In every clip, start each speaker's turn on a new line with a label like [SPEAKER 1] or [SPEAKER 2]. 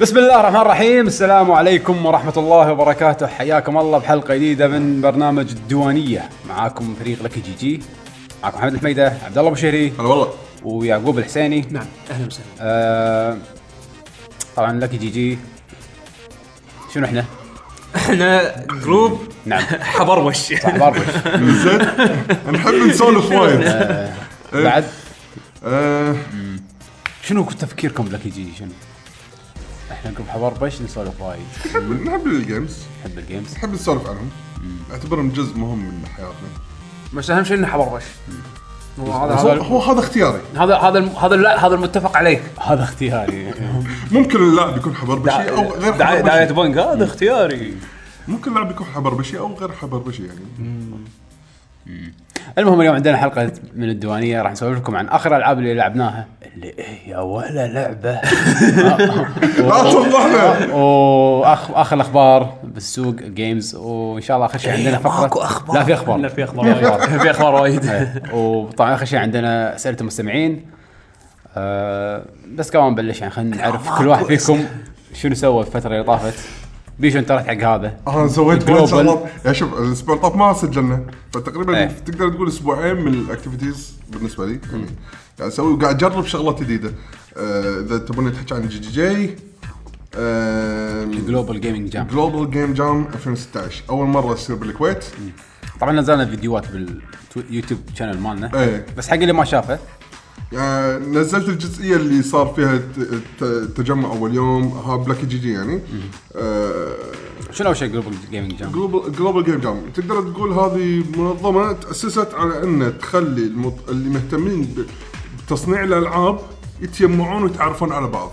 [SPEAKER 1] بسم الله الرحمن الرحيم السلام عليكم ورحمة الله وبركاته حياكم الله بحلقة جديدة من برنامج الديوانية معاكم فريق لك جي جي معاكم محمد الحميدة عبد الله ابو شهري
[SPEAKER 2] هلا والله
[SPEAKER 1] ويعقوب الحسيني
[SPEAKER 3] نعم اهلا وسهلا
[SPEAKER 1] آه طبعا لك جي جي شنو احنا؟
[SPEAKER 3] احنا جروب
[SPEAKER 1] نعم
[SPEAKER 3] حبروش
[SPEAKER 1] صح باربش
[SPEAKER 2] زين نحب نسولف وايد
[SPEAKER 1] بعد
[SPEAKER 2] آه،
[SPEAKER 1] شنو تفكيركم لك جي شنو؟ احنا نقول حبربش نسولف وايد
[SPEAKER 2] نحب نحب الجيمز
[SPEAKER 1] نحب الجيمز
[SPEAKER 2] نحب نسولف عنهم اعتبرهم جزء مهم من حياتنا
[SPEAKER 4] بس اهم شيء انه حبربش هذا
[SPEAKER 2] هو
[SPEAKER 4] هذا
[SPEAKER 2] هو هذا اختياري
[SPEAKER 4] هذا هذا الم- هذا لا هذا المتفق عليه
[SPEAKER 3] إيه،
[SPEAKER 1] هذا اختياري
[SPEAKER 2] ممكن اللاعب يكون حبربشي او غير
[SPEAKER 3] دعاية دعاية
[SPEAKER 2] حبربشي
[SPEAKER 3] بنك هذا اختياري
[SPEAKER 2] ممكن اللاعب يكون حبربشي او غير حبربشي يعني
[SPEAKER 1] المهم اليوم عندنا حلقة من الديوانية راح نسولف لكم عن آخر الألعاب اللي لعبناها اللي إيه يا ولا لعبة
[SPEAKER 2] لا توضحنا
[SPEAKER 1] وأخ آخر الأخبار بالسوق جيمز وإن شاء الله آخر شيء عندنا فقرة
[SPEAKER 3] إيه، ماكو أخبار.
[SPEAKER 1] لا في أخبار
[SPEAKER 3] لا، في أخبار وايد. في أخبار وايد.
[SPEAKER 1] إيه. وطبعا آخر شيء عندنا أسئلة المستمعين آه، بس كمان نبلش يعني خلينا نعرف كل واحد فيكم شنو سوى في الفترة اللي طافت بيشو انت رحت حق هذا
[SPEAKER 2] انا سويت وايد
[SPEAKER 1] Global.
[SPEAKER 2] شغلات يعني شوف الاسبوع اللي طاف ما سجلنا فتقريبا
[SPEAKER 1] إيه.
[SPEAKER 2] تقدر تقول اسبوعين من الاكتيفيتيز بالنسبه لي يعني قاعد اسوي وقاعد اجرب شغلات جديده آه، اذا تبون نتحكي عن جي جي جي آه،
[SPEAKER 1] جلوبال جيمنج جام
[SPEAKER 2] جلوبال جيم جام 2016 اول مره تصير بالكويت
[SPEAKER 1] طبعا نزلنا فيديوهات باليوتيوب شانل مالنا
[SPEAKER 3] إيه.
[SPEAKER 2] ايه
[SPEAKER 1] بس حق اللي ما شافه
[SPEAKER 2] آه، نزلت الجزئيه اللي صار فيها ت- ت- تجمع اول يوم ها بلاك جي جي يعني آه،
[SPEAKER 1] شنو اول شيء جلوبال جيمنج جام؟
[SPEAKER 2] جلوبال جلوبال جيم جام تقدر تقول هذه منظمه تاسست على ان تخلي المط... اللي مهتمين ب- بتصنيع الالعاب يتجمعون ويتعرفون على بعض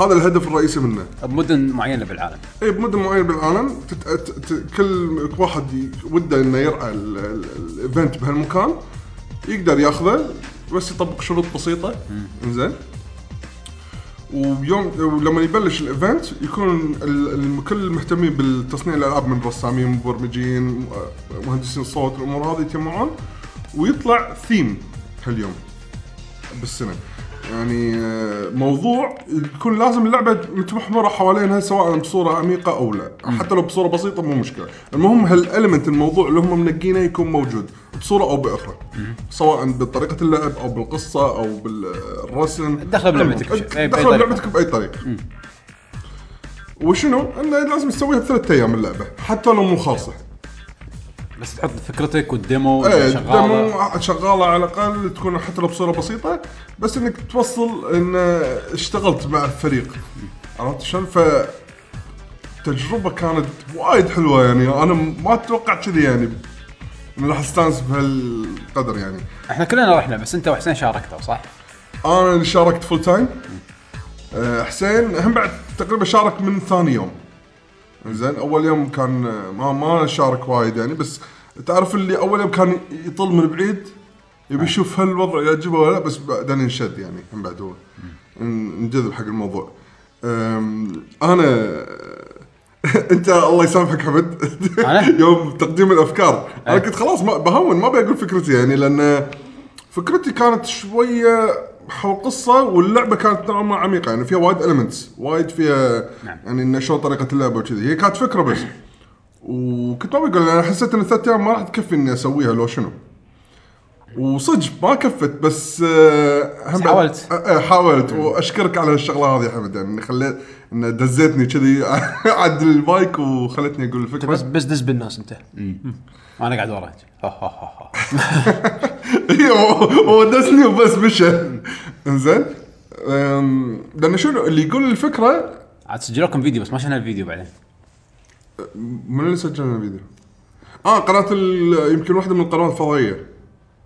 [SPEAKER 2] هذا الهدف الرئيسي منه
[SPEAKER 1] بمدن معينه بالعالم
[SPEAKER 2] اي بمده معينه إيه، بالعالم تت... ت... ت... كل واحد ي- وده انه يرعى ال- ال- الايفنت بهالمكان يقدر ياخذه بس يطبق شروط بسيطه انزين ويوم ولما يبلش الايفنت يكون ال- ال- كل المهتمين بالتصنيع الالعاب من رسامين مبرمجين م- مهندسين صوت الامور هذه يتجمعون ويطلع ثيم هاليوم بالسنه يعني آه، موضوع يكون لازم اللعبه متمحوره حوالينها سواء بصوره عميقه او لا حتى لو بصوره بسيطه مو مشكله المهم هالالمنت الموضوع اللي هم منقينه يكون موجود بصوره او باخرى سواء بطريقه اللعب او بالقصه او بالرسم
[SPEAKER 1] دخله بلعبتك بشيء. أي- بأي
[SPEAKER 2] دخل
[SPEAKER 1] طريقة.
[SPEAKER 2] بلعبتك باي طريقه وشنو؟ انه لازم تسويها بثلاث ايام اللعبه حتى لو مو خالصه
[SPEAKER 1] بس تحط فكرتك والديمو
[SPEAKER 2] ايه
[SPEAKER 1] اللي
[SPEAKER 2] ديمو
[SPEAKER 1] شغاله
[SPEAKER 2] شغاله على الاقل تكون حتى لو بصوره بسيطه بس انك توصل ان اشتغلت مع الفريق عرفت شلون؟ ف تجربة كانت وايد حلوة يعني انا ما اتوقع كذي يعني اني راح استانس بهالقدر يعني
[SPEAKER 1] احنا كلنا رحنا بس انت وحسين شاركتوا صح؟
[SPEAKER 2] انا اللي شاركت فول تايم أه، حسين هم بعد تقريبا شارك من ثاني يوم زين اول يوم كان أه، ما ما شارك وايد يعني بس تعرف اللي اول يوم كان يطل من بعيد يبي يشوف هل الوضع يعجبه ولا لا بس بعدين ينشد يعني هم بعد هو ن- نجذب حق الموضوع أم، انا انت الله يسامحك حمد
[SPEAKER 1] أنا؟
[SPEAKER 2] يوم تقديم الافكار انا كنت خلاص ما بهون ما بقول فكرتي يعني لان فكرتي كانت شويه حول قصه واللعبه كانت نوعا ما عميقه يعني فيها وايد المنتس وايد فيها
[SPEAKER 1] نعم.
[SPEAKER 2] يعني انه شلون طريقه اللعبه وكذي هي كانت فكره بس وكنت ما بقول انا حسيت ان ثلاث ايام ما راح تكفي اني اسويها لو شنو وصدق ما كفت بس آه، هم
[SPEAKER 1] بس
[SPEAKER 2] بعد-
[SPEAKER 1] حاولت.
[SPEAKER 2] آه، آه، حاولت واشكرك على الشغله هذه يا حمد يعني خليت ان دزيتني كذي عد المايك وخلتني اقول الفكره
[SPEAKER 4] بس بس دز بالناس انت
[SPEAKER 1] انا قاعد وراك ها ها ها ها.
[SPEAKER 2] هي إيه، هو- هو دسني وبس مشى انزين أم، لان شنو اللي يقول الفكره
[SPEAKER 1] عاد سجلوا لكم فيديو بس ما شفنا الفيديو بعدين
[SPEAKER 2] من اللي سجل لنا الفيديو؟ اه قناه ال- يمكن واحده من القنوات الفضائيه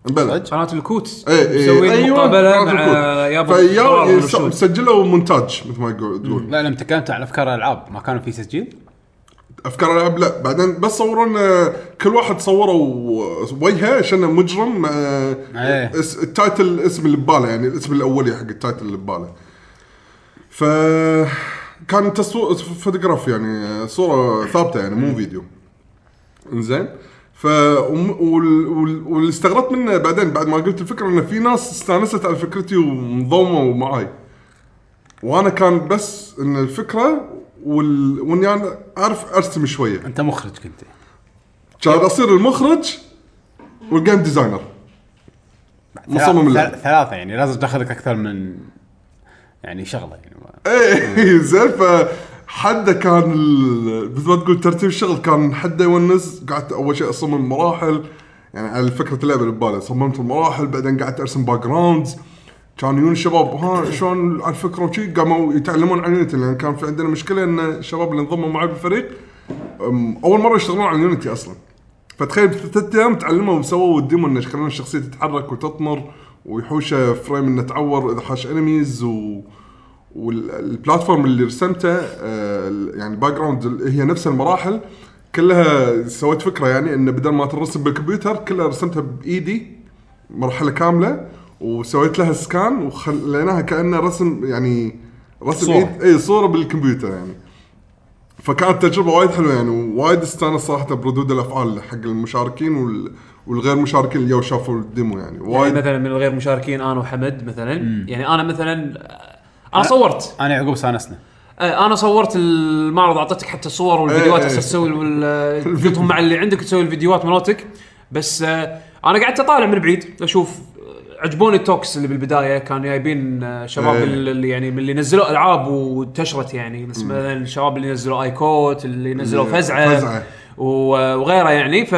[SPEAKER 2] بلى
[SPEAKER 1] صدق؟
[SPEAKER 4] قناه الكوت
[SPEAKER 2] اي اي
[SPEAKER 4] مسوين
[SPEAKER 2] أيوة،
[SPEAKER 4] مقابله
[SPEAKER 2] قناة
[SPEAKER 4] مع
[SPEAKER 2] الكود.
[SPEAKER 4] يابا
[SPEAKER 2] فيا-
[SPEAKER 4] الضرار
[SPEAKER 2] س-
[SPEAKER 4] والرشود.
[SPEAKER 2] سجلوا مونتاج مثل ما يقول- تقول
[SPEAKER 1] لا لما تكلمت عن افكار الالعاب ما كانوا في تسجيل؟
[SPEAKER 2] افكار العاب لا بعدين بس صوروا لنا كل واحد صوروا وجهه عشان مجرم مع
[SPEAKER 1] إيه.
[SPEAKER 2] اس- التايتل اسم اللي بباله يعني الاسم الاولي حق التايتل اللي بباله ف كان تصوير فوتوغراف يعني صوره ثابته يعني مو فيديو انزين ف وم- وال- وال- واللي استغربت منه بعدين بعد ما قلت الفكره ان في ناس استانست على فكرتي وانضموا معاي وانا كان بس ان الفكره وال... واني انا اعرف ارسم شويه
[SPEAKER 1] انت مخرج كنت
[SPEAKER 2] كان اصير المخرج والجيم ديزاينر مصمم
[SPEAKER 1] ثلا-
[SPEAKER 2] اللعبه
[SPEAKER 1] ثلاثه يعني لازم تاخذك اكثر من يعني شغله يعني ما-
[SPEAKER 2] ايه زين فحده كان ال- مثل ما تقول ترتيب الشغل كان حده يونس قعدت اول شيء اصمم مراحل يعني على فكره اللعبه اللي ببالي صممت المراحل بعدين قعدت ارسم باك جراوندز كان يجون الشباب ها شلون على الفكره وشي قاموا يتعلمون عن يونيتي لان كان في عندنا مشكله ان الشباب اللي انضموا معي بالفريق أم، اول مره يشتغلون على يونيتي اصلا فتخيل بثلاث ايام تعلموا وسووا الديمو انه يخلون الشخصيه تتحرك وتطمر ويحوشه فريم انه تعور اذا حاش انميز و... والبلاتفورم اللي رسمته آه، يعني باك جراوند اللي هي نفس المراحل كلها سويت فكره يعني انه بدل ما ترسم بالكمبيوتر كلها رسمتها بايدي مرحله كامله وسويت لها سكان وخليناها كانها رسم يعني رسم
[SPEAKER 1] صورة.
[SPEAKER 2] ايد اي صوره بالكمبيوتر يعني فكانت تجربه وايد حلوه يعني وايد استانس صراحه بردود الافعال حق المشاركين وال... والغير مشاركين اللي جو شافوا الديمو يعني
[SPEAKER 3] يعني
[SPEAKER 2] وايد
[SPEAKER 3] مثلا من الغير مشاركين انا وحمد مثلا يعني انا مثلا
[SPEAKER 4] آه،
[SPEAKER 3] انا صورت
[SPEAKER 1] انا يعقوب سانسنا
[SPEAKER 3] آه، انا صورت المعرض اعطيتك حتى الصور والفيديوهات
[SPEAKER 2] إيه،
[SPEAKER 3] عشان
[SPEAKER 2] إيه.
[SPEAKER 3] تسوي وال- تحطهم مع اللي عندك تسوي الفيديوهات مالتك بس آه، انا قعدت اطالع من بعيد اشوف آه، عجبوني التوكس اللي بالبدايه كانوا جايبين آه، شباب
[SPEAKER 2] إيه.
[SPEAKER 3] اللي يعني من اللي نزلوا العاب وانتشرت يعني بس مثلا الشباب اللي نزلوا ايكوت اللي نزلوا
[SPEAKER 2] اللي-
[SPEAKER 3] فزعه,
[SPEAKER 2] إيه، فزعة.
[SPEAKER 3] و- آه، وغيره يعني ف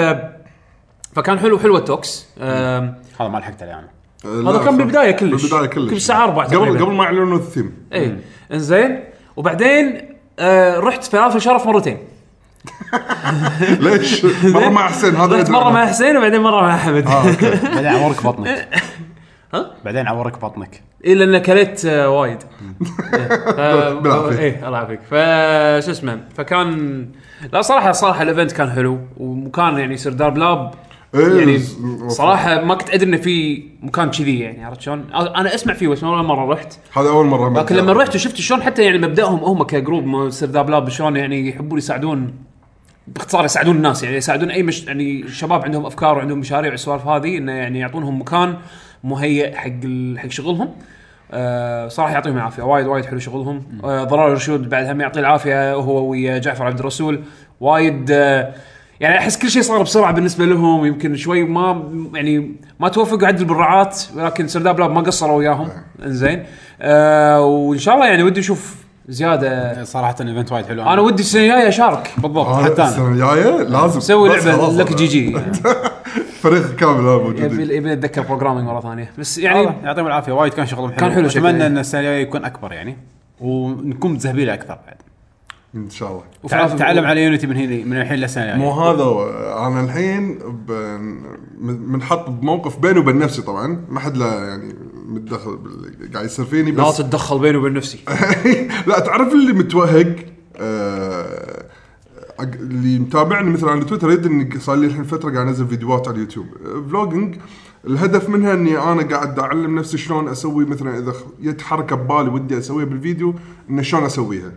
[SPEAKER 3] فكان حلو حلو التوكس آم،
[SPEAKER 1] هذا ما لحقت عليه انا
[SPEAKER 2] آه،
[SPEAKER 3] هذا كان بالبدايه كلش
[SPEAKER 2] بالبدايه كلش
[SPEAKER 3] كل ساعه اربع
[SPEAKER 2] قبل
[SPEAKER 3] تقريبا
[SPEAKER 2] قبل ما يعلنوا الثيم
[SPEAKER 3] اي انزين إيه. وبعدين آه رحت فلافل شرف مرتين
[SPEAKER 2] ليش؟ مره مع حسين هذا
[SPEAKER 3] رحت
[SPEAKER 2] يدري
[SPEAKER 3] مره
[SPEAKER 2] عنه.
[SPEAKER 3] مع حسين وبعدين مره مع احمد
[SPEAKER 2] طيب، آه، أوكي.
[SPEAKER 1] بعدين عورك بطنك
[SPEAKER 3] ها؟
[SPEAKER 1] بعدين عورك بطنك
[SPEAKER 3] اي لان كلت آه وايد
[SPEAKER 2] طيب، بالعافية.
[SPEAKER 3] اي الله يعافيك فا شو اسمه فكان لا صراحه صراحه الايفنت كان حلو ومكان يعني يصير دار بلاب
[SPEAKER 2] إيه،
[SPEAKER 3] يعني
[SPEAKER 2] ز-
[SPEAKER 3] صراحه ما كنت ادري انه في مكان كذي يعني عرفت شلون؟ انا اسمع فيه بس اول مره رحت
[SPEAKER 2] هذا اول مره أمد.
[SPEAKER 3] لكن لما رحت وشفت شلون حتى يعني مبداهم هم كجروب ما يصير ذا بلاب شلون يعني يحبون يساعدون باختصار يساعدون الناس يعني يساعدون اي مش يعني شباب عندهم افكار وعندهم مشاريع والسوالف هذه انه يعني يعطونهم مكان مهيئ حق ال- حق شغلهم آه صراحه يعطيهم العافيه وايد وايد حلو شغلهم آه ضرار الرشود بعد هم يعطيه العافيه هو ويا جعفر عبد الرسول وايد آه يعني احس كل شيء صار بسرعه بالنسبه لهم يمكن شوي ما يعني ما توفقوا عدل بالرعات ولكن سرداب لاب ما قصروا وياهم انزين آه وان شاء الله يعني ودي اشوف زياده
[SPEAKER 1] صراحه الايفنت وايد حلو
[SPEAKER 3] انا ودي السنه الجايه اشارك
[SPEAKER 1] بالضبط
[SPEAKER 2] آه،
[SPEAKER 1] حتى انا
[SPEAKER 2] السنه الجايه لازم
[SPEAKER 3] سوي
[SPEAKER 2] بس خلاص
[SPEAKER 3] لعبه لك
[SPEAKER 2] أنا.
[SPEAKER 3] جي جي
[SPEAKER 2] فريق كامل هذا موجود
[SPEAKER 3] يبي يبي اتذكر بروجرامينج مره ثانيه بس
[SPEAKER 1] يعني
[SPEAKER 3] يعني
[SPEAKER 1] يعطيهم العافيه وايد كان شغلهم حلو
[SPEAKER 3] كان حلو شكله،
[SPEAKER 1] اتمنى
[SPEAKER 3] إيه.
[SPEAKER 1] ان السنه الجايه يكون اكبر يعني ونكون متزهبيله اكثر بعد
[SPEAKER 2] ان شاء الله
[SPEAKER 1] تعال- تعلم على يونيتي من هنا من الحين للسنه
[SPEAKER 2] مو
[SPEAKER 1] الجايه
[SPEAKER 2] هذا انا الحين ب... منحط بموقف بيني وبين نفسي طبعا ما حد لا يعني متدخل بال- قاعد يصير فيني
[SPEAKER 3] لا
[SPEAKER 2] بس
[SPEAKER 3] تتدخل بيني وبين نفسي
[SPEAKER 2] لا تعرف اللي متوهق آه، أق- اللي متابعني مثلا على تويتر يدري اني صار لي الحين فتره قاعد انزل فيديوهات على اليوتيوب فلوجينج الهدف منها اني انا قاعد اعلم نفسي شلون اسوي مثلا اذا خ- جت حركه ببالي ودي اسويها بالفيديو انه شلون اسويها.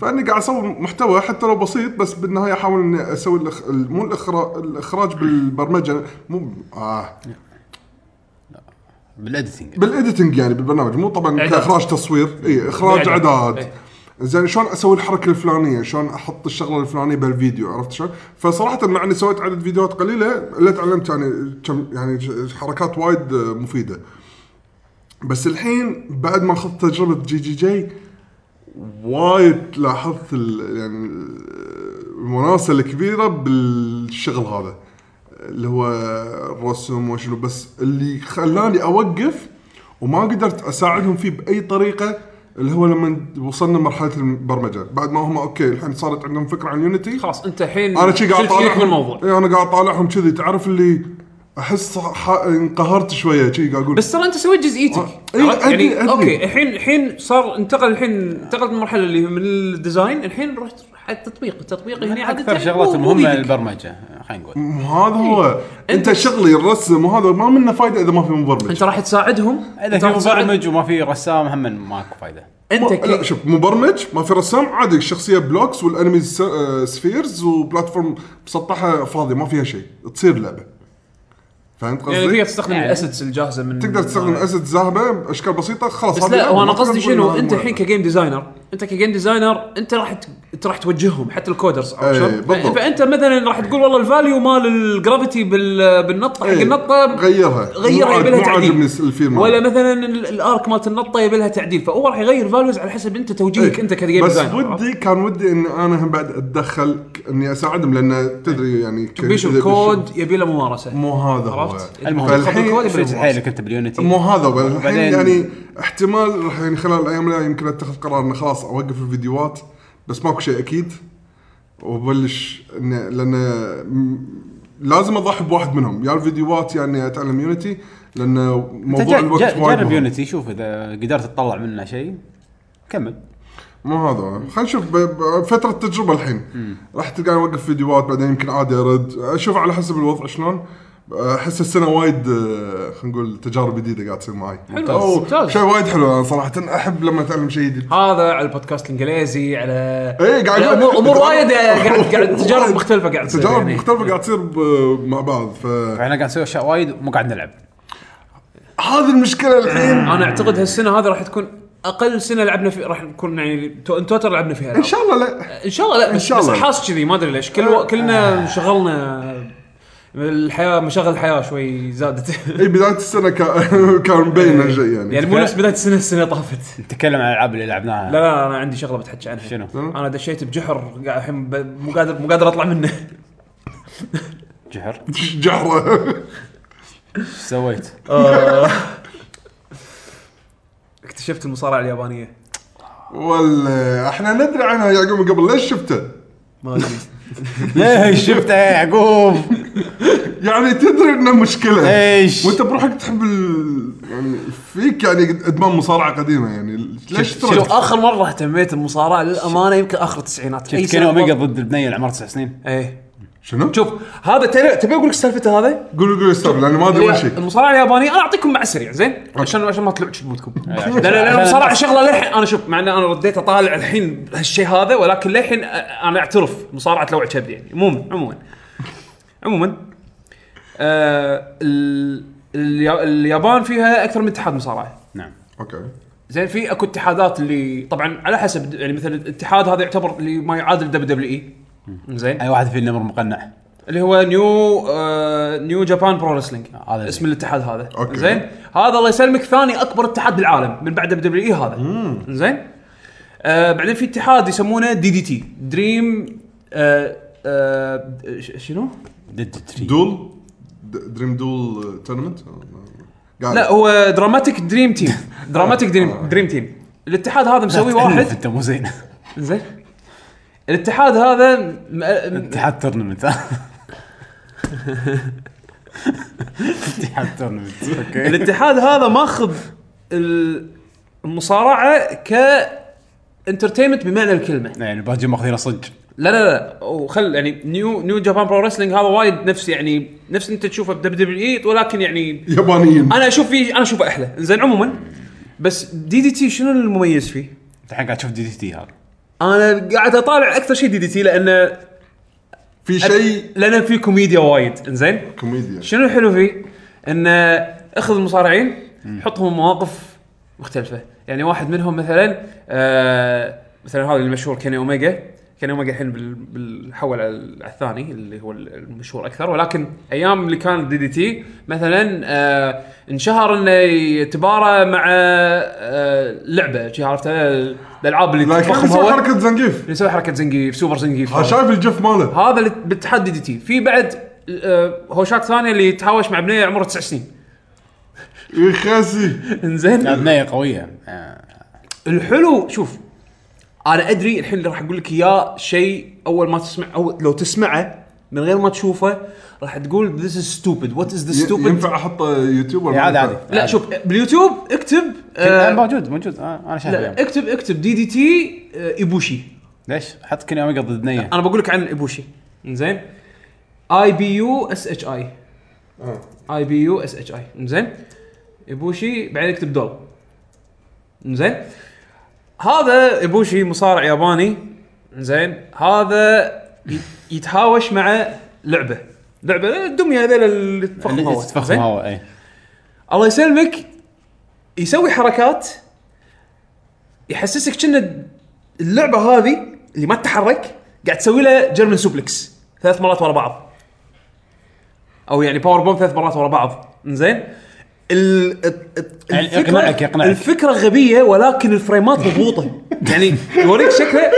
[SPEAKER 2] فاني قاعد اسوي محتوى حتى لو بسيط بس بالنهايه احاول اني اسوي الأخ... ال- مو الاخراج الاخراج بالبرمجه مو آه
[SPEAKER 1] بالاديتنج
[SPEAKER 2] بالاديتنج يعني بالبرنامج مو طبعا
[SPEAKER 3] إعداد.
[SPEAKER 2] كاخراج تصوير اي اخراج
[SPEAKER 3] بالإعداد.
[SPEAKER 2] اعداد
[SPEAKER 3] إيه.
[SPEAKER 2] زين شلون اسوي الحركه الفلانيه شلون احط الشغله الفلانيه بالفيديو عرفت شلون فصراحه مع اني سويت عدد فيديوهات قليله الا تعلمت يعني كم يعني ش- حركات وايد آه، مفيده بس الحين بعد ما اخذت تجربه جي جي جي وايد لاحظت ال- يعني المناسبه الكبيره بالشغل هذا اللي هو الرسم وشنو بس اللي خلاني اوقف وما قدرت اساعدهم فيه باي طريقه اللي هو لما وصلنا مرحله البرمجه بعد ما هم اوكي الحين صارت عندهم فكره عن يونيتي
[SPEAKER 3] خلاص انت الحين
[SPEAKER 2] انا شي قاعد
[SPEAKER 3] شلت ايدك من
[SPEAKER 2] اطالعهم
[SPEAKER 3] الموضوع
[SPEAKER 2] اي انا قاعد اطالعهم كذي تعرف اللي احس ح- انقهرت شويه شي قاعد اقول
[SPEAKER 3] بس ترى انت سويت جزئيتك
[SPEAKER 2] إيه،
[SPEAKER 3] عرفت؟
[SPEAKER 2] أدري-
[SPEAKER 3] يعني
[SPEAKER 2] أدري.
[SPEAKER 3] اوكي الحين الحين صار انتقل الحين انتقلت من المرحله اللي من الديزاين الحين رحت على التطبيق التطبيق
[SPEAKER 2] يعني
[SPEAKER 3] هنا عاد
[SPEAKER 1] اكثر شغلات مهمه البرمجه خلينا نقول
[SPEAKER 2] مو هذا هو انت شغلي الرسم وهذا ما منه فايده اذا ما في مبرمج
[SPEAKER 3] انت راح تساعدهم
[SPEAKER 1] اذا
[SPEAKER 3] أنت راح
[SPEAKER 1] في
[SPEAKER 3] تساعد-
[SPEAKER 1] مبرمج وما في رسام هم ماكو فايده
[SPEAKER 3] انت
[SPEAKER 2] ما- لا
[SPEAKER 3] كي-
[SPEAKER 2] شوف مبرمج ما في رسام عادي الشخصيه بلوكس والانميز س- آه، سفيرز وبلاتفورم مسطحه فاضيه ما فيها شيء تصير لعبه فهمت
[SPEAKER 3] يعني تقدر
[SPEAKER 2] قصدي؟
[SPEAKER 3] تستخدم
[SPEAKER 4] يعني.
[SPEAKER 3] الاسيتس الجاهزه من
[SPEAKER 2] تقدر تستخدم اسد ذهبه باشكال بسيطه خلاص
[SPEAKER 3] بس
[SPEAKER 2] هذه
[SPEAKER 3] لا هو
[SPEAKER 2] ما
[SPEAKER 3] انا
[SPEAKER 2] تقدر
[SPEAKER 3] قصدي
[SPEAKER 2] تقول
[SPEAKER 3] شنو
[SPEAKER 2] إنها
[SPEAKER 3] انت
[SPEAKER 2] مو-
[SPEAKER 3] الحين كجيم ديزاينر انت كجيم ديزاينر انت راح ت- انت راح توجههم حتى الكودرز
[SPEAKER 2] إيه،
[SPEAKER 3] عرفت شلون؟
[SPEAKER 2] بالضبط.
[SPEAKER 3] فانت مثلا راح تقول والله الفاليو مال الجرافيتي بال... بالنطه حق
[SPEAKER 2] إيه،
[SPEAKER 3] النطه
[SPEAKER 2] غيرها
[SPEAKER 3] غيرها يبي لها
[SPEAKER 2] مو عاجبني
[SPEAKER 3] تعديل
[SPEAKER 2] الفيلم
[SPEAKER 3] ولا
[SPEAKER 2] هذا.
[SPEAKER 3] مثلا ال- الارك مالت النطه يبي لها تعديل فهو راح يغير فاليوز على حسب انت توجيهك انت كجيم
[SPEAKER 2] إيه. بس
[SPEAKER 3] ديزاينر عرفت؟
[SPEAKER 2] ودي كان ودي ان انا هم بعد اتدخل ك- اني اساعدهم لان تدري يعني ك-
[SPEAKER 3] بيشو
[SPEAKER 2] إذا
[SPEAKER 3] الكود يبي له ممارسه
[SPEAKER 2] مو هذا هو
[SPEAKER 3] عرفت؟
[SPEAKER 1] المهم
[SPEAKER 2] فالحين-
[SPEAKER 1] الحين
[SPEAKER 3] فالحين-
[SPEAKER 1] حيلك انت باليونتي
[SPEAKER 2] مو هذا هو الحين
[SPEAKER 1] وبعدين-
[SPEAKER 2] يعني احتمال راح يعني خلال الايام الجايه يمكن اتخذ قرار انه خلاص اوقف الفيديوهات بس ماكو شيء اكيد وبلش إنه- لان م- لازم اضحي بواحد منهم يا الفيديوهات يعني اتعلم يونتي لان موضوع
[SPEAKER 1] جا-
[SPEAKER 2] الوقت
[SPEAKER 1] جا-
[SPEAKER 2] وايد
[SPEAKER 1] جرب
[SPEAKER 2] مهم.
[SPEAKER 1] يونتي شوف اذا قدرت تطلع منه شيء كمل
[SPEAKER 2] مو هذا هو. خلينا نشوف ب- ب- فتره التجربه الحين راح تلقاني اوقف فيديوهات بعدين يمكن عادي ارد اشوف على حسب الوضع شلون احس السنه وايد آه، خلينا نقول تجارب جديده قاعد تصير معي
[SPEAKER 3] حلو،
[SPEAKER 2] أو
[SPEAKER 3] ممتاز.
[SPEAKER 2] شيء وايد حلو انا صراحه احب لما اتعلم شيء جديد
[SPEAKER 3] هذا على البودكاست الانجليزي على
[SPEAKER 2] إيه، قاعد
[SPEAKER 3] على
[SPEAKER 2] يقول-
[SPEAKER 3] امور امور وايد
[SPEAKER 2] تجارب-
[SPEAKER 3] قاعد قاعد تجارب مختلفه قاعد تصير
[SPEAKER 2] تجارب
[SPEAKER 3] يعني.
[SPEAKER 2] مختلفه قاعد تصير ب- مع بعض فهذه
[SPEAKER 1] فاحنا قاعد نسوي اشياء وايد ومو قاعد نلعب
[SPEAKER 2] المشكله الحين
[SPEAKER 3] انا اعتقد هالسنه هذه راح تكون اقل سنه لعبنا في راح نكون يعني تو- ان توتر لعبنا فيها
[SPEAKER 2] ان
[SPEAKER 3] ألعاب.
[SPEAKER 2] شاء الله لا
[SPEAKER 3] ان شاء الله آه. لا
[SPEAKER 2] إن
[SPEAKER 3] بس,
[SPEAKER 2] شاء
[SPEAKER 3] بس
[SPEAKER 2] الله.
[SPEAKER 3] حاس كذي ما ادري ليش كل و... كلنا انشغلنا الحياه مشاغل الحياه شوي زادت
[SPEAKER 2] اي بدايه السنه كان كان مبين هالشيء يعني
[SPEAKER 3] يعني مو نفس بدايه السنه السنه طافت
[SPEAKER 1] نتكلم عن الالعاب اللي
[SPEAKER 3] لا
[SPEAKER 1] لعبناها
[SPEAKER 3] لا انا عندي شغله بتحكي عنها
[SPEAKER 1] شنو؟
[SPEAKER 3] انا دشيت بجحر قاعد الحين ب... مو قادر مو قادر اطلع منه
[SPEAKER 1] جحر ايش
[SPEAKER 2] جحره
[SPEAKER 1] سويت؟
[SPEAKER 3] اكتشفت المصارعه اليابانيه
[SPEAKER 2] ولا احنا ندري عنها يا يعقوب قبل ليش شفته؟
[SPEAKER 3] ما ادري
[SPEAKER 1] ليش شفته يا يعقوب؟
[SPEAKER 2] يعني تدري انه مشكله
[SPEAKER 1] إيش؟
[SPEAKER 2] وانت بروحك تحب ال... يعني فيك يعني ادمان مصارعه قديمه يعني ليش
[SPEAKER 1] شفت-
[SPEAKER 2] تروح؟
[SPEAKER 1] شفت-
[SPEAKER 3] اخر مره اهتميت بالمصارعه للامانه يمكن اخر التسعينات
[SPEAKER 1] شفت كين اوميجا ضد البنيه اللي عمرها تسع سنين
[SPEAKER 3] ايه
[SPEAKER 2] شنو؟
[SPEAKER 3] شوف هذا ترى- تبي اقول لك سالفته هذا
[SPEAKER 2] قول قول استر لاني ما ادري ولا شيء
[SPEAKER 3] المصارعه اليابانيه انا اعطيكم مع سريع زين عشان عشان ما تلعبش بمودكم
[SPEAKER 1] عشان-
[SPEAKER 3] لان لان
[SPEAKER 1] عشان-
[SPEAKER 3] المصارعه شغله للحين انا شوف مع ان انا رديت اطالع الحين هالشيء هذا ولكن للحين أ- انا اعترف مصارعه لوع كبدي يعني عموما عموما عموما آه ال- اليا- اليابان فيها اكثر من اتحاد مصارعه
[SPEAKER 1] نعم
[SPEAKER 2] اوكي
[SPEAKER 3] زين في اكو اتحادات اللي طبعا على حسب يعني مثلا الاتحاد هذا يعتبر اللي ما يعادل دبليو دبليو اي زين
[SPEAKER 1] اي واحد فيه النمر مقنع
[SPEAKER 3] اللي هو نيو آه نيو جابان برو رسلينج
[SPEAKER 1] آه، هذا
[SPEAKER 3] اسم الاتحاد هذا
[SPEAKER 2] أوكي.
[SPEAKER 3] زين هذا الله يسلمك ثاني اكبر اتحاد بالعالم من بعد دبليو اي هذا زين آه بعدين في اتحاد يسمونه دي دي تي دريم آه آه ش- شنو؟
[SPEAKER 1] ديد تري
[SPEAKER 2] دول د- دريم دول تورنمنت قاعد
[SPEAKER 3] لا هو دراماتيك دريم تيم دراماتيك دريم دريم تيم الاتحاد هذا مسوي واحد
[SPEAKER 1] انت مو زين
[SPEAKER 3] زين الاتحاد هذا م- آه، م-
[SPEAKER 1] اتحاد تورنمنت اتحاد تورنمنت اوكي
[SPEAKER 3] الاتحاد هذا ماخذ ال- المصارعه ك انترتينمنت بمعنى الكلمه
[SPEAKER 1] يعني الباجي ماخذينه صدق
[SPEAKER 3] لا لا لا وخل يعني نيو نيو جابان برو رسلينج هذا وايد نفس يعني نفس انت تشوفه بدبليو دبليو اي ولكن يعني
[SPEAKER 2] يابانيين
[SPEAKER 3] انا اشوف فيه انا اشوفه احلى زين عموما بس دي دي تي شنو المميز فيه؟
[SPEAKER 1] انت الحين قاعد تشوف دي دي تي هذا
[SPEAKER 3] انا قاعد اطالع اكثر شيء دي دي تي لان
[SPEAKER 2] في شيء
[SPEAKER 3] لان في كوميديا وايد انزين
[SPEAKER 2] كوميديا
[SPEAKER 3] شنو الحلو فيه؟ انه اخذ المصارعين حطهم مواقف مختلفه، يعني واحد منهم مثلا آه مثلا هذا المشهور كيني اوميجا، كيني اوميجا الحين بال- بالحول على ال- على الثاني اللي هو المشهور اكثر ولكن ايام اللي كان دي دي تي مثلا آه انشهر انه يتبارى مع آه لعبه شي عرفت آه، الالعاب اللي
[SPEAKER 2] لكن
[SPEAKER 3] تتفخم
[SPEAKER 2] يسوي
[SPEAKER 3] هواء
[SPEAKER 2] حركه زنقيف
[SPEAKER 3] يسوي حركه زنقيف سوبر زنقيف
[SPEAKER 2] ها، شايف الجف ماله
[SPEAKER 3] هذا اللي بالاتحاد دي دي تي في بعد آه، هوشات ثانيه اللي يتهاوش مع بنيه عمرها تسع سنين
[SPEAKER 2] يا خاسي
[SPEAKER 1] لا،
[SPEAKER 3] انزين
[SPEAKER 1] بنيه قويه آه.
[SPEAKER 3] الحلو شوف انا ادري الحين اللي راح اقول لك اياه شيء اول ما تسمع او لو تسمعه من غير ما تشوفه راح تقول ذيس از ستوبد وات از ذا ستوبد
[SPEAKER 2] ينفع احطه يوتيوب ولا
[SPEAKER 1] إيه،
[SPEAKER 2] ما
[SPEAKER 1] عادي
[SPEAKER 2] ينفع؟
[SPEAKER 1] عادي
[SPEAKER 3] لا شوف باليوتيوب اكتب آه،
[SPEAKER 1] آه. موجود موجود آه. انا شايفه
[SPEAKER 3] لا
[SPEAKER 1] اليوم.
[SPEAKER 3] اكتب اكتب دي دي تي آه، ايبوشي
[SPEAKER 1] ليش؟ حط كيني اوميجا ضد بنيه
[SPEAKER 3] انا بقول لك عن ايبوشي زين اي بي يو اس اتش اي
[SPEAKER 2] آه.
[SPEAKER 3] اي بي يو اس اتش اي زين ايبوشي بعدين اكتب دول زين هذا ايبوشي مصارع ياباني زين هذا ي- يتهاوش مع لعبه لعبه دميه هذول اللي تفخم هواء
[SPEAKER 1] إيه، تفخم إيه.
[SPEAKER 3] زين؟
[SPEAKER 1] هواء اي
[SPEAKER 3] الله يسلمك يسوي حركات يحسسك كأن اللعبه هذه اللي ما تتحرك قاعد تسوي لها جيرمن سوبلكس ثلاث مرات ورا بعض او يعني باور بوم ثلاث مرات ورا بعض زين ال- الت- الت-
[SPEAKER 1] يعني يقنعك- يقنعك.
[SPEAKER 3] الفكره غبيه ولكن الفريمات مضبوطه يعني يوريك شكله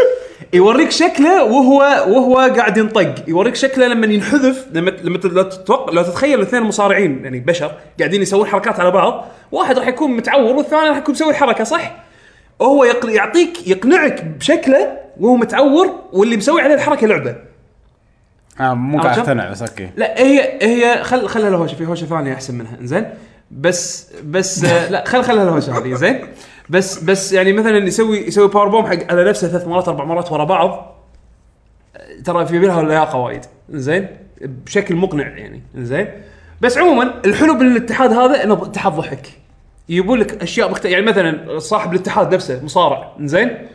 [SPEAKER 3] يوريك شكله وهو وهو قاعد ينطق يوريك شكله لما ينحذف لما لما ت- لو تتوقع لو تتخيل الاثنين مصارعين يعني بشر قاعدين يسوون حركات على بعض واحد راح يكون متعور والثاني راح يكون مسوي الحركه صح وهو يقل- يعطيك يقنعك بشكله وهو متعور واللي مسوي عليه الحركه لعبه
[SPEAKER 1] آه مو قاعد
[SPEAKER 3] عرفت؟
[SPEAKER 1] اقتنع بس اوكي
[SPEAKER 3] لا هي هي خل خلها الهوشه في هوشه ثانيه احسن منها زين بس بس آه، لا خل خلها الهوشه هذه زين بس بس يعني مثلا يسوي يسوي باور بوم حق على نفسه ثلاث مرات اربع مرات ورا بعض آه، ترى في بينها لياقه وايد زين بشكل مقنع يعني زين بس عموما الحلو بالاتحاد هذا انه اتحاد ضحك يجيبون لك اشياء مختلفه يعني مثلا صاحب الاتحاد نفسه مصارع زين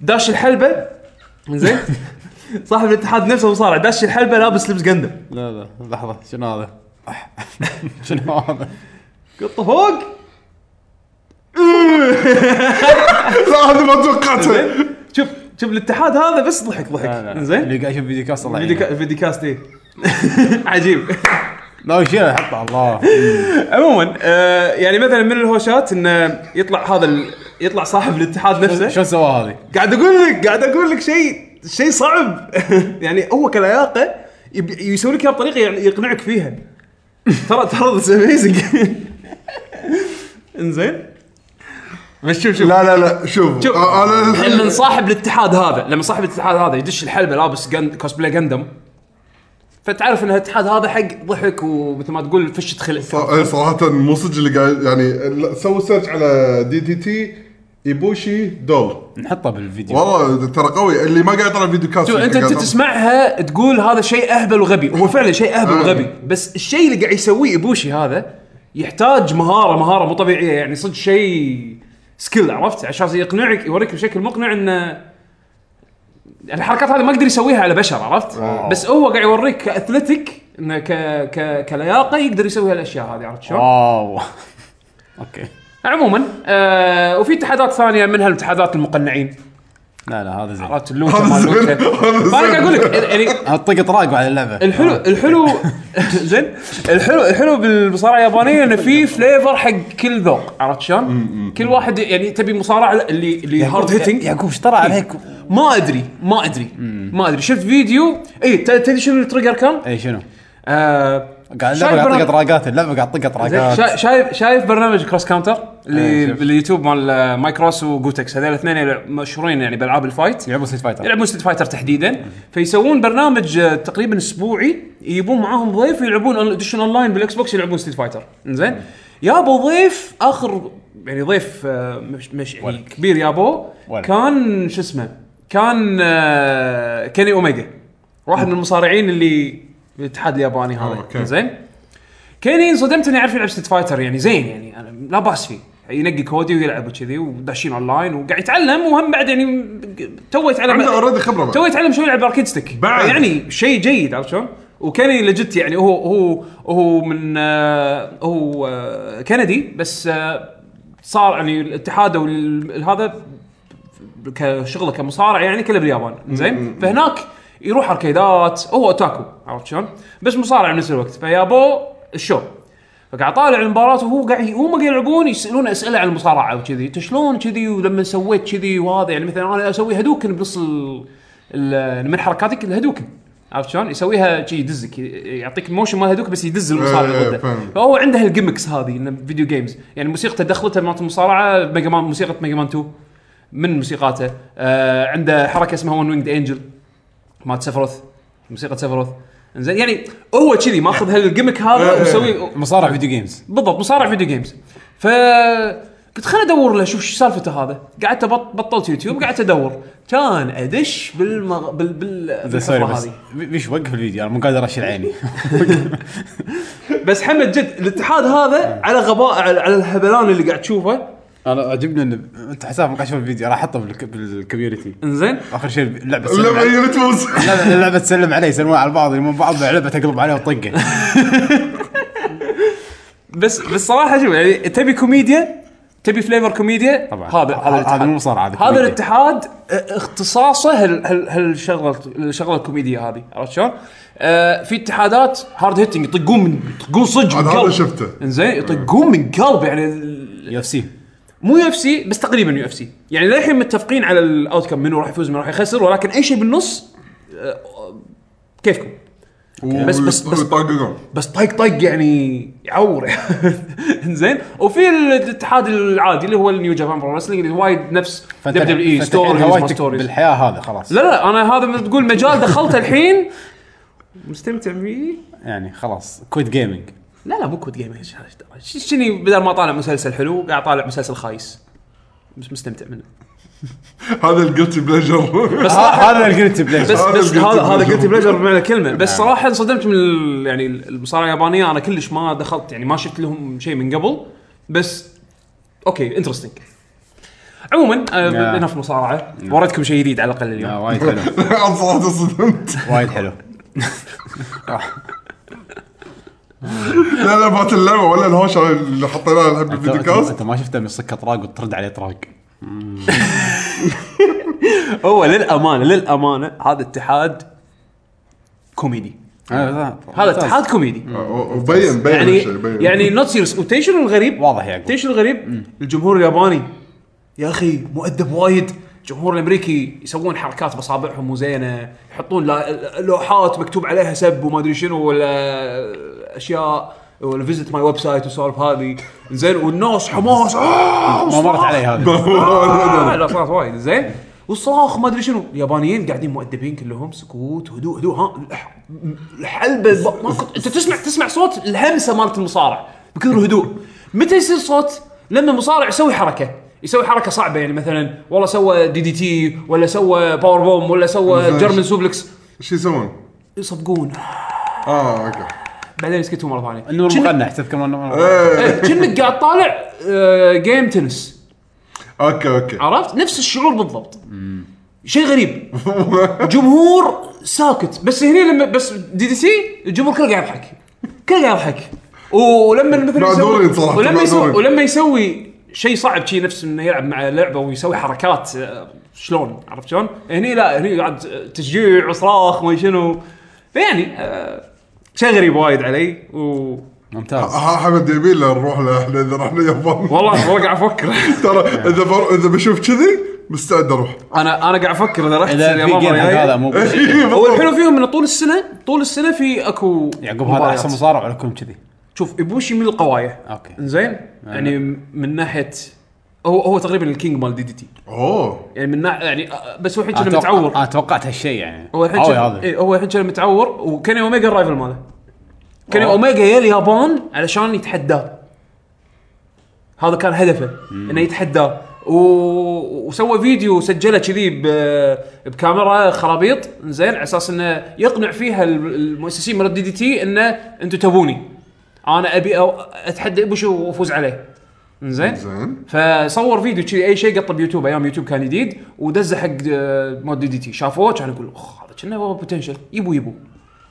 [SPEAKER 3] داش الحلبه زين صاحب الاتحاد نفسه مصارع داش الحلبه لابس لبس قندم
[SPEAKER 1] لا لا لحظه شنو هذا؟ شنو هذا؟
[SPEAKER 3] قط فوق
[SPEAKER 2] لا هذا ما توقعته
[SPEAKER 3] شوف شوف الاتحاد هذا بس ضحك ضحك زين
[SPEAKER 1] اللي قاعد يشوف فيديو كاست الله
[SPEAKER 3] فيديو
[SPEAKER 1] يعينه.
[SPEAKER 3] كا- فيديو كاست ايه عجيب
[SPEAKER 1] لا يشيله حطه الله
[SPEAKER 3] عموما آه يعني مثلا من الهوشات انه يطلع هذا ال... يطلع صاحب الاتحاد نفسه
[SPEAKER 1] شلون سوى هذه؟
[SPEAKER 3] قاعد اقول لك قاعد اقول لك شيء شيء صعب يعني هو كلياقه يب- يسوي لك اياها بطريقه يعني يقنعك فيها ترى ترى اتس اميزنج انزين بس شوف شوف
[SPEAKER 2] لا لا لا شوف
[SPEAKER 3] شوف.
[SPEAKER 2] آه، انا
[SPEAKER 3] لما صاحب الاتحاد هذا لما صاحب الاتحاد هذا يدش الحلبه لابس جند... كوسبلاي جندم فتعرف ان الاتحاد هذا حق ضحك ومثل ما تقول فشة خلق
[SPEAKER 2] ص- إيه، صراحة مو صدق اللي قاعد يعني لا، سووا سيرش على دي تي تي ايبوشي دول
[SPEAKER 1] نحطه بالفيديو
[SPEAKER 2] والله ترى قوي اللي ما قاعد يطلع فيديو كاست
[SPEAKER 3] شو انت انت تسمعها تقول هذا شيء اهبل وغبي هو فعلا شيء اهبل
[SPEAKER 2] آه.
[SPEAKER 3] وغبي بس الشيء اللي قاعد يسويه ابوشي هذا يحتاج مهاره مهاره مو طبيعيه يعني صدق شيء سكيل عرفت عشان يقنعك يوريك بشكل مقنع انه الحركات هذه ما يقدر يسويها على بشر عرفت؟ بس هو قاعد يوريك كاثلتيك انه ك... ك... كلياقه يقدر يسوي هالاشياء هذه عرفت
[SPEAKER 1] آه.
[SPEAKER 3] شلون؟
[SPEAKER 1] واو اوكي
[SPEAKER 3] عموما آه وفي اتحادات ثانيه منها الاتحادات المقنعين
[SPEAKER 1] لا لا هذا زين
[SPEAKER 3] عرفت اللوتشا ما اللوتشا فانا قاعد اقول لك يعني
[SPEAKER 1] اطق طراق على اللعبه
[SPEAKER 3] الحلو الحلو زين الحلو الحلو بالمصارعه اليابانيه انه في فليفر حق كل ذوق عرفت شلون؟ كل واحد يعني تبي مصارعه اللي اللي هارد هيتنج
[SPEAKER 1] يعقوب ايش طلع عليك؟
[SPEAKER 3] ما ادري ما ادري ما ادري شفت فيديو اي ت- تدري شنو التريجر كان؟
[SPEAKER 1] اي شنو؟
[SPEAKER 3] آه،
[SPEAKER 1] إيه. قاعد
[SPEAKER 3] شايف
[SPEAKER 1] اللعبه قاعد
[SPEAKER 3] برنامج-
[SPEAKER 1] اطق طراقات اللعبه قاعد اطق
[SPEAKER 3] زين، شا-
[SPEAKER 1] طراقات
[SPEAKER 3] شايف شايف برنامج كروس كاونتر
[SPEAKER 1] إيه،
[SPEAKER 3] اللي
[SPEAKER 1] شفت.
[SPEAKER 3] باليوتيوب مال مايكروس وجوتكس هذول الاثنين يلع- مشهورين يعني بالعاب الفايت
[SPEAKER 1] يلعبون ستريت فايتر
[SPEAKER 3] طيب. يلعبون ستيت فايتر تحديدا فيسوون برنامج آه، تقريبا اسبوعي يجيبون معاهم ضيف ويلعبون اديشن اونلاين بالاكس بوكس يلعبون ستيت فايتر زين يابو ضيف اخر يعني ضيف آه، مش, مش يعني
[SPEAKER 1] ولد.
[SPEAKER 3] كبير يابو
[SPEAKER 1] ولد.
[SPEAKER 3] كان شو اسمه كان آه، كيني اوميجا واحد من المصارعين اللي بالاتحاد الياباني
[SPEAKER 2] آه،
[SPEAKER 3] هذا
[SPEAKER 2] أوكي.
[SPEAKER 3] زين كيني انصدمت انه يعرف يلعب ستيت فايتر يعني زين يعني انا لا باس فيه يعني ينقي كودي ويلعب وكذي وداشين اونلاين وقاعد يتعلم وهم بعد يعني تو يتعلم
[SPEAKER 2] عنده اوريدي خبرة
[SPEAKER 3] تو
[SPEAKER 2] بعد.
[SPEAKER 3] يتعلم شو يلعب اركيد ستيك
[SPEAKER 2] بعد.
[SPEAKER 3] يعني شيء جيد عرفت شلون؟ وكاني لجت يعني هو هو هو من آه، هو آه، كندي بس آه، صار يعني الاتحاد او ال- هذا كشغله كمصارع يعني كله باليابان زين فهناك يروح اركيدات هو اوتاكو عرفت شلون؟ بس مصارع بنفس الوقت فيابو الشو فقاعد طالع المباراه وهو قاعد هم قاعد يلعبون يسالون اسئله عن المصارعه وكذي انت شلون كذي ولما سويت كذي وهذا يعني مثلا انا اسوي هدوكن بنص ال- ال- من حركاتك الهدوكن عرفت شلون؟ يسويها شي يدزك يعطيك الموشن مال هدوك بس يدز المصارع
[SPEAKER 2] إيه، إيه،
[SPEAKER 3] اللي ضده
[SPEAKER 2] فاهم.
[SPEAKER 3] فهو عنده الجيمكس هذه انه فيديو جيمز يعني موسيقته دخلته مالت المصارعه ميجا مان موسيقى ميجا مان 2 من موسيقاته آه عنده حركه اسمها ون وينجد انجل مالت سفروث موسيقى سفروث زين يعني هو كذي ماخذ هالجيمك هذا
[SPEAKER 2] إيه.
[SPEAKER 3] ومسوي
[SPEAKER 1] مصارع فيديو جيمز
[SPEAKER 3] بالضبط مصارع فيديو جيمز ف قلت خليني ادور له اشوف شو سالفته هذا قعدت أبط... بطلت يوتيوب قعدت ادور كان ادش بالمغ... بال بال
[SPEAKER 1] زين، سوري
[SPEAKER 3] بالحفره
[SPEAKER 1] بس
[SPEAKER 3] هذه
[SPEAKER 1] بيش وقف الفيديو انا مو قادر اشيل عيني
[SPEAKER 3] بس حمد جد الاتحاد هذا على غباء على, على الهبلان اللي قاعد تشوفه
[SPEAKER 1] انا عجبني ان انت حساب مقشف الفيديو راح احطه بالك- بالكوميونتي
[SPEAKER 3] انزين
[SPEAKER 1] اخر شيء اللعبه تسلم
[SPEAKER 2] اللعبه
[SPEAKER 1] علي-
[SPEAKER 2] هي تفوز
[SPEAKER 1] اللعبة- اللعبه تسلم عليه يسلمون على بعض يلمون بعض اللعبه تقلب عليه وطقه
[SPEAKER 3] بس بس صراحه شوف يعني تبي كوميديا تبي فليفر كوميديا
[SPEAKER 1] طبعاً.
[SPEAKER 3] هذا
[SPEAKER 1] هذا-
[SPEAKER 3] هذا الاتحاد.
[SPEAKER 1] هذا مو مصارعة، هذا
[SPEAKER 3] هذا
[SPEAKER 1] كوميديا.
[SPEAKER 3] الاتحاد اه، اختصاصه هال- هال- هالشغله الشغله الكوميديا هذه عرفت شلون؟ اه، في اتحادات هارد هيتنج يطقون من يطقون صدق من
[SPEAKER 2] هذا
[SPEAKER 3] قلب.
[SPEAKER 2] هذا شفته
[SPEAKER 3] انزين يطقون من قلب يعني ال-
[SPEAKER 1] يو اف سي
[SPEAKER 3] مو يو اف سي بس تقريبا يو اف سي يعني للحين متفقين على الاوت كم منو راح يفوز منو راح يخسر ولكن اي شيء بالنص اه، كيفكم بس- بس- بس-
[SPEAKER 2] يطققون
[SPEAKER 3] بس طق طق يعني يعور انزين وفي الاتحاد العادي اللي هو النيو جابان برو رسلينج اللي وايد نفس E
[SPEAKER 1] فانت
[SPEAKER 3] دبليو اي
[SPEAKER 1] فأنت الحين هوايتك
[SPEAKER 3] ستوري
[SPEAKER 1] بالحياه هذا خلاص
[SPEAKER 3] لا لا انا هذا مثل تقول مجال دخلته الحين مستمتع فيه
[SPEAKER 1] يعني خلاص كويت جيمنج
[SPEAKER 3] لا لا مو كود جيمنج إيش هذا، إيش دراي. ش- شني بدل ما طالع مسلسل حلو قاعد طالع مسلسل خايس بس مستمتع منه
[SPEAKER 2] هذا الجلتي بليجر
[SPEAKER 1] آه، هذا الجريت بلاي
[SPEAKER 3] بس
[SPEAKER 2] هذا
[SPEAKER 3] بس
[SPEAKER 2] الguilty
[SPEAKER 3] هذا هذا
[SPEAKER 2] pleasure.
[SPEAKER 3] قلت بليجر بمعنى الكلمه بس صراحه انصدمت من ال- يعني المصارعه اليابانيه انا كلش ما دخلت يعني ما شفت لهم شيء من قبل بس اوكي انترستنج عموما
[SPEAKER 1] نعم.
[SPEAKER 3] enough مصارعه وردتكم شيء جديد على الاقل اليوم
[SPEAKER 1] آه، وايد حلو
[SPEAKER 2] عن صراحه صدمت
[SPEAKER 1] وايد حلو
[SPEAKER 2] لا لا بعت اللعبه ولا الهوشه اللي حطيناها الحين
[SPEAKER 1] انت, أنت-
[SPEAKER 2] بالبودكاست
[SPEAKER 1] أنت ما شفته بيصك اطراق وترد عليه اطراق
[SPEAKER 3] هو للامانه للامانه هذا اتحاد كوميدي آه،
[SPEAKER 1] آه،
[SPEAKER 3] هذا اتحاد كوميدي
[SPEAKER 2] وبين آه، بين
[SPEAKER 3] يعني
[SPEAKER 2] الشيء، بين.
[SPEAKER 3] يعني نوت سيريس وتدري شنو الغريب
[SPEAKER 1] واضح يعقوب
[SPEAKER 3] تدري شنو الغريب؟ الجمهور الياباني يا اخي مؤدب وايد الجمهور الامريكي يسوون حركات باصابعهم مو زينه يحطون لا- لوحات مكتوب عليها سب وما ادري شنو ولا اشياء ولا فيزت ماي ويب سايت والسوالف هذه زين والناس حماس آه،
[SPEAKER 1] ما مرت علي هذا
[SPEAKER 3] آه، لا صراحه وايد زين والصراخ ما ادري شنو اليابانيين قاعدين مؤدبين كلهم سكوت هدوء هدوء ها الح- الحلبه الب- ما كنت انت تسمع تسمع صوت الهمسه مالت المصارع بكثر الهدوء متى يصير صوت؟ لما المصارع يسوي حركه يسوي حركه صعبه يعني مثلا والله سوى دي دي تي ولا سوى باور بوم ولا سوى
[SPEAKER 2] مثلاً
[SPEAKER 3] جيرمن
[SPEAKER 2] شي-
[SPEAKER 3] سوبلكس
[SPEAKER 2] شو يسوون؟
[SPEAKER 3] يصفقون
[SPEAKER 2] اه اوكي
[SPEAKER 3] بعدين يسكتون مره ثانيه
[SPEAKER 1] النور
[SPEAKER 3] كأنك-
[SPEAKER 1] مقنع تذكر من النور
[SPEAKER 2] إيه،
[SPEAKER 3] إيه، كأنك قاعد طالع آه، جيم تنس
[SPEAKER 2] اوكي اوكي
[SPEAKER 3] عرفت نفس الشعور بالضبط شيء غريب جمهور ساكت بس هنا لما بس دي دي سي الجمهور كله قاعد يضحك كله قاعد يضحك ولما مثلا
[SPEAKER 2] معذورين صراحة،
[SPEAKER 3] ولما يسوي
[SPEAKER 2] معذورين.
[SPEAKER 3] ولما يسوي شيء صعب شيء نفس انه يلعب مع لعبه ويسوي حركات آه، شلون عرفت شلون؟ هني لا هني قاعد آه، تشجيع وصراخ وما شنو فيعني آه، شيء غريب وايد علي و
[SPEAKER 1] ممتاز
[SPEAKER 2] ها حمد يبي له نروح له احنا اذا رحنا اليابان
[SPEAKER 3] والله والله قاعد افكر
[SPEAKER 2] ترى اذا بر- اذا بشوف كذي مستعد اروح
[SPEAKER 3] انا انا قاعد افكر اذا رحت
[SPEAKER 1] اذا في
[SPEAKER 3] اليابان
[SPEAKER 1] جيم
[SPEAKER 3] مرة
[SPEAKER 1] حق
[SPEAKER 3] جاية.
[SPEAKER 1] هذا مو بس.
[SPEAKER 2] إيه،
[SPEAKER 3] هو الحلو فيهم انه طول السنه طول السنه في اكو
[SPEAKER 1] يعقوب هذا
[SPEAKER 3] مباريات.
[SPEAKER 1] احسن مصارع ولكم كذي
[SPEAKER 3] شوف ايبوشي من القوايه
[SPEAKER 1] اوكي
[SPEAKER 3] انزين يعني من ناحيه هو هو تقريبا الكينج مال دي دي تي
[SPEAKER 2] اوه
[SPEAKER 3] يعني من ناح... يعني آه، بس هو الحين كان
[SPEAKER 1] أتوقع-
[SPEAKER 3] متعور
[SPEAKER 1] انا توقعت هالشيء يعني
[SPEAKER 3] هو الحين
[SPEAKER 1] قوي
[SPEAKER 3] كان-
[SPEAKER 1] هذا
[SPEAKER 3] إيه، هو الحين كان متعور وكان اوميجا الرايفل ماله كان اوميجا يا اليابان علشان يتحداه هذا كان هدفه انه يتحداه و... وسوى فيديو سجله كذي ب... بكاميرا خرابيط زين على اساس انه يقنع فيها ال- المؤسسين من الدي دي تي انه انتم تبوني انا ابي أو... اتحدى ابوشي وافوز عليه زين
[SPEAKER 2] زين
[SPEAKER 3] فصور فيديو كذي اي شيء قطه بيوتيوب ايام يوتيوب كان جديد ودزه حق آه، مود دي دي تي شافوه كان يقول اخ هذا كنا هو بوتنشل يبو يبو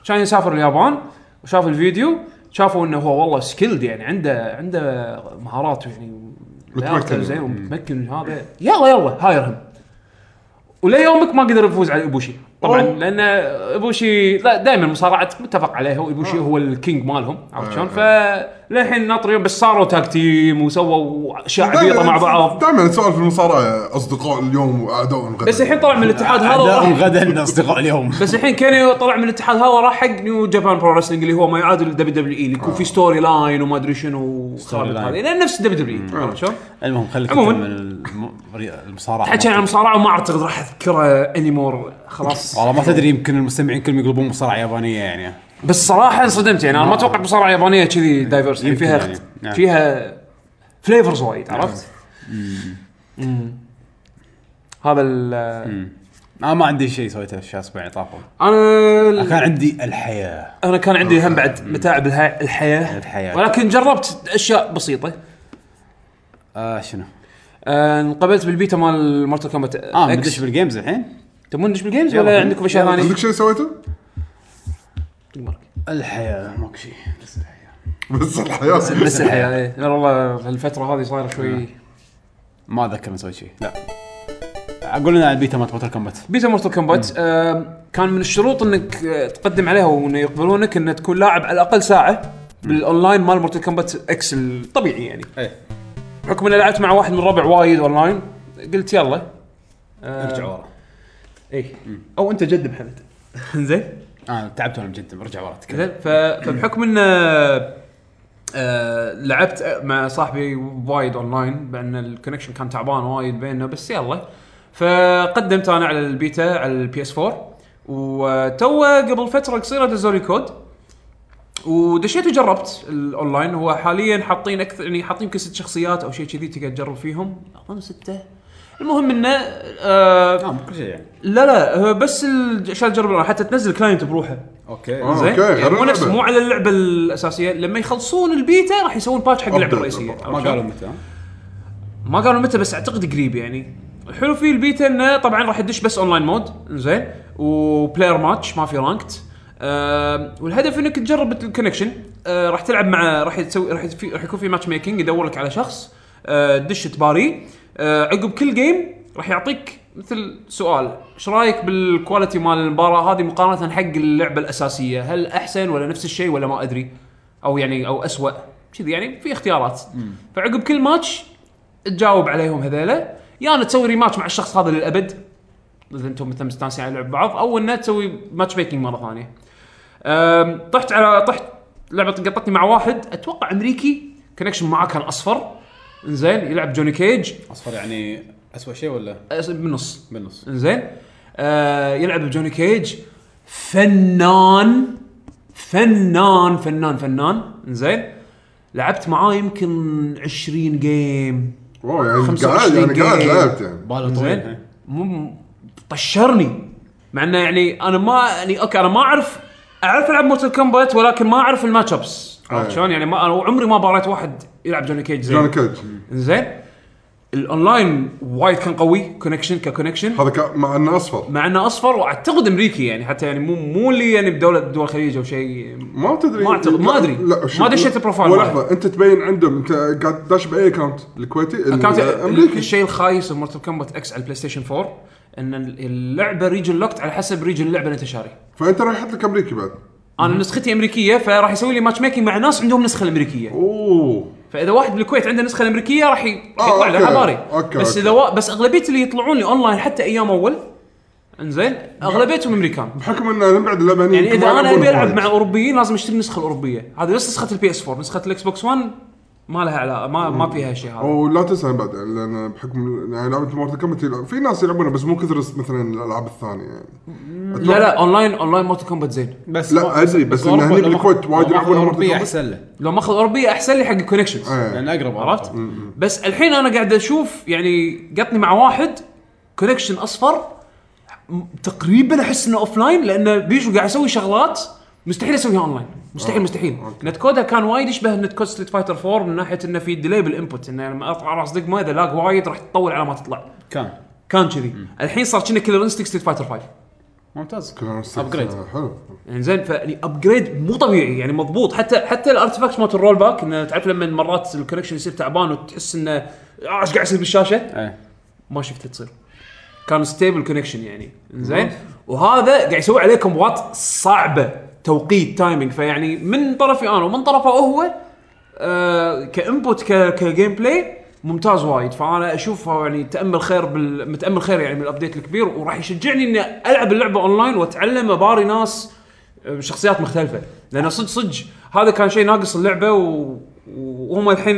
[SPEAKER 3] كان يسافر اليابان وشاف الفيديو شافوا انه هو والله سكيلد يعني عنده عنده مهارات يعني
[SPEAKER 2] متمكن.
[SPEAKER 3] زين ومتمكن من هذا يلا يلا هايرهم وليومك ما قدر يفوز على ابوشي طبعا
[SPEAKER 2] أوه.
[SPEAKER 3] لان ابوشي لا دائما مصارعه متفق عليها
[SPEAKER 2] آه.
[SPEAKER 3] وابوشي هو الكينج مالهم عرفت شلون؟ فللحين ناطر يوم بس صاروا تاك تيم وسووا اشياء عبيطه يعني مع بعض
[SPEAKER 2] دائما سؤال في المصارعه اصدقاء اليوم واعداء الغد
[SPEAKER 3] بس الحين طلع من الاتحاد هذا
[SPEAKER 1] أعداءهم
[SPEAKER 3] وراح
[SPEAKER 1] غدا اصدقاء اليوم
[SPEAKER 3] بس الحين كان طلع من الاتحاد هذا وراح حق نيو جابان برو رسلينج اللي هو ما يعادل الدبليو دبليو اي اللي يكون في ستوري لاين وما ادري شنو
[SPEAKER 1] ستوري
[SPEAKER 3] خرابيط
[SPEAKER 1] لاين.
[SPEAKER 3] هذه لان نفس الدبليو دبليو اي عرفت شلون؟
[SPEAKER 1] المهم خليك أنت
[SPEAKER 3] عموماً.
[SPEAKER 1] من الم- المصارعه
[SPEAKER 3] حكينا عن المصارعه وما اعتقد راح اذكرها اني مور خلاص
[SPEAKER 1] والله ما تدري يمكن المستمعين كلهم يقلبون مصارعه يابانيه يعني
[SPEAKER 3] بس صراحه انصدمت يعني انا ما اتوقع مصارعه يابانيه كذي دايفرس يعني
[SPEAKER 1] يمكن
[SPEAKER 3] فيها
[SPEAKER 1] يعني. نعم.
[SPEAKER 3] فيها فليفرز وايد عرفت؟ مم. هذا ال
[SPEAKER 1] انا ما عندي شيء سويته في الاسبوع اللي طافوا
[SPEAKER 3] انا ال-
[SPEAKER 1] كان عندي الحياه
[SPEAKER 3] انا كان عندي هم بعد متاعب الح- الحياه
[SPEAKER 1] الحياة.
[SPEAKER 3] ولكن جربت اشياء بسيطه
[SPEAKER 1] آه شنو
[SPEAKER 3] آه، انقبلت بالبيتا مال مورتال كومبات
[SPEAKER 1] اه ندش بالجيمز الحين
[SPEAKER 3] تبون ندش بالجيمز
[SPEAKER 1] يلا.
[SPEAKER 3] ولا عندكم اشياء
[SPEAKER 1] يلا.
[SPEAKER 3] ثانيه؟
[SPEAKER 2] عندك شيء سويته؟
[SPEAKER 1] الحياه ماكو شيء بس الحياه
[SPEAKER 2] بس الحياه
[SPEAKER 3] بس الحياه إيه. لا والله الفتره هذه صايره
[SPEAKER 1] آه.
[SPEAKER 3] شوي
[SPEAKER 1] ما اتذكر مسوي شيء لا اقول لنا البيتا مالت بوتر كومبات
[SPEAKER 3] بيتا مورتال كومبات آه كان من الشروط انك آه، تقدم عليها وانه يقبلونك ان تكون لاعب على الاقل ساعه بالاونلاين مال مورتال كومبات اكس الطبيعي يعني
[SPEAKER 1] ايه
[SPEAKER 3] بحكم اني لعبت مع واحد من الربع وايد اونلاين قلت يلا آه،
[SPEAKER 1] ارجع ورا
[SPEAKER 3] اي او انت جد بحمد زين
[SPEAKER 1] انا آه، تعبت وانا مجدد ارجع ورا تكلم
[SPEAKER 3] زين ف- فبحكم ان آه، آه، لعبت مع صاحبي وايد اونلاين بان الكونكشن كان تعبان وايد بيننا بس يلا فقدمت انا على البيتا على البي اس 4 وتو قبل فتره قصيره دزوا لي كود ودشيت وجربت الاونلاين هو حاليا حاطين اكثر يعني حاطين يمكن ست شخصيات او شيء كذي تقدر تجرب فيهم اظن سته المهم انه آه
[SPEAKER 1] اه كل شيء يعني
[SPEAKER 3] لا لا هو بس ال- عشان تجرب الأونلاين، حتى تنزل كلاينت بروحه
[SPEAKER 1] اوكي
[SPEAKER 2] آه.
[SPEAKER 3] زين
[SPEAKER 2] أوكي،
[SPEAKER 3] يعني
[SPEAKER 2] غير
[SPEAKER 3] مو نفس
[SPEAKER 2] اللعبة.
[SPEAKER 3] مو على اللعبه الاساسيه لما يخلصون البيتا راح يسوون باتش حق اللعبه
[SPEAKER 2] أبدأ.
[SPEAKER 3] الرئيسيه
[SPEAKER 1] ما
[SPEAKER 3] عرفت شلون؟
[SPEAKER 1] قالوا متى ها؟
[SPEAKER 3] ما قالوا متى بس اعتقد قريب يعني الحلو في البيتا انه طبعا راح يدش بس اونلاين مود زين وبلاير ماتش ما في رانكت أه والهدف انك تجرب الكونكشن أه راح تلعب مع راح تسوي راح في راح يكون في ماتش ميكنج يدور لك على شخص أه دش تباري أه عقب كل جيم راح يعطيك مثل سؤال ايش رايك بالكواليتي مال المباراه هذه مقارنه حق اللعبه الاساسيه هل احسن ولا نفس الشيء ولا ما ادري او يعني او اسوء كذي يعني في اختيارات فعقب كل ماتش تجاوب عليهم هذيلا يا يعني تسوي ريماتش مع الشخص هذا للابد اذا انتم مثلا مستانسين على لعب بعض او انه تسوي ماتش ميكنج مره ثانيه. أم، طحت على طحت لعبه قطتني مع واحد اتوقع امريكي كونكشن معاه كان اصفر زين يلعب جوني كيج
[SPEAKER 1] اصفر يعني اسوء شيء ولا
[SPEAKER 3] أس- بالنص
[SPEAKER 1] بالنص
[SPEAKER 3] زين آه يلعب بجوني كيج فنان فنان فنان فنان زين لعبت معاه يمكن 20 جيم
[SPEAKER 2] واو يعني
[SPEAKER 3] 25
[SPEAKER 2] قاعد يعني قاعد
[SPEAKER 3] جيم.
[SPEAKER 2] لعبت يعني
[SPEAKER 1] باله
[SPEAKER 3] زين
[SPEAKER 1] طويل
[SPEAKER 3] مو طشرني مع انه يعني انا ما يعني اوكي انا ما اعرف اعرف العب مورتال كومبات ولكن ما اعرف الماتش ابس عرفت
[SPEAKER 2] أي.
[SPEAKER 3] شلون يعني ما انا عمري ما باريت واحد يلعب جوني كيج
[SPEAKER 2] جوني
[SPEAKER 3] زين
[SPEAKER 2] كيج
[SPEAKER 3] زين الاونلاين وايد كان قوي كونكشن ككونكشن
[SPEAKER 2] هذا كان مع انه اصفر
[SPEAKER 3] مع انه اصفر واعتقد امريكي يعني حتى يعني مو مو اللي يعني بدوله دول الخليج او شيء
[SPEAKER 2] ما تدري
[SPEAKER 3] ما أعتقد- ما
[SPEAKER 2] لا-
[SPEAKER 3] أدري.
[SPEAKER 2] لا شوف-
[SPEAKER 3] ما دشيت البروفايل
[SPEAKER 2] ولا
[SPEAKER 3] ماله.
[SPEAKER 2] لحظه انت تبين عندهم انت قاعد داش باي اكونت الكويتي ال-
[SPEAKER 3] كانت
[SPEAKER 2] الامريكي
[SPEAKER 3] الشيء الخايس بمورتال كومبات اكس على البلاي ستيشن 4 ان اللعبه ريجن لوكت على حسب ريجن اللعبه اللي انت شاري
[SPEAKER 2] فانت راح يحط لك امريكي بعد
[SPEAKER 3] انا نسختي امريكيه فراح يسوي لي ماتش ميكنج مع ناس عندهم نسخه الامريكيه
[SPEAKER 2] اوه
[SPEAKER 3] فاذا واحد بالكويت عنده نسخه الامريكيه راح ي-
[SPEAKER 2] آه،
[SPEAKER 3] يطلع له
[SPEAKER 2] أوكي.
[SPEAKER 3] حضاري
[SPEAKER 2] أوكي،
[SPEAKER 3] بس
[SPEAKER 2] أوكي.
[SPEAKER 3] اذا وا- بس اغلبيه اللي يطلعون لي اونلاين حتى ايام اول انزين اغلبيتهم امريكان
[SPEAKER 2] بحكم انه من بعد اللعبه
[SPEAKER 3] يعني اذا انا ابي العب مع اوروبيين لازم اشتري النسخه الاوروبيه هذه بس نسخه البي اس 4 نسخه الاكس بوكس 1 ما لها علاقه ما ما فيها شيء هذا
[SPEAKER 2] ولا تنسى بعد يعني لان بحكم يعني لعبه مورتال كومبات في ناس يلعبونها بس مو كثر مثلا الالعاب الثانيه يعني
[SPEAKER 3] لا لا اونلاين اونلاين مورتال كومبات زين
[SPEAKER 1] بس
[SPEAKER 2] لا،
[SPEAKER 1] ما-
[SPEAKER 2] أدري، بس إن
[SPEAKER 1] أوروبا-
[SPEAKER 2] هني
[SPEAKER 1] لو ما-
[SPEAKER 2] بالكويت وايد إيه.
[SPEAKER 1] لو ما أخذ
[SPEAKER 2] يلعبون
[SPEAKER 1] اوروبيه
[SPEAKER 2] أوروبا.
[SPEAKER 1] احسن له
[SPEAKER 3] لو ماخذ اوروبيه احسن لي حق الكونكشنز
[SPEAKER 2] إيه.
[SPEAKER 1] لان اقرب
[SPEAKER 3] عرفت؟ بس الحين انا قاعد اشوف يعني قطني مع واحد كونكشن اصفر م- تقريبا احس انه اوف لاين لانه بيشو قاعد يسوي شغلات مستحيل اسويها اونلاين مستحيل مستحيل
[SPEAKER 2] أوكي.
[SPEAKER 3] نت كودها كان وايد يشبه نت كود ستريت فايتر 4 من ناحيه انه في ديلي بالانبوت انه لما اطلع راس دقمه اذا لاج وايد راح تطول على ما تطلع
[SPEAKER 1] كان
[SPEAKER 3] كان كذي الحين صار كنا كلر انستكت ستريت فايتر 5
[SPEAKER 1] ممتاز
[SPEAKER 2] كلام سكس.
[SPEAKER 1] أبجريد.
[SPEAKER 2] آه، حلو
[SPEAKER 3] يعني زين فيعني ابجريد مو طبيعي يعني مضبوط حتى حتى الارتفاكت مالت الرول باك انه تعرف لما مرات الكونكشن يصير تعبان وتحس انه آه، ايش قاعد يصير بالشاشه
[SPEAKER 1] ايه
[SPEAKER 3] ما شفته تصير كان ستيبل كونكشن يعني زين وهذا قاعد يسوي عليكم وات صعبه توقيت تايمينج فيعني من طرفي انا ومن طرفه هو آه كانبوت ك- كجيم بلاي ممتاز وايد فانا اشوفه يعني تامل خير بال... متامل خير يعني من الابديت الكبير وراح يشجعني اني العب اللعبه اونلاين واتعلم اباري ناس آه، شخصيات مختلفه لان صدق صدق هذا كان شيء ناقص اللعبه و... وهم الحين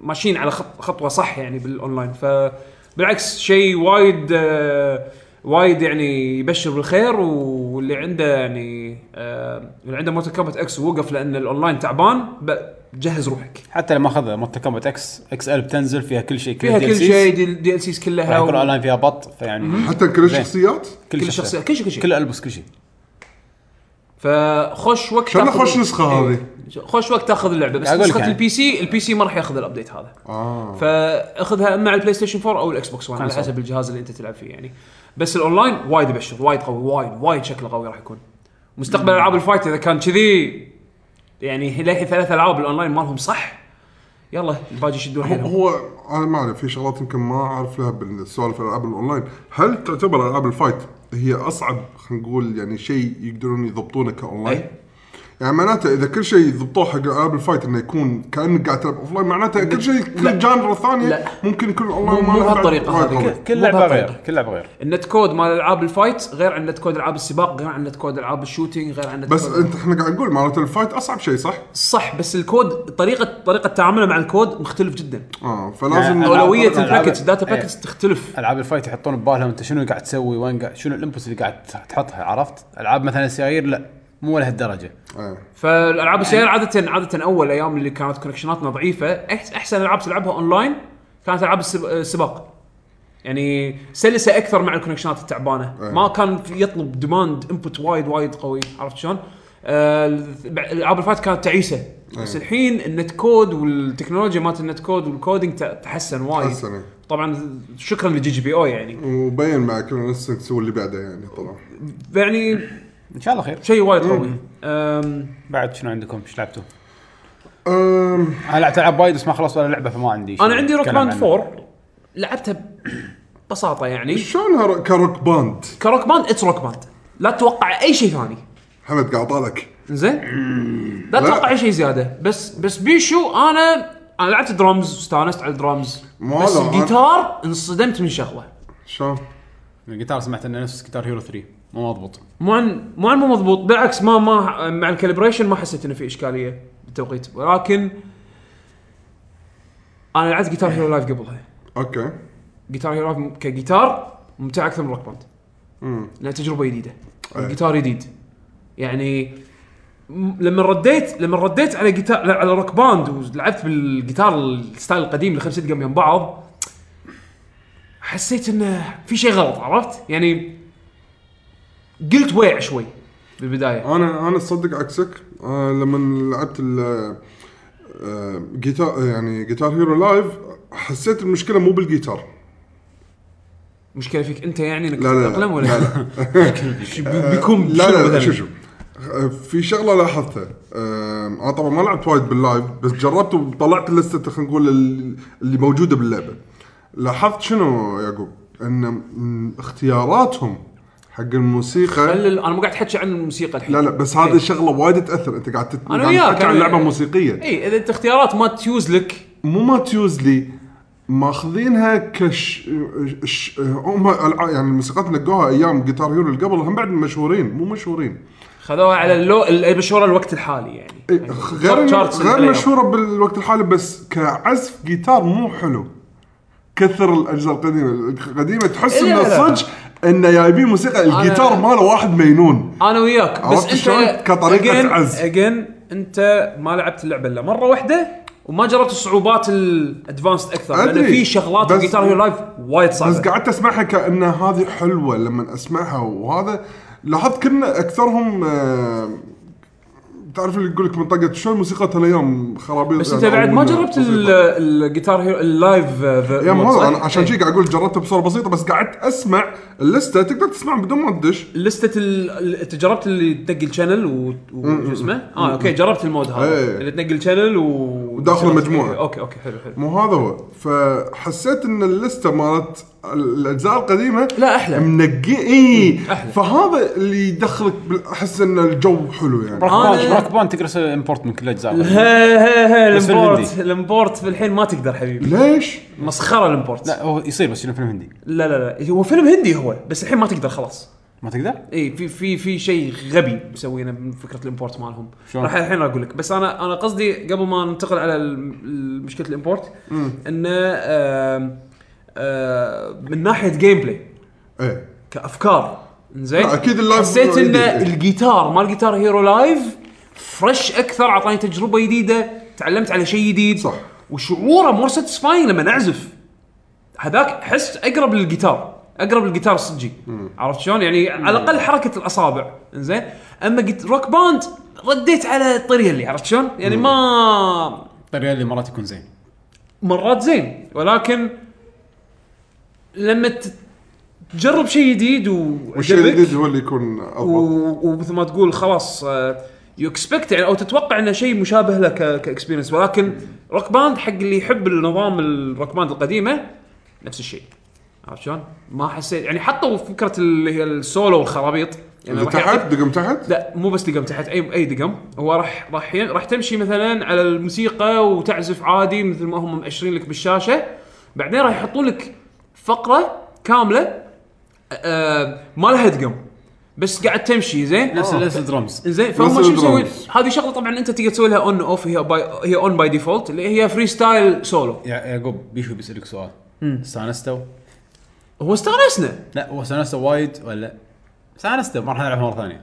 [SPEAKER 3] ماشيين على خط... خطوه صح يعني بالاونلاين ف بالعكس شيء وايد آه وايد يعني يبشر بالخير واللي عنده يعني آه اللي عنده موتو كابت اكس ووقف لان الاونلاين تعبان ب- جهز روحك
[SPEAKER 1] حتى لما اخذ مورتال كومبات اكس اكس ال بتنزل فيها كل شيء
[SPEAKER 3] فيها كل
[SPEAKER 1] DLCs.
[SPEAKER 3] شيء دي, دي ال سيز
[SPEAKER 1] راح
[SPEAKER 3] كلها
[SPEAKER 1] يكون
[SPEAKER 3] و-
[SPEAKER 1] اونلاين فيها بط فيعني
[SPEAKER 2] حتى كل
[SPEAKER 1] زين.
[SPEAKER 2] الشخصيات
[SPEAKER 1] كل
[SPEAKER 3] كل
[SPEAKER 1] شخصيه
[SPEAKER 3] شخصيه كل شيء كل شيء
[SPEAKER 1] كل البس كل شيء
[SPEAKER 3] فخوش وقت
[SPEAKER 2] شلون
[SPEAKER 3] تاخذ-
[SPEAKER 2] خوش نسخة
[SPEAKER 3] إيه.
[SPEAKER 2] هذه؟
[SPEAKER 3] خوش وقت تاخذ اللعبه بس
[SPEAKER 1] أقول لك
[SPEAKER 3] نسخه
[SPEAKER 1] يعني.
[SPEAKER 3] البي سي البي سي ما راح ياخذ الابديت هذا
[SPEAKER 2] اه
[SPEAKER 3] فاخذها اما على البلاي ستيشن 4 او الاكس بوكس 1 على
[SPEAKER 1] كونسول.
[SPEAKER 3] حسب الجهاز اللي انت تلعب فيه يعني بس الاونلاين وايد يبشر وايد قوي وايد وايد شكله قوي راح يكون مستقبل العاب الفايت اذا كان كذي يعني للحين ثلاث العاب الاونلاين مالهم صح يلا الباقي يشدون
[SPEAKER 2] هو-
[SPEAKER 3] حيلهم
[SPEAKER 2] هو انا ما اعرف في شغلات يمكن ما اعرف لها بالسوالف الالعاب الاونلاين هل تعتبر العاب الفايت هي اصعب خلينا نقول يعني شيء يقدرون يضبطونه كاونلاين؟
[SPEAKER 3] أي.
[SPEAKER 2] يعني معناته اذا كل شيء ضبطوه حق العاب الفايت انه يكون كانك قاعد تلعب اوف لاين معناته كل شيء كل جانرا ثانيه
[SPEAKER 3] لا.
[SPEAKER 2] ممكن يكون اونلاين
[SPEAKER 3] مو- مو
[SPEAKER 2] ماله بعد
[SPEAKER 3] بهالطريقة
[SPEAKER 2] وايد
[SPEAKER 3] هذه.
[SPEAKER 2] قوي.
[SPEAKER 3] كل-
[SPEAKER 1] كل
[SPEAKER 3] مو
[SPEAKER 1] لعبه
[SPEAKER 3] بهالطريقة.
[SPEAKER 1] غير كل لعبه غير
[SPEAKER 3] النت كود مال العاب الفايت غير عن النت كود العاب السباق غير عن النت كود العاب الشوتينج غير عن النت
[SPEAKER 2] بس
[SPEAKER 3] كود-
[SPEAKER 2] انت احنا قاعد نقول معناته الفايت اصعب شيء صح؟
[SPEAKER 3] صح بس الكود طريقه طريقه تعامله مع الكود مختلف جدا
[SPEAKER 2] اه فلازم
[SPEAKER 1] يعني
[SPEAKER 3] اولويه
[SPEAKER 1] طبعاً
[SPEAKER 3] الباكج
[SPEAKER 1] ألعاب-
[SPEAKER 3] الداتا
[SPEAKER 1] إيه.
[SPEAKER 3] باكج تختلف
[SPEAKER 1] العاب الفايت يحطون ببالهم انت شنو قاعد تسوي وين قاعد شنو الانبوتس اللي قاعد تحطها عرفت؟ العاب مثلا السيايير لا مو لهالدرجه
[SPEAKER 2] آه.
[SPEAKER 3] فالالعاب السيارة عاده عاده اول ايام اللي كانت كونكشناتنا ضعيفه أح- احسن العاب تلعبها اونلاين كانت العاب السب- السباق يعني سلسه اكثر مع الكونكشنات التعبانه
[SPEAKER 2] أي.
[SPEAKER 3] ما كان في- يطلب ديماند انبوت وايد وايد قوي عرفت شلون؟ آه، الع- العاب الفات كانت تعيسه بس
[SPEAKER 2] أي.
[SPEAKER 3] الحين النت كود والتكنولوجيا مالت النت كود والكودينج ت- تحسن وايد
[SPEAKER 2] تحسن، أي.
[SPEAKER 3] طبعا شكرا لجي جي بي او يعني
[SPEAKER 2] وبين مع كل نفسك تسوي اللي بعده يعني طبعا
[SPEAKER 3] يعني
[SPEAKER 1] ان شاء الله خير
[SPEAKER 3] شيء وايد قوي أم،
[SPEAKER 1] بعد شنو عندكم؟ ايش لعبتوا؟
[SPEAKER 2] أم،
[SPEAKER 1] انا لعبت العاب وايد بس ما خلصت ولا لعبه فما عندي شيء
[SPEAKER 3] انا عندي روك
[SPEAKER 1] أتكلم
[SPEAKER 3] باند
[SPEAKER 1] عنه.
[SPEAKER 3] 4 لعبتها ببساطه يعني
[SPEAKER 2] شلون هر- كروك باند
[SPEAKER 3] كروك باند اتس روك باند لا تتوقع اي شيء ثاني
[SPEAKER 2] حمد قاعد طالك
[SPEAKER 3] زين لا تتوقع اي شيء زياده بس بس بيشو انا انا لعبت درامز واستانست على الدرامز
[SPEAKER 2] مو
[SPEAKER 3] بس
[SPEAKER 2] هذا، أنا-
[SPEAKER 3] الجيتار انصدمت من شغله
[SPEAKER 2] شلون؟
[SPEAKER 1] الجيتار سمعت انه نفس جيتار هيرو 3 مو مضبوط
[SPEAKER 3] مو عن مو عن مو مضبوط بالعكس ما ما مع الكالبريشن ما حسيت انه في اشكاليه بالتوقيت ولكن انا لعبت جيتار هيرو لايف قبلها
[SPEAKER 2] اوكي
[SPEAKER 3] جيتار هيرو لايف كجيتار ممتع اكثر من روك باند
[SPEAKER 2] امم
[SPEAKER 3] لان تجربه جديده
[SPEAKER 2] أي.
[SPEAKER 3] الجيتار جديد يعني م- لما رديت لما رديت على جيتار لا، على روك باند ولعبت بالجيتار الستايل القديم اللي خمس ست جنب بعض حسيت انه في شيء غلط عرفت؟ يعني قلت ويع شوي بالبدايه
[SPEAKER 2] انا انا صدق عكسك آه لما لعبت ال آه، جيتار يعني جيتار هيرو لايف حسيت المشكله مو بالجيتار
[SPEAKER 3] مشكله فيك انت يعني انك
[SPEAKER 2] لا، لا، لا.
[SPEAKER 3] تتاقلم ولا
[SPEAKER 2] لا،
[SPEAKER 3] لا بيكون
[SPEAKER 2] لا لا,
[SPEAKER 3] شنو
[SPEAKER 2] لا
[SPEAKER 3] مثلاً؟
[SPEAKER 2] شوف شوف آه، في شغله لاحظتها آه، انا طبعا ما لعبت وايد باللايف بس جربت وطلعت لسته خلينا نقول ال- اللي موجوده باللعبه لاحظت شنو يعقوب ان م- اختياراتهم حق الموسيقى
[SPEAKER 3] خل- انا مو قاعد احكي عن الموسيقى الحين
[SPEAKER 2] لا لا بس هذه
[SPEAKER 3] إيه.
[SPEAKER 2] الشغله وايد تاثر انت قاعد تت...
[SPEAKER 3] أنا
[SPEAKER 2] قاعد
[SPEAKER 3] وياك، إيه.
[SPEAKER 2] تحكي عن
[SPEAKER 3] أنا-
[SPEAKER 2] لعبه موسيقيه
[SPEAKER 3] اي اذا انت اختيارات ما تيوز لك
[SPEAKER 2] مو ما تيوزلي ماخذينها كش ش... هم الع- يعني الموسيقات اللي نقوها ايام جيتار هيرو اللي قبل هم بعد مشهورين مو مشهورين
[SPEAKER 3] خذوها على اللو المشهوره الوقت الحالي يعني
[SPEAKER 2] إيه، غير
[SPEAKER 3] تشارلز
[SPEAKER 2] غير
[SPEAKER 3] بلاير.
[SPEAKER 2] مشهوره بالوقت الحالي بس كعزف جيتار مو حلو كثر الاجزاء القديمه القديمه تحس
[SPEAKER 3] إيه، لا،
[SPEAKER 2] انه
[SPEAKER 3] لا.
[SPEAKER 2] صدق انه جايبين موسيقى الجيتار ماله واحد مينون
[SPEAKER 3] انا وياك بس
[SPEAKER 2] عرفت
[SPEAKER 3] انت
[SPEAKER 2] شلون؟ كطريقة عزف.
[SPEAKER 3] اجين انت ما لعبت اللعبه الا مره واحده وما جربت الصعوبات الادفانسد اكثر لان
[SPEAKER 2] أدري،
[SPEAKER 3] في شغلات
[SPEAKER 2] بس-
[SPEAKER 3] الجيتار هيرو لايف وايد صعبه
[SPEAKER 2] بس قعدت اسمعها كانها هذه حلوه لما اسمعها وهذا لاحظت كنا اكثرهم آه، تعرف اللي يقول لك منطقه شلون موسيقى الايام خرابيط
[SPEAKER 3] بس
[SPEAKER 2] يعني
[SPEAKER 3] انت بعد
[SPEAKER 2] أو
[SPEAKER 3] ما
[SPEAKER 2] إنه
[SPEAKER 3] جربت ال-
[SPEAKER 2] موسيقى.
[SPEAKER 3] الجيتار هيرو اللايف
[SPEAKER 2] يا ما هو انا عشان
[SPEAKER 3] إيه.
[SPEAKER 2] شي قاعد اقول جربتها بصوره بسيطه بس قعدت اسمع اللسته تقدر تسمع بدون ما تدش
[SPEAKER 3] لستة ال- ال- انت جربت اللي تنقل شانل وشو اسمه؟ اه اوكي جربت المود
[SPEAKER 2] إيه.
[SPEAKER 3] هذا اللي تنقل شانل و
[SPEAKER 2] وداخل المجموعة.
[SPEAKER 3] اوكي اوكي حلو حلو
[SPEAKER 2] مو هذا هو فحسيت ان اللسته مالت الاجزاء القديمه
[SPEAKER 3] لا، أحلى. إيه،
[SPEAKER 2] منقي اي
[SPEAKER 3] أحلى.
[SPEAKER 2] فهذا اللي يدخلك بال- احس ان الجو حلو يعني
[SPEAKER 1] روك
[SPEAKER 3] أنا-
[SPEAKER 1] باند روك باند تقدر تسوي امبورت من كل الاجزاء
[SPEAKER 3] هي هي هي
[SPEAKER 1] بس في
[SPEAKER 3] الامبورت
[SPEAKER 1] الهندي.
[SPEAKER 3] الامبورت الحين ما تقدر حبيبي
[SPEAKER 2] ليش؟
[SPEAKER 3] مسخره الامبورت
[SPEAKER 1] لا هو يصير بس شنو فيلم هندي
[SPEAKER 3] لا لا لا هو فيلم هندي هو بس الحين ما تقدر خلاص
[SPEAKER 1] ما تقدر؟
[SPEAKER 3] اي في في في شيء غبي مسوينه من فكره الامبورت مالهم
[SPEAKER 1] شلون؟
[SPEAKER 3] راح الحين اقول لك بس انا انا قصدي قبل ما ننتقل على ال- ال- مشكله الامبورت انه آم، آم، من ناحيه جيم بلاي
[SPEAKER 2] ايه
[SPEAKER 3] كافكار زين
[SPEAKER 2] لا، أكيد اللايف
[SPEAKER 3] حسيت ان
[SPEAKER 2] جديد، إيه.
[SPEAKER 3] الجيتار مال جيتار هيرو لايف فريش اكثر اعطاني تجربه جديده تعلمت على شيء جديد
[SPEAKER 2] صح.
[SPEAKER 3] وشعوره مور ساتسفاينغ لما نعزف هذاك احس اقرب للجيتار اقرب للجيتار الصجي عرفت شلون يعني على الاقل حركه الاصابع انزين اما جيت روك باند رديت على الطريقه اللي عرفت شلون يعني ما
[SPEAKER 1] الطريقه طيب، اللي مرات يكون زين
[SPEAKER 3] مرات زين ولكن لما ت- تجرب شيء جديد
[SPEAKER 2] والشيء
[SPEAKER 3] وعجبك
[SPEAKER 2] الجديد هو اللي يكون افضل
[SPEAKER 3] و- ومثل ما تقول خلاص يو اكسبكت يعني او تتوقع انه شيء مشابه له ك- كاكسبيرينس ولكن روك باند حق اللي يحب النظام الروك باند القديمه نفس الشيء عرفت شلون؟ ما حسيت يعني حطوا فكره اللي هي السولو والخرابيط يعني
[SPEAKER 2] اللي
[SPEAKER 3] راح يعطيك-
[SPEAKER 2] تحت دقم تحت
[SPEAKER 3] لا مو بس دقم تحت اي اي دقم هو راح راح ي- راح تمشي مثلا على الموسيقى وتعزف عادي مثل ما هم مأشرين لك بالشاشه بعدين راح يحطون لك فقره كامله آه ما لها دقم بس قاعد تمشي زين
[SPEAKER 1] نفس نفس الدرمز
[SPEAKER 3] زين فهم
[SPEAKER 2] نفس
[SPEAKER 3] شو مسوي
[SPEAKER 2] الدرامز.
[SPEAKER 3] هذه شغله طبعا انت تقدر تسوي لها اون اوف هي باي هي اون باي ديفولت اللي هي فري ستايل سولو
[SPEAKER 1] يا يعقوب بيشو بيسالك سؤال استانستوا؟
[SPEAKER 3] هو استانسنا
[SPEAKER 1] لا هو استانستوا وايد ولا استانستوا ما راح نلعبها مره ثانيه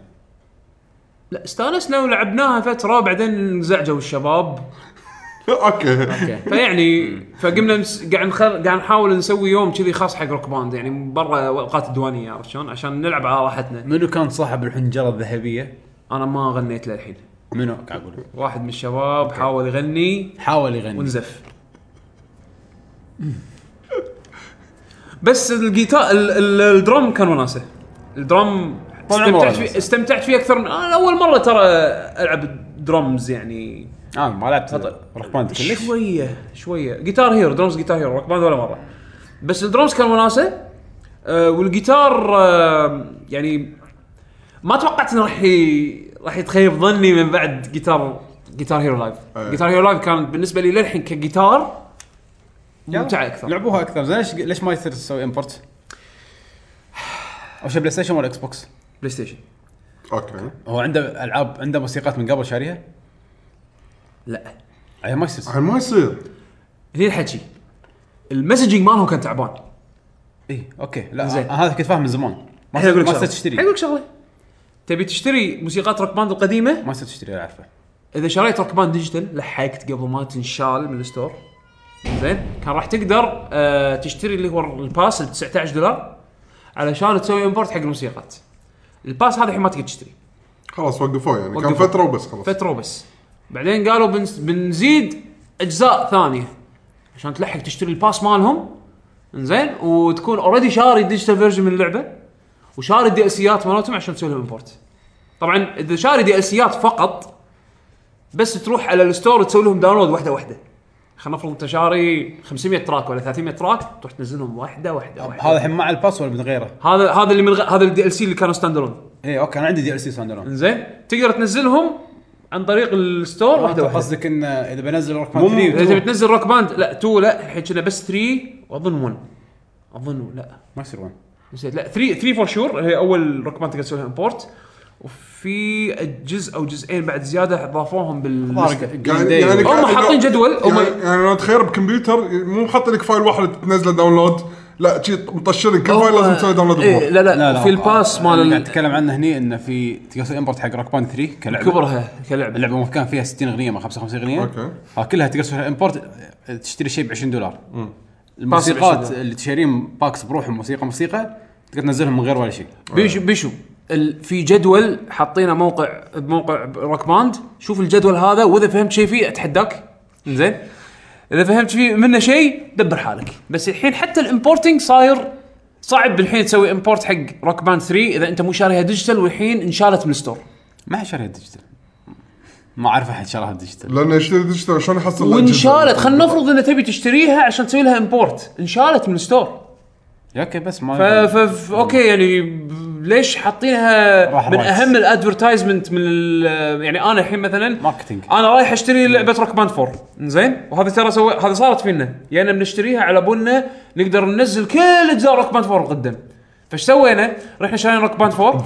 [SPEAKER 3] لا استانسنا ولعبناها فتره بعدين انزعجوا الشباب
[SPEAKER 2] اوكي
[SPEAKER 3] فيعني فقمنا نس- قاعد نخر... قاعد نحاول نسوي يوم كذي خاص حق روك باند يعني برا اوقات الديوانيه عرفت شلون عشان نلعب على راحتنا
[SPEAKER 1] منو كان صاحب الحنجره الذهبيه؟
[SPEAKER 3] انا ما غنيت للحين
[SPEAKER 1] منو قاعد اقول لك.
[SPEAKER 3] واحد من الشباب حاول يغني
[SPEAKER 1] حاول يغني
[SPEAKER 3] ونزف بس الجيتار ال... ال... الدرم كان وناسه الدرم
[SPEAKER 1] طول عمره
[SPEAKER 3] استمتعت
[SPEAKER 1] وناسة.
[SPEAKER 3] فيه استمتعت فيه اكثر من انا اول مره ترى العب درمز يعني
[SPEAKER 1] اه ما لعبت روك باند كلش
[SPEAKER 3] شويه شويه جيتار هيرو درمز جيتار هيرو روك باند ولا مره بس الدرمز كان وناسه آه والجيتار آه يعني ما توقعت انه راح ي- راح يتخيب ظني من بعد جيتار جيتار هيرو لايف
[SPEAKER 1] إيه.
[SPEAKER 2] أي.
[SPEAKER 3] جيتار هيرو لايف كان بالنسبه لي للحين كجيتار ممتعه اكثر
[SPEAKER 1] لعبوها اكثر زين ليش ليش ما يصير تسوي امبورت؟ او شيء بلاي ستيشن ولا اكس بوكس؟
[SPEAKER 3] بلاي ستيشن
[SPEAKER 2] اوكي
[SPEAKER 1] هو عنده العاب عنده موسيقات من قبل شاريها؟
[SPEAKER 3] لا
[SPEAKER 1] هي ما يصير
[SPEAKER 2] الحين ما يصير
[SPEAKER 3] هني الحكي المسجنج مالهم كان تعبان
[SPEAKER 1] اي اوكي لا
[SPEAKER 3] زين.
[SPEAKER 1] آه، هذا كنت فاهم من زمان ما
[SPEAKER 3] الحين
[SPEAKER 1] صرت- إيه،
[SPEAKER 3] أقول لك
[SPEAKER 1] ما
[SPEAKER 3] شغلة. إيه،
[SPEAKER 1] صرت
[SPEAKER 3] الحين
[SPEAKER 1] تشتري
[SPEAKER 3] اقول لك شغله تبي تشتري موسيقات روك باند القديمه
[SPEAKER 1] ما صرت تشتري اعرفه
[SPEAKER 3] اذا شريت روك باند ديجيتال لحقت قبل ما تنشال من الستور زين كان راح تقدر آه تشتري اللي هو الباس ب 19 دولار علشان تسوي امبورت حق الموسيقات الباس هذا الحين ما تقدر تشتري
[SPEAKER 2] خلاص وقفوه يعني كان
[SPEAKER 3] وقفوا.
[SPEAKER 2] فتره وبس خلاص
[SPEAKER 3] فتره بس بعدين قالوا بنس بنزيد اجزاء ثانيه عشان تلحق تشتري الباس مالهم زين وتكون اوريدي شاري الديجيتال فيرجن من اللعبه وشاري الدي اسيات مالتهم عشان تسوي لهم امبورت طبعا اذا شاري دي اسيات فقط بس تروح على الستور تسوي لهم داونلود واحده واحده خلينا نفرض انت شاري 500 تراك ولا 300 تراك تروح تنزلهم واحده واحده, واحدة.
[SPEAKER 1] هذا الحين مع الباس ولا من غيره؟
[SPEAKER 3] هذا هذا اللي من غ... هذا الدي ال سي اللي كانوا ستاند الون
[SPEAKER 1] اي اوكي انا عندي دي ال سي ستاند الون
[SPEAKER 3] زين تقدر تنزلهم عن طريق الستور واحده واحده
[SPEAKER 1] قصدك ان اذا بنزل روك
[SPEAKER 2] مو-
[SPEAKER 1] باند
[SPEAKER 3] اذا
[SPEAKER 1] 3
[SPEAKER 3] تبي تنزل روك باند لا 2 لا الحين كنا بس 3 واظن 1 اظن لا
[SPEAKER 1] ما يصير وين
[SPEAKER 3] نسيت لا 3 3 فور شور هي اول روك باند تقدر تسوي لها امبورت وفي جزء او جزئين بعد زياده اضافوهم بال
[SPEAKER 2] يعني
[SPEAKER 1] Green Day.
[SPEAKER 2] يعني
[SPEAKER 3] هم
[SPEAKER 2] كأنه-
[SPEAKER 3] حاطين جدول، هم-
[SPEAKER 2] يعني, يعني لو تخير بكمبيوتر مو حاط لك فايل واحد تنزله داونلود لا شي مطشرين كل فايل لازم تسوي داونلود
[SPEAKER 3] إيه
[SPEAKER 2] بروحه
[SPEAKER 3] لا
[SPEAKER 1] لا
[SPEAKER 3] لا
[SPEAKER 1] لا
[SPEAKER 3] في الباس
[SPEAKER 1] أنا قاعد
[SPEAKER 3] مال
[SPEAKER 1] اتكلم عنه هني انه في تقدر تسوي امبورت حق روك باند 3 كلعبه
[SPEAKER 3] كبرها كلعبه
[SPEAKER 1] اللعبه مو كان فيها 60 اغنيه ما 55 اغنيه
[SPEAKER 2] أوكي.
[SPEAKER 1] ها كلها تقدر تسوي امبورت تشتري شيء ب 20 دولار
[SPEAKER 3] باس ب 20
[SPEAKER 1] الموسيقات
[SPEAKER 3] دولار.
[SPEAKER 1] اللي تشتريهم باكس بروحهم موسيقى موسيقى تقدر تنزلهم من غير ولا شيء
[SPEAKER 3] بيشو بيشو ال- في جدول حاطينه موقع بموقع روك باند شوف الجدول هذا واذا فهمت شيء فيه اتحداك زين اذا فهمت فيه منه شيء دبر حالك بس الحين حتى الامبورتنج صاير صعب الحين تسوي امبورت حق روك باند 3 اذا انت مو شاريها ديجيتال والحين انشالت من الستور
[SPEAKER 1] ما حد شاريها ديجيتال ما اعرف احد شراها ديجيتال
[SPEAKER 2] لانه يشتري ديجيتال شلون يحصل له
[SPEAKER 3] وانشالت
[SPEAKER 2] أجهزة؟
[SPEAKER 3] خلينا نفرض ان تبي تشتريها عشان تسوي لها امبورت انشالت من الستور
[SPEAKER 1] يا اوكي بس
[SPEAKER 3] ف...
[SPEAKER 1] ما
[SPEAKER 3] ف... ف... اوكي يعني ب- ليش حاطينها
[SPEAKER 1] راح
[SPEAKER 3] من
[SPEAKER 1] رايت.
[SPEAKER 3] اهم الادفرتايزمنت من ال- يعني انا الحين مثلا
[SPEAKER 1] ماركتينج.
[SPEAKER 3] انا رايح اشتري لعبه روك باند 4 زين وهذا ترى سوي هذا صارت فينا يا يعني بنشتريها على بنا نقدر ننزل كل اجزاء روك باند 4 القدم فايش سوينا؟ رحنا شرينا روك باند 4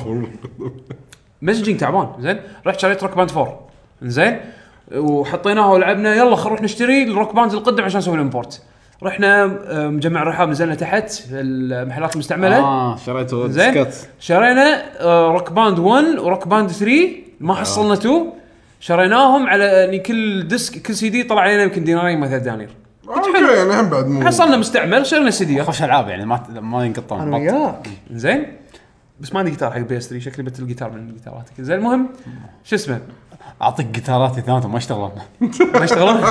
[SPEAKER 3] مسجنج تعبان زين رحت شريت روك باند 4 زين وحطيناها ولعبنا يلا خل نروح نشتري الروك باند القدم عشان نسوي الامبورت رحنا آه، مجمع الرحاب نزلنا تحت في المحلات المستعمله
[SPEAKER 1] اه شريت
[SPEAKER 3] زين
[SPEAKER 1] ديسكات.
[SPEAKER 3] شرينا آه، روك باند 1 وروك باند 3 ما حصلنا آه، 2 شريناهم على يعني كل ديسك كل سي دي طلع علينا يمكن دينارين مثلا دنانير
[SPEAKER 2] اوكي يعني هم بعد مو
[SPEAKER 3] حصلنا مستعمل شرينا سيديات
[SPEAKER 1] خوش العاب يعني ما ما ينقطون
[SPEAKER 3] انا وياك زين بس ما عندي جيتار حق بي اس 3 شكلي بتل جيتار من الجيتارات زين المهم شو اسمه
[SPEAKER 1] اعطيك جيتاراتي ثلاثهم ما يشتغلون
[SPEAKER 3] ما يشتغلون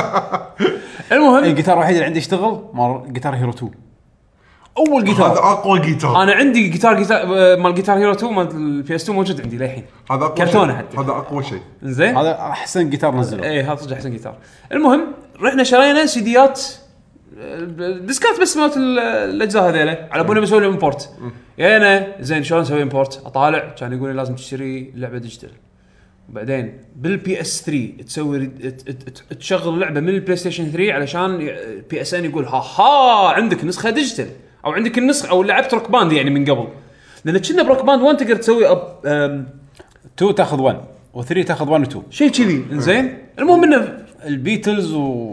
[SPEAKER 3] المهم
[SPEAKER 1] الجيتار الوحيد اللي عندي يشتغل مال جيتار هيرو 2
[SPEAKER 3] اول
[SPEAKER 2] هذا
[SPEAKER 3] جيتار
[SPEAKER 2] اقوى جيتار
[SPEAKER 3] انا عندي جيتار جيتار مال جيتار هيرو 2 مال البي اس 2 موجود عندي للحين
[SPEAKER 2] هذا اقوى
[SPEAKER 3] كرتونه
[SPEAKER 2] شيء.
[SPEAKER 3] حتى.
[SPEAKER 2] هذا اقوى شيء
[SPEAKER 3] زين
[SPEAKER 1] هذا احسن جيتار نزله
[SPEAKER 3] اي إيه، هذا صدق احسن جيتار المهم رحنا شرينا سيديات آه، ديسكات بس مالت ال- الاجزاء هذيلا على بالي بسوي لهم امبورت جينا زين شلون اسوي امبورت اطالع كان يقول لي لازم تشتري لعبه ديجيتال وبعدين بالبي اس 3 تسوي ري- ت- ت- ت- تشغل اللعبه من البلاي ستيشن 3 علشان بي اس ان يقول ها ها عندك نسخه ديجيتال او عندك النسخه او لعبت روك باند يعني من قبل لان كنا بروك باند 1 تقدر تسوي أب- أم،
[SPEAKER 1] 2 تاخذ 1 و3 تاخذ 1 و 2
[SPEAKER 3] شيء كذي زين المهم انه
[SPEAKER 1] البيتلز و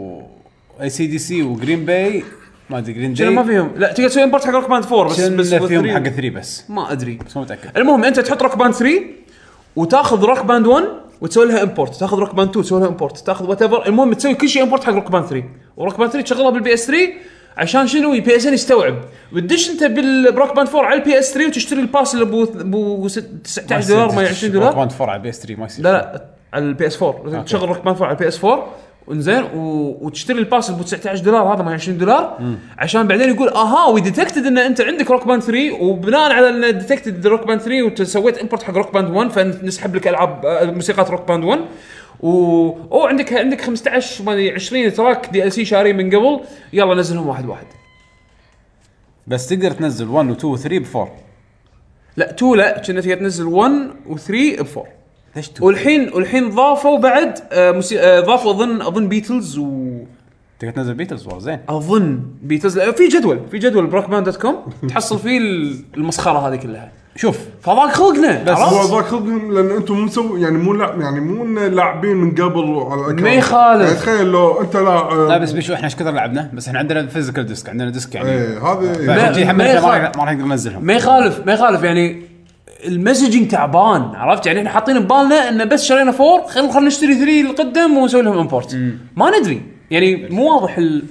[SPEAKER 1] اي سي دي سي وجرين باي ما ادري جرين
[SPEAKER 3] شنو
[SPEAKER 1] باي
[SPEAKER 3] ما فيهم لا تقدر تسوي امبورت حق روك باند 4 بس بس
[SPEAKER 1] كنا فيهم
[SPEAKER 3] وثري-
[SPEAKER 1] حق 3 بس
[SPEAKER 3] ما ادري
[SPEAKER 1] بس مو متاكد
[SPEAKER 3] المهم انت تحط روك باند 3 وتاخذ روك باند 1 وتسوي لها امبورت تاخذ روك باند 2 تسوي لها امبورت تاخذ وات ايفر المهم تسوي كل شيء امبورت حق روك باند 3 وروك باند 3 تشغلها بالبي اس 3 عشان شنو البي اس ان يستوعب وتدش انت بال- بروك باند 4 على البي اس 3 وتشتري الباس اللي بو بو ست- 19 دولار ما 20 دولار
[SPEAKER 1] كوانت 4 على بي اس 3 ما يصير
[SPEAKER 3] لا لا على البي اس 4 تشغل روك باند 4 على البي اس 4 انزين و... وتشتري الباس ب 19 دولار هذا ما 20 دولار عشان بعدين يقول اها وي ديتكتد ان انت عندك روك باند 3 وبناء على ان ديتكتد روك باند 3 وسويت امبورت حق روك باند 1 فنسحب لك العاب آه، موسيقات روك باند 1 و او عندك عندك 15 ما ادري 20 تراك دي ال سي شاريه من قبل يلا نزلهم واحد واحد
[SPEAKER 1] بس تقدر تنزل 1 و 2 و 3 ب 4
[SPEAKER 3] لا 2 لا كنا تقدر تنزل 1 و3 ب 4
[SPEAKER 1] ليش 2
[SPEAKER 3] والحين والحين ضافوا بعد آه، موسي... آه، ضافوا اظن اظن بيتلز و
[SPEAKER 1] تقدر تنزل بيتلز والله زين
[SPEAKER 3] اظن بيتلز لا، في جدول في جدول بروك مان دوت كوم تحصل فيه ال- المسخره هذه كلها
[SPEAKER 1] شوف
[SPEAKER 3] فضاك خلقنا
[SPEAKER 1] بس
[SPEAKER 2] هو
[SPEAKER 3] عرفت؟
[SPEAKER 2] ذاك خلقهم لان انتم مو مسوي يعني مو لعب يعني مو إنه لاعبين من قبل على الأكل.
[SPEAKER 3] ما يخالف.
[SPEAKER 2] يعني تخيل لو آه، انت
[SPEAKER 1] لا
[SPEAKER 2] لاعب
[SPEAKER 1] بس بيشو احنا ايش كثر لعبنا بس احنا عندنا فيزيكال ديسك عندنا ديسك يعني
[SPEAKER 2] ايه هذا
[SPEAKER 1] فعشان
[SPEAKER 3] إيه. ما-
[SPEAKER 1] كذي
[SPEAKER 3] ما
[SPEAKER 1] حملنا ما
[SPEAKER 3] يخالف.
[SPEAKER 1] راح- ما راح نقدر ننزلهم
[SPEAKER 3] ما يخالف ما يخالف يعني المسجنج تعبان عرفت يعني احنا حاطين ببالنا انه بس شرينا فور خلينا خلينا نشتري ثري القدم ونسوي لهم امبورت ما ندري يعني مو واضح ال...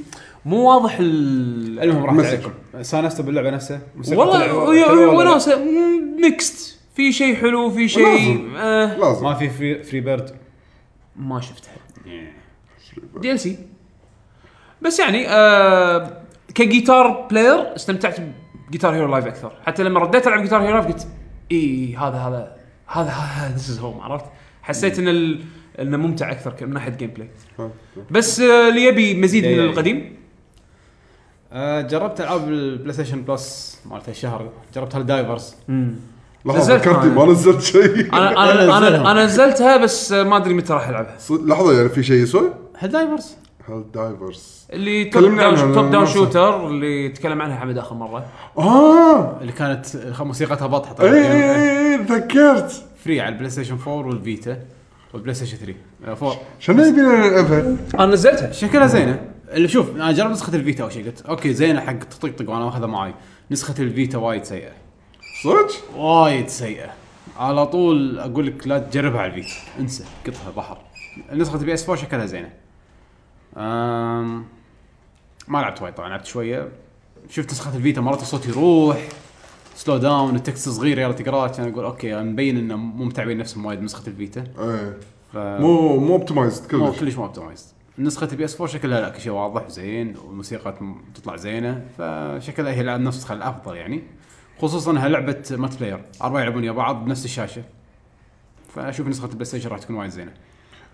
[SPEAKER 3] مو واضح ال...
[SPEAKER 1] المهم راح
[SPEAKER 2] مسج.
[SPEAKER 1] تعجبكم. استانستوا باللعبه نفسها موسيقى
[SPEAKER 3] والله
[SPEAKER 1] طلعوا-
[SPEAKER 3] وي-
[SPEAKER 1] حلوة
[SPEAKER 3] وي-
[SPEAKER 1] ولا لا؟
[SPEAKER 3] وناسه ميكست في شيء حلو في شيء
[SPEAKER 2] لازم.
[SPEAKER 3] آه
[SPEAKER 2] لازم
[SPEAKER 1] ما في فري, فري بيرد
[SPEAKER 3] ما شفتها دي ال سي بس يعني آه كجيتار بلاير استمتعت بجيتار هيرو لايف اكثر حتى لما رديت العب جيتار هيرو لايف قلت اي هذا هذا هذا هذا ذيس از هوم عرفت حسيت ان ال- انه ممتع اكثر ك- من ناحيه جيم بلاي بس آه اللي يبي مزيد من
[SPEAKER 1] لا، لا.
[SPEAKER 3] القديم
[SPEAKER 1] آه، جربت العاب البلاي ستيشن بلس مالت الشهر جربت هالدايفرز
[SPEAKER 2] لحظه
[SPEAKER 3] نزلت
[SPEAKER 2] فكرتي
[SPEAKER 3] معنا.
[SPEAKER 2] ما نزلت شيء
[SPEAKER 3] انا انا انا, أنا نزلتها بس آه، ما ادري متى راح العبها
[SPEAKER 2] صد- لحظه يعني في شيء يسوى؟
[SPEAKER 1] هالدايفرز
[SPEAKER 2] هال دايفرز
[SPEAKER 3] اللي توب
[SPEAKER 2] كلمنا عنها،
[SPEAKER 3] داون توب داون
[SPEAKER 2] ناسي.
[SPEAKER 3] شوتر اللي تكلم عنها حمد اخر مره
[SPEAKER 2] اه
[SPEAKER 1] اللي كانت آه، موسيقتها بطحه
[SPEAKER 2] اي
[SPEAKER 1] طبعاً.
[SPEAKER 2] اي اي اي تذكرت
[SPEAKER 1] فري على البلاي ستيشن 4 والفيتا والبلاي ستيشن 3 آه، 4
[SPEAKER 2] شنو يبينا نلعبها؟
[SPEAKER 3] انا نزلتها
[SPEAKER 1] شكلها زينه اللي شوف انا جربت نسخه الفيتا او شيء قلت اوكي زينه حق طقطق وانا واخذها معي نسخه الفيتا وايد سيئه
[SPEAKER 2] صدق؟
[SPEAKER 1] وايد سيئه على طول اقول لك لا تجربها على الفيتا انسى قطها بحر نسخه البي اس 4 شكلها زينه أم... ما لعبت وايد طبعا لعبت شويه شفت نسخه الفيتا مرات الصوت يروح سلو داون التكست صغير يلا تقراه كان اقول اوكي مبين انه مو متعبين نفسهم وايد نسخه الفيتا
[SPEAKER 2] ايه
[SPEAKER 1] ف...
[SPEAKER 2] مو مو اوبتمايزد
[SPEAKER 1] مو
[SPEAKER 2] كلش
[SPEAKER 1] كلش مو اوبتمايزد نسخة البي اس 4 شكلها لا كل شيء واضح وزين والموسيقى تم- تطلع زينه فشكلها هي النسخة الافضل يعني خصوصا انها لعبة مات بلاير اربعة يلعبون يا بعض بنفس الشاشة فاشوف نسخة البلاي ستيشن راح تكون وايد زينه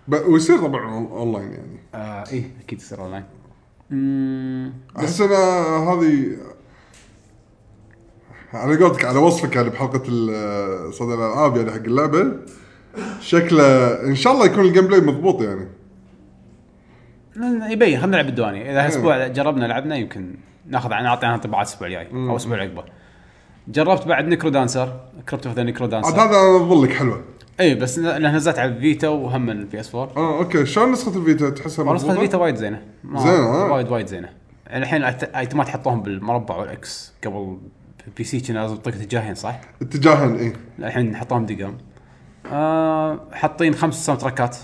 [SPEAKER 2] ب- ويصير طبعا أون- اونلاين يعني
[SPEAKER 1] آه ايه اكيد تصير اونلاين
[SPEAKER 2] احس انا هذه على قولتك على وصفك يعني بحلقه ال- صدى الالعاب يعني حق اللعبه شكله ان شاء الله يكون الجيم بلاي مضبوط يعني
[SPEAKER 1] لأن يبين خلينا نلعب الدواني اذا اسبوع جربنا لعبنا يمكن ناخذ عن نعطي عنها طبعات الاسبوع الجاي او الاسبوع اللي عقبه جربت بعد نيكرو دانسر كريبت اوف ذا نيكرو
[SPEAKER 2] عاد
[SPEAKER 1] دانسر
[SPEAKER 2] هذا انا اظل لك حلوه
[SPEAKER 1] اي إيه، بس لأن نزلت على الفيتا وهم البي اس 4
[SPEAKER 2] اه اوكي شلون نسخه الفيتا
[SPEAKER 1] نسخة
[SPEAKER 2] تحسها
[SPEAKER 1] الفيتا
[SPEAKER 2] مضبوطه؟
[SPEAKER 1] وايد زينه ما-
[SPEAKER 2] زينة، ها؟
[SPEAKER 1] وايد وايد زينه يعني الحين الأيت- ايتمات حطوهم بالمربع والاكس قبل بي سي كان لازم تطق اتجاهين صح؟
[SPEAKER 2] اتجاها اي
[SPEAKER 1] لا، الحين حطوهم دقم آه حاطين خمس ساوند تراكات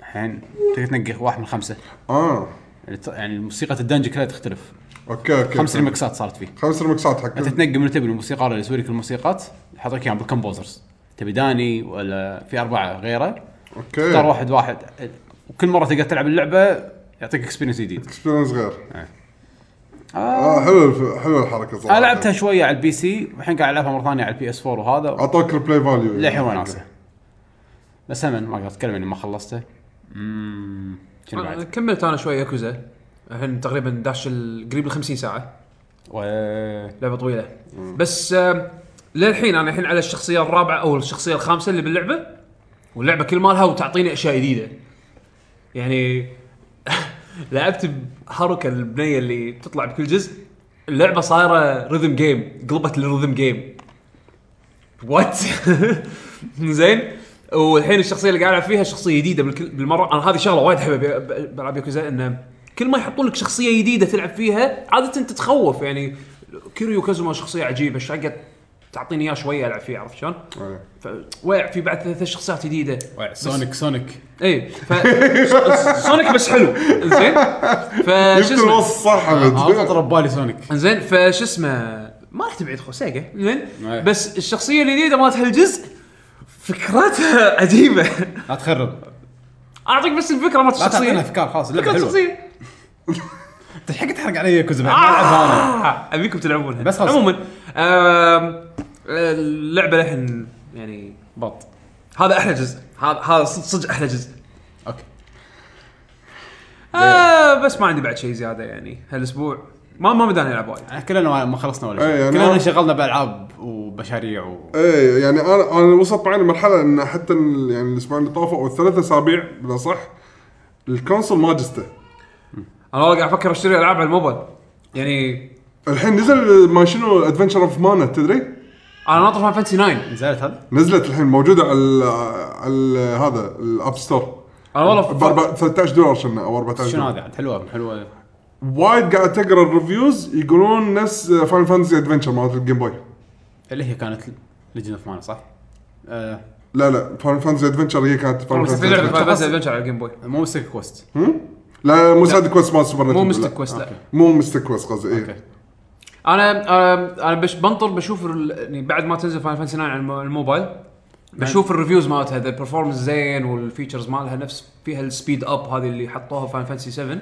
[SPEAKER 1] الحين تقدر تنقي واحد من خمسه
[SPEAKER 2] اه
[SPEAKER 1] يعني ت- يعني موسيقى الدنجن كلها تختلف
[SPEAKER 2] اوكي اوكي
[SPEAKER 1] خمس يعني ريمكسات صارت فيه
[SPEAKER 2] خمس ريمكسات حق
[SPEAKER 1] انت تنقي من تبي الموسيقار اللي يسوي لك الموسيقات يحط لك اياهم بالكمبوزرز تبي داني ولا في اربعه غيره
[SPEAKER 2] اوكي
[SPEAKER 1] اختار واحد واحد وكل مره تقدر تلعب اللعبه يعطيك اكسبيرينس جديد
[SPEAKER 2] اكسبيرينس غير
[SPEAKER 1] آه
[SPEAKER 2] اه حلو الف- حلو الحركه صراحه
[SPEAKER 1] انا آه، لعبتها شويه على البي سي والحين قاعد العبها مره ثانيه على البي اس 4 وهذا
[SPEAKER 2] اعطاك البلاي فاليو يعني.
[SPEAKER 1] للحين وناسه بس هم ما اقدر اتكلم اني ما خلصته اممم شنو
[SPEAKER 3] أنا
[SPEAKER 1] بعد؟
[SPEAKER 3] كملت انا شوي ياكوزا الحين تقريبا داش ال- قريب ال 50 ساعه
[SPEAKER 1] و...
[SPEAKER 3] لعبه طويله بس آم، للحين انا الحين على الشخصيه الرابعه او الشخصيه الخامسه اللي باللعبه واللعبه كل مالها وتعطيني اشياء جديده يعني لعبت بهاروكا البنيه اللي تطلع بكل جزء اللعبه صايره ريذم جيم قلبت للريذم جيم وات زين والحين الشخصيه اللي قاعد العب فيها شخصيه جديده بالكل- بالمره انا هذه شغله وايد احبها ب- بالعاب ياكوزا انه كل ما يحطون لك شخصيه جديده تلعب فيها عاده تتخوف يعني كيريو كازوما شخصيه عجيبه ايش حقه تعطيني اياه شويه العب فيه عرفت شلون؟
[SPEAKER 2] إيه.
[SPEAKER 3] فواقع في بعد ثلاث شخصيات جديده
[SPEAKER 1] و... سونيك سونيك
[SPEAKER 3] اي ف سونيك بس حلو زين فش
[SPEAKER 2] جبت
[SPEAKER 3] اسمه
[SPEAKER 2] الوصف صح
[SPEAKER 1] آه، انا
[SPEAKER 2] حمد
[SPEAKER 1] طلع ببالي سونيك
[SPEAKER 3] زين فش اسمه ما رحت بعيد خو سيجا زين
[SPEAKER 1] أي.
[SPEAKER 3] بس الشخصيه الجديده مالت هالجزء فكرتها عجيبه
[SPEAKER 1] لا تخرب
[SPEAKER 3] اعطيك بس الفكره مالت
[SPEAKER 1] لا تعطينا
[SPEAKER 3] الشخصيه
[SPEAKER 1] افكار خلاص
[SPEAKER 3] فكره
[SPEAKER 1] اللعبه حلوه
[SPEAKER 3] الشخصيه
[SPEAKER 1] انت حق تحرق علي كوز ما العبها انا
[SPEAKER 3] آه، ابيكم تلعبونها
[SPEAKER 1] بس خلاص.
[SPEAKER 3] عموما آم، اللعبه للحين يعني
[SPEAKER 1] بط
[SPEAKER 3] هذا احلى جزء هذا هذا صدق صدق احلى جزء
[SPEAKER 1] اوكي
[SPEAKER 3] آه بس ما عندي بعد شيء زياده يعني هالاسبوع ما ما بدانا نلعب وايد
[SPEAKER 1] احنا كلنا ما خلصنا ولا
[SPEAKER 2] إيه،
[SPEAKER 1] شيء
[SPEAKER 2] أنا-
[SPEAKER 1] كلنا انشغلنا بالعاب ومشاريع و
[SPEAKER 2] ايه يعني انا انا وصلت معي لمرحله ان حتى ال- يعني الاسبوع اللي طافوا او الثلاث اسابيع بالاصح الكونسول ما جسته
[SPEAKER 3] انا والله قاعد افكر اشتري العاب على الموبايل يعني
[SPEAKER 2] الحين نزل ما شنو ادفنشر اوف مانا تدري؟
[SPEAKER 3] انا ناطر فان فانتسي 9 انا
[SPEAKER 1] نزلت هذا
[SPEAKER 2] نزلت الحين موجوده على ال- على ال- هذا الاب ستور
[SPEAKER 3] والله
[SPEAKER 2] ب
[SPEAKER 3] ف-
[SPEAKER 2] 4 13 دولار شنو او 14
[SPEAKER 1] شنو
[SPEAKER 2] دولار
[SPEAKER 1] هذا عاد حلوه حلوه
[SPEAKER 2] وايد قاعد اقرا الريفيوز يقولون نفس فاين فانتسي ادفنشر مالت الجيم بوي
[SPEAKER 1] اللي هي كانت ليجند اوف مانا صح؟ آه،
[SPEAKER 2] لا لا فاين فانتسي ادفنشر هي كانت فاين
[SPEAKER 3] في لعبه
[SPEAKER 2] فانتسي
[SPEAKER 3] فاينل فانتسي ادفنشر على الجيم بوي
[SPEAKER 1] مو مسك كوست
[SPEAKER 2] لا مو سايد كويست مال سوبر
[SPEAKER 3] مو
[SPEAKER 2] نتندو،
[SPEAKER 3] مستر
[SPEAKER 2] لا.
[SPEAKER 3] كويست لا
[SPEAKER 2] مو مستر كويست قصدي
[SPEAKER 1] أوكي.
[SPEAKER 2] ايه
[SPEAKER 3] انا آم، انا بش بنطر بشوف ال- يعني بعد ما تنزل فاينل فانتسي 9 على الم- الموبايل بشوف الريفيوز مالتها ذا برفورمنس زين والفيتشرز مالها نفس فيها السبيد اب هذه اللي حطوها فاينل فانتسي 7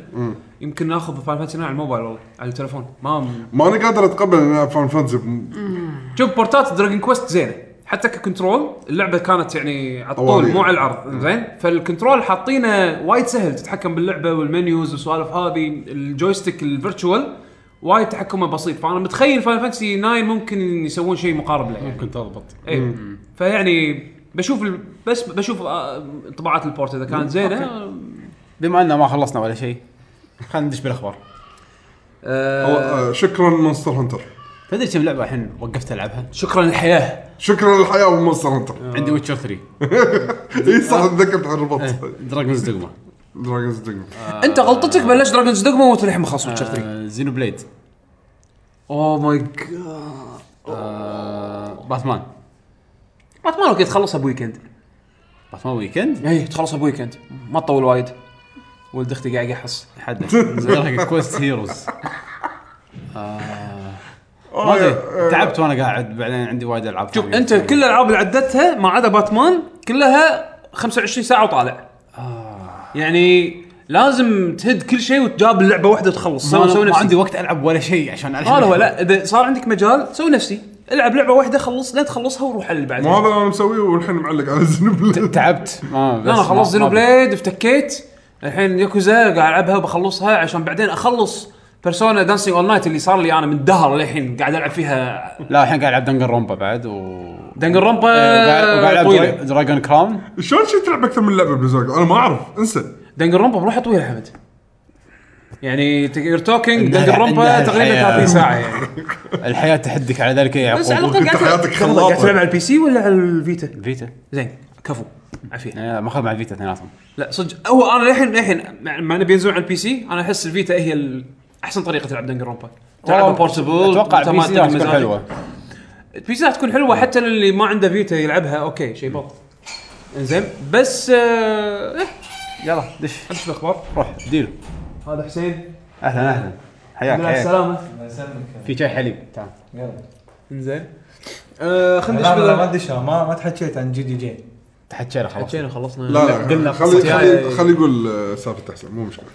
[SPEAKER 3] يمكن ناخذ فاينل فانتسي 9 على الموبايل والله على التليفون ما
[SPEAKER 2] ما انا قادر اتقبل ان العب فاين فانتسي بم-
[SPEAKER 3] شوف بورتات دراجون كويست زينه حتى ككنترول اللعبه كانت يعني على الطول
[SPEAKER 2] طوالية.
[SPEAKER 3] مو على العرض زين فالكنترول حاطينه وايد سهل تتحكم باللعبه والمنيوز والسوالف هذه الجويستيك الفيرتشوال وايد تحكمه بسيط فانا متخيل فاين فانتسي 9 ممكن يسوون شيء مقارب له يعني
[SPEAKER 1] ممكن تضبط
[SPEAKER 3] اي فيعني بشوف ال... بس بشوف آه، انطباعات البورت اذا كانت زينه
[SPEAKER 1] بما اننا ما خلصنا ولا شيء خلينا ندش بالاخبار
[SPEAKER 2] أو-
[SPEAKER 3] آه
[SPEAKER 2] آه، شكرا مونستر هانتر
[SPEAKER 1] تدري كم لعبه الحين وقفت العبها؟
[SPEAKER 3] شكرا للحياه
[SPEAKER 2] شكرا للحياه والمونستر هانتر
[SPEAKER 1] عندي ويتشر 3
[SPEAKER 2] اي صح تذكرت عن الربط
[SPEAKER 1] دراجونز دوغما
[SPEAKER 2] دراجونز دنجو
[SPEAKER 3] آه،
[SPEAKER 5] انت غلطتك بلشت دراجونز دوغما وانت للحين ما خلصت ويتشر 3
[SPEAKER 1] زينو بليد
[SPEAKER 3] اوه ماي جاد
[SPEAKER 1] آه، باتمان
[SPEAKER 5] باتمان اوكي تخلصها بويكند
[SPEAKER 1] باتمان ويكند
[SPEAKER 5] اي تخلصها بويكند ما تطول وايد ولد اختي قاعد يحص
[SPEAKER 1] حد زين كويست هيروز
[SPEAKER 2] آه،
[SPEAKER 1] ما ادري تعبت وانا قاعد بعدين عندي وايد العاب
[SPEAKER 5] شوف
[SPEAKER 1] ثانية.
[SPEAKER 5] انت كل الالعاب اللي عدتها ما عدا باتمان كلها 25 ساعه وطالع يعني لازم تهد كل شيء وتجاب اللعبه واحده وتخلص
[SPEAKER 1] ما,
[SPEAKER 5] سوي سوي
[SPEAKER 1] أنا ما
[SPEAKER 5] نفسي
[SPEAKER 1] عندي وقت العب ولا شيء عشان الحين
[SPEAKER 5] هذا هو لا اذا صار عندك مجال سوي نفسي العب لعبه واحده خلص لا تخلصها وروح على اللي
[SPEAKER 2] مو
[SPEAKER 5] بعدها
[SPEAKER 2] هذا اللي انا مسويه والحين معلق على زنبل
[SPEAKER 1] تعبت ما
[SPEAKER 5] لا انا خلصت زينو بليد افتكيت الحين ياكوزا قاعد العبها وبخلصها عشان بعدين اخلص بيرسونا دانسينج اول نايت اللي صار لي انا من دهر للحين قاعد العب فيها
[SPEAKER 1] لا الحين قاعد العب دنجن رومبا بعد و آه،
[SPEAKER 5] دنجن
[SPEAKER 1] وقاعد وقاعد
[SPEAKER 5] رومبا
[SPEAKER 1] العب
[SPEAKER 5] طويله
[SPEAKER 1] دراجون كراون
[SPEAKER 2] شلون شي تلعب اكثر من لعبه بالزوج انا ما اعرف انسى
[SPEAKER 5] دنجن رومبا بروحه طويله يا حمد يعني يور توكينج
[SPEAKER 1] إنها-
[SPEAKER 5] دنجن رومبا
[SPEAKER 1] إنها
[SPEAKER 5] تقريبا
[SPEAKER 1] الحياة.
[SPEAKER 5] 30 ساعه يعني
[SPEAKER 1] الحياه تحدك على ذلك يا
[SPEAKER 5] بس على
[SPEAKER 1] يعقوب
[SPEAKER 5] الاقل قاعد
[SPEAKER 2] أنت حياتك
[SPEAKER 5] قاعد- قاعد تلعب
[SPEAKER 2] خلاطة.
[SPEAKER 5] على البي سي ولا على الفيتا؟
[SPEAKER 1] فيتا
[SPEAKER 5] زين كفو عافيه
[SPEAKER 1] آه، ماخذ مع الفيتا اثنيناتهم
[SPEAKER 5] لا صدق هو انا للحين للحين مع- مع انه بينزلون على البي سي انا احس الفيتا هي ال- احسن طريقه تلعب دنجن رومبا تلعبها
[SPEAKER 1] والله
[SPEAKER 5] بورتبل
[SPEAKER 1] اتوقع البي سي راح تكون حلوه
[SPEAKER 5] البي سي راح تكون حلوه حتى اللي ما عنده فيتا يلعبها اوكي شيء بط انزين بس آه، إيه،
[SPEAKER 1] يلا دش
[SPEAKER 5] امشي بالاخبار
[SPEAKER 1] روح ديل
[SPEAKER 4] هذا حسين
[SPEAKER 1] اهلا اهلا حياك
[SPEAKER 4] مع
[SPEAKER 1] حياك
[SPEAKER 4] السلامه
[SPEAKER 6] الله يسلمك
[SPEAKER 1] في شاي حليب تعال
[SPEAKER 6] يلا
[SPEAKER 4] انزين آه خلنا
[SPEAKER 6] لا لا ما
[SPEAKER 4] نشوف
[SPEAKER 6] ادري شلون ما ما تحكيت عن جي دي جي
[SPEAKER 1] تحكينا خلاص
[SPEAKER 4] حكينا خلصنا
[SPEAKER 2] لا
[SPEAKER 4] قلنا
[SPEAKER 2] لا
[SPEAKER 4] قصة
[SPEAKER 2] خلي
[SPEAKER 4] جاية.
[SPEAKER 2] خلي خلي يقول آه، سالفة احسن مو مشكلة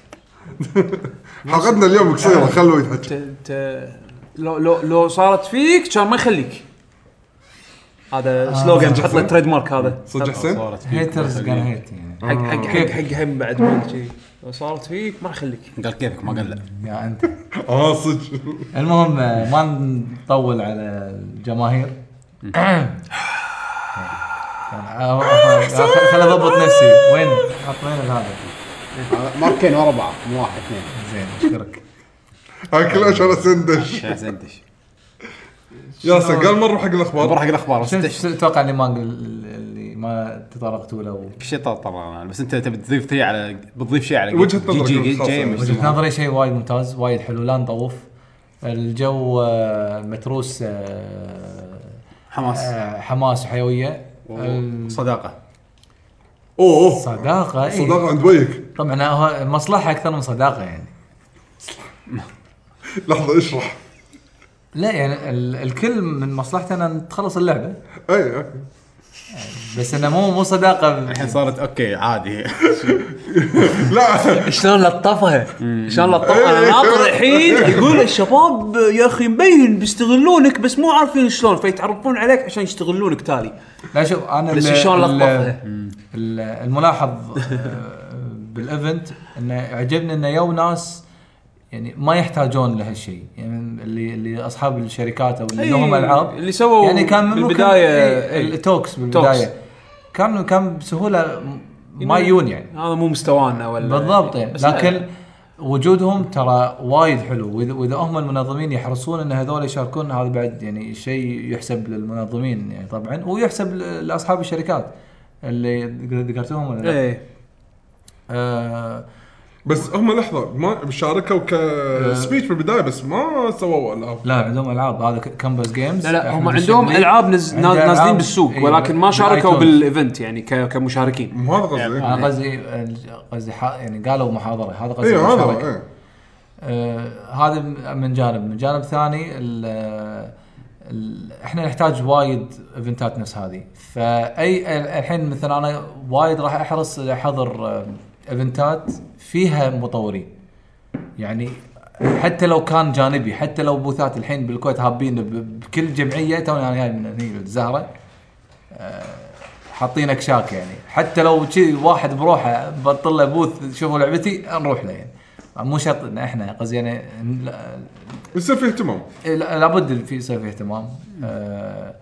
[SPEAKER 2] حلقتنا اليوم قصيرة خلوه
[SPEAKER 4] ت-
[SPEAKER 2] يتحكى
[SPEAKER 4] ت- لو لو لو صارت فيك كان ما يخليك هذا سلوجن تحط له تريد مارك هذا
[SPEAKER 3] آه،
[SPEAKER 2] صدق حسين؟
[SPEAKER 1] صارت فيك.
[SPEAKER 6] هيترز قال هيت يعني
[SPEAKER 4] حق حق حق حق هم بعد ما شي. لو صارت فيك ما يخليك
[SPEAKER 1] قال كيفك ما قال لا
[SPEAKER 6] يا انت
[SPEAKER 2] اه صدق
[SPEAKER 6] المهم آه، ما نطول على الجماهير آه، آه، خل اضبط نفسي وين حط وين هذا
[SPEAKER 1] ماركين ورا بعض مو واحد اثنين
[SPEAKER 6] زين اشكرك
[SPEAKER 2] هاي كلها شغلة سندش
[SPEAKER 1] عشان زندش
[SPEAKER 2] ياسر قال مرة حق
[SPEAKER 1] بروح
[SPEAKER 2] الاخبار
[SPEAKER 1] حق الاخبار بس
[SPEAKER 6] شنو
[SPEAKER 1] انت
[SPEAKER 6] شنو تتوقع اللي ما قل- اللي ما تطرقتوا له
[SPEAKER 1] شيء طبعا بس انت تبي تضيف شيء على بتضيف شيء على
[SPEAKER 2] وجهة نظرك
[SPEAKER 1] جي- جي-
[SPEAKER 2] الخاصة.
[SPEAKER 1] جي- مش-
[SPEAKER 6] وجهه نظري شيء وايد ممتاز وايد حلو لا نطوف الجو آه، متروس آه،
[SPEAKER 1] حماس
[SPEAKER 6] آه، حماس وحيويه
[SPEAKER 1] صداقه
[SPEAKER 2] اوه أوه.
[SPEAKER 6] صداقه إيه.
[SPEAKER 2] صداقة عند وجهك
[SPEAKER 6] طبعا هو مصلحه اكثر من صداقه يعني
[SPEAKER 2] لحظة اشرح
[SPEAKER 6] لا يعني ال- الكل من مصلحته ان تخلص اللعبه
[SPEAKER 2] اي أوكي.
[SPEAKER 6] بس انه مو مو صداقه
[SPEAKER 1] الحين صارت اوكي عادي
[SPEAKER 2] لا
[SPEAKER 4] شلون لطفها شلون لطفها انا ناطر الحين يقول الشباب يا اخي مبين بيستغلونك بس مو عارفين شلون فيتعرفون عليك عشان يستغلونك تالي
[SPEAKER 6] لا شوف انا
[SPEAKER 4] بس
[SPEAKER 6] ال-
[SPEAKER 4] شلون
[SPEAKER 6] ال-
[SPEAKER 4] لطفها.
[SPEAKER 6] ال- الملاحظ آه، بالايفنت انه عجبني انه يو ناس يعني ما يحتاجون لهالشيء يعني اللي اللي اصحاب الشركات او اللي
[SPEAKER 4] أي،
[SPEAKER 6] لهم العاب
[SPEAKER 4] اللي سووا
[SPEAKER 6] يعني كان من
[SPEAKER 4] إيه. بالبداية، إيه. أي.
[SPEAKER 6] التوكس بالبدايه كان كان بسهوله ما يجون يعني
[SPEAKER 4] إيه. هذا مو مستوانا ولا
[SPEAKER 6] بالضبط يعني
[SPEAKER 4] بس لا،
[SPEAKER 6] لكن وجودهم ترى وايد حلو واذا واذا هم المنظمين يحرصون ان هذول يشاركون هذا بعد يعني شيء يحسب للمنظمين يعني طبعا ويحسب ل- لاصحاب الشركات اللي ذك- ذكرتهم ولا لا؟
[SPEAKER 4] ايه
[SPEAKER 6] آه
[SPEAKER 2] بس هم لحظة ما شاركوا
[SPEAKER 6] آه.
[SPEAKER 2] كسبيتش بالبداية بس ما سووا العاب
[SPEAKER 6] لا عندهم العاب هذا كامبس جيمز
[SPEAKER 4] لا لا هم عندهم العاب نز...
[SPEAKER 6] عندنا
[SPEAKER 4] ناز- نازلين
[SPEAKER 6] ألعاب-
[SPEAKER 4] بالسوق
[SPEAKER 6] إيه،
[SPEAKER 4] ولكن ما شاركوا
[SPEAKER 6] بالآيتونز.
[SPEAKER 4] بالايفنت يعني ك... كمشاركين
[SPEAKER 2] مو هذا قصدي
[SPEAKER 6] انا آه، قصدي قصدي ح- يعني قالوا محاضره هذا قصدي
[SPEAKER 2] اي هذا
[SPEAKER 6] مشاركة.
[SPEAKER 2] إيه.
[SPEAKER 6] آه، هذا من جانب من جانب ثاني ال ال احنا نحتاج وايد ايفنتات نفس هذه فاي ال- الحين مثلا انا وايد راح احرص احضر آه، ايفنتات فيها مطورين يعني حتى لو كان جانبي حتى لو بوثات الحين بالكويت هابين ب- بكل جمعيه توني انا جاي من هني الزهره آه، حاطين اكشاك يعني حتى لو شي واحد بروحه بطل له بوث شوفوا لعبتي نروح له يعني مو شرط ان احنا قصدي يعني لا-
[SPEAKER 2] يصير في اهتمام
[SPEAKER 6] إيه، لا- لابد في يصير في اهتمام آه،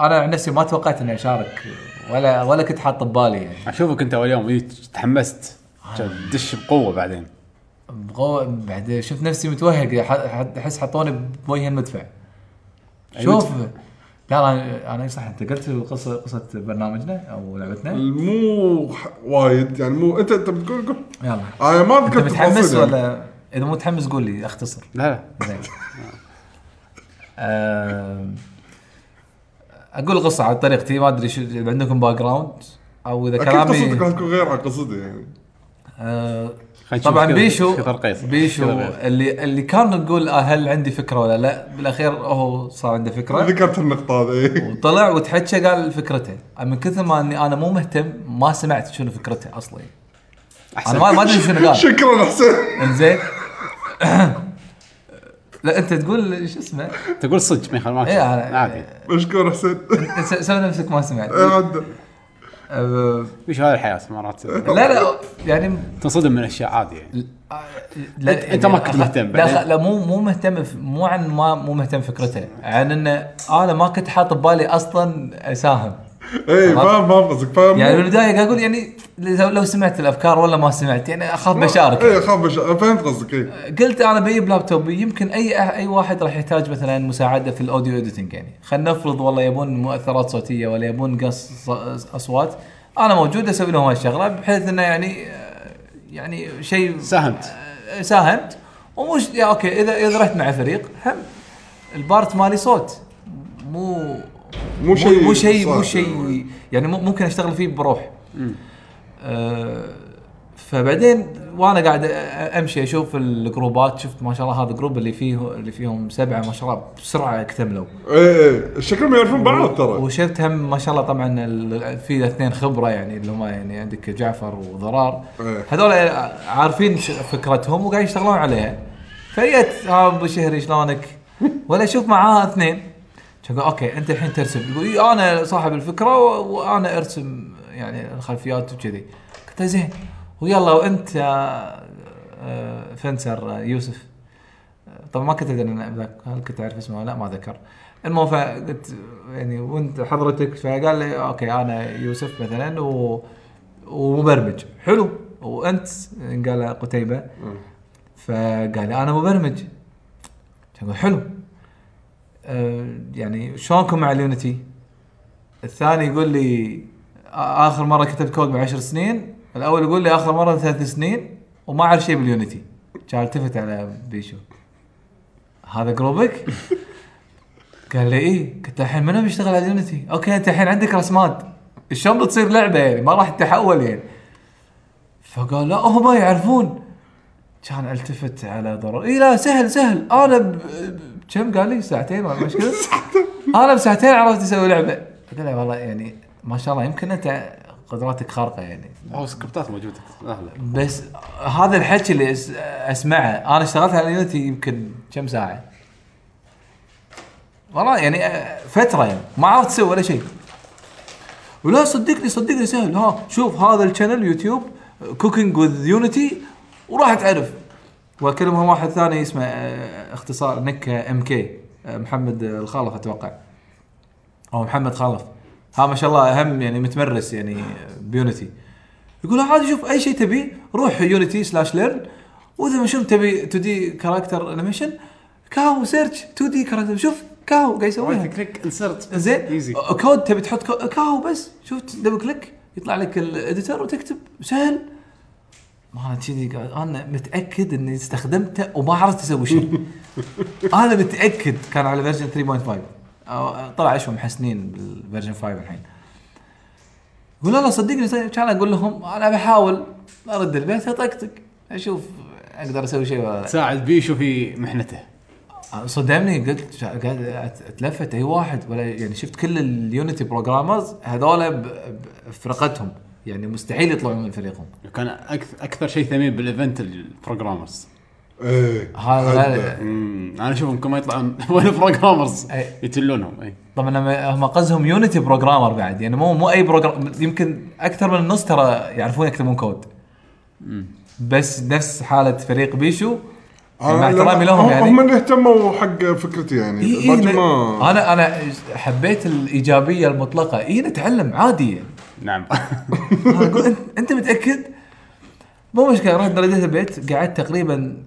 [SPEAKER 6] انا عن نفسي ما توقعت اني اشارك ولا ولا كنت حاط ببالي يعني
[SPEAKER 1] اشوفك انت اول يوم جيت تحمست
[SPEAKER 6] آه.
[SPEAKER 1] دش بقوه بعدين
[SPEAKER 6] بغو بعد شفت نفسي متوهق ح- ح- احس حطوني بوجه المدفع
[SPEAKER 1] أي
[SPEAKER 6] شوف لا لا انا انا صح انت قلت قصه قصه برنامجنا او لعبتنا
[SPEAKER 2] مو ح- وايد يعني مو انت انت بتقول قول
[SPEAKER 6] يلا
[SPEAKER 2] انا ما
[SPEAKER 6] انت
[SPEAKER 2] اذكر
[SPEAKER 6] متحمس
[SPEAKER 2] تفاصيل يعني.
[SPEAKER 6] ولا اذا مو متحمس قول لي اختصر
[SPEAKER 1] لا لا
[SPEAKER 6] زين آه، آم، اقول قصه على طريقتي ما ادري شو إذا عندكم باك جراوند او اذا
[SPEAKER 2] اكيد
[SPEAKER 6] كلامي
[SPEAKER 2] قصتك راح تكون غير عن قصدي يعني
[SPEAKER 6] آه،
[SPEAKER 1] خلينا نشوف
[SPEAKER 6] طبعا
[SPEAKER 1] كذا-
[SPEAKER 6] بيشو
[SPEAKER 1] كذا رقيص.
[SPEAKER 6] بيشو
[SPEAKER 1] كذا رقيص.
[SPEAKER 6] اللي اللي كان نقول آه، هل عندي فكره ولا لا بالاخير هو صار عنده فكره
[SPEAKER 2] ذكرت النقطة هذه إيه.
[SPEAKER 6] وطلع وتحكى قال فكرته من كثر ما اني انا مو مهتم ما سمعت شنو فكرته اصلا انا ما ما ادري شنو قال
[SPEAKER 2] شكرا حسين
[SPEAKER 6] انزين لا انت تقول شو اسمه
[SPEAKER 1] تقول صدق ما يخالف ما
[SPEAKER 6] إيه، أنا-
[SPEAKER 1] عادي
[SPEAKER 2] مشكور حسين
[SPEAKER 6] س- سوي نفسك ما سمعت
[SPEAKER 2] إيه، عدى.
[SPEAKER 6] أه،
[SPEAKER 1] وش هذه الحياه مرات
[SPEAKER 6] لا لا يعني
[SPEAKER 1] تنصدم من اشياء عادي يعني
[SPEAKER 6] لا يعني
[SPEAKER 1] أنت- أنت ما كنت مهتم
[SPEAKER 6] لا
[SPEAKER 1] بعدين.
[SPEAKER 6] خ- لا مو مو مهتم ف- مو عن ما مو مهتم فكرته عن انه انا ما كنت حاط ببالي اصلا اساهم
[SPEAKER 2] اي إيه، فاهم فاهم قصدك فاهم
[SPEAKER 6] يعني بالبدايه قاعد اقول يعني لو لو سمعت الافكار ولا ما سمعت يعني اخاف بشارك
[SPEAKER 2] اي إيه، خاف بشارك فهمت قصدك إيه. اي
[SPEAKER 6] قلت انا بجيب لابتوب يمكن اي أح- اي واحد راح يحتاج مثلا مساعده في الاوديو اديتنج يعني خلينا نفرض والله يبون مؤثرات صوتيه ولا يبون قص ص- اصوات انا موجود اسوي لهم هالشغله بحيث انه يعني يعني شيء
[SPEAKER 1] ساهمت
[SPEAKER 6] آه، ساهمت ومش يا اوكي اذا اذا رحت مع فريق هم البارت مالي صوت مو
[SPEAKER 2] مو شيء
[SPEAKER 6] مو شيء مو
[SPEAKER 2] صار.
[SPEAKER 6] شيء يعني مو- ممكن اشتغل فيه بروح آه ف فبعدين وانا قاعد امشي اشوف الجروبات شفت ما شاء الله هذا الجروب اللي فيه اللي فيهم سبعه ما شاء الله بسرعه اكتملوا
[SPEAKER 2] ايه ايه شكلهم يعرفون بعض ترى
[SPEAKER 6] وشفت هم ما شاء الله طبعا ال- في اثنين خبره يعني اللي هم يعني عندك جعفر وضرار
[SPEAKER 2] إيه.
[SPEAKER 6] هذول عارفين ش- فكرتهم وقاعد يشتغلون عليها فجت ها ابو شهري شلونك؟ ولا اشوف معاها اثنين كان يقول اوكي انت الحين ترسم يقول إي، انا صاحب الفكره و- وانا ارسم يعني الخلفيات وكذي قلت له زين ويلا وانت يا آه، فنسر آه، يوسف طبعا ما كنت ادري أنا ذاك- هل كنت اعرف اسمه ولا لا ما ذكر المهم فقلت يعني وانت حضرتك فقال لي اوكي انا يوسف مثلا و ومبرمج حلو وانت قال قتيبه فقال لي انا مبرمج اقول حلو أه، يعني شلونكم مع اليونتي؟ الثاني يقول لي آ- اخر مره كتبت كود من 10 سنين الاول يقول لي اخر مره من ثلاث سنين وما اعرف شيء باليونتي كان التفت على بيشو هذا جروبك؟ قال لي ايه قلت له الحين منو بيشتغل على اليونتي؟ اوكي انت الحين عندك رسمات شلون بتصير لعبه يعني ما راح تتحول يعني فقال لا هم ما يعرفون كان التفت على ضرر اي لا سهل سهل انا ب- ب- كم قال لي ساعتين ولا مش كذا انا بساعتين عرفت اسوي لعبه قلت له والله يعني ما شاء الله يمكن انت قدراتك خارقه يعني
[SPEAKER 1] او سكريبتات موجوده اهلا
[SPEAKER 6] بس هذا الحكي اللي أس- اسمعه انا اشتغلت على يونيتي يمكن كم ساعه والله يعني آه، فتره يعني ما عرفت اسوي ولا شيء ولا صدقني صدقني سهل ها شوف هذا الشانل يوتيوب آه، كوكينج وذ يونيتي وراح تعرف واكلمهم واحد ثاني اسمه آه، اختصار نك ام كي محمد آه، الخالف اتوقع او محمد خالف ها ما شاء الله هم يعني متمرس يعني بيونيتي يقول له عادي شوف اي شيء تبيه روح يونيتي سلاش ليرن واذا ما شنو تبي 2 دي كاركتر انيميشن كاو سيرش 2 دي كاركتر شوف كاو قاعد يسويها
[SPEAKER 1] رايت كليك انسرت
[SPEAKER 6] زين
[SPEAKER 1] ايزي
[SPEAKER 6] كود تبي تحط كو- كاو بس شفت دبل كليك يطلع لك الاديتر وتكتب سهل ما انا كذي قاعد- انا متاكد اني استخدمته وما عرفت اسوي شيء انا متاكد كان على فيرجن 3.5 أو- طلع اشوف محسنين بالفيرجن 5 الحين يقول لا لا صدقني صدقني. كان اقول لهم انا بحاول ارد البيت اطقطق اشوف اقدر اسوي شيء ولا لا
[SPEAKER 1] تساعد بيشو في محنته
[SPEAKER 6] صدمني قلت شا- قاعد أت- اتلفت اي واحد ولا يعني شفت كل اليونتي بروجرامرز هذول ب- ب- بفرقتهم يعني مستحيل يطلعون من فريقهم
[SPEAKER 1] كان اكثر اكثر شيء ثمين بالايفنت البروجرامرز
[SPEAKER 2] ايه
[SPEAKER 6] هذا
[SPEAKER 2] حد.
[SPEAKER 1] امم انا اشوفهم كل ما يطلعون وين البروجرامرز إيه.
[SPEAKER 6] أي.
[SPEAKER 1] يتلونهم اي
[SPEAKER 6] طبعا لما هم قصدهم يونتي بروجرامر بعد يعني مو مو اي بروجرام يمكن اكثر من النص ترى يعرفون يكتبون كود بس نفس حاله فريق بيشو مع
[SPEAKER 2] أنا-
[SPEAKER 6] احترامي لهم
[SPEAKER 2] آه، هم-
[SPEAKER 6] يعني
[SPEAKER 2] هم اللي اهتموا حق فكرتي يعني
[SPEAKER 6] إي إي
[SPEAKER 2] الباقي
[SPEAKER 6] ن-
[SPEAKER 2] ما
[SPEAKER 6] انا انا حبيت الايجابيه المطلقه اي نتعلم عادي يعني.
[SPEAKER 1] نعم
[SPEAKER 6] أنا أقول أنت- انت متاكد؟ مو مشكله رحت رديت البيت قعدت تقريبا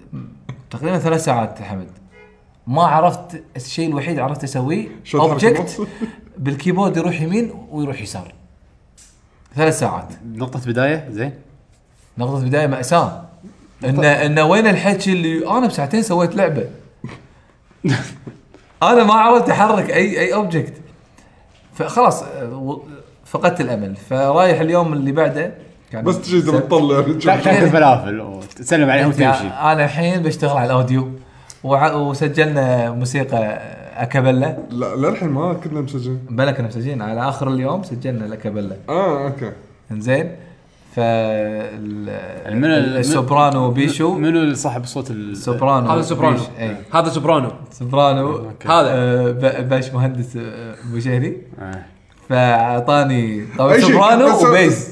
[SPEAKER 6] تقريبا ثلاث ساعات يا حمد ما عرفت الشيء الوحيد عرفت اسويه
[SPEAKER 2] شو تحرك
[SPEAKER 6] Object
[SPEAKER 2] الماوس؟
[SPEAKER 6] بالكيبورد يروح يمين ويروح يسار ثلاث ساعات
[SPEAKER 1] نقطة بداية زين
[SPEAKER 6] نقطة بداية مأساة
[SPEAKER 2] طيب.
[SPEAKER 6] ان ان وين الحكي اللي انا بساعتين سويت لعبة انا ما عرفت احرك اي اي اوبجكت فخلاص آه، و- فقدت الامل فرايح اليوم اللي بعده كان
[SPEAKER 2] بس تجي
[SPEAKER 6] سب-
[SPEAKER 2] تطلع
[SPEAKER 1] تاكل فلافل وتسلم عليهم
[SPEAKER 6] قلت
[SPEAKER 1] وتمشي
[SPEAKER 6] يا- انا يعني الحين بشتغل على الاوديو وع- وسجلنا موسيقى اكابيلا
[SPEAKER 2] لا للحين ما كنا مسجلين
[SPEAKER 6] بلا كنا مسجلين على اخر اليوم سجلنا الاكابيلا
[SPEAKER 2] اه اوكي
[SPEAKER 6] انزين ف
[SPEAKER 1] المن-
[SPEAKER 6] السوبرانو بيشو
[SPEAKER 1] منو اللي صاحب صوت ال
[SPEAKER 6] سوبرانو
[SPEAKER 4] هذا سوبرانو
[SPEAKER 6] بيش- اي
[SPEAKER 3] آه.
[SPEAKER 4] هذا سوبرانو
[SPEAKER 6] سوبرانو
[SPEAKER 4] هذا.
[SPEAKER 6] آه، ب- باش مهندس آه، ابو شهري
[SPEAKER 1] آه.
[SPEAKER 6] فاعطاني طبعا
[SPEAKER 2] أي شيء.
[SPEAKER 6] سوبرانو
[SPEAKER 2] بس-
[SPEAKER 6] وبيز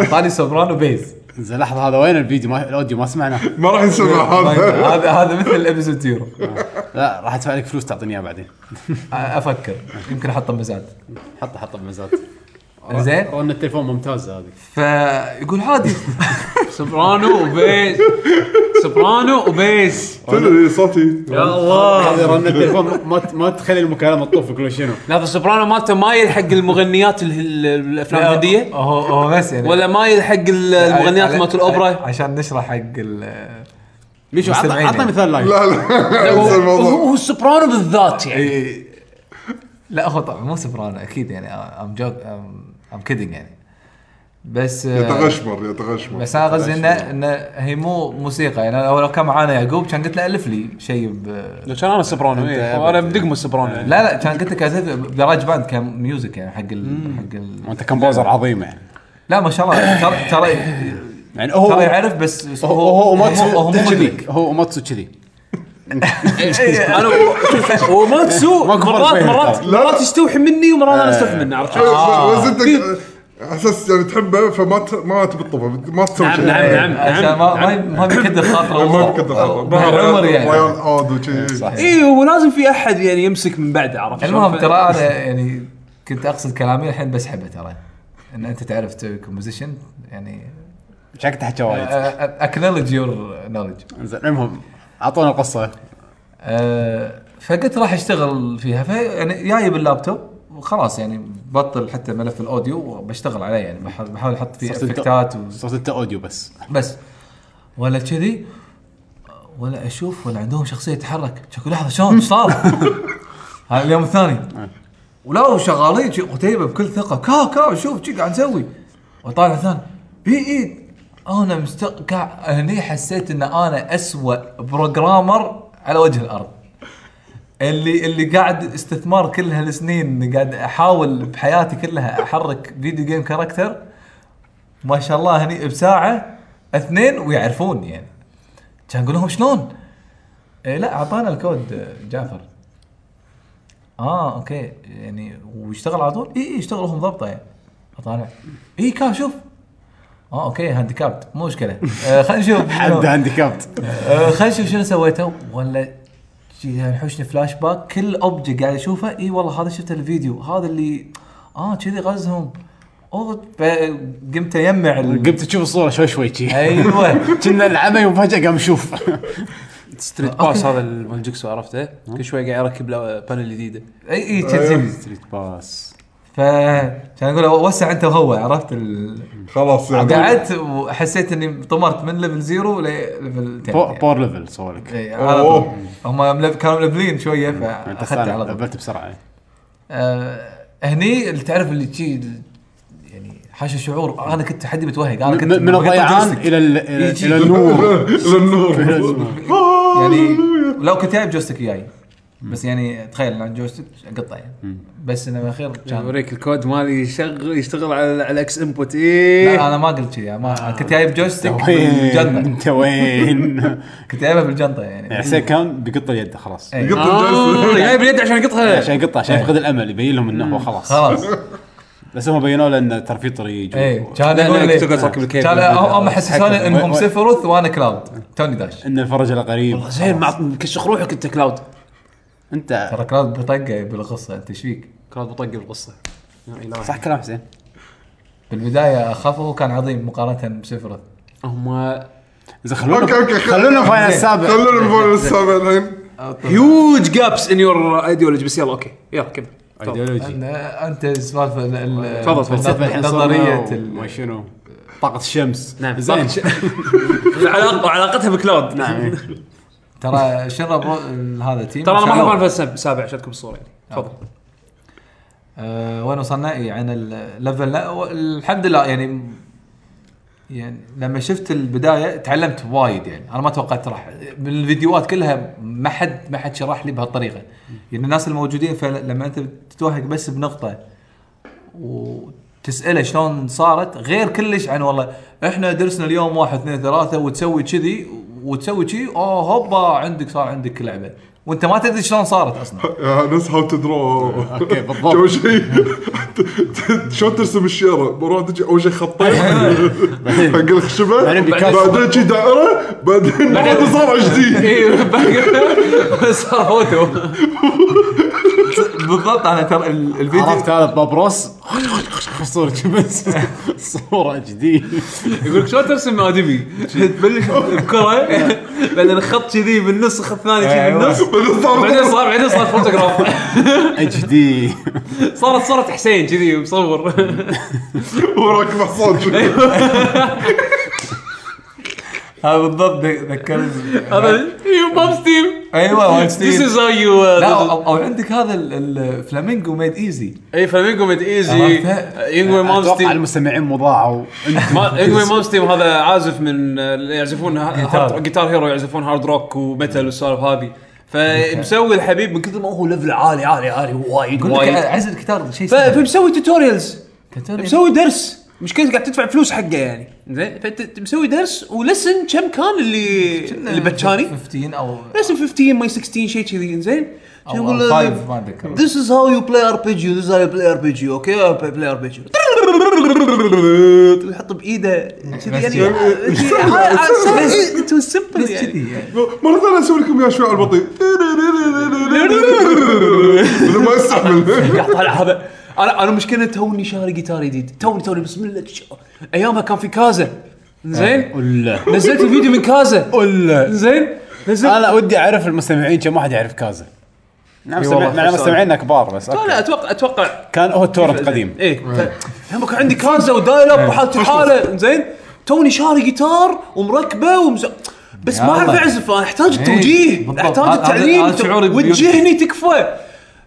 [SPEAKER 6] اعطاني سوبرانو بيز
[SPEAKER 1] زين لحظة هذا وين الفيديو ما الاوديو ما سمعناه
[SPEAKER 2] ما راح نسمع هذا
[SPEAKER 6] إيه، هذا هذا مثل الابيسود زيرو
[SPEAKER 1] لا راح ادفع لك فلوس تعطيني اياها بعدين
[SPEAKER 6] آه، افكر يمكن احطه مزاد
[SPEAKER 1] حطه حطه بمزات
[SPEAKER 6] زين.
[SPEAKER 1] رن التليفون ممتازة هذه
[SPEAKER 6] فيقول عادي
[SPEAKER 4] سوبرانو وبيز سوبرانو وبيز
[SPEAKER 2] تدري صوتي
[SPEAKER 4] يا الله
[SPEAKER 6] آه.
[SPEAKER 1] هذه رن التليفون ما ما تخلي المكالمة تطوف كل شنو
[SPEAKER 4] لا السوبرانو مالته مايل حق المغنيات ال- ال-
[SPEAKER 3] طيب،
[SPEAKER 4] الافلام الهنديه
[SPEAKER 6] هو هو بس يعني
[SPEAKER 4] ولا مايل حق ال- المغنيات
[SPEAKER 6] على-
[SPEAKER 4] مالت الاوبرا
[SPEAKER 6] عشان نشرح حق ال
[SPEAKER 1] بيشو عط-
[SPEAKER 6] مستمعين
[SPEAKER 1] عطنا
[SPEAKER 6] يعني.
[SPEAKER 1] مثال لايف
[SPEAKER 2] لا لا انسى
[SPEAKER 4] هو
[SPEAKER 2] الموضوع
[SPEAKER 4] هو السوبرانو بالذات يعني
[SPEAKER 6] إي- لا هو طبعا مو سوبرانو اكيد يعني ام جوك ام كيدنج يعني بس
[SPEAKER 2] يتغشمر يتغشمر
[SPEAKER 6] بس انا قصدي انه انه هي مو موسيقى يعني أنا لو كان معانا يعقوب كان قلت له الف لي شيء ب...
[SPEAKER 3] عشان انا سوبرانو إيه. انا بدقم السوبرانو يعني.
[SPEAKER 6] لا لا كان قلت لك ألف بدراج باند كان ميوزك يعني حق ال... حق ال...
[SPEAKER 1] وانت كمبوزر عظيم يعني
[SPEAKER 6] لا ما شاء الله ترى ترى
[SPEAKER 1] يعني هو
[SPEAKER 6] ترى يعرف بس بس
[SPEAKER 1] هو هو
[SPEAKER 6] هو هو
[SPEAKER 1] اوماتسو
[SPEAKER 6] مو مدرك
[SPEAKER 1] كذي هو اوماتسو كذي
[SPEAKER 6] إيه،
[SPEAKER 4] انا شوف وماتسو
[SPEAKER 1] ما كبر
[SPEAKER 4] مرات
[SPEAKER 1] فيها
[SPEAKER 4] مرات
[SPEAKER 1] ترى.
[SPEAKER 4] مرات يستوحي مني ومرات انا استوحي منه عرفت
[SPEAKER 6] آه.
[SPEAKER 2] إيه، بس
[SPEAKER 4] شلون؟
[SPEAKER 2] انت على اساس يعني تحبه فما ت- ما تبطبه ما تسوي
[SPEAKER 4] نعم،
[SPEAKER 2] شيء
[SPEAKER 4] نعم، نعم.
[SPEAKER 6] عشان ما ما ما بيكدر خاطره
[SPEAKER 2] ما بكثر خطر.
[SPEAKER 6] مع العمر يعني
[SPEAKER 2] ويان اود وشي
[SPEAKER 1] صح.
[SPEAKER 4] اي إيه، ولازم في احد يعني يمسك من بعده عرفت شلون؟
[SPEAKER 6] المهم
[SPEAKER 4] ف-
[SPEAKER 6] ترى انا يعني كنت اقصد كلامي الحين بسحبه ترى ان انت تعرف تسوي كومبوزيشن يعني
[SPEAKER 1] شكلك تحكي وايد
[SPEAKER 6] اكنولج يور نولج
[SPEAKER 1] زين المهم اعطونا القصه
[SPEAKER 6] أه، فقلت راح اشتغل فيها في يعني جايب اللابتوب وخلاص يعني بطل حتى ملف الاوديو وبشتغل عليه يعني بحاول بحاول احط فيه
[SPEAKER 1] صرت انت-
[SPEAKER 6] افكتات و-
[SPEAKER 1] صرت انت اوديو بس
[SPEAKER 6] بس ولا كذي ولا اشوف ولا عندهم شخصيه تتحرك شكو لحظه شلون ايش صار؟ هذا اليوم الثاني ولو شغالين شي قتيبه بكل ثقه كا كا شوف شي قاعد نسوي وطالع ثاني اي اي انا مستق قاعد- هني حسيت ان انا اسوأ بروجرامر على وجه الارض اللي اللي قاعد استثمار كل هالسنين إني قاعد احاول بحياتي كلها احرك فيديو جيم كاركتر ما شاء الله هني بساعه اثنين ويعرفون يعني كان اقول لهم شلون؟ إيه لا اعطانا الكود آه، جعفر اه اوكي يعني ويشتغل على طول؟ اي اي اشتغل هم ضبطه يعني اطالع اي كان شوف اه اوكي هانديكابت مو مشكله آه خلينا نشوف
[SPEAKER 1] حد هانديكابت
[SPEAKER 6] آه، خلينا نشوف شنو سويته ولا شي يحوشني فلاش باك كل اوبجكت قاعد اشوفه اي والله هذا شفته الفيديو هذا اللي اه كذي غزهم اوه ف- قمت اجمع ال-
[SPEAKER 1] قمت تشوف الصوره شوي شوي شي
[SPEAKER 6] ايوه
[SPEAKER 1] كنا العمي وفجاه قام يشوف
[SPEAKER 4] ستريت باس هذا ال- مال جكسو عرفته كل شوي قاعد يركب له بانل جديده
[SPEAKER 6] اي اي كذي
[SPEAKER 1] ستريت باس
[SPEAKER 6] فكان اقول وسع انت وهو عرفت ال...
[SPEAKER 2] خلاص يعني
[SPEAKER 6] قعدت وحسيت اني طمرت من ليفل زيرو لليفل 10 يعني.
[SPEAKER 1] باور ليفل سوالك
[SPEAKER 6] إي، على طول.
[SPEAKER 2] أوه.
[SPEAKER 6] هم ملف- كانوا ملفلين شويه
[SPEAKER 1] انت
[SPEAKER 6] فاخذت على
[SPEAKER 1] سالم
[SPEAKER 6] طول
[SPEAKER 1] قبلت بسرعه
[SPEAKER 6] آه، هني اللي تعرف اللي تشي يعني حاشا شعور انا كنت حدي متوهق انا كنت
[SPEAKER 1] من من
[SPEAKER 6] بغيت
[SPEAKER 1] الضيعان
[SPEAKER 6] أجلسك.
[SPEAKER 1] الى ال- الى
[SPEAKER 6] يجي.
[SPEAKER 1] إلى النور
[SPEAKER 2] للنور آه.
[SPEAKER 6] يعني لو كنت جايب جوستيك وياي بس يعني تخيل انا جوستيك اقطع يعني بس انه بالاخير كان
[SPEAKER 4] اوريك الكود مالي يشغل يشتغل على على الاكس انبوت ايه
[SPEAKER 6] لا انا ما قلت كذي ما كنت جايب جوستيك
[SPEAKER 1] وين
[SPEAKER 6] بالجنطه
[SPEAKER 1] انت وين
[SPEAKER 6] كنت جايبها بالجنطه يعني إيه،
[SPEAKER 1] يعني حسين كان بيقط اليد خلاص
[SPEAKER 6] إي.
[SPEAKER 2] يقط
[SPEAKER 4] آه،
[SPEAKER 2] الجلسة.
[SPEAKER 4] جايب اليد عشان يقطها
[SPEAKER 1] عشان يقطع عشان يفقد الامل يبين لهم انه هو خلاص
[SPEAKER 6] خلاص
[SPEAKER 1] بس هم بينوا له انه ترى في طريق
[SPEAKER 6] اي
[SPEAKER 1] و-
[SPEAKER 6] كان
[SPEAKER 4] لا،
[SPEAKER 6] يقول
[SPEAKER 4] لا، تقدر
[SPEAKER 6] لي
[SPEAKER 4] تركب الكيبل.
[SPEAKER 6] كان هم حسسوني انهم
[SPEAKER 1] و- و-
[SPEAKER 6] سيفروث وانا كلاود توني داش
[SPEAKER 1] ان الفرج له قريب
[SPEAKER 4] والله زين مع- مكشخ روحك انت كلاود
[SPEAKER 1] انت
[SPEAKER 6] ترى كلاود بطقه بالقصه انت ايش فيك؟
[SPEAKER 4] كلاود بطق القصه يا إلهي.
[SPEAKER 1] صح كلام حسين
[SPEAKER 6] بالبدايه اخافه كان عظيم مقارنه بسيفروث
[SPEAKER 4] هم
[SPEAKER 1] زين خلونا
[SPEAKER 2] أوكي، أوكي، خل-
[SPEAKER 1] خلونا آية فاينل السابع
[SPEAKER 2] خلونا نفول السابع الحين
[SPEAKER 4] هيوج جابس ان يور ايديولوجي بس يلا اوكي يلا كمل تفضل.
[SPEAKER 1] ايديولوجي
[SPEAKER 6] أنا- انت السوالف ال- ال-
[SPEAKER 4] تفضل، تفضل.
[SPEAKER 1] فلسفه الحين
[SPEAKER 6] نظريه
[SPEAKER 1] صرنا
[SPEAKER 6] ال-
[SPEAKER 1] وما شنو طاقه الشمس
[SPEAKER 4] نعم
[SPEAKER 1] زين
[SPEAKER 4] علاقة- علاقتها بكلاود نعم
[SPEAKER 6] ترى شرب رو- هذا تيم
[SPEAKER 4] ترى انا ما
[SPEAKER 6] شالوه.
[SPEAKER 4] احب الفلسفه سابع عشانكم الصوره يعني تفضل
[SPEAKER 6] أه وين وصلنا؟ إي، عن الليفل لا و- الحمد لله يعني يعني لما شفت البدايه تعلمت وايد يعني انا ما توقعت راح بالفيديوهات كلها ما حد ما حد شرح لي بهالطريقه يعني الناس الموجودين فلما انت تتوهق بس بنقطه وتساله شلون صارت غير كلش عن والله احنا درسنا اليوم واحد اثنين ثلاثه وتسوي كذي وتسوي كذي اوه هوبا عندك صار عندك لعبه وانت ما تدري شلون صارت اصلا
[SPEAKER 2] يا ناس هاو تو درو
[SPEAKER 1] اوكي
[SPEAKER 2] اول
[SPEAKER 1] بالضبط
[SPEAKER 2] شيء شلون ترسم الشيره؟ مرات تجي اول شيء خطين حق الخشبه
[SPEAKER 1] بعدين بيكاسو.
[SPEAKER 2] بعدين شي دائره بعدين بعدين صار جديد
[SPEAKER 4] اي صار فوتو
[SPEAKER 6] بالضبط انا ترى ال- الفيديو
[SPEAKER 1] عرفت هذا بابروس صورة بس صورة جديدة
[SPEAKER 4] يقول لك شلون ترسم ادمي تبلش بكره بعدين خط كذي بالنص خط ثاني كذي
[SPEAKER 6] أيوة.
[SPEAKER 4] بالنص
[SPEAKER 2] بعدين صار
[SPEAKER 4] بعدين صار بعدين صار فوتوغراف
[SPEAKER 1] اتش دي
[SPEAKER 4] صارت صورة حسين كذي مصور
[SPEAKER 2] وراك محصان شو-
[SPEAKER 6] هذا اه، بالضبط ذكرني
[SPEAKER 4] هذا باب ستيم
[SPEAKER 6] ايوه وايد
[SPEAKER 4] This
[SPEAKER 6] ستيل
[SPEAKER 4] is how you uh,
[SPEAKER 6] لا او أو عندك هذا ال- الفلامينجو ميد ايزي
[SPEAKER 4] اي فلامينجو ميد ايزي
[SPEAKER 6] عرفته؟
[SPEAKER 4] انجوي مام
[SPEAKER 1] اتوقع
[SPEAKER 4] ستيم
[SPEAKER 1] المستمعين مضاعوا
[SPEAKER 4] انجوي مام ستيم هذا عازف من uh, اللي يعزفون
[SPEAKER 6] جيتار.
[SPEAKER 4] هارد- جيتار هيرو يعزفون هارد روك ومتل والسوالف هذه فمسوي الحبيب من كثر ما هو ليفل عالي عالي عالي وايد
[SPEAKER 6] يقول لك
[SPEAKER 4] وايد
[SPEAKER 6] عزل الكتار شيء
[SPEAKER 4] ف- فمسوي توتوريالز
[SPEAKER 6] سهل
[SPEAKER 4] مسوي درس مشكلته قاعد تدفع فلوس حقه يعني زين فانت مسوي درس ولسن كم كان اللي اللي بتشاني
[SPEAKER 6] 15 او
[SPEAKER 4] لسن 15 ماي 16 شيء كذي زين
[SPEAKER 6] او 5 ما اتذكر
[SPEAKER 4] This is how you play RPG, this is how you play RPG, okay, I play RPG. ويحط بايده كذي يعني آه، ات واز سمبل
[SPEAKER 6] بس
[SPEAKER 4] يعني
[SPEAKER 6] كذي يعني.
[SPEAKER 2] مره ثانيه اسوي لكم اياها شوي على البطيء بدل ما استحمل
[SPEAKER 4] قاعد طالع هذا انا انا مشكله توني شاري جيتار جديد توني توني بسم الله ش- ايامها كان في كازا زين
[SPEAKER 1] ولا
[SPEAKER 4] نزلت الفيديو من كازا
[SPEAKER 1] ولا
[SPEAKER 4] زين نزلت
[SPEAKER 1] انا ودي اعرف المستمعين كم واحد يعرف كازا نعم
[SPEAKER 4] والله،
[SPEAKER 1] مستمع- مع
[SPEAKER 4] خمسة.
[SPEAKER 1] مستمعينا كبار بس
[SPEAKER 4] لا
[SPEAKER 1] أوكي.
[SPEAKER 6] يعني.
[SPEAKER 4] لا اتوقع اتوقع
[SPEAKER 1] كان هو التورنت قديم
[SPEAKER 4] ايه ف- لما كان عندي كازا ودايل اب وحالتي حاله زين توني شاري جيتار ومركبه ومز... بس ما اعرف
[SPEAKER 6] الله.
[SPEAKER 4] اعزف انا احتاج
[SPEAKER 6] إيه،
[SPEAKER 4] التوجيه
[SPEAKER 6] بالضبط.
[SPEAKER 4] احتاج
[SPEAKER 6] هذا- هذا-
[SPEAKER 4] التعليم
[SPEAKER 6] هذا شعوري باليوتيوب.
[SPEAKER 4] وجهني تكفى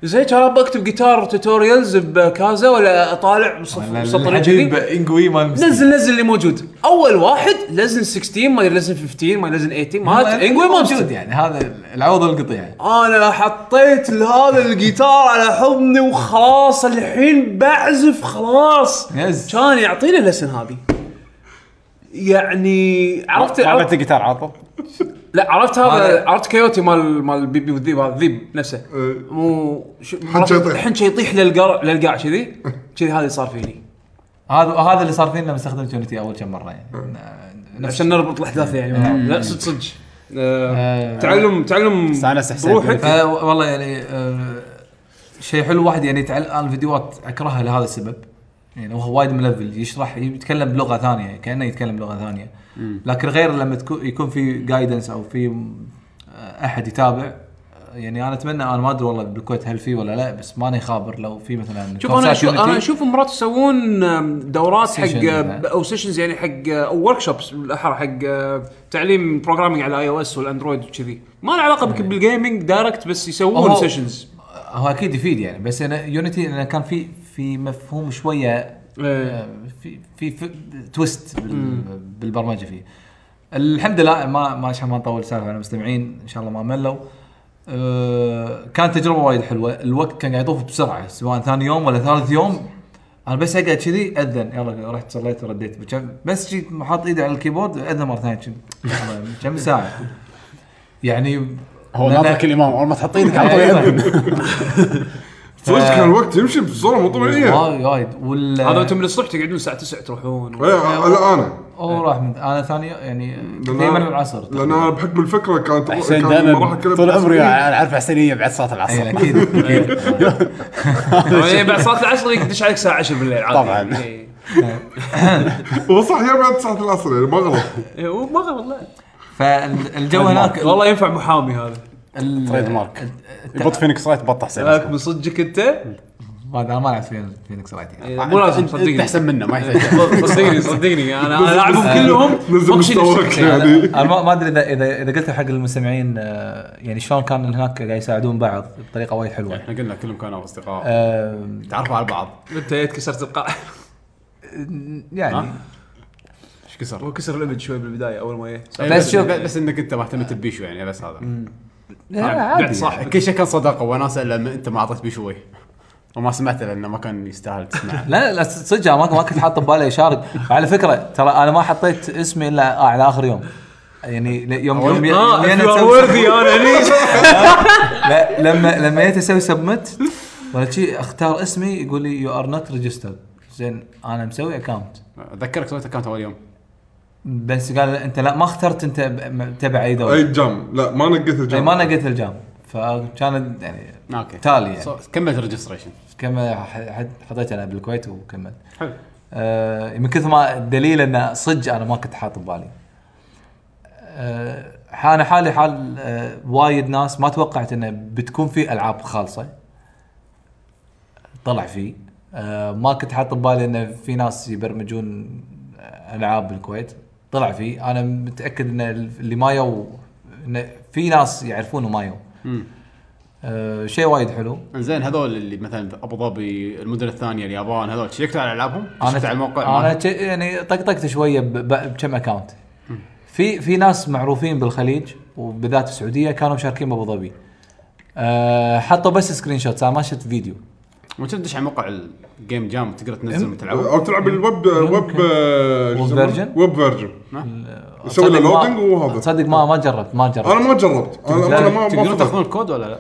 [SPEAKER 4] زين كان ابى اكتب جيتار توتوريالز بكازا ولا اطالع
[SPEAKER 6] لا،
[SPEAKER 4] مسطر
[SPEAKER 6] الحجيب
[SPEAKER 4] كذي
[SPEAKER 6] انجوي مال مسكين.
[SPEAKER 4] نزل نزل اللي موجود اول واحد لزن 16 ما لزن 15 ما لزن 18
[SPEAKER 6] هو
[SPEAKER 4] ما انجوي مونستر
[SPEAKER 6] موجود يعني هذا العوض القطيع
[SPEAKER 4] انا حطيت هذا الجيتار على حضني وخلاص الحين بعزف خلاص
[SPEAKER 6] يس.
[SPEAKER 4] كان يعطينا لسن هذه يعني عرفت,
[SPEAKER 1] ما
[SPEAKER 4] عرفت
[SPEAKER 1] بعت جيتار عاطل
[SPEAKER 4] لا عرفت هذا
[SPEAKER 6] هذا-
[SPEAKER 4] عرفت كيوتي مال مال بيبي والذيب هذا الذيب نفسه مو شو-
[SPEAKER 2] حنشي يطيح.
[SPEAKER 4] حنشي يطيح للقرع للقاع كذي كذي هذا صار فيني
[SPEAKER 6] هذا هذا اللي صار فينا لما استخدمت يونيتي اول كم مره يعني
[SPEAKER 4] آه.
[SPEAKER 6] نفس
[SPEAKER 4] عشان نربط الاحداث يعني لا صدق صدق آه،
[SPEAKER 6] آه.
[SPEAKER 4] تعلم تعلم
[SPEAKER 1] استانس حسين.
[SPEAKER 4] روحك
[SPEAKER 6] آه، والله يعني آه، شيء حلو واحد يعني يتعلم انا الفيديوهات اكرهها لهذا السبب يعني هو وايد ملفل يشرح يتكلم بلغه ثانيه كانه يتكلم بلغه ثانيه لكن غير لما تكون يكون في جايدنس او في آه، احد يتابع آه، يعني انا اتمنى انا ما ادري والله بالكويت هل في ولا لا بس ماني خابر لو في مثلا
[SPEAKER 4] شوف انا
[SPEAKER 6] كورسات
[SPEAKER 4] أشوف انا
[SPEAKER 6] يونيتي.
[SPEAKER 4] اشوف مرات يسوون آم، دورات حق
[SPEAKER 6] Session،
[SPEAKER 4] آه، او سيشنز يعني حق آه، او ورك شوبس بالاحرى حق آه، تعليم بروجرامينج على اي او اس والاندرويد وكذي ما له علاقه بك- بالجيمنج دايركت بس يسوون
[SPEAKER 6] هو-
[SPEAKER 4] سيشنز
[SPEAKER 6] هو اكيد يفيد يعني بس انا يونيتي انا كان في في مفهوم شويه
[SPEAKER 4] إيه.
[SPEAKER 6] في في, في تويست بال- بالبرمجه فيه الحمد لله ما ما عشان ما نطول سالفه على المستمعين ان شاء الله ما ملوا أه، كانت تجربه وايد حلوه الوقت كان قاعد يطوف بسرعه سواء ثاني يوم ولا ثالث يوم انا بس اقعد كذي اذن يلا رحت صليت ورديت بجم- بس جيت حاط ايدي على الكيبورد اذن مره ثانيه كم- كم ساعه يعني
[SPEAKER 1] هو
[SPEAKER 6] لأن-
[SPEAKER 1] ناطرك الامام اول ما تحط ايدك على طول
[SPEAKER 6] أيضاً.
[SPEAKER 1] يأذن.
[SPEAKER 2] صدق كان الوقت يمشي بصوره مو طبيعيه
[SPEAKER 6] وايد وايد وال
[SPEAKER 4] هذا انتم من الصبح تقعدون الساعه 9 تروحون
[SPEAKER 2] إيه، لا انا
[SPEAKER 6] هو راح من انا ثاني يعني
[SPEAKER 2] لأن
[SPEAKER 6] دائما
[SPEAKER 2] أنا-
[SPEAKER 6] العصر
[SPEAKER 2] لان انا بحكم الفكره كانت
[SPEAKER 1] حسين
[SPEAKER 2] كان
[SPEAKER 1] دائما
[SPEAKER 2] مراحل كلها
[SPEAKER 1] طول عمري
[SPEAKER 2] بتحسب
[SPEAKER 1] انا اعرف حسين بعد صلاه
[SPEAKER 6] إيه،
[SPEAKER 1] العصر
[SPEAKER 6] اكيد اكيد
[SPEAKER 4] يعني بعد صلاه العصر يدش عليك الساعه 10 بالليل عادي
[SPEAKER 1] طبعاً.
[SPEAKER 4] إيه.
[SPEAKER 2] فيه. هو صح يا بعد 9 العصر يعني ما غلط
[SPEAKER 4] إيه، وما غلط لا
[SPEAKER 6] فالجو هناك
[SPEAKER 4] والله ينفع محامي هذا
[SPEAKER 6] ال-
[SPEAKER 1] تريد مارك.
[SPEAKER 6] الت-
[SPEAKER 1] يبط فينيكس رايت بط حسين
[SPEAKER 4] لك من صدقك انت إيه،
[SPEAKER 6] ما أدري، انا ما لعبت فين- فينيكس رايت يعني.
[SPEAKER 4] مو لازم صدقني
[SPEAKER 1] احسن منه ما يحتاج
[SPEAKER 4] صدقني صدقني انا أنا العبهم كلهم
[SPEAKER 2] نزل
[SPEAKER 4] بخشي نفسي.
[SPEAKER 2] مستواك
[SPEAKER 6] انا
[SPEAKER 2] يعني
[SPEAKER 6] أنا ما ما ادري اذا اذا اذا قلت حق المستمعين آه، يعني شلون كان هناك قاعد يساعدون بعض بطريقه وايد آه، حلوه
[SPEAKER 1] احنا قلنا كلهم كانوا اصدقاء
[SPEAKER 6] آم،
[SPEAKER 1] تعرفوا على بعض
[SPEAKER 4] انت جيت كسرت القاع
[SPEAKER 6] يعني
[SPEAKER 1] ها؟ ايش كسر؟
[SPEAKER 4] هو كسر الامج شوي بالبدايه اول ما يه.
[SPEAKER 1] بس
[SPEAKER 6] شوف-
[SPEAKER 1] بس انك انت ما اهتمت ببيشو يعني بس هذا
[SPEAKER 6] لا، آه، عادي.
[SPEAKER 4] بعد صاحبك
[SPEAKER 1] كل شيء كان صداقه وناسه الا لما انت ما اعطيت بيشوي وما سمعته لانه ما كان يستاهل تسمعه
[SPEAKER 6] لا لا صدق أنا ما ما كنت حاط ببالي اشارك على فكره ترى انا ما حطيت اسمي الا على اخر يوم يعني ل- يوم يوم
[SPEAKER 4] اه
[SPEAKER 6] يوم-
[SPEAKER 4] يو ار
[SPEAKER 6] يوم-
[SPEAKER 4] وورثي انا هني
[SPEAKER 6] لا لما لما جيت اسوي سبمت ولا شي اختار اسمي يقول لي يو ار نوت ريجسترد زين انا مسوي اكونت
[SPEAKER 1] اتذكرك سويت اكونت اول يوم
[SPEAKER 6] بس قال لا، انت لا ما اخترت انت ب- م- تبع اي
[SPEAKER 1] طيب.
[SPEAKER 2] اي
[SPEAKER 6] دوله
[SPEAKER 2] جام لا ما نقيت
[SPEAKER 6] اي
[SPEAKER 2] الجام
[SPEAKER 6] طيب، ما نقيت الجام فكانت يعني
[SPEAKER 1] اوكي
[SPEAKER 6] تالي يعني.
[SPEAKER 1] So- كملت ريجستريشن
[SPEAKER 6] كم ح- حد- حطيت انا بالكويت وكملت
[SPEAKER 1] حلو
[SPEAKER 6] آه، من كثر ما الدليل انه صدق انا ما كنت حاط ببالي. آه، انا حالي حال آه، وايد ناس ما توقعت انه بتكون في العاب خالصه. طلع في آه، ما كنت حاط ببالي انه في ناس يبرمجون آه، العاب بالكويت طلع فيه انا متاكد ان اللي ما يو إن في ناس يعرفون وما يو
[SPEAKER 1] مم.
[SPEAKER 6] أه شيء وايد حلو
[SPEAKER 1] زين هذول اللي مثلا ابو ظبي المدن الثانيه اليابان هذول شيكت على العابهم؟ شفت على الموقع
[SPEAKER 6] انا ت- يعني طقطقت شويه ب- ب- بكم اكونت في في ناس معروفين بالخليج وبالذات في السعوديه كانوا مشاركين بابو ظبي أه حطوا بس سكرين شوت انا ما شفت فيديو
[SPEAKER 1] ما تدش على موقع الجيم جام تقدر تنزل وتلعب
[SPEAKER 2] او تلعب الويب ويب
[SPEAKER 6] ويب فيرجن؟
[SPEAKER 2] ويب فيرجن يسوي
[SPEAKER 6] تصدق
[SPEAKER 2] له
[SPEAKER 6] ما-
[SPEAKER 2] لودنج وهذا.
[SPEAKER 6] تصدق ما ما جربت ما جربت
[SPEAKER 2] انا ما جربت انا
[SPEAKER 6] لا،
[SPEAKER 2] انا ما
[SPEAKER 1] تقدرون
[SPEAKER 2] ما
[SPEAKER 1] تاخذون
[SPEAKER 2] فضلت.
[SPEAKER 1] الكود ولا لا؟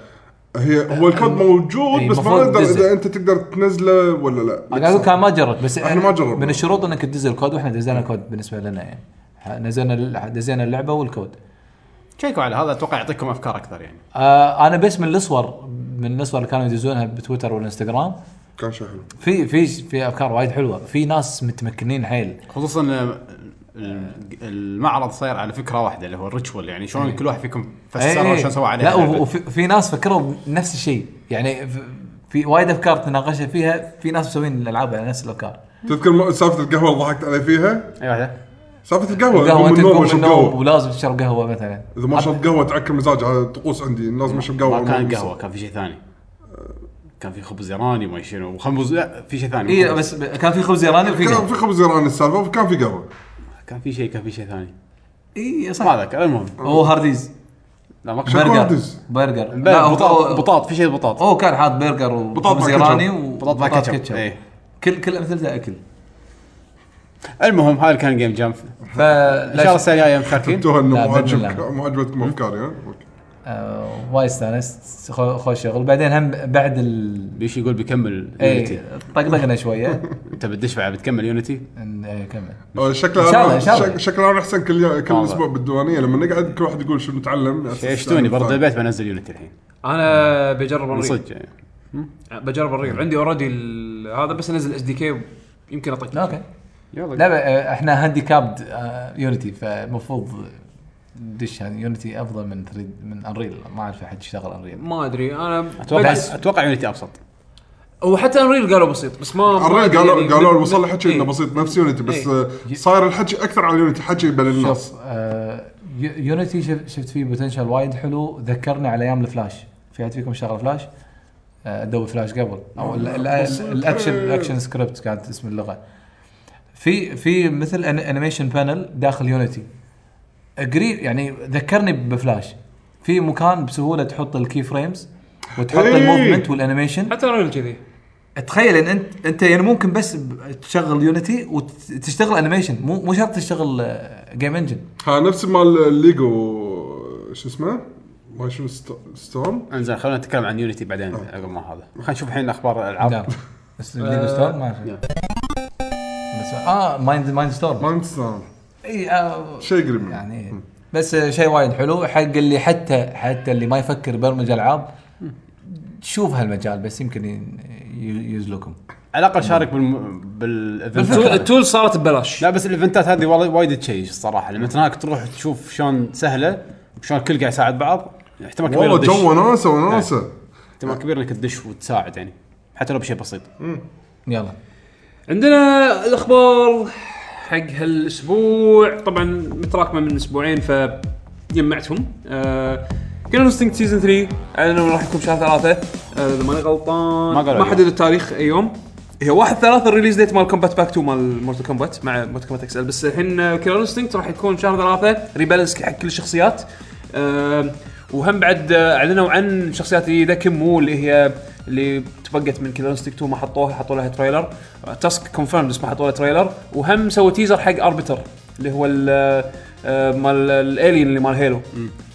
[SPEAKER 2] هي هو الكود موجود
[SPEAKER 6] إيه،
[SPEAKER 2] بس ما
[SPEAKER 6] مفروض
[SPEAKER 2] نقدر
[SPEAKER 6] تنزل.
[SPEAKER 2] اذا انت تقدر تنزله ولا لا
[SPEAKER 6] انا قاعد اقول كان ما جربت بس
[SPEAKER 2] إحنا ما جربنا.
[SPEAKER 6] من الشروط انك تدزل الكود واحنا دزلنا الكود بالنسبه لنا يعني ح- نزلنا ال- دزينا اللعبه والكود
[SPEAKER 1] شيكوا على هذا اتوقع يعطيكم افكار اكثر يعني
[SPEAKER 6] آه انا بس من الصور من الصور اللي كانوا يدزونها بتويتر والانستغرام
[SPEAKER 2] كان شيء حلو
[SPEAKER 6] في في في افكار وايد حلوه في ناس متمكنين حيل
[SPEAKER 1] خصوصا ال- المعرض صاير على فكره واحده اللي هو الريتشوال يعني شلون كل واحد فيكم فسروا
[SPEAKER 6] إيه.
[SPEAKER 1] شلون سوى عليها
[SPEAKER 6] لا
[SPEAKER 1] لعبة.
[SPEAKER 6] وف- وفي في ناس فكروا نفس الشيء يعني ف- في وايد افكار تناقشنا فيها في ناس مسوين الالعاب على نفس الافكار
[SPEAKER 2] تذكر م- سالفه القهوه اللي ضحكت علي فيها
[SPEAKER 6] إيه،
[SPEAKER 1] اي واحده
[SPEAKER 2] سالفه القهوه
[SPEAKER 6] القهوه
[SPEAKER 2] من
[SPEAKER 6] انت
[SPEAKER 2] النوم
[SPEAKER 6] تقوم من
[SPEAKER 2] اشرب
[SPEAKER 6] النوم
[SPEAKER 2] قهوه
[SPEAKER 6] ولازم تشرب قهوه مثلا
[SPEAKER 2] اذا ما شربت قهوه تعكر مزاج على طقوس عندي لازم اشرب قهوه
[SPEAKER 1] ما كان قهوه كان في شيء ثاني كان في خبز ايراني وما شنو وخبز لا في شيء ثاني
[SPEAKER 6] اي إيه، بس كان في خبز يراني وفي
[SPEAKER 2] كان في خبز ايراني السالفه وكان في قهوه
[SPEAKER 1] كان في شيء كان في شيء ثاني
[SPEAKER 6] اي
[SPEAKER 1] ما
[SPEAKER 6] إيه، صح
[SPEAKER 1] اذكر المهم
[SPEAKER 6] هو هارديز
[SPEAKER 1] لا ما كان
[SPEAKER 2] شكراً.
[SPEAKER 6] برجر
[SPEAKER 2] هارديز.
[SPEAKER 6] برجر لا، هو-
[SPEAKER 1] بطاط
[SPEAKER 6] هو-
[SPEAKER 1] بطاط في شيء بطاط
[SPEAKER 6] هو كان حاط برجر
[SPEAKER 2] بطاط مع
[SPEAKER 6] وخبز
[SPEAKER 2] كاتشب.
[SPEAKER 6] يراني
[SPEAKER 1] بطاط مع
[SPEAKER 6] وبطاط
[SPEAKER 1] كاتشب
[SPEAKER 6] كاتشب
[SPEAKER 1] إيه.
[SPEAKER 6] كل كل امثلته اكل
[SPEAKER 1] المهم هذا كان جيم جام ان شاء الله
[SPEAKER 6] فلا
[SPEAKER 1] السنه الجايه مشاركين
[SPEAKER 2] توها انه
[SPEAKER 6] إيه؟ لا،
[SPEAKER 2] مو
[SPEAKER 6] بإذن
[SPEAKER 2] عجبك
[SPEAKER 6] الله. إيه؟
[SPEAKER 2] مو عجبتكم افكاري ها أوكي.
[SPEAKER 6] آه، وايد استانست خو- خوش شغل بعدين هم بعد ال
[SPEAKER 1] بيش يقول بيكمل يونيتي
[SPEAKER 6] اي طقطقنا شويه
[SPEAKER 1] انت بتدش بعد بتكمل يونيتي
[SPEAKER 6] إن- إيه، كمل
[SPEAKER 2] آه،
[SPEAKER 6] إن
[SPEAKER 2] شكله
[SPEAKER 6] شاء الله، إن
[SPEAKER 2] أنا-
[SPEAKER 6] شاء الله.
[SPEAKER 2] شك- شكله انا احسن كل يا-
[SPEAKER 1] والله.
[SPEAKER 2] كل اسبوع بالديوانيه لما نقعد كل واحد يقول شنو تعلم يعني طيب.
[SPEAKER 1] شتوني برد البيت بنزل يونيتي الحين
[SPEAKER 3] انا بجرب
[SPEAKER 1] من
[SPEAKER 3] الريل
[SPEAKER 1] صدق يعني
[SPEAKER 3] بجرب الريل عندي اوريدي هذا بس انزل اس دي كي يمكن اعطيك
[SPEAKER 6] اوكي
[SPEAKER 1] يلا
[SPEAKER 6] لا ب- آه، احنا هانديكابد آه، يونيتي فالمفروض دش هذه يونيتي افضل من ثريد من انريل ما اعرف احد يشتغل انريل
[SPEAKER 3] ما ادري انا
[SPEAKER 1] اتوقع
[SPEAKER 3] بس-
[SPEAKER 1] اتوقع يونيتي ابسط
[SPEAKER 3] هو حتى انريل قالوا بسيط بس ما ما أدري
[SPEAKER 2] الرجال قالوا
[SPEAKER 3] يعني
[SPEAKER 2] قالوا
[SPEAKER 3] بت-
[SPEAKER 2] الوصل حكي انه
[SPEAKER 3] إيه.
[SPEAKER 2] بسيط نفس يونيتي بس
[SPEAKER 3] إيه.
[SPEAKER 2] آه، صاير الحكي اكثر على يونيتي حكي بين الناس
[SPEAKER 6] شوف آه، يو- يونيتي شف- شفت فيه بوتنشل وايد حلو ذكرني على ايام الفلاش في احد فيكم شغل فلاش آه، ادوي فلاش قبل او ال- ال- ال- الاكشن الاكشن سكريبت كانت اسم اللغه في في مثل انيميشن بانل داخل يونيتي قريب يعني ذكرني بفلاش في مكان بسهوله تحط الكي فريمز وتحط
[SPEAKER 2] إيه.
[SPEAKER 6] الموفمنت والانيميشن
[SPEAKER 3] حتى انريل كذي
[SPEAKER 6] تخيل ان انت انت يعني ممكن بس ب- تشغل يونيتي وتشتغل انيميشن مو مو شرط تشتغل آه، جيم انجن
[SPEAKER 2] ها نفس مال الليجو شو اسمه ما شنو ست- ستورم
[SPEAKER 1] انزين خلينا نتكلم عن يونيتي بعدين عقب ما هذا خلينا نشوف الحين اخبار
[SPEAKER 6] نعم
[SPEAKER 1] الالعاب
[SPEAKER 6] بس ليجو ستور ما أعرف. بس اه مايند مايند ستور
[SPEAKER 2] ما ستورم
[SPEAKER 6] اي آه،
[SPEAKER 2] شيء قريب منه.
[SPEAKER 6] يعني بس شيء وايد حلو حق اللي حتى حتى اللي ما يفكر برمج العاب شوف هالمجال بس يمكن ي- ي- يزلكم
[SPEAKER 1] على الاقل شارك بالم... بالايفنتات
[SPEAKER 3] التول,
[SPEAKER 1] هذه.
[SPEAKER 3] التول صارت ببلاش
[SPEAKER 1] لا بس الايفنتات هذه والله وايد تشيش الصراحه لما تناك تروح تشوف شلون سهله وشلون الكل قاعد يساعد بعض احتمال كبير
[SPEAKER 2] والله
[SPEAKER 1] تدش.
[SPEAKER 2] جو وناسه وناسه
[SPEAKER 1] احتمال كبير انك تدش وتساعد يعني حتى لو بشيء بسيط
[SPEAKER 6] يلا
[SPEAKER 3] عندنا الاخبار حق هالاسبوع طبعا متراكمه من اسبوعين ف جمعتهم آه كانوا انستنكت سيزون 3 اعلنوا راح يكون شهر ثلاثة آه، اذا ماني غلطان
[SPEAKER 1] ما قالوا
[SPEAKER 3] ما
[SPEAKER 1] اليوم.
[SPEAKER 3] حددوا التاريخ اي يوم هي واحد ثلاثة الريليز ديت مال كومبات باك 2 مال مورتال كومبات مع مورتال كومبات اكسل بس الحين كيلر انستنكت راح يكون شهر ثلاثة ريبالانس حق كل الشخصيات آه وهم بعد آه، اعلنوا عن شخصيات جديده كمو اللي هي اللي تبقت من كيلر انستنكت 2 ما حطوها حطوا لها تريلر آه، تاسك كونفيرم بس ما حطوا لها تريلر وهم سووا تيزر حق اربتر اللي هو ال آه، مال الالين اللي مال هيلو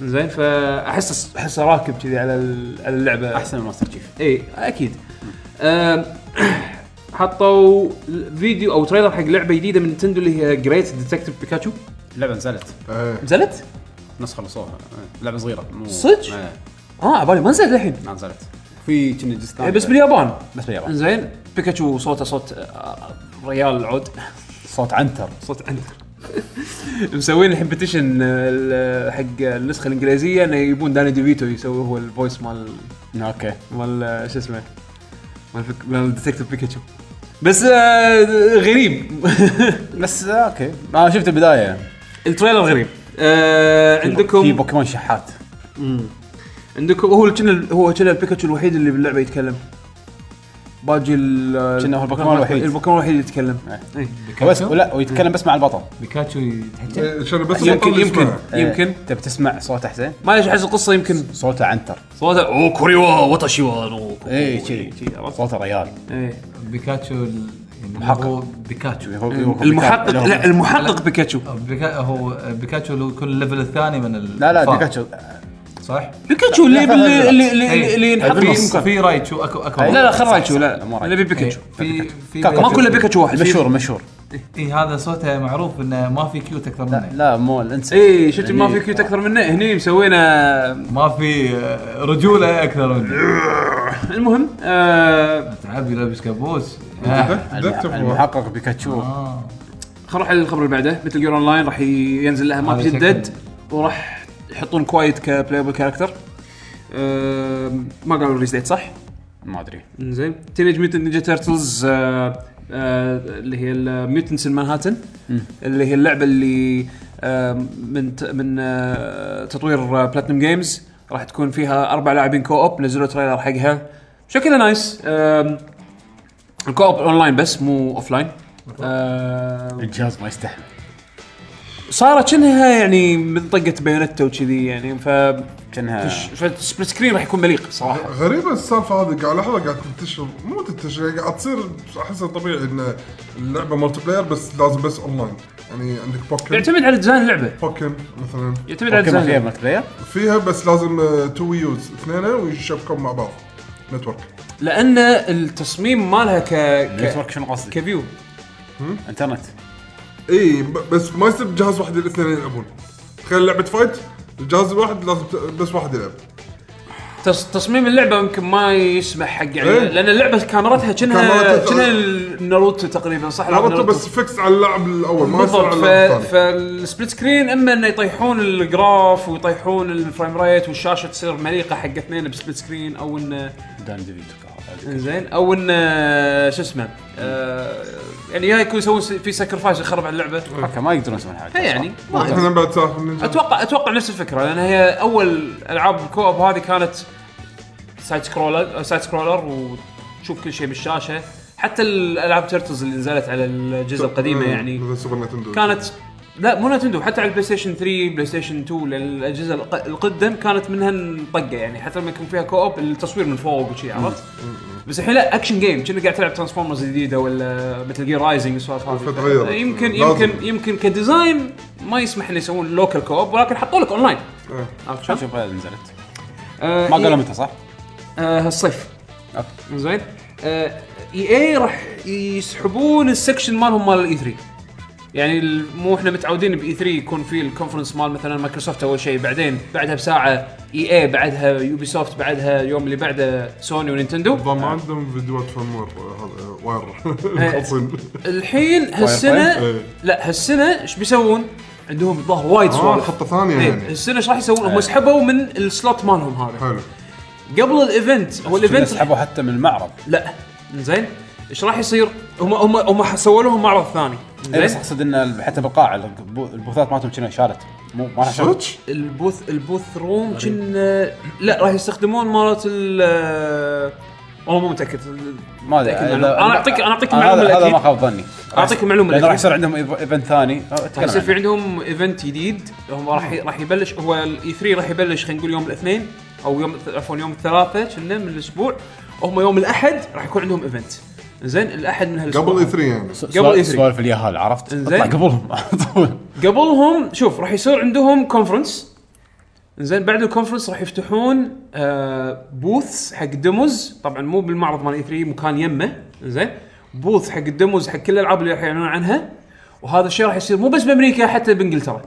[SPEAKER 3] زين فاحس احس راكب كذي على ال- على اللعبه
[SPEAKER 1] احسن من ماستر تشيف
[SPEAKER 3] اي اكيد إيه، آم، حطوا فيديو او تريلر حق لعبه جديده من نتندو اللي هي جريت ديتكتيف بيكاتشو
[SPEAKER 1] اللعبه نزلت
[SPEAKER 2] إيه.
[SPEAKER 3] نزلت؟
[SPEAKER 1] نسخه خلصوها لعبه صغيره مو
[SPEAKER 3] صدق؟
[SPEAKER 1] إيه،
[SPEAKER 3] اه على بالي ما نزلت الحين
[SPEAKER 1] ما نزلت في كنا آه، جزء ثاني
[SPEAKER 3] بس باليابان
[SPEAKER 1] إيه، بس باليابان
[SPEAKER 3] زين بيكاتشو صوته صوت آه، ريال العود
[SPEAKER 1] صوت عنتر
[SPEAKER 3] صوت عنتر مسوين الحين بتيشن آه، حق النسخه الانجليزيه انه يبون داني ديفيتو يسوي هو الفويس مال
[SPEAKER 1] اوكي
[SPEAKER 3] مال آه، شو اسمه مال فك- مال ديتكتيف بيكاتشو بس آه، غريب
[SPEAKER 1] بس آه، اوكي انا شفت البدايه
[SPEAKER 3] التريلر غريب آه
[SPEAKER 1] في
[SPEAKER 3] عندكم
[SPEAKER 1] بوكيمون شحات
[SPEAKER 3] عندكم هو كنا هو كنا البيكاتشو الوحيد اللي باللعبه يتكلم باجي ال-
[SPEAKER 1] كنا هو البوكيمون الوحيد.
[SPEAKER 3] البوكيمون الوحيد اللي يتكلم إيه.
[SPEAKER 1] بس
[SPEAKER 6] بيكاتشو
[SPEAKER 1] ولا ويتكلم بس مع البطل
[SPEAKER 6] بيكاتشو يتحكى
[SPEAKER 2] عشان بس
[SPEAKER 3] يمكن
[SPEAKER 2] البطل
[SPEAKER 3] يمكن
[SPEAKER 2] يسمعها.
[SPEAKER 3] يمكن
[SPEAKER 1] آه، تبي تسمع صوته حسين
[SPEAKER 3] ما ادري احس القصه يمكن
[SPEAKER 1] صوته عنتر
[SPEAKER 3] صوته او كوريوا واتاشيوا نو
[SPEAKER 1] اي كذي
[SPEAKER 3] عرفت؟
[SPEAKER 1] صوته ريال
[SPEAKER 3] إيه.
[SPEAKER 6] بيكاتشو ال- يعني
[SPEAKER 1] محقق.
[SPEAKER 6] هو بيكاتشو
[SPEAKER 1] هو- هو- هو-
[SPEAKER 3] المحقق
[SPEAKER 1] هو-
[SPEAKER 3] لا المحقق بيكاتشو
[SPEAKER 6] بيكا هو بيكاتشو اللي هو يكون الليفل الثاني من ال
[SPEAKER 1] لا لا
[SPEAKER 6] الفار.
[SPEAKER 1] بيكاتشو
[SPEAKER 6] صح؟
[SPEAKER 3] بيكاتشو اللي
[SPEAKER 1] لا، لا،
[SPEAKER 3] اللي
[SPEAKER 1] لا.
[SPEAKER 3] اللي, اللي,
[SPEAKER 6] إيه.
[SPEAKER 3] اللي ينحط
[SPEAKER 6] في
[SPEAKER 3] بالنص.
[SPEAKER 6] في رايتشو اكو اكو
[SPEAKER 1] لا،
[SPEAKER 3] لا لا
[SPEAKER 1] صح،
[SPEAKER 3] خل رايتشو
[SPEAKER 1] صح،
[SPEAKER 3] لا
[SPEAKER 1] لا، مو
[SPEAKER 3] لا
[SPEAKER 1] رايتشو.
[SPEAKER 3] نبي بيكاتشو
[SPEAKER 6] في في
[SPEAKER 1] كاكا.
[SPEAKER 3] ماكو الا بيكاتشو واحد
[SPEAKER 1] مشهور مشهور
[SPEAKER 6] اي إيه، هذا صوته معروف انه ما في كيوت اكثر
[SPEAKER 1] لا
[SPEAKER 6] منه
[SPEAKER 1] لا مو انسى
[SPEAKER 3] اي شفت إيه،
[SPEAKER 1] إيه.
[SPEAKER 3] ما في كيوت اكثر منه هني مسوينا
[SPEAKER 6] ما في آه، رجوله اكثر منه
[SPEAKER 3] المهم آه
[SPEAKER 6] تعبي لابس كابوس
[SPEAKER 3] إيه،
[SPEAKER 2] ده- ده
[SPEAKER 1] الم-
[SPEAKER 2] تفهم.
[SPEAKER 1] المحقق بيكاتشو
[SPEAKER 6] آه.
[SPEAKER 3] خل نروح للخبر اللي بعده مثل جير اون لاين راح ي- ينزل لها ماب
[SPEAKER 6] هذا
[SPEAKER 3] جدد
[SPEAKER 6] شكل.
[SPEAKER 3] وراح يحطون كوايت كبلايبل كاركتر ما قالوا ريليز ديت صح؟
[SPEAKER 1] ما ادري
[SPEAKER 3] زين تينيج ميوتن نينجا تيرتلز أه، اللي هي الميوتنس مانهاتن اللي هي اللعبه اللي آه، من ت- من آه، تطوير بلاتنم جيمز راح تكون فيها اربع لاعبين كو اوب نزلوا تريلر حقها شكلها نايس آم، الكو اوب اونلاين بس مو أه، اوف لاين
[SPEAKER 1] الجهاز ما يستحمل
[SPEAKER 3] صارت شنها يعني من طقه بيونتا وكذي يعني ف
[SPEAKER 1] كانها
[SPEAKER 3] فالسبليت سكرين راح يكون مليق صراحه
[SPEAKER 2] غريبة السالفة هذه قاعد لاحظها قاعد تنتشر مو تنتشر هي قاعد تصير احسها طبيعي ان اللعبة مالتي بلاير بس لازم بس اونلاين يعني عندك بوكن
[SPEAKER 3] يعتمد على ديزاين اللعبه
[SPEAKER 2] بوكن مثلا
[SPEAKER 3] يعتمد على
[SPEAKER 1] بوكيمون فيها
[SPEAKER 3] ديزاين اللعبة.
[SPEAKER 1] مالتي بلاير
[SPEAKER 2] فيها بس لازم آه، تو ويوز اثنين ويشبكون مع بعض نتورك
[SPEAKER 3] لان التصميم مالها ك ك
[SPEAKER 1] نتورك شنو قصدك؟
[SPEAKER 3] كفيو
[SPEAKER 1] انترنت
[SPEAKER 2] اي ب- بس ما يصير بجهاز واحد الاثنين يلعبون تخيل لعبة فايت الجهاز الواحد لازم ت- بس واحد يلعب
[SPEAKER 3] تص... تصميم اللعبه يمكن ما يسمح حق يعني
[SPEAKER 2] إيه.
[SPEAKER 3] لان اللعبه كاميرتها كأنها
[SPEAKER 2] كاميرتها-
[SPEAKER 3] كأنها ناروتو تقريبا صح لعبة
[SPEAKER 2] لعبته إيه. بس فيكس على اللاعب الاول ما يصير
[SPEAKER 3] بالضبط
[SPEAKER 2] على
[SPEAKER 3] ف...
[SPEAKER 2] اللاعب الثاني
[SPEAKER 3] فالسبليت سكرين اما انه يطيحون الجراف ويطيحون الفريم ريت والشاشه تصير مليقه حق اثنين بسبليت سكرين او انه
[SPEAKER 1] دان ديفيدو
[SPEAKER 3] زين او انه شو اسمه آه يعني يا يكون يسوون س- في ساكرفايس يخرب على اللعبه
[SPEAKER 1] حكى ما يقدرون يسوون حاجه
[SPEAKER 3] إيه يعني
[SPEAKER 1] صح؟
[SPEAKER 3] ما أدري.
[SPEAKER 2] احنا بعد سالفة النينجا.
[SPEAKER 3] اتوقع اتوقع نفس الفكره لان هي اول العاب الكوب هذه كانت سايد سكرولر سايد سكرولر وتشوف كل شيء بالشاشه حتى الالعاب تيرتلز اللي نزلت على الجزء القديمه
[SPEAKER 2] مم،
[SPEAKER 3] يعني
[SPEAKER 2] مثل سوبر نتندو
[SPEAKER 3] كانت لا مو نتندو حتى على البلاي ستيشن 3 بلاي ستيشن 2 الاجهزه الق- القدم كانت منها طقه يعني حتى لما يكون فيها كوب التصوير من فوق وشي عرفت بس الحين لا اكشن جيم كأنك قاعد تلعب ترانسفورمرز جديده ولا مثل جير رايزنج والسوالف
[SPEAKER 2] فتغيرت.
[SPEAKER 3] هذه يمكن
[SPEAKER 2] لازم.
[SPEAKER 3] يمكن يمكن كديزاين ما يسمح انه يسوون لوكال كوب ولكن حطوا لك اونلاين
[SPEAKER 2] إيه.
[SPEAKER 3] عرفت شلون؟
[SPEAKER 1] شوف شوف هذا نزلت
[SPEAKER 3] آه،
[SPEAKER 1] ما قالوا
[SPEAKER 3] إيه-
[SPEAKER 1] متى صح؟
[SPEAKER 3] آه، الصيف
[SPEAKER 1] أوكي.
[SPEAKER 3] زين اي اي راح يسحبون السكشن مالهم مال الاي 3 يعني ال- مو احنا متعودين باي 3 يكون في الكونفرنس مال مثلا مايكروسوفت اول شيء بعدين بعدها بساعه اي اي بعدها يوبي سوفت بعدها اليوم اللي بعده سوني ونينتندو
[SPEAKER 2] ما ما عندهم فيديوهات فمور هذا
[SPEAKER 3] إيه.
[SPEAKER 2] واير خلصين
[SPEAKER 3] الحين هالسنه
[SPEAKER 2] إيه.
[SPEAKER 3] لا هالسنه ايش بيسوون؟ عندهم الظاهر وايد
[SPEAKER 2] اه
[SPEAKER 3] سوالف
[SPEAKER 2] خطه ثانيه
[SPEAKER 3] إيه،
[SPEAKER 2] يعني
[SPEAKER 3] هالسنه ايش راح يسوون؟ هم سحبوا من السلوت مالهم هذا
[SPEAKER 2] حلو
[SPEAKER 3] قبل الايفنت هو الايفنت
[SPEAKER 1] سحبوا حتى من المعرض
[SPEAKER 3] لا زين ايش راح يصير؟ هم هم هم سووا لهم معرض ثاني
[SPEAKER 1] إيه، بس
[SPEAKER 3] زين
[SPEAKER 1] اقصد ان ال- حتى بالقاعه البو- البوثات مالتهم كنا شالت مو ما راح يشارك.
[SPEAKER 2] صدق
[SPEAKER 3] إيه. البوث البوث روم كنا لا راح يستخدمون مالت ال والله مو متاكد
[SPEAKER 1] ما ادري
[SPEAKER 3] متأكد
[SPEAKER 1] إذا-
[SPEAKER 3] منه. أنا أعطيك- أنا أعطيك المعلومة
[SPEAKER 1] هذا- هذا
[SPEAKER 3] الأكيد.
[SPEAKER 1] ما خاب ظني
[SPEAKER 3] أعطيك المعلومة
[SPEAKER 1] لان راح
[SPEAKER 3] الأكيد.
[SPEAKER 1] يصير عندهم إيف- ايفنت ثاني أه،
[SPEAKER 3] راح يصير
[SPEAKER 1] تكلم
[SPEAKER 3] في
[SPEAKER 1] عنه.
[SPEAKER 3] عندهم ايفنت جديد هم راح ي- راح يبلش هو الاي 3 راح يبلش خلينا نقول يوم الاثنين او يوم عفوا يوم الثلاثاء كنا من الاسبوع هم يوم الاحد راح يكون عندهم ايفنت زين الاحد من هالاسبوع
[SPEAKER 2] قبل اي 3 يعني
[SPEAKER 1] سوالف-
[SPEAKER 3] قبل E3.
[SPEAKER 1] سوالف اليهال عرفت؟
[SPEAKER 3] إنزين.
[SPEAKER 1] اطلع قبلهم على طول
[SPEAKER 3] قبلهم شوف راح يصير عندهم كونفرنس زين بعد الكونفرنس راح يفتحون آه بوث حق ديموز طبعا مو بالمعرض مال اي 3 مكان يمه زين بوث حق الديموز حق كل الالعاب اللي راح يعلنون عنها وهذا الشيء راح يصير مو بس بامريكا حتى بانجلترا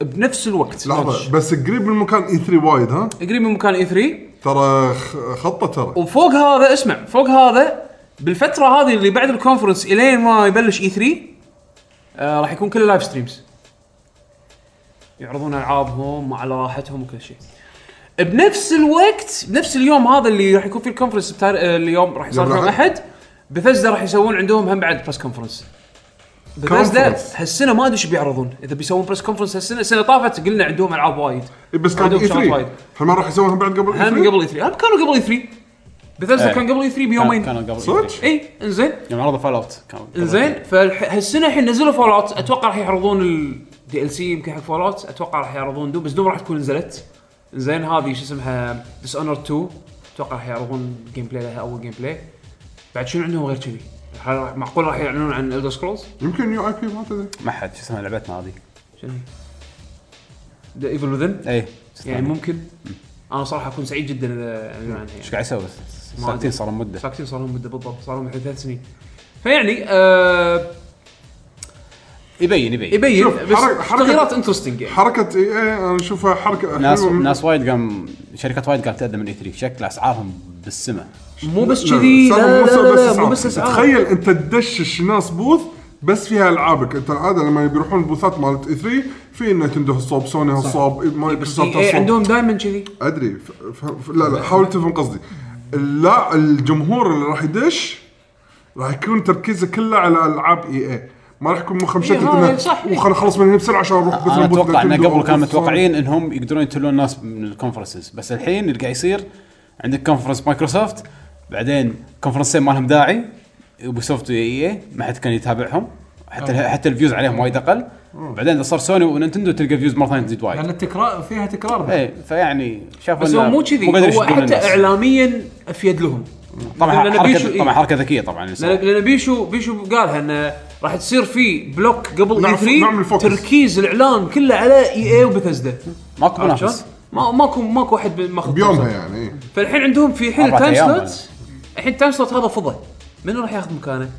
[SPEAKER 3] بنفس الوقت
[SPEAKER 2] لحظه بس قريب من مكان اي 3 وايد ها
[SPEAKER 3] قريب من مكان E اي 3
[SPEAKER 2] ترى خ- خطه ترى
[SPEAKER 3] وفوق هذا اسمع فوق هذا بالفتره هذه اللي بعد الكونفرنس الين ما يبلش اي 3 آه راح يكون كله لايف ستريمز يعرضون العابهم على راحتهم وكل شيء بنفس الوقت بنفس اليوم هذا اللي راح يكون فيه الكونفرنس بتار... آه، اليوم راح يصير
[SPEAKER 2] يوم
[SPEAKER 3] يوم
[SPEAKER 2] الأحد؟
[SPEAKER 3] احد بثزدا راح يسوون عندهم هم بعد بريس كونفرنس بثزدا
[SPEAKER 2] Conference.
[SPEAKER 3] هالسنه ما ادري ايش بيعرضون اذا بيسوون بريس كونفرنس هالسنه السنه طافت قلنا عندهم العاب وايد
[SPEAKER 2] إيه، بس كان
[SPEAKER 3] عندهم
[SPEAKER 2] اي
[SPEAKER 3] شغلات
[SPEAKER 2] 3
[SPEAKER 3] وايد.
[SPEAKER 2] هل ما راح يسوونها بعد قبل E
[SPEAKER 3] هم
[SPEAKER 2] E3؟
[SPEAKER 3] قبل اي 3 هم كانوا قبل اي 3 بثزدا
[SPEAKER 1] إيه.
[SPEAKER 3] كان قبل اي 3
[SPEAKER 1] كان-
[SPEAKER 3] بيومين
[SPEAKER 1] كانوا قبل
[SPEAKER 2] صدق؟
[SPEAKER 3] اي انزين
[SPEAKER 1] يوم عرضوا فال اوت كانوا قبل
[SPEAKER 3] انزين فهالسنه الحين نزلوا فول اوت اتوقع راح يعرضون الدي ال سي يمكن حق فول اوت اتوقع راح يعرضون دوم بس دوم راح تكون نزلت زين هذه شو اسمها ديس اونر 2 اتوقع راح يعرضون جيم بلاي لها اول جيم بلاي بعد شنو عندهم غير كذي؟ راح- معقول راح يعلنون عن الدر سكرولز؟
[SPEAKER 2] يمكن يو اي بي ما تدري
[SPEAKER 1] ما حد شو اسمها لعبتنا هذه
[SPEAKER 3] شنو؟ ذا ايفل وذن
[SPEAKER 1] اي
[SPEAKER 3] يعني ممكن انا صراحه اكون سعيد جدا اذا اعلنوا عنها يعني.
[SPEAKER 1] ايش قاعد يسوي بس؟
[SPEAKER 3] ما أدري.
[SPEAKER 1] ساكتين صار مده
[SPEAKER 3] ساكتين صار لهم مده بالضبط صار لهم الحين ثلاث سنين فيعني آه
[SPEAKER 1] يبين يبين
[SPEAKER 3] يبين
[SPEAKER 2] شوف،
[SPEAKER 3] بس
[SPEAKER 2] حركة- حركة-
[SPEAKER 3] تغييرات انترستنج يعني
[SPEAKER 2] حركه اي اي انا اشوفها حركه
[SPEAKER 1] ناس
[SPEAKER 2] حلوة من-
[SPEAKER 1] ناس وايد قام شركات وايد قامت تقدم من اي 3 شكل اسعارهم بالسماء
[SPEAKER 3] مو بس
[SPEAKER 2] لا،
[SPEAKER 3] كذي لا
[SPEAKER 2] السالفة
[SPEAKER 3] لا
[SPEAKER 2] مو
[SPEAKER 3] لا,
[SPEAKER 2] سالفة
[SPEAKER 3] لا,
[SPEAKER 2] أسعار.
[SPEAKER 3] مو بس آه. اسعار
[SPEAKER 2] تخيل انت تدشش ناس بوث بس فيها العابك انت العاده لما بيروحون البوثات مالت اي 3 في نتندو هالصوب سوني هالصوب
[SPEAKER 3] بس
[SPEAKER 2] مايكروسوفت
[SPEAKER 3] EA
[SPEAKER 2] هالصوب
[SPEAKER 3] إيه، عندهم دائما كذي
[SPEAKER 2] ادري ف... ف... ف... لا لا حاول تفهم قصدي لا الجمهور اللي راح يدش راح يكون تركيزه كله على العاب اي اي ما راح يكون مخه مشتت
[SPEAKER 3] إيه، هاي صح.
[SPEAKER 2] انه خلينا نخلص من هنا بسرعه عشان نروح
[SPEAKER 1] انا
[SPEAKER 2] بوث
[SPEAKER 1] اتوقع ان
[SPEAKER 2] نتندو أو
[SPEAKER 1] قبل كانوا
[SPEAKER 2] بوث سوني.
[SPEAKER 1] متوقعين انهم يقدرون يتلون الناس من الكونفرنسز بس الحين اللي قاعد يصير عندك كونفرنس مايكروسوفت بعدين كونفرنسين ما لهم داعي وبسوفت اي اي ما حد كان يتابعهم حتى حتى الفيوز عليهم وايد اقل بعدين اذا صار سوني وننتندو تلقى فيوز مره ثانيه تزيد وايد
[SPEAKER 6] لان التكرار فيها تكرار
[SPEAKER 2] إيه،
[SPEAKER 6] بعد.
[SPEAKER 1] ايه فيعني شافوا
[SPEAKER 3] بس
[SPEAKER 1] إنه
[SPEAKER 3] هو مو كذي
[SPEAKER 1] قادر
[SPEAKER 3] هو
[SPEAKER 1] يشدون
[SPEAKER 3] حتى
[SPEAKER 1] الناس.
[SPEAKER 3] اعلاميا افيد لهم
[SPEAKER 1] طبعا
[SPEAKER 3] لأن بيشو-
[SPEAKER 1] حركه
[SPEAKER 3] إيه.
[SPEAKER 1] طبعا حركه ذكيه طبعا اللي
[SPEAKER 3] لان
[SPEAKER 1] صار.
[SPEAKER 3] لأن بيشو بيشو قالها انه راح تصير في بلوك قبل اي
[SPEAKER 2] نعم-
[SPEAKER 3] 3
[SPEAKER 2] نعمل focus.
[SPEAKER 3] تركيز الاعلان كله على اي اي وبثزدا
[SPEAKER 1] ماكو
[SPEAKER 3] عرفت شلون؟
[SPEAKER 1] منافس
[SPEAKER 3] ما ماكو ماكو احد ماخذ
[SPEAKER 2] نعم. بيومها
[SPEAKER 3] فرصة.
[SPEAKER 2] يعني إيه.
[SPEAKER 3] فالحين عندهم في حين
[SPEAKER 1] أربعة
[SPEAKER 3] تايم
[SPEAKER 1] أيام
[SPEAKER 3] سلوت الحين التايم سلوت هذا فضى من راح ياخذ مكانه؟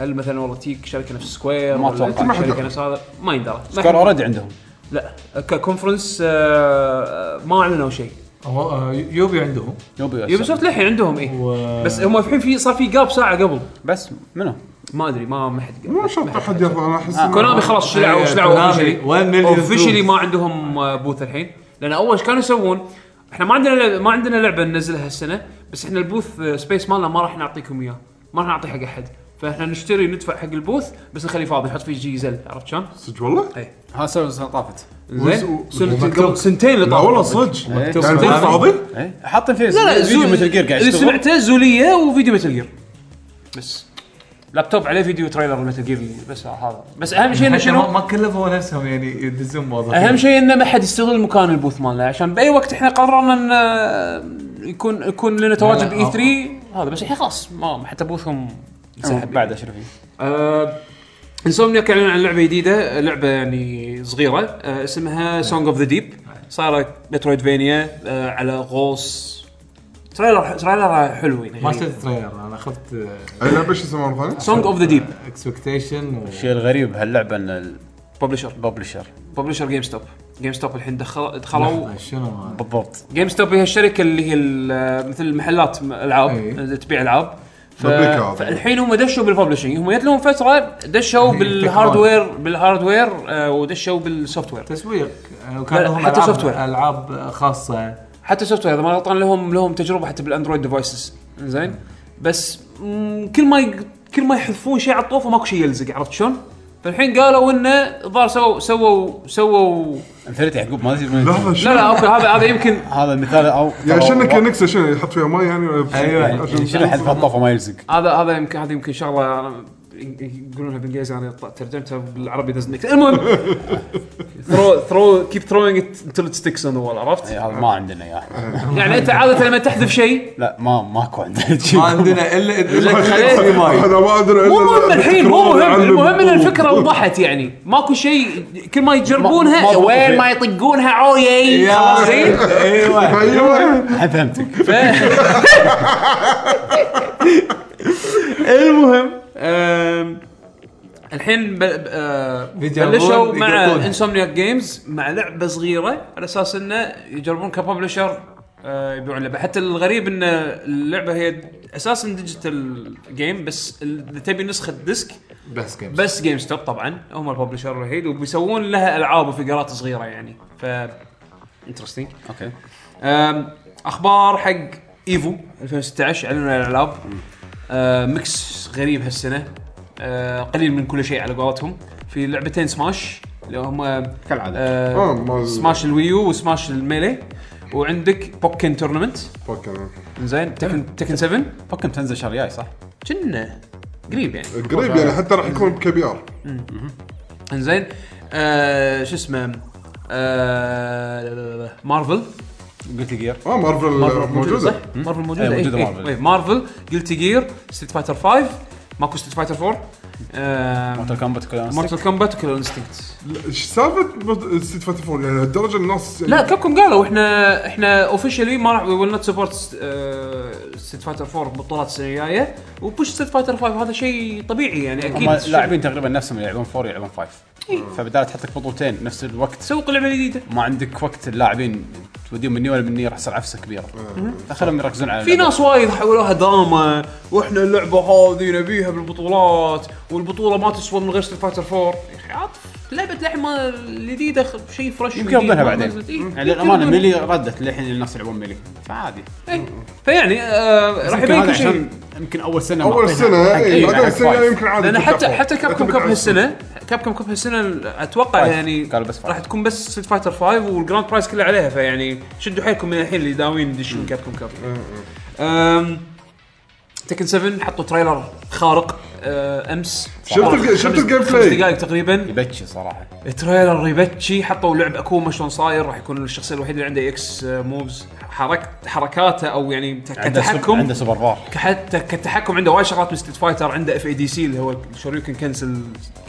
[SPEAKER 3] هل مثلا والله تيك شركه نفس سكوير
[SPEAKER 1] ما
[SPEAKER 3] ولا
[SPEAKER 1] أتوقع.
[SPEAKER 2] ما
[SPEAKER 3] شركه نفس هذا ما يندرى ما
[SPEAKER 1] سكوير
[SPEAKER 3] يحب-
[SPEAKER 1] اوريدي عندهم
[SPEAKER 3] لا ككونفرنس آه، ما اعلنوا شيء
[SPEAKER 6] هو آه، يوبي عندهم
[SPEAKER 1] يوبي
[SPEAKER 3] يوبي سوفت للحين عندهم اي
[SPEAKER 6] و-
[SPEAKER 3] بس هم الحين في صار في جاب ساعه قبل
[SPEAKER 1] بس منو؟
[SPEAKER 3] ما ادري ما ما حد
[SPEAKER 2] ما شرط احد يرضى انا احس إنه-
[SPEAKER 3] آه. كونامي خلاص شلعوا
[SPEAKER 6] إيه،
[SPEAKER 3] شلعوا
[SPEAKER 6] كونامي، one
[SPEAKER 3] اوفشلي
[SPEAKER 6] million
[SPEAKER 3] اوفشلي
[SPEAKER 6] troops.
[SPEAKER 3] ما عندهم آه، بوث الحين لان اول ايش كانوا يسوون؟ احنا ما عندنا لعبة ما عندنا لعبه ننزلها هالسنه بس احنا البوث آه، سبيس مالنا ما راح نعطيكم اياه ما راح نعطيه حق احد فاحنا نشتري ندفع حق البوث بس نخليه فاضي نحط فيه جيزل عرفت شلون؟
[SPEAKER 2] صدق والله؟
[SPEAKER 1] ها سوفت السنه طافت
[SPEAKER 3] زين
[SPEAKER 2] وز-
[SPEAKER 3] سنة-
[SPEAKER 2] ومكتوب.
[SPEAKER 3] قبل سنتين اللي
[SPEAKER 2] لا
[SPEAKER 3] طافوا.
[SPEAKER 2] والله صدق يعني
[SPEAKER 1] مكتوب
[SPEAKER 2] البوث
[SPEAKER 1] سوني.
[SPEAKER 2] فاضي؟
[SPEAKER 1] ايه حاطين فيه
[SPEAKER 3] لا لا
[SPEAKER 1] فيديو
[SPEAKER 3] زول-
[SPEAKER 1] مثل جير قاعد
[SPEAKER 3] اللي
[SPEAKER 1] يشتغل
[SPEAKER 3] سمعته زوليه وفيديو متل جير بس لابتوب عليه فيديو تريلر متل جير بس هذا بس اهم شيء انه
[SPEAKER 6] حتى ما-
[SPEAKER 3] شنو
[SPEAKER 6] ما كلفوا نفسهم يعني يدزون موظفين
[SPEAKER 3] اهم شيء انه ما حد يستغل مكان البوث مالنا عشان باي وقت احنا قررنا ان آه، يكون يكون لنا تواجد
[SPEAKER 6] لا،
[SPEAKER 3] اي
[SPEAKER 6] آه.
[SPEAKER 3] 3 هذا بس الحين خلاص ما حتى بوثهم
[SPEAKER 1] سحب بعد اشرفي
[SPEAKER 3] انسومنيا اعلنوا عن لعبه جديده لعبه يعني صغيره آه، اسمها سونج اوف ذا ديب صارت مترويدفينيا آه، على غوص تريلر تريلر حلو يعني
[SPEAKER 6] ما شفت تريلر انا اخذت
[SPEAKER 2] اي لعبه شو اسمها مره ثانيه؟
[SPEAKER 3] سونج اوف ذا ديب
[SPEAKER 6] اكسبكتيشن آه، و...
[SPEAKER 1] الشيء الغريب بهاللعبه ان
[SPEAKER 3] ببلشر
[SPEAKER 1] الببلشر
[SPEAKER 3] ببلشر جيم ستوب جيم ستوب الحين دخل دخلوا
[SPEAKER 6] شنو هذا؟
[SPEAKER 1] بالضبط
[SPEAKER 3] جيم ستوب هي الشركه اللي هي ال- مثل محلات م- العاب
[SPEAKER 6] أي.
[SPEAKER 3] تبيع العاب ف...
[SPEAKER 2] ببليكة هذا.
[SPEAKER 3] فالحين هم دشوا بالببلشنج هم جت لهم فتره دشوا
[SPEAKER 6] هي
[SPEAKER 3] بالهاردوير بالهاردوير آه، ودشوا بالسوفت وير
[SPEAKER 6] تسويق آه،
[SPEAKER 3] لا،
[SPEAKER 6] وكان لهم
[SPEAKER 3] حتى
[SPEAKER 6] ألعاب-
[SPEAKER 3] software.
[SPEAKER 6] العاب خاصه
[SPEAKER 3] حتى سوفت وير اذا ما غلطان لهم لهم تجربه حتى بالاندرويد ديفايسز زين بس مم، كل ما يق- كل ما يحذفون شيء على الطوفه ماكو شيء يلزق عرفت شلون؟ فالحين قالوا انه الظاهر سووا سووا سووا
[SPEAKER 1] انفنتي يعقوب ما تدري من-
[SPEAKER 2] لحظه شنو؟
[SPEAKER 3] لا لا اوكي هذا هذا يمكن
[SPEAKER 1] هذا مثال او
[SPEAKER 2] يعني شنو كنكسه شنو يحط فيها ماي يعني ولا-
[SPEAKER 6] أيوة.
[SPEAKER 2] عشان-
[SPEAKER 1] شنو حد الطوفه ما يلزق
[SPEAKER 3] هذا هذا يمكن هذه يمكن شغله أنا يقولونها بالانجليزي انا ط- ترجمتها بالعربي doesn't make sense. المهم ثرو ثرو كيب throwing it until it sticks on the
[SPEAKER 1] إيه،
[SPEAKER 3] wall عرفت؟
[SPEAKER 1] هذا ما عندنا اياه
[SPEAKER 3] يعني انت عاده لما تحذف شيء
[SPEAKER 1] لا ما ماكو عندنا
[SPEAKER 6] ما
[SPEAKER 1] شيء
[SPEAKER 6] عندنا الا الا
[SPEAKER 3] خليت-
[SPEAKER 6] ماي
[SPEAKER 2] هذا ما عندنا
[SPEAKER 3] مو
[SPEAKER 2] إلا-
[SPEAKER 3] مهم الحين مو مهم
[SPEAKER 2] علم.
[SPEAKER 3] المهم ان الفكره وضحت يعني ماكو شيء كل ما
[SPEAKER 1] ما-
[SPEAKER 3] يجربونها
[SPEAKER 1] ما-
[SPEAKER 3] وين ما يطقونها عويي خلاص زين
[SPEAKER 6] ايوه
[SPEAKER 2] ايوه
[SPEAKER 1] الحين فهمتك
[SPEAKER 3] المهم آم، الحين ب... ب... آه،
[SPEAKER 6] يجربون،
[SPEAKER 3] بلشوا مع
[SPEAKER 6] يقطونها.
[SPEAKER 3] انسومنيا جيمز مع لعبه صغيره على اساس انه يجربون كببلشر آه، يبيعون لعبه حتى الغريب ان اللعبه هي اساسا ديجيتال جيم بس ال- اذا تبي نسخه ديسك
[SPEAKER 6] بس كم
[SPEAKER 3] بس جيم ستوب طبعا هم الببلشر الوحيد وبيسوون لها العاب وفقرات صغيره يعني ف انترستنج
[SPEAKER 1] اوكي
[SPEAKER 3] أم، اخبار حق ايفو 2016 اعلنوا عن الالعاب أم، ميكس غريب هالسنه آه، قليل من كل شيء على قولتهم في لعبتين سماش اللي هم
[SPEAKER 1] كالعاده
[SPEAKER 2] آه،
[SPEAKER 3] آه
[SPEAKER 2] مال-
[SPEAKER 3] سماش الويو وسماش الميلي وعندك بوكن تورنمنت
[SPEAKER 2] فكر
[SPEAKER 3] زين تكن تكن 7
[SPEAKER 1] بوكن تنزل شهر جاي صح؟
[SPEAKER 3] كنا قريب يعني
[SPEAKER 2] قريب يعني حتى راح يكون بكبي ار
[SPEAKER 3] انزين آه شو اسمه آه لا- لا- لا- مارفل
[SPEAKER 1] قلت جير
[SPEAKER 2] اه مارفل
[SPEAKER 3] صح؟
[SPEAKER 2] موجوده
[SPEAKER 3] مارفل موجوده
[SPEAKER 1] إيه،
[SPEAKER 3] اي
[SPEAKER 1] موجودة
[SPEAKER 3] مارفل
[SPEAKER 1] مارفل.
[SPEAKER 3] إيه مارفل جلتي جير ستريت فايتر 5 ماكو ستريت فايتر 4
[SPEAKER 1] مورتال كومبات كلها نفس
[SPEAKER 3] مورتال كومبات وكلر انستنكت
[SPEAKER 2] لا، ايش سالفه ستيت فايتر 4 يعني لهالدرجه الناس
[SPEAKER 3] لا كابكم قالوا احنا احنا اوفشلي ما راح وي ويل نوت سبورت آه، ستريت فايتر 4 بطولات السنه الجايه وبوش ستريت فايتر 5 هذا شيء طبيعي يعني
[SPEAKER 1] هم
[SPEAKER 3] اكيد
[SPEAKER 1] لاعبين تقريبا نفسهم اللي يلعبون 4 يلعبون 5 فبالتالي تحط لك بطولتين نفس الوقت
[SPEAKER 3] سوق لعبه جديده
[SPEAKER 1] ما عندك وقت اللاعبين توديهم مني ولا مني راح يصير عفسه كبيره فخلهم يركزون على
[SPEAKER 3] في
[SPEAKER 1] اللعبة.
[SPEAKER 3] ناس وايد حولوها دراما واحنا اللعبه هذه نبيها بالبطولات والبطوله ما تسوى من غير ستريت فايتر 4 يا اخي عاطف لعبه لحمه جديده خ- شيء فريش
[SPEAKER 1] يمكن
[SPEAKER 3] جديد
[SPEAKER 1] يردونها
[SPEAKER 3] ما
[SPEAKER 1] بعدين.
[SPEAKER 3] نزلت. إيه،
[SPEAKER 1] يعني
[SPEAKER 3] يمكن
[SPEAKER 1] للامانه
[SPEAKER 3] يردونها.
[SPEAKER 1] ميلي ردت للحين الناس يلعبون ميلي فعادي
[SPEAKER 3] إيه. فيعني آه، راح
[SPEAKER 1] يمكن
[SPEAKER 3] يبين
[SPEAKER 1] هذا
[SPEAKER 3] كل شيء
[SPEAKER 1] عشان يمكن اول سنه ما
[SPEAKER 2] اول
[SPEAKER 1] أعطينا
[SPEAKER 2] سنه
[SPEAKER 1] حق-
[SPEAKER 2] اي
[SPEAKER 1] إيه،
[SPEAKER 2] بعدين
[SPEAKER 1] حق
[SPEAKER 2] السنه
[SPEAKER 1] فايف.
[SPEAKER 2] يمكن عادي
[SPEAKER 3] لان حتى
[SPEAKER 2] تتأخر.
[SPEAKER 3] حتى كاب كوم
[SPEAKER 2] يعتمد
[SPEAKER 3] كوب
[SPEAKER 2] على
[SPEAKER 3] هالسنه كاب كوم كوب هالسنه اتوقع
[SPEAKER 2] طيب،
[SPEAKER 1] فايف.
[SPEAKER 3] يعني
[SPEAKER 1] قالوا بس فايف.
[SPEAKER 3] راح تكون بس ستريت فايتر 5 والجراند برايز كله عليها فيعني شدوا حيلكم من الحين اللي داوين يدشون كاب كوم كاب تكن 7 حطوا تريلر خارق آه، امس
[SPEAKER 2] شفت الج- شفت
[SPEAKER 3] خمس-
[SPEAKER 2] الجيم
[SPEAKER 3] خمس
[SPEAKER 2] بلاي؟
[SPEAKER 3] دقائق تقريبا
[SPEAKER 1] يبكي صراحه
[SPEAKER 3] تريلر ريبتشي حطوا لعب اكوما شلون صاير راح يكون الشخصيه الوحيد اللي عنده اكس موفز حرك حركاته او يعني
[SPEAKER 1] عنده سوبر-
[SPEAKER 3] كتحكم
[SPEAKER 1] عنده سوبر بار
[SPEAKER 3] حتى كتحكم عنده وايد شغلات من ستريت فايتر عنده اف اي دي سي اللي هو شوريوكن كنسل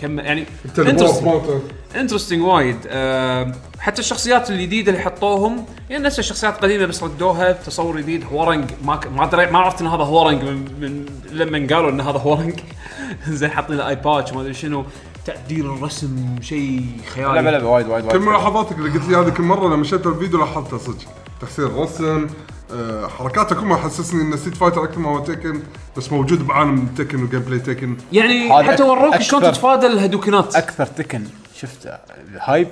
[SPEAKER 3] كم يعني
[SPEAKER 2] انت البوس مالته
[SPEAKER 3] انترستنج وايد آم، حتى الشخصيات الجديده اللي حطوهم يعني نفس الشخصيات القديمه بس ردوها بتصور جديد هورنج ما ك- ما أدري- ما عرفت ان هذا هورنج من, من لما قالوا ان هذا هورنج زين حاطين له اي باتش ما ادري شنو تعديل الرسم شيء خيالي
[SPEAKER 1] لعبه لعبه وايد وايد
[SPEAKER 2] كم
[SPEAKER 1] وايد
[SPEAKER 2] ملاحظاتك اللي قلت لي هذه كل مره لما شفت الفيديو لاحظتها صدق تحسين الرسم آه، حركاته كلها حسسني ان ستيت فايتر اكثر ما هو تكن بس موجود بعالم تكن وجيم بلاي تكن
[SPEAKER 3] يعني
[SPEAKER 1] هذا
[SPEAKER 3] حتى
[SPEAKER 1] أك-
[SPEAKER 3] وروك شلون
[SPEAKER 1] أكثر-
[SPEAKER 3] تتفادى الهدوكنات
[SPEAKER 1] اكثر تكن شفت هايب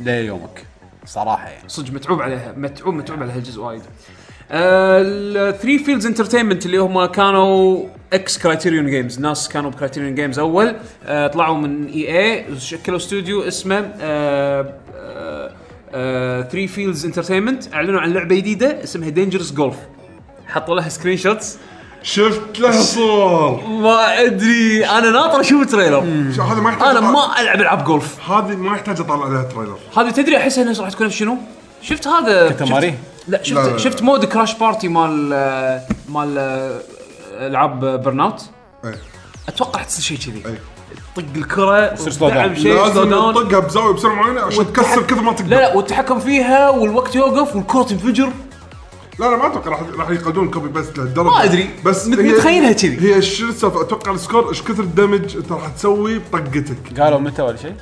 [SPEAKER 1] ليومك صراحه يعني
[SPEAKER 3] صدق متعوب عليها متعوب متعوب على هالجزء وايد آه، الثري فيلدز انترتينمنت اللي هم كانوا اكس كرايتيريون جيمز ناس كانوا بكرايتيريون جيمز اول آه، طلعوا من اي اي شكلوا استوديو اسمه آه، ثري فيلدز انترتينمنت اعلنوا عن لعبه جديده اسمها دينجرس جولف حطوا لها سكرين شوتس
[SPEAKER 2] شفت له صور
[SPEAKER 3] ما ادري انا ناطر اشوف التريلر
[SPEAKER 2] شو- هذا ما يحتاج
[SPEAKER 3] انا
[SPEAKER 2] أطلع-
[SPEAKER 3] ما العب العاب جولف
[SPEAKER 2] هذه ما يحتاج اطلع لها تريلر
[SPEAKER 3] هذه تدري احسها نفس راح تكون نفس شنو؟ شفت هذا
[SPEAKER 1] كتماري؟
[SPEAKER 3] شفت- لا شفت
[SPEAKER 2] لا، لا، لا.
[SPEAKER 3] شفت مود كراش بارتي مال آه، مال آه، العاب برن اوت
[SPEAKER 2] إيه.
[SPEAKER 3] اتوقع تصير شيء كذي
[SPEAKER 2] أي.
[SPEAKER 3] طق الكره
[SPEAKER 1] يصير slow down.
[SPEAKER 3] وتدعم شيء slow
[SPEAKER 2] لازم
[SPEAKER 3] down.
[SPEAKER 2] تطقها بزاويه بسرعه معينه عشان
[SPEAKER 3] والتحك-
[SPEAKER 2] تكسر كثر ما تقدر
[SPEAKER 3] إيه، لا لا والتحكم فيها والوقت يوقف والكره تنفجر
[SPEAKER 2] لا لا ما اتوقع راح راح يقعدون كوبي بيست لهالدرجه
[SPEAKER 3] ما أدري.
[SPEAKER 2] بس
[SPEAKER 3] مت-
[SPEAKER 2] هي-
[SPEAKER 3] متخيلها كذي.
[SPEAKER 2] هي شو السالفه اتوقع السكور ايش كثر الدمج انت راح تسوي بطقتك
[SPEAKER 1] قالوا متى ولا شيء؟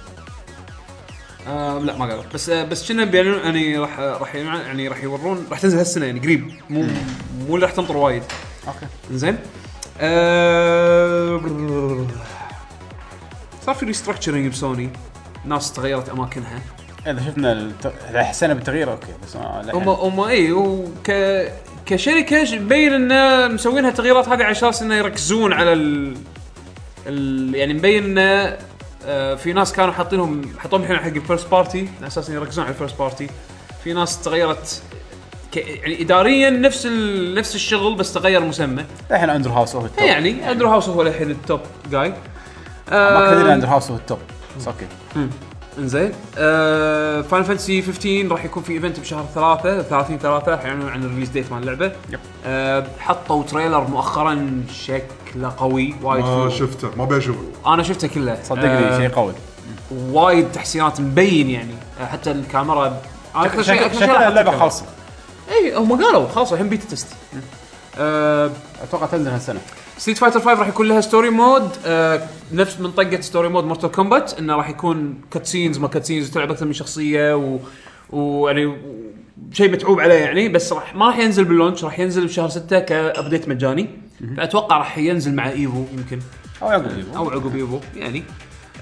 [SPEAKER 3] آه لا ما قالوا بس آه بس كنا بيعلنون يعني راح راح يعلنون- يعني راح يورون راح تنزل هالسنه يعني قريب مو مو اللي راح تنطر وايد
[SPEAKER 1] اوكي
[SPEAKER 3] زين آه، صار في ريستراكشرنج بسوني ناس تغيرت اماكنها
[SPEAKER 1] اذا إيه، شفنا الت- اذا حسينا بالتغيير اوكي بس ما- للحين.
[SPEAKER 3] هم هم اي وك كشركه ش- مبين ان مسوينها التغييرات هذه على اساس انه يركزون على ال... ال... يعني مبين ان آه، في ناس كانوا حاطينهم حطوهم الحين حق الفيرست بارتي على اساس انه يركزون على الفيرست بارتي في ناس تغيرت ك... يعني اداريا نفس ال... نفس الشغل بس تغير مسمى
[SPEAKER 1] الحين اندرو هاوس هو التوب
[SPEAKER 3] إيه يعني اندرو هاوس هو الحين التوب جاي
[SPEAKER 1] ما كنا ندري
[SPEAKER 3] آه
[SPEAKER 1] اندرو هاوس هو التوب بس اوكي
[SPEAKER 3] انزين آه فاينل فانتسي 15 راح يكون في ايفنت بشهر ثلاثة 30 ثلاثة راح يعلنون عن الريليز ديت مال اللعبة
[SPEAKER 1] يب.
[SPEAKER 3] آه حطوا تريلر مؤخرا شكله قوي وايد
[SPEAKER 2] ما
[SPEAKER 3] حلو.
[SPEAKER 2] شفته ما ابي اشوفه
[SPEAKER 3] انا شفته كله آه،
[SPEAKER 1] صدقني شيء قوي
[SPEAKER 3] وايد تحسينات مبين يعني آه، حتى الكاميرا اكثر شيء
[SPEAKER 1] شكل-
[SPEAKER 3] اكثر شيء
[SPEAKER 1] شكلها
[SPEAKER 3] لاحظت
[SPEAKER 1] اللعبه
[SPEAKER 3] الكاميرا.
[SPEAKER 1] خالصه
[SPEAKER 3] اي هم قالوا خلاص الحين بيتا تست آه
[SPEAKER 1] اتوقع تنزل هالسنه
[SPEAKER 3] ستريت فايتر 5 راح يكون لها ستوري مود آه نفس منطقه ستوري مود مورتال كومبات انه راح يكون كاتسينز ما كاتسينز وتلعب اكثر من شخصيه و ويعني و- يعني شيء متعوب عليه يعني بس راح ما راح ينزل باللونش راح ينزل بشهر 6 كابديت مجاني فاتوقع راح ينزل مع ايفو يمكن
[SPEAKER 1] او يعقوب
[SPEAKER 3] او عقب ايفو يعني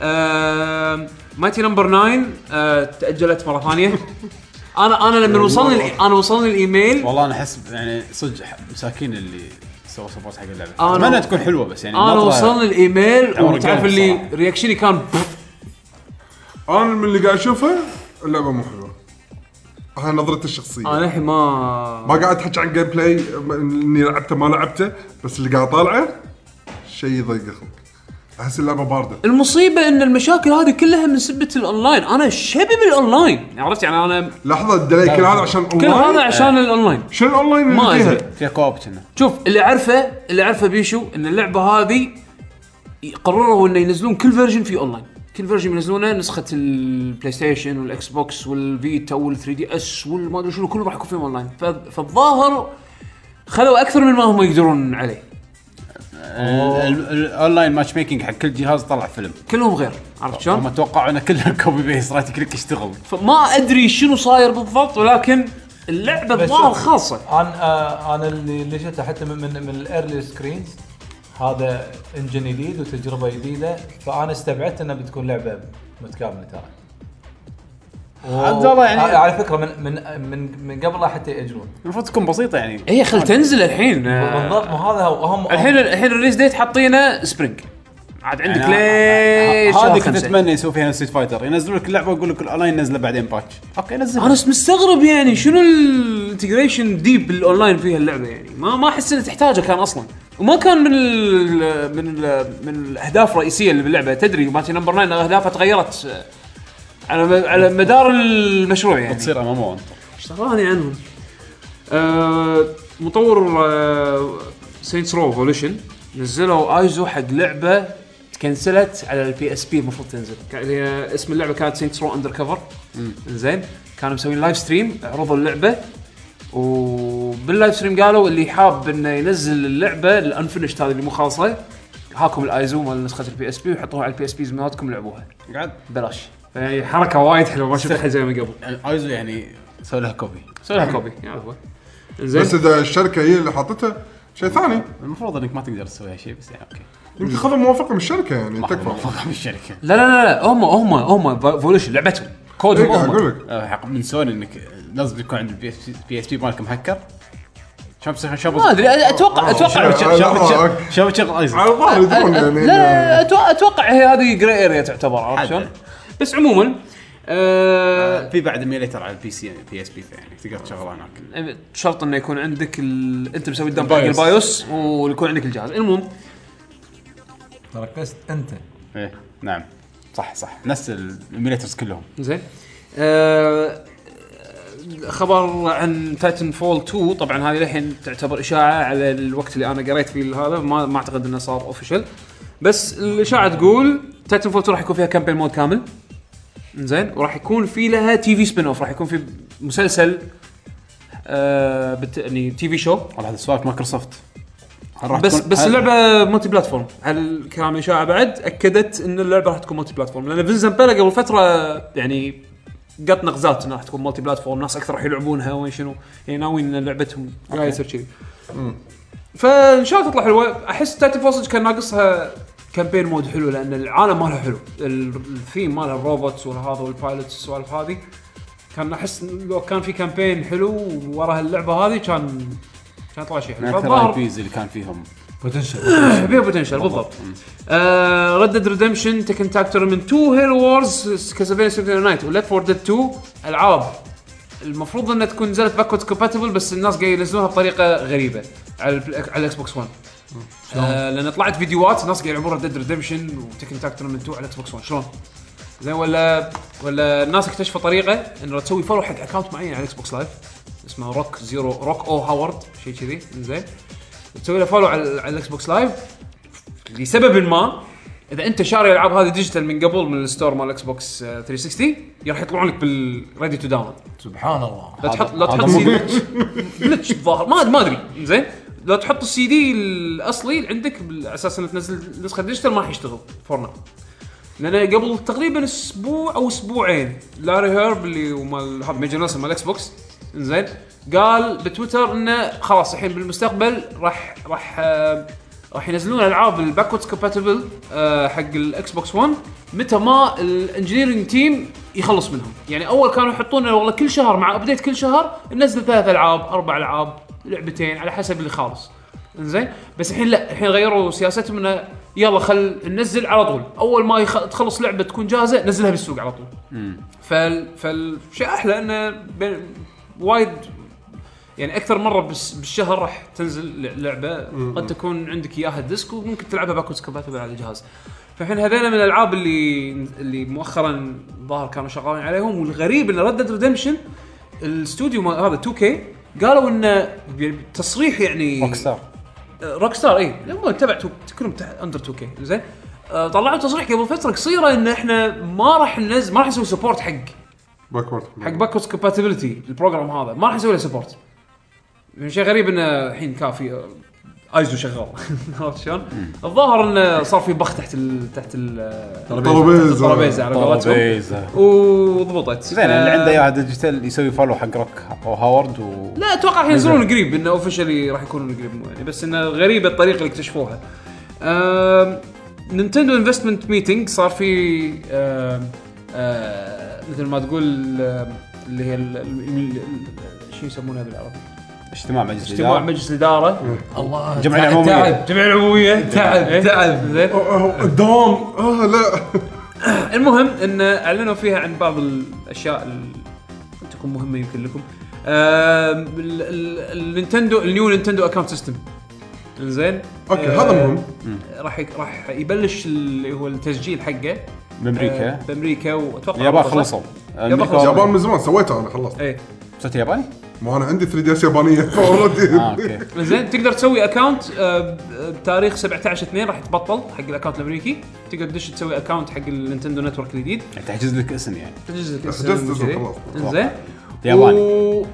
[SPEAKER 3] آه مايتي نمبر 9 آه تاجلت مره ثانيه انا انا لما وصلني الإي- انا وصلني الايميل
[SPEAKER 1] والله انا احس يعني صدق ح- مساكين اللي سووا سبورت حق اللعبه
[SPEAKER 3] أنا-
[SPEAKER 1] اتمنى تكون حلوه بس يعني
[SPEAKER 3] انا
[SPEAKER 1] ناطرة-
[SPEAKER 3] وصلني الايميل
[SPEAKER 1] عمر
[SPEAKER 3] وتعرف
[SPEAKER 1] قلب
[SPEAKER 3] اللي
[SPEAKER 1] صراحة.
[SPEAKER 3] رياكشني كان
[SPEAKER 2] انا من اللي قاعد اشوفه اللعبه مو حلوه هاي نظرتي الشخصيه
[SPEAKER 3] انا الحين آه، ما
[SPEAKER 2] ما قاعد احكي عن جيم بلاي م- اني لعبته ما لعبته بس اللي قاعد طالعه شيء يضيق خلق احس اللعبه بارده
[SPEAKER 3] المصيبه ان المشاكل هذه كلها من سبه الاونلاين انا شبي بالاونلاين عرفت يعني انا
[SPEAKER 2] لحظه الدليل كل هذا عشان
[SPEAKER 3] كل هذا
[SPEAKER 2] اونلاين
[SPEAKER 3] عشان الاونلاين
[SPEAKER 2] شنو الاونلاين
[SPEAKER 3] ما
[SPEAKER 2] اللي
[SPEAKER 3] ادري
[SPEAKER 2] فيها؟
[SPEAKER 1] فيها كوب كنا
[SPEAKER 3] شوف اللي عارفه اللي عارفه بيشو ان اللعبه هذه قرروا انه ينزلون كل فيرجن في اونلاين كل فيرجن ينزلونه نسخه البلاي ستيشن والاكس بوكس والفيتا وال3 دي اس والما ادري شنو كله راح يكون فيهم اونلاين ف- فالظاهر خذوا اكثر من ما هم يقدرون عليه
[SPEAKER 1] الاونلاين ماتش ميكنج حق كل جهاز طلع فيلم
[SPEAKER 3] كلهم غير عرفت شلون؟
[SPEAKER 1] هم توقعوا ان كلها كوبي بيست رايت كليك يشتغل
[SPEAKER 3] فما ادري شنو صاير بالضبط ولكن اللعبه
[SPEAKER 6] بس
[SPEAKER 3] الظاهر
[SPEAKER 6] شوف.
[SPEAKER 3] خاصه
[SPEAKER 6] انا آه، انا اللي اللي شفته حتى من من, من الايرلي سكرينز هذا انجن جديد وتجربه جديده فانا استبعدت انها بتكون لعبه متكامله ترى
[SPEAKER 1] عاد والله يعني-
[SPEAKER 6] آه، على فكره من من من, من قبل لا حتى ياجلون
[SPEAKER 1] المفروض تكون بسيطه يعني
[SPEAKER 3] هي خل إيه تنزل الحين آه،
[SPEAKER 6] بالضبط مو هذا هو هم
[SPEAKER 3] الحين الحين الريليز ديت حاطينه سبرينج عاد عندك
[SPEAKER 1] أنا-
[SPEAKER 3] ليش
[SPEAKER 1] هذه كنت اتمنى يسوي فيها ستريت فايتر ينزلوا لك اللعبه ويقول لك الاونلاين نزله بعدين باتش اوكي
[SPEAKER 3] انا
[SPEAKER 1] نزلها
[SPEAKER 3] س- مستغرب يعني شنو الانتجريشن ديب الاونلاين فيها اللعبه يعني ما ما احس انها تحتاجه كان اصلا وما كان من ال من ال من الاهداف الرئيسيه اللي باللعبه تدري ماتش نمبر 9 اهدافها تغيرت آه، على م- على مدار المشروع يعني
[SPEAKER 1] تصير ام ام
[SPEAKER 3] اشتغلاني عنهم آه مطور آه سينتس رو فولوشن نزلوا ايزو حق لعبه تكنسلت على البي اس بي المفروض تنزل كان- هي اسم اللعبه كانت سينتس رو اندر كفر زين كانوا مسوين لايف ستريم عرضوا اللعبه وباللايف ستريم قالوا اللي حاب انه ينزل اللعبه الانفنشت هذه اللي مو خالصه هاكم الايزو مال نسخه البي اس بي وحطوها على البي اس بي مالتكم لعبوها
[SPEAKER 1] قاعد
[SPEAKER 3] ببلاش يعني حركه وايد حلوه ما شفتها زي من قبل
[SPEAKER 1] ايزو يعني سوي لها كوبي
[SPEAKER 3] سوي لها كوبي يا هو
[SPEAKER 2] بس
[SPEAKER 3] زين
[SPEAKER 2] اذا الشركه هي اللي حطتها شيء ثاني
[SPEAKER 1] المفروض انك ما تقدر تسوي شيء بس يعني اوكي
[SPEAKER 2] يمكن خذوا موافقه من الشركه يعني تكفى
[SPEAKER 1] موافقه من الشركه
[SPEAKER 3] لا لا لا لا هم هم هم فولوشن لعبتهم كودهم
[SPEAKER 2] إيه، اقول
[SPEAKER 3] هم
[SPEAKER 2] لك
[SPEAKER 1] آه، حق من سوني انك لازم يكون عند البي اس بي اس بي مالكم هكر شلون بتصير شلون
[SPEAKER 3] ما ادري أ- اتوقع اتوقع
[SPEAKER 2] شو-
[SPEAKER 3] أ-
[SPEAKER 1] شلون
[SPEAKER 2] آه،
[SPEAKER 1] بتشغل-
[SPEAKER 2] أوكي.
[SPEAKER 1] شلون بتشغل
[SPEAKER 2] على
[SPEAKER 1] ايزو
[SPEAKER 2] الظاهر يدرون
[SPEAKER 3] لا
[SPEAKER 2] يعني
[SPEAKER 3] لا، أتو- اتوقع هي هذه جري اريا تعتبر عرفت
[SPEAKER 1] حد.
[SPEAKER 3] شلون؟ بس عموما آه،
[SPEAKER 1] في بعد ايميليتر على يعني، البي سي بي اس بي فيعني تقدر تشغله هناك
[SPEAKER 2] آه.
[SPEAKER 3] شرط انه يكون عندك ال... انت مسوي الدمب حق
[SPEAKER 1] البايوس.
[SPEAKER 3] البايوس ويكون عندك الجهاز المهم
[SPEAKER 6] ركزت انت
[SPEAKER 1] ايه نعم صح صح نفس الايميليترز كلهم
[SPEAKER 3] زين آه، خبر عن تايتن فول 2 طبعا هذه للحين تعتبر اشاعه على الوقت اللي انا قريت فيه هذا ما ما اعتقد انه صار اوفيشال بس الاشاعه تقول تايتن فول 2 راح يكون فيها كامبين مود كامل زين وراح يكون في لها تي في سبين اوف راح يكون في مسلسل آه بت... يعني تي في شو
[SPEAKER 1] والله هذا سوالف مايكروسوفت هل راح
[SPEAKER 3] بس
[SPEAKER 1] تكون-
[SPEAKER 3] بس
[SPEAKER 1] هل-
[SPEAKER 3] اللعبه مالتي بلاتفورم على ال- كان اشاعه بعد اكدت ان اللعبه راح تكون مالتي بلاتفورم لان فينسن بيلا قبل فتره يعني قط نغزات انها راح تكون مالتي بلاتفورم ناس اكثر راح يلعبونها وين شنو يعني ناويين ان لعبتهم قاعده تصير كذي فان شاء الله تطلع حلوه احس تايتن فوسج كان ناقصها كامبين مود حلو لان العالم مالها حلو ال- الثيم مالها الروبوتس والهذا والبايلوتس والسوالف هذه كان احس لو كان في كامبين حلو ورا اللعبه هذه كان كان طلع شيء
[SPEAKER 1] من
[SPEAKER 3] حلو
[SPEAKER 1] اكثر الاي
[SPEAKER 3] فالظاهر-
[SPEAKER 1] بيز اللي كان فيهم
[SPEAKER 6] بوتنشل
[SPEAKER 3] فيها بوتنشل بالضبط ريد ديد ريدمشن تكن تاكتور من 2 هيرو وورز كاسلفينيا سيمفوني نايت وليت فور ديد 2 العاب المفروض انها تكون نزلت باكورد كومباتبل بس الناس قاعد ينزلوها بطريقه غريبه على ال على الاكس بوكس 1 آه لان طلعت فيديوهات ناس قاعد يلعبون ديد ريدمشن وتكن تاكتور من 2 على الاكس بوكس 1 شلون؟ زين ولا ولا الناس اكتشفوا طريقه انه تسوي فولو حق اكونت معين على الاكس بوكس لايف اسمه روك زيرو روك او هاورد شيء كذي زين تسوي له فولو على على الاكس بوكس لايف لسبب ما اذا انت شاري الالعاب هذه ديجيتال من قبل من الستور مال اكس بوكس آه، 360 راح يطلعون لك بالريدي تو داونلود
[SPEAKER 6] سبحان الله
[SPEAKER 3] لا تحط لا تحط سي دي جلتش الظاهر ما ما ادري زين لا تحط السي دي الاصلي اللي عندك بال- على اساس انه تنزل نسخه ديجيتال ما راح يشتغل فورنا لان قبل تقريبا اسبوع او اسبوعين لاري هيرب اللي هو مال هاب ميجر نيلسون مال اكس بوكس زين قال بتويتر انه خلاص الحين بالمستقبل راح راح آه، راح ينزلون العاب الباكوردز كومباتبل آه، حق الاكس بوكس 1 متى ما الانجينيرنج تيم يخلص منهم يعني اول كانوا يحطون والله كل شهر مع ابديت كل شهر ننزل ثلاث العاب اربع العاب لعبتين على حسب اللي خالص زين بس الحين لا الحين غيروا سياستهم انه يلا خل ننزل على طول اول ما يخ... تخلص لعبه تكون جاهزه نزلها بالسوق على طول فال فالشيء احلى انه بين... وايد يعني اكثر مره بس... بالشهر راح تنزل ل- لعبه قد تكون عندك اياها ديسك وممكن تلعبها باكوز كومباتبل على الجهاز فالحين هذول من الالعاب اللي اللي مؤخرا ظاهر كانوا شغالين عليهم والغريب ان ردد ريدمشن الاستوديو مال هذا 2 كي قالوا انه تصريح يعني
[SPEAKER 1] روك ستار
[SPEAKER 3] روك ستار اي هم إيه. تبع تو- كلهم تحت اندر 2 كي زين آه، طلعوا تصريح قبل فتره قصيره ان احنا ما راح ننزل ما راح نسوي سبورت حق
[SPEAKER 2] باكورد
[SPEAKER 3] حق باكورد كومباتيبلتي البروجرام هذا ما راح نسوي له سبورت شيء غريب انه الحين كافي آه، ايزو شغال عرفت شلون؟ الظاهر انه صار في بخ تحت ال تحت ال
[SPEAKER 2] طرابيزه
[SPEAKER 3] الترابيزه على قولتهم
[SPEAKER 1] طرابيزه
[SPEAKER 3] وضبطت
[SPEAKER 1] زين اللي
[SPEAKER 3] آه،
[SPEAKER 1] عنده اياها ديجيتال يسوي فولو حق روك او هاورد و
[SPEAKER 3] لا اتوقع راح ينزلون قريب انه اوفشلي راح يكونون قريب مو يعني بس انه غريبه الطريقه اللي اكتشفوها. آم، نينتندو انفستمنت ميتنج صار في آم، آم، مثل ما تقول آم، اللي هي ال- ال- ال- ال- شو يسمونها بالعربي؟
[SPEAKER 1] اجتماع مجلس
[SPEAKER 3] اجتماع
[SPEAKER 1] الاداره
[SPEAKER 3] مجلس الاداره
[SPEAKER 6] الله
[SPEAKER 1] جمعية
[SPEAKER 6] تعب-
[SPEAKER 1] عمومية.
[SPEAKER 6] تعب
[SPEAKER 3] جمعيه العموميه
[SPEAKER 6] تعب تعب
[SPEAKER 3] زين
[SPEAKER 2] أه، إيه. الدوام اه لا
[SPEAKER 3] المهم ان اعلنوا فيها عن بعض الاشياء اللي تكون مهمه يمكن لكم آم، ال- ال- النينتندو النيو نينتندو اكونت سيستم زين
[SPEAKER 2] اوكي
[SPEAKER 3] آه،
[SPEAKER 2] هذا مهم
[SPEAKER 3] راح يك- راح يبلش اللي هو التسجيل حقه آه،
[SPEAKER 1] بامريكا
[SPEAKER 3] بامريكا واتوقع
[SPEAKER 1] اليابان
[SPEAKER 3] صح؟
[SPEAKER 1] خلصوا
[SPEAKER 3] خلصوا.
[SPEAKER 2] اليابان من زمان سويتها انا خلصت
[SPEAKER 3] ايه
[SPEAKER 1] صرت ياباني؟
[SPEAKER 2] ما انا عندي 3 دي اس يابانيه اوريدي
[SPEAKER 3] آه،
[SPEAKER 1] اه اوكي
[SPEAKER 3] زين تقدر تسوي اكونت بتاريخ 17 2 راح يتبطل حق الاكونت الامريكي تقدر تدش تسوي اكونت حق النينتندو نتورك الجديد
[SPEAKER 1] يعني تحجز لك اسم يعني
[SPEAKER 3] تجهز لك
[SPEAKER 2] حجزت
[SPEAKER 3] اسم
[SPEAKER 2] اسم
[SPEAKER 3] وكذي.
[SPEAKER 2] خلاص.
[SPEAKER 3] زين
[SPEAKER 1] ياباني
[SPEAKER 3] و-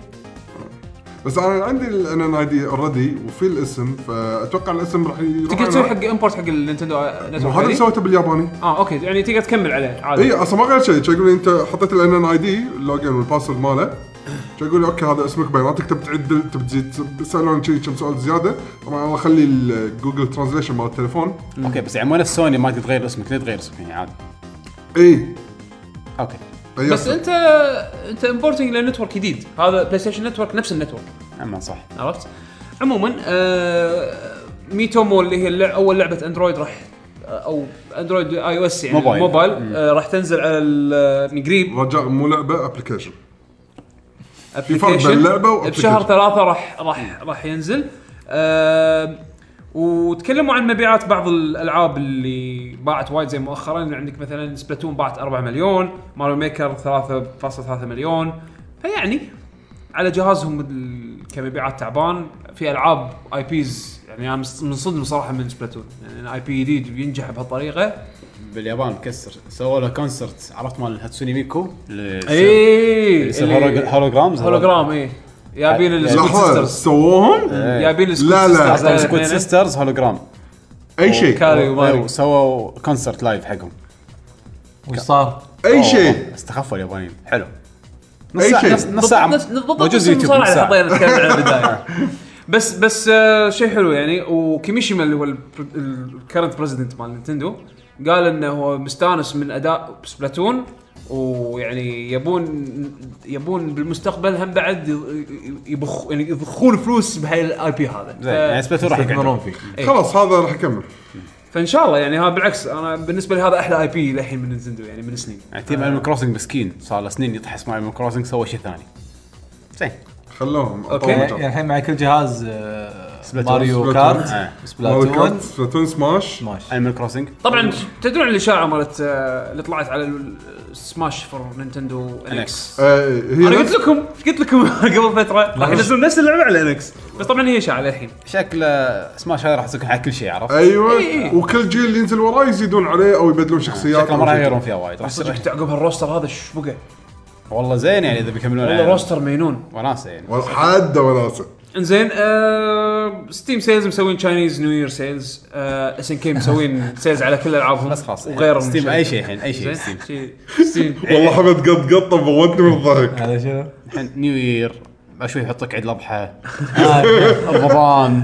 [SPEAKER 2] بس انا عندي الان ان اي دي اوريدي وفي الاسم فاتوقع الاسم راح يروح
[SPEAKER 3] تقدر تسوي
[SPEAKER 2] على-
[SPEAKER 3] حق امبورت حق النينتندو
[SPEAKER 2] مو هذا
[SPEAKER 3] نتورك
[SPEAKER 2] إيه، اللي
[SPEAKER 3] الجديد.
[SPEAKER 2] سويته بالياباني
[SPEAKER 3] اه اوكي يعني تقدر تكمل عليه عادي
[SPEAKER 2] اي اصلا ما غير شيء شو يقول لي انت حطيت الان ان اي دي اللوجن والباسورد ماله شو يقول لي اوكي هذا اسمك بياناتك تبي تعدل تبي تزيد يسالون شي كم سؤال زياده طبعا انا اخلي الجوجل ترانزليشن مال التليفون
[SPEAKER 1] اوكي بس يعني مو نفس سوني ما تتغير اسمك ليه تغير اسمك يعني عادي
[SPEAKER 2] اي
[SPEAKER 1] اوكي
[SPEAKER 2] غيرته.
[SPEAKER 3] بس انت انت امبورتنج لنتورك جديد هذا بلاي ستيشن نتورك نفس النتورك
[SPEAKER 1] اما صح
[SPEAKER 3] عرفت؟ عموما آه ميتومو اللي هي اللع- اول لعبه اندرويد راح آه، او اندرويد اي او اس يعني
[SPEAKER 1] موبايل.
[SPEAKER 3] موبايل آه راح تنزل على ال- من قريب
[SPEAKER 2] رجاء مو لعبه ابلكيشن فرق بين
[SPEAKER 3] ابلكيشن
[SPEAKER 2] اللعبة وapplication.
[SPEAKER 3] بشهر ثلاثة راح راح راح ينزل آم، وتكلموا عن مبيعات بعض الالعاب اللي باعت وايد زي مؤخرا عندك مثلا سبلاتون باعت 4 مليون ماريو ميكر 3.3 مليون فيعني على جهازهم ال- كمبيعات تعبان في العاب اي بيز يعني انا مس- منصدم صراحه من سبلاتون يعني اي بي جديد ينجح بهالطريقه
[SPEAKER 7] باليابان مكسر سووا له كونسرت عرفت مال هاتسوني ميكو
[SPEAKER 3] إيه، اي
[SPEAKER 1] يعني
[SPEAKER 3] إيه.
[SPEAKER 1] يصير هولوجرامز
[SPEAKER 3] هولوغرام اي يابين السكوت
[SPEAKER 2] لحظه
[SPEAKER 3] سيسترز
[SPEAKER 2] سووهم
[SPEAKER 3] يابين السكوت
[SPEAKER 2] إيه. لا، لا.
[SPEAKER 3] سيسترز.
[SPEAKER 1] اصلا سكوت
[SPEAKER 3] اثنين.
[SPEAKER 1] سيسترز هولوجرام
[SPEAKER 2] اي شيء
[SPEAKER 3] كاري وماريو
[SPEAKER 1] أيوه، سووا كونسرت لايف حقهم
[SPEAKER 6] وش صار؟
[SPEAKER 2] اي
[SPEAKER 1] أوه،
[SPEAKER 2] شيء
[SPEAKER 1] استخفوا اليابانيين حلو
[SPEAKER 2] أي
[SPEAKER 1] ساعة-
[SPEAKER 2] شيء.
[SPEAKER 1] نص- نص ساعة
[SPEAKER 3] بالضبط إيه. نفس- بالضبط
[SPEAKER 1] موجود
[SPEAKER 3] نفس
[SPEAKER 1] يوتيوب
[SPEAKER 3] المصارعة
[SPEAKER 1] نص ساعة.
[SPEAKER 3] اللي حطينا نتكلم عن البدايه بس بس آه شيء حلو يعني وكيميشيما اللي هو الكرنت بريزدنت مال نينتندو قال انه هو مستانس من اداء سبلاتون ويعني يبون يبون بالمستقبل هم بعد يبخ يعني يضخون فلوس بهاي الاي بي هذا
[SPEAKER 1] زين يعني سبلاتون راح يقعد
[SPEAKER 6] يستثمرون فيه
[SPEAKER 3] إيه.
[SPEAKER 2] خلاص هذا راح يكمل
[SPEAKER 3] فان شاء الله يعني هذا بالعكس انا بالنسبه لي هذا احلى اي بي للحين من نينتندو يعني من سنين
[SPEAKER 1] يعني تيم انيمال كروسنج مسكين صار له سنين يطحس مع انيمال كروسنج سوى شيء ثاني زين
[SPEAKER 2] خلوهم
[SPEAKER 3] أوكي.
[SPEAKER 2] أعطوهم مجال.
[SPEAKER 6] يعني الحين مع كل جهاز آه،
[SPEAKER 1] سبلاتون.
[SPEAKER 6] ماريو
[SPEAKER 2] سبلاتون.
[SPEAKER 6] كارت
[SPEAKER 2] ماريو كارت
[SPEAKER 6] سبلاتون
[SPEAKER 2] سبلاتون سماش
[SPEAKER 6] سماش
[SPEAKER 1] انيمال كروسنج
[SPEAKER 3] طبعا تدرون الاشاعه مالت آه، اللي طلعت على ال- سماش فور نينتندو انكس
[SPEAKER 2] آه، هي
[SPEAKER 3] انا قلت
[SPEAKER 2] نفس-
[SPEAKER 3] لكم قلت لكم قبل فتره راح
[SPEAKER 6] لا.
[SPEAKER 3] ينزلون نفس اللعبه على انكس بس طبعا هي اشاعه للحين
[SPEAKER 1] شكله سماش هذا راح يسكن على كل شيء عرفت؟
[SPEAKER 2] ايوه
[SPEAKER 3] إي إي.
[SPEAKER 2] وكل جيل اللي ينزل وراه يزيدون عليه او يبدلون شخصيات
[SPEAKER 1] شكله ما
[SPEAKER 2] أو
[SPEAKER 1] راح
[SPEAKER 2] شيء.
[SPEAKER 1] يغيرون فيها وايد راح
[SPEAKER 3] صدق
[SPEAKER 1] يصير
[SPEAKER 3] تعقب هالروستر هذا ايش بقى؟
[SPEAKER 1] نعم. والله زين يعني اذا بيكملون
[SPEAKER 3] والله
[SPEAKER 1] يعني
[SPEAKER 3] روستر مينون
[SPEAKER 1] وناسه يعني
[SPEAKER 2] ولا- حد وناسه
[SPEAKER 3] انزين آه ستيم سيلز مسوين تشاينيز نيو يير سيلز اس ان كي مسوين سيلز على كل العابهم
[SPEAKER 1] بس خلاص
[SPEAKER 3] وغيرهم
[SPEAKER 1] ستيم اي شيء الحين اي شيء ستيم
[SPEAKER 3] ستيم ستيم
[SPEAKER 2] والله حمد قط قطه موتني من الضحك
[SPEAKER 6] هذا شنو؟
[SPEAKER 1] الحين نيو يير شوي يحطك عيد الاضحى رمضان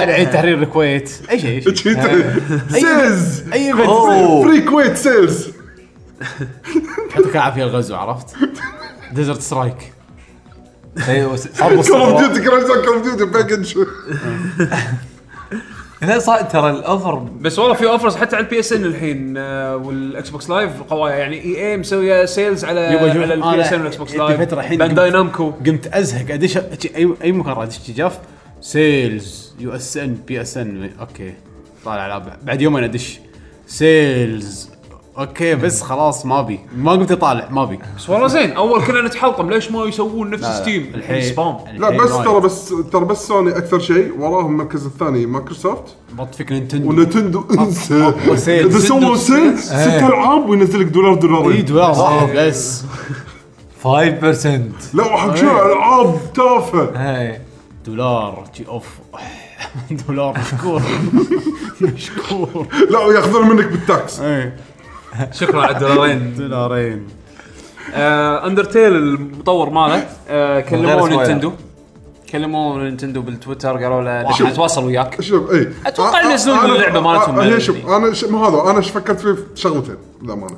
[SPEAKER 1] عيد تحرير الكويت اي شيء اي شيء
[SPEAKER 2] سيلز
[SPEAKER 1] اي ايفنت
[SPEAKER 2] فري كويت سيلز
[SPEAKER 1] يعطيك العافيه الغزو عرفت؟ ديزرت سترايك
[SPEAKER 6] إي، صار
[SPEAKER 2] كول اوف ديوتي كول اوف ديوتي باكج
[SPEAKER 6] هنا صار ترى الاوفر
[SPEAKER 3] بس والله في اوفرز حتى على البي اس ان الحين آه، والاكس بوكس لايف قوايا يعني اي اي مسويه سيلز على
[SPEAKER 1] يبا شوف،
[SPEAKER 3] على البي
[SPEAKER 1] أنا
[SPEAKER 3] اس ان والاكس بوكس
[SPEAKER 1] عندي
[SPEAKER 3] لايف
[SPEAKER 1] فترة الحين
[SPEAKER 3] بانداي
[SPEAKER 1] قمت-
[SPEAKER 3] نامكو
[SPEAKER 1] قمت ازهق ادش أجي اي اي مكان راح ادش جاف سيلز يو اس ان بي اس ان اوكي طالع العاب بعد يومين ادش سيلز اوكي بس خلاص ما بي ما قمت اطالع ما بي
[SPEAKER 3] بس والله زين اول كنا نتحلطم ليش ما يسوون نفس
[SPEAKER 1] لا،
[SPEAKER 3] ستيم
[SPEAKER 1] الحين-
[SPEAKER 3] سبام
[SPEAKER 2] لا بس
[SPEAKER 1] وايد.
[SPEAKER 2] ترى بس ترى بس سوني اكثر شيء وراهم المركز الثاني مايكروسوفت
[SPEAKER 1] بط فيك نينتندو
[SPEAKER 2] ونتندو انسى
[SPEAKER 1] أقوى سيل.
[SPEAKER 2] اذا سووا سيل ست العاب وينزل لك دولار
[SPEAKER 1] اي
[SPEAKER 2] دولارين
[SPEAKER 1] دولار واحد بس
[SPEAKER 6] 5%
[SPEAKER 2] لا وحق شنو العاب تافهه
[SPEAKER 6] هاي
[SPEAKER 1] دولار جي اوف دولار مشكور مشكور
[SPEAKER 2] لا وياخذون منك بالتاكس
[SPEAKER 1] اي
[SPEAKER 3] شكرا على الدولارين
[SPEAKER 1] دولارين
[SPEAKER 3] اندرتيل آه، المطور ماله آه،
[SPEAKER 6] غير
[SPEAKER 3] كلموه
[SPEAKER 6] سبويلر.
[SPEAKER 3] نينتندو كلموه نينتندو بالتويتر قالوا له
[SPEAKER 2] شوف.
[SPEAKER 3] نحن نتواصل وياك
[SPEAKER 2] شوف اي
[SPEAKER 3] أتوقع
[SPEAKER 2] أ- أ-
[SPEAKER 3] ينزلون
[SPEAKER 2] أنا-
[SPEAKER 3] اللعبة مالتهم.
[SPEAKER 2] أ- هي شوف انا ش- ما هذا انا ش- فكرت فيه شغلتين للامانه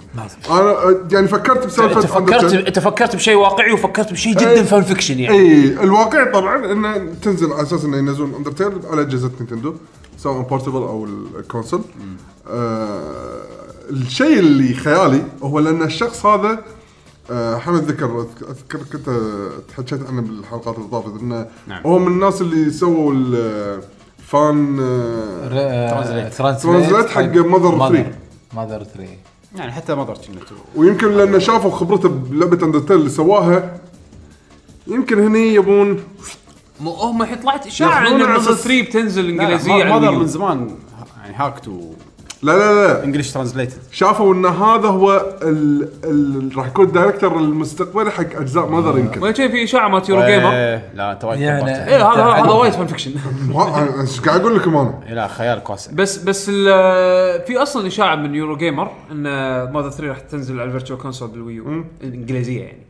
[SPEAKER 2] انا أ- يعني فكرت
[SPEAKER 3] انت
[SPEAKER 2] بسالفه
[SPEAKER 3] فكرت
[SPEAKER 2] Undertale.
[SPEAKER 3] انت فكرت بشيء واقعي وفكرت بشيء
[SPEAKER 1] إيه.
[SPEAKER 3] جدا فان فيكشن يعني
[SPEAKER 2] اي إيه، الواقع طبعا انه تنزل على اساس انه ينزلون اندرتيل على اجهزه نينتندو سواء بورتبل او الكونسل آه الشيء اللي خيالي هو لان الشخص هذا آه حمد ذكر اذكر كنت آه، تحكيت عنه بالحلقات اللي طافت انه نعم. هو من الناس اللي سووا الفان آه ترانزليت حق
[SPEAKER 6] طيب.
[SPEAKER 2] Mother 3.
[SPEAKER 6] ماذر 3
[SPEAKER 1] يعني حتى ما ضرت كنا تو.
[SPEAKER 2] ويمكن لانه شافوا خبرته بلعبه اندرتيل اللي سواها يمكن هني يبون
[SPEAKER 3] مو هم الحين طلعت اشاعه
[SPEAKER 2] ياخذون
[SPEAKER 3] ان
[SPEAKER 2] على
[SPEAKER 3] نظر
[SPEAKER 2] أساس-
[SPEAKER 3] 3 بتنزل انجليزيه على
[SPEAKER 1] ما ضر
[SPEAKER 3] الويو.
[SPEAKER 1] من زمان يعني هاكت و
[SPEAKER 2] لا لا لا
[SPEAKER 1] انجلش ترانزليتد
[SPEAKER 2] شافوا ان هذا هو ال... ال... راح يكون الدايركتر المستقبلي حق اجزاء ماذر يمكن
[SPEAKER 3] وين شايف في اشاعه مالت يورو جيمر
[SPEAKER 1] إيه، لا انت وايد
[SPEAKER 6] يعني-
[SPEAKER 3] ايه
[SPEAKER 1] كبرت.
[SPEAKER 3] هذا هذا هذا وايد فان فيكشن
[SPEAKER 2] ما- أنا ايش قاعد اقول لكم انا
[SPEAKER 1] إيه، لا خيالك واسع
[SPEAKER 3] بس بس ال- في اصلا اشاعه من يورو جيمر ان ماذا 3 راح تنزل على الفيرتشوال كونسول بالويو الانجليزيه يعني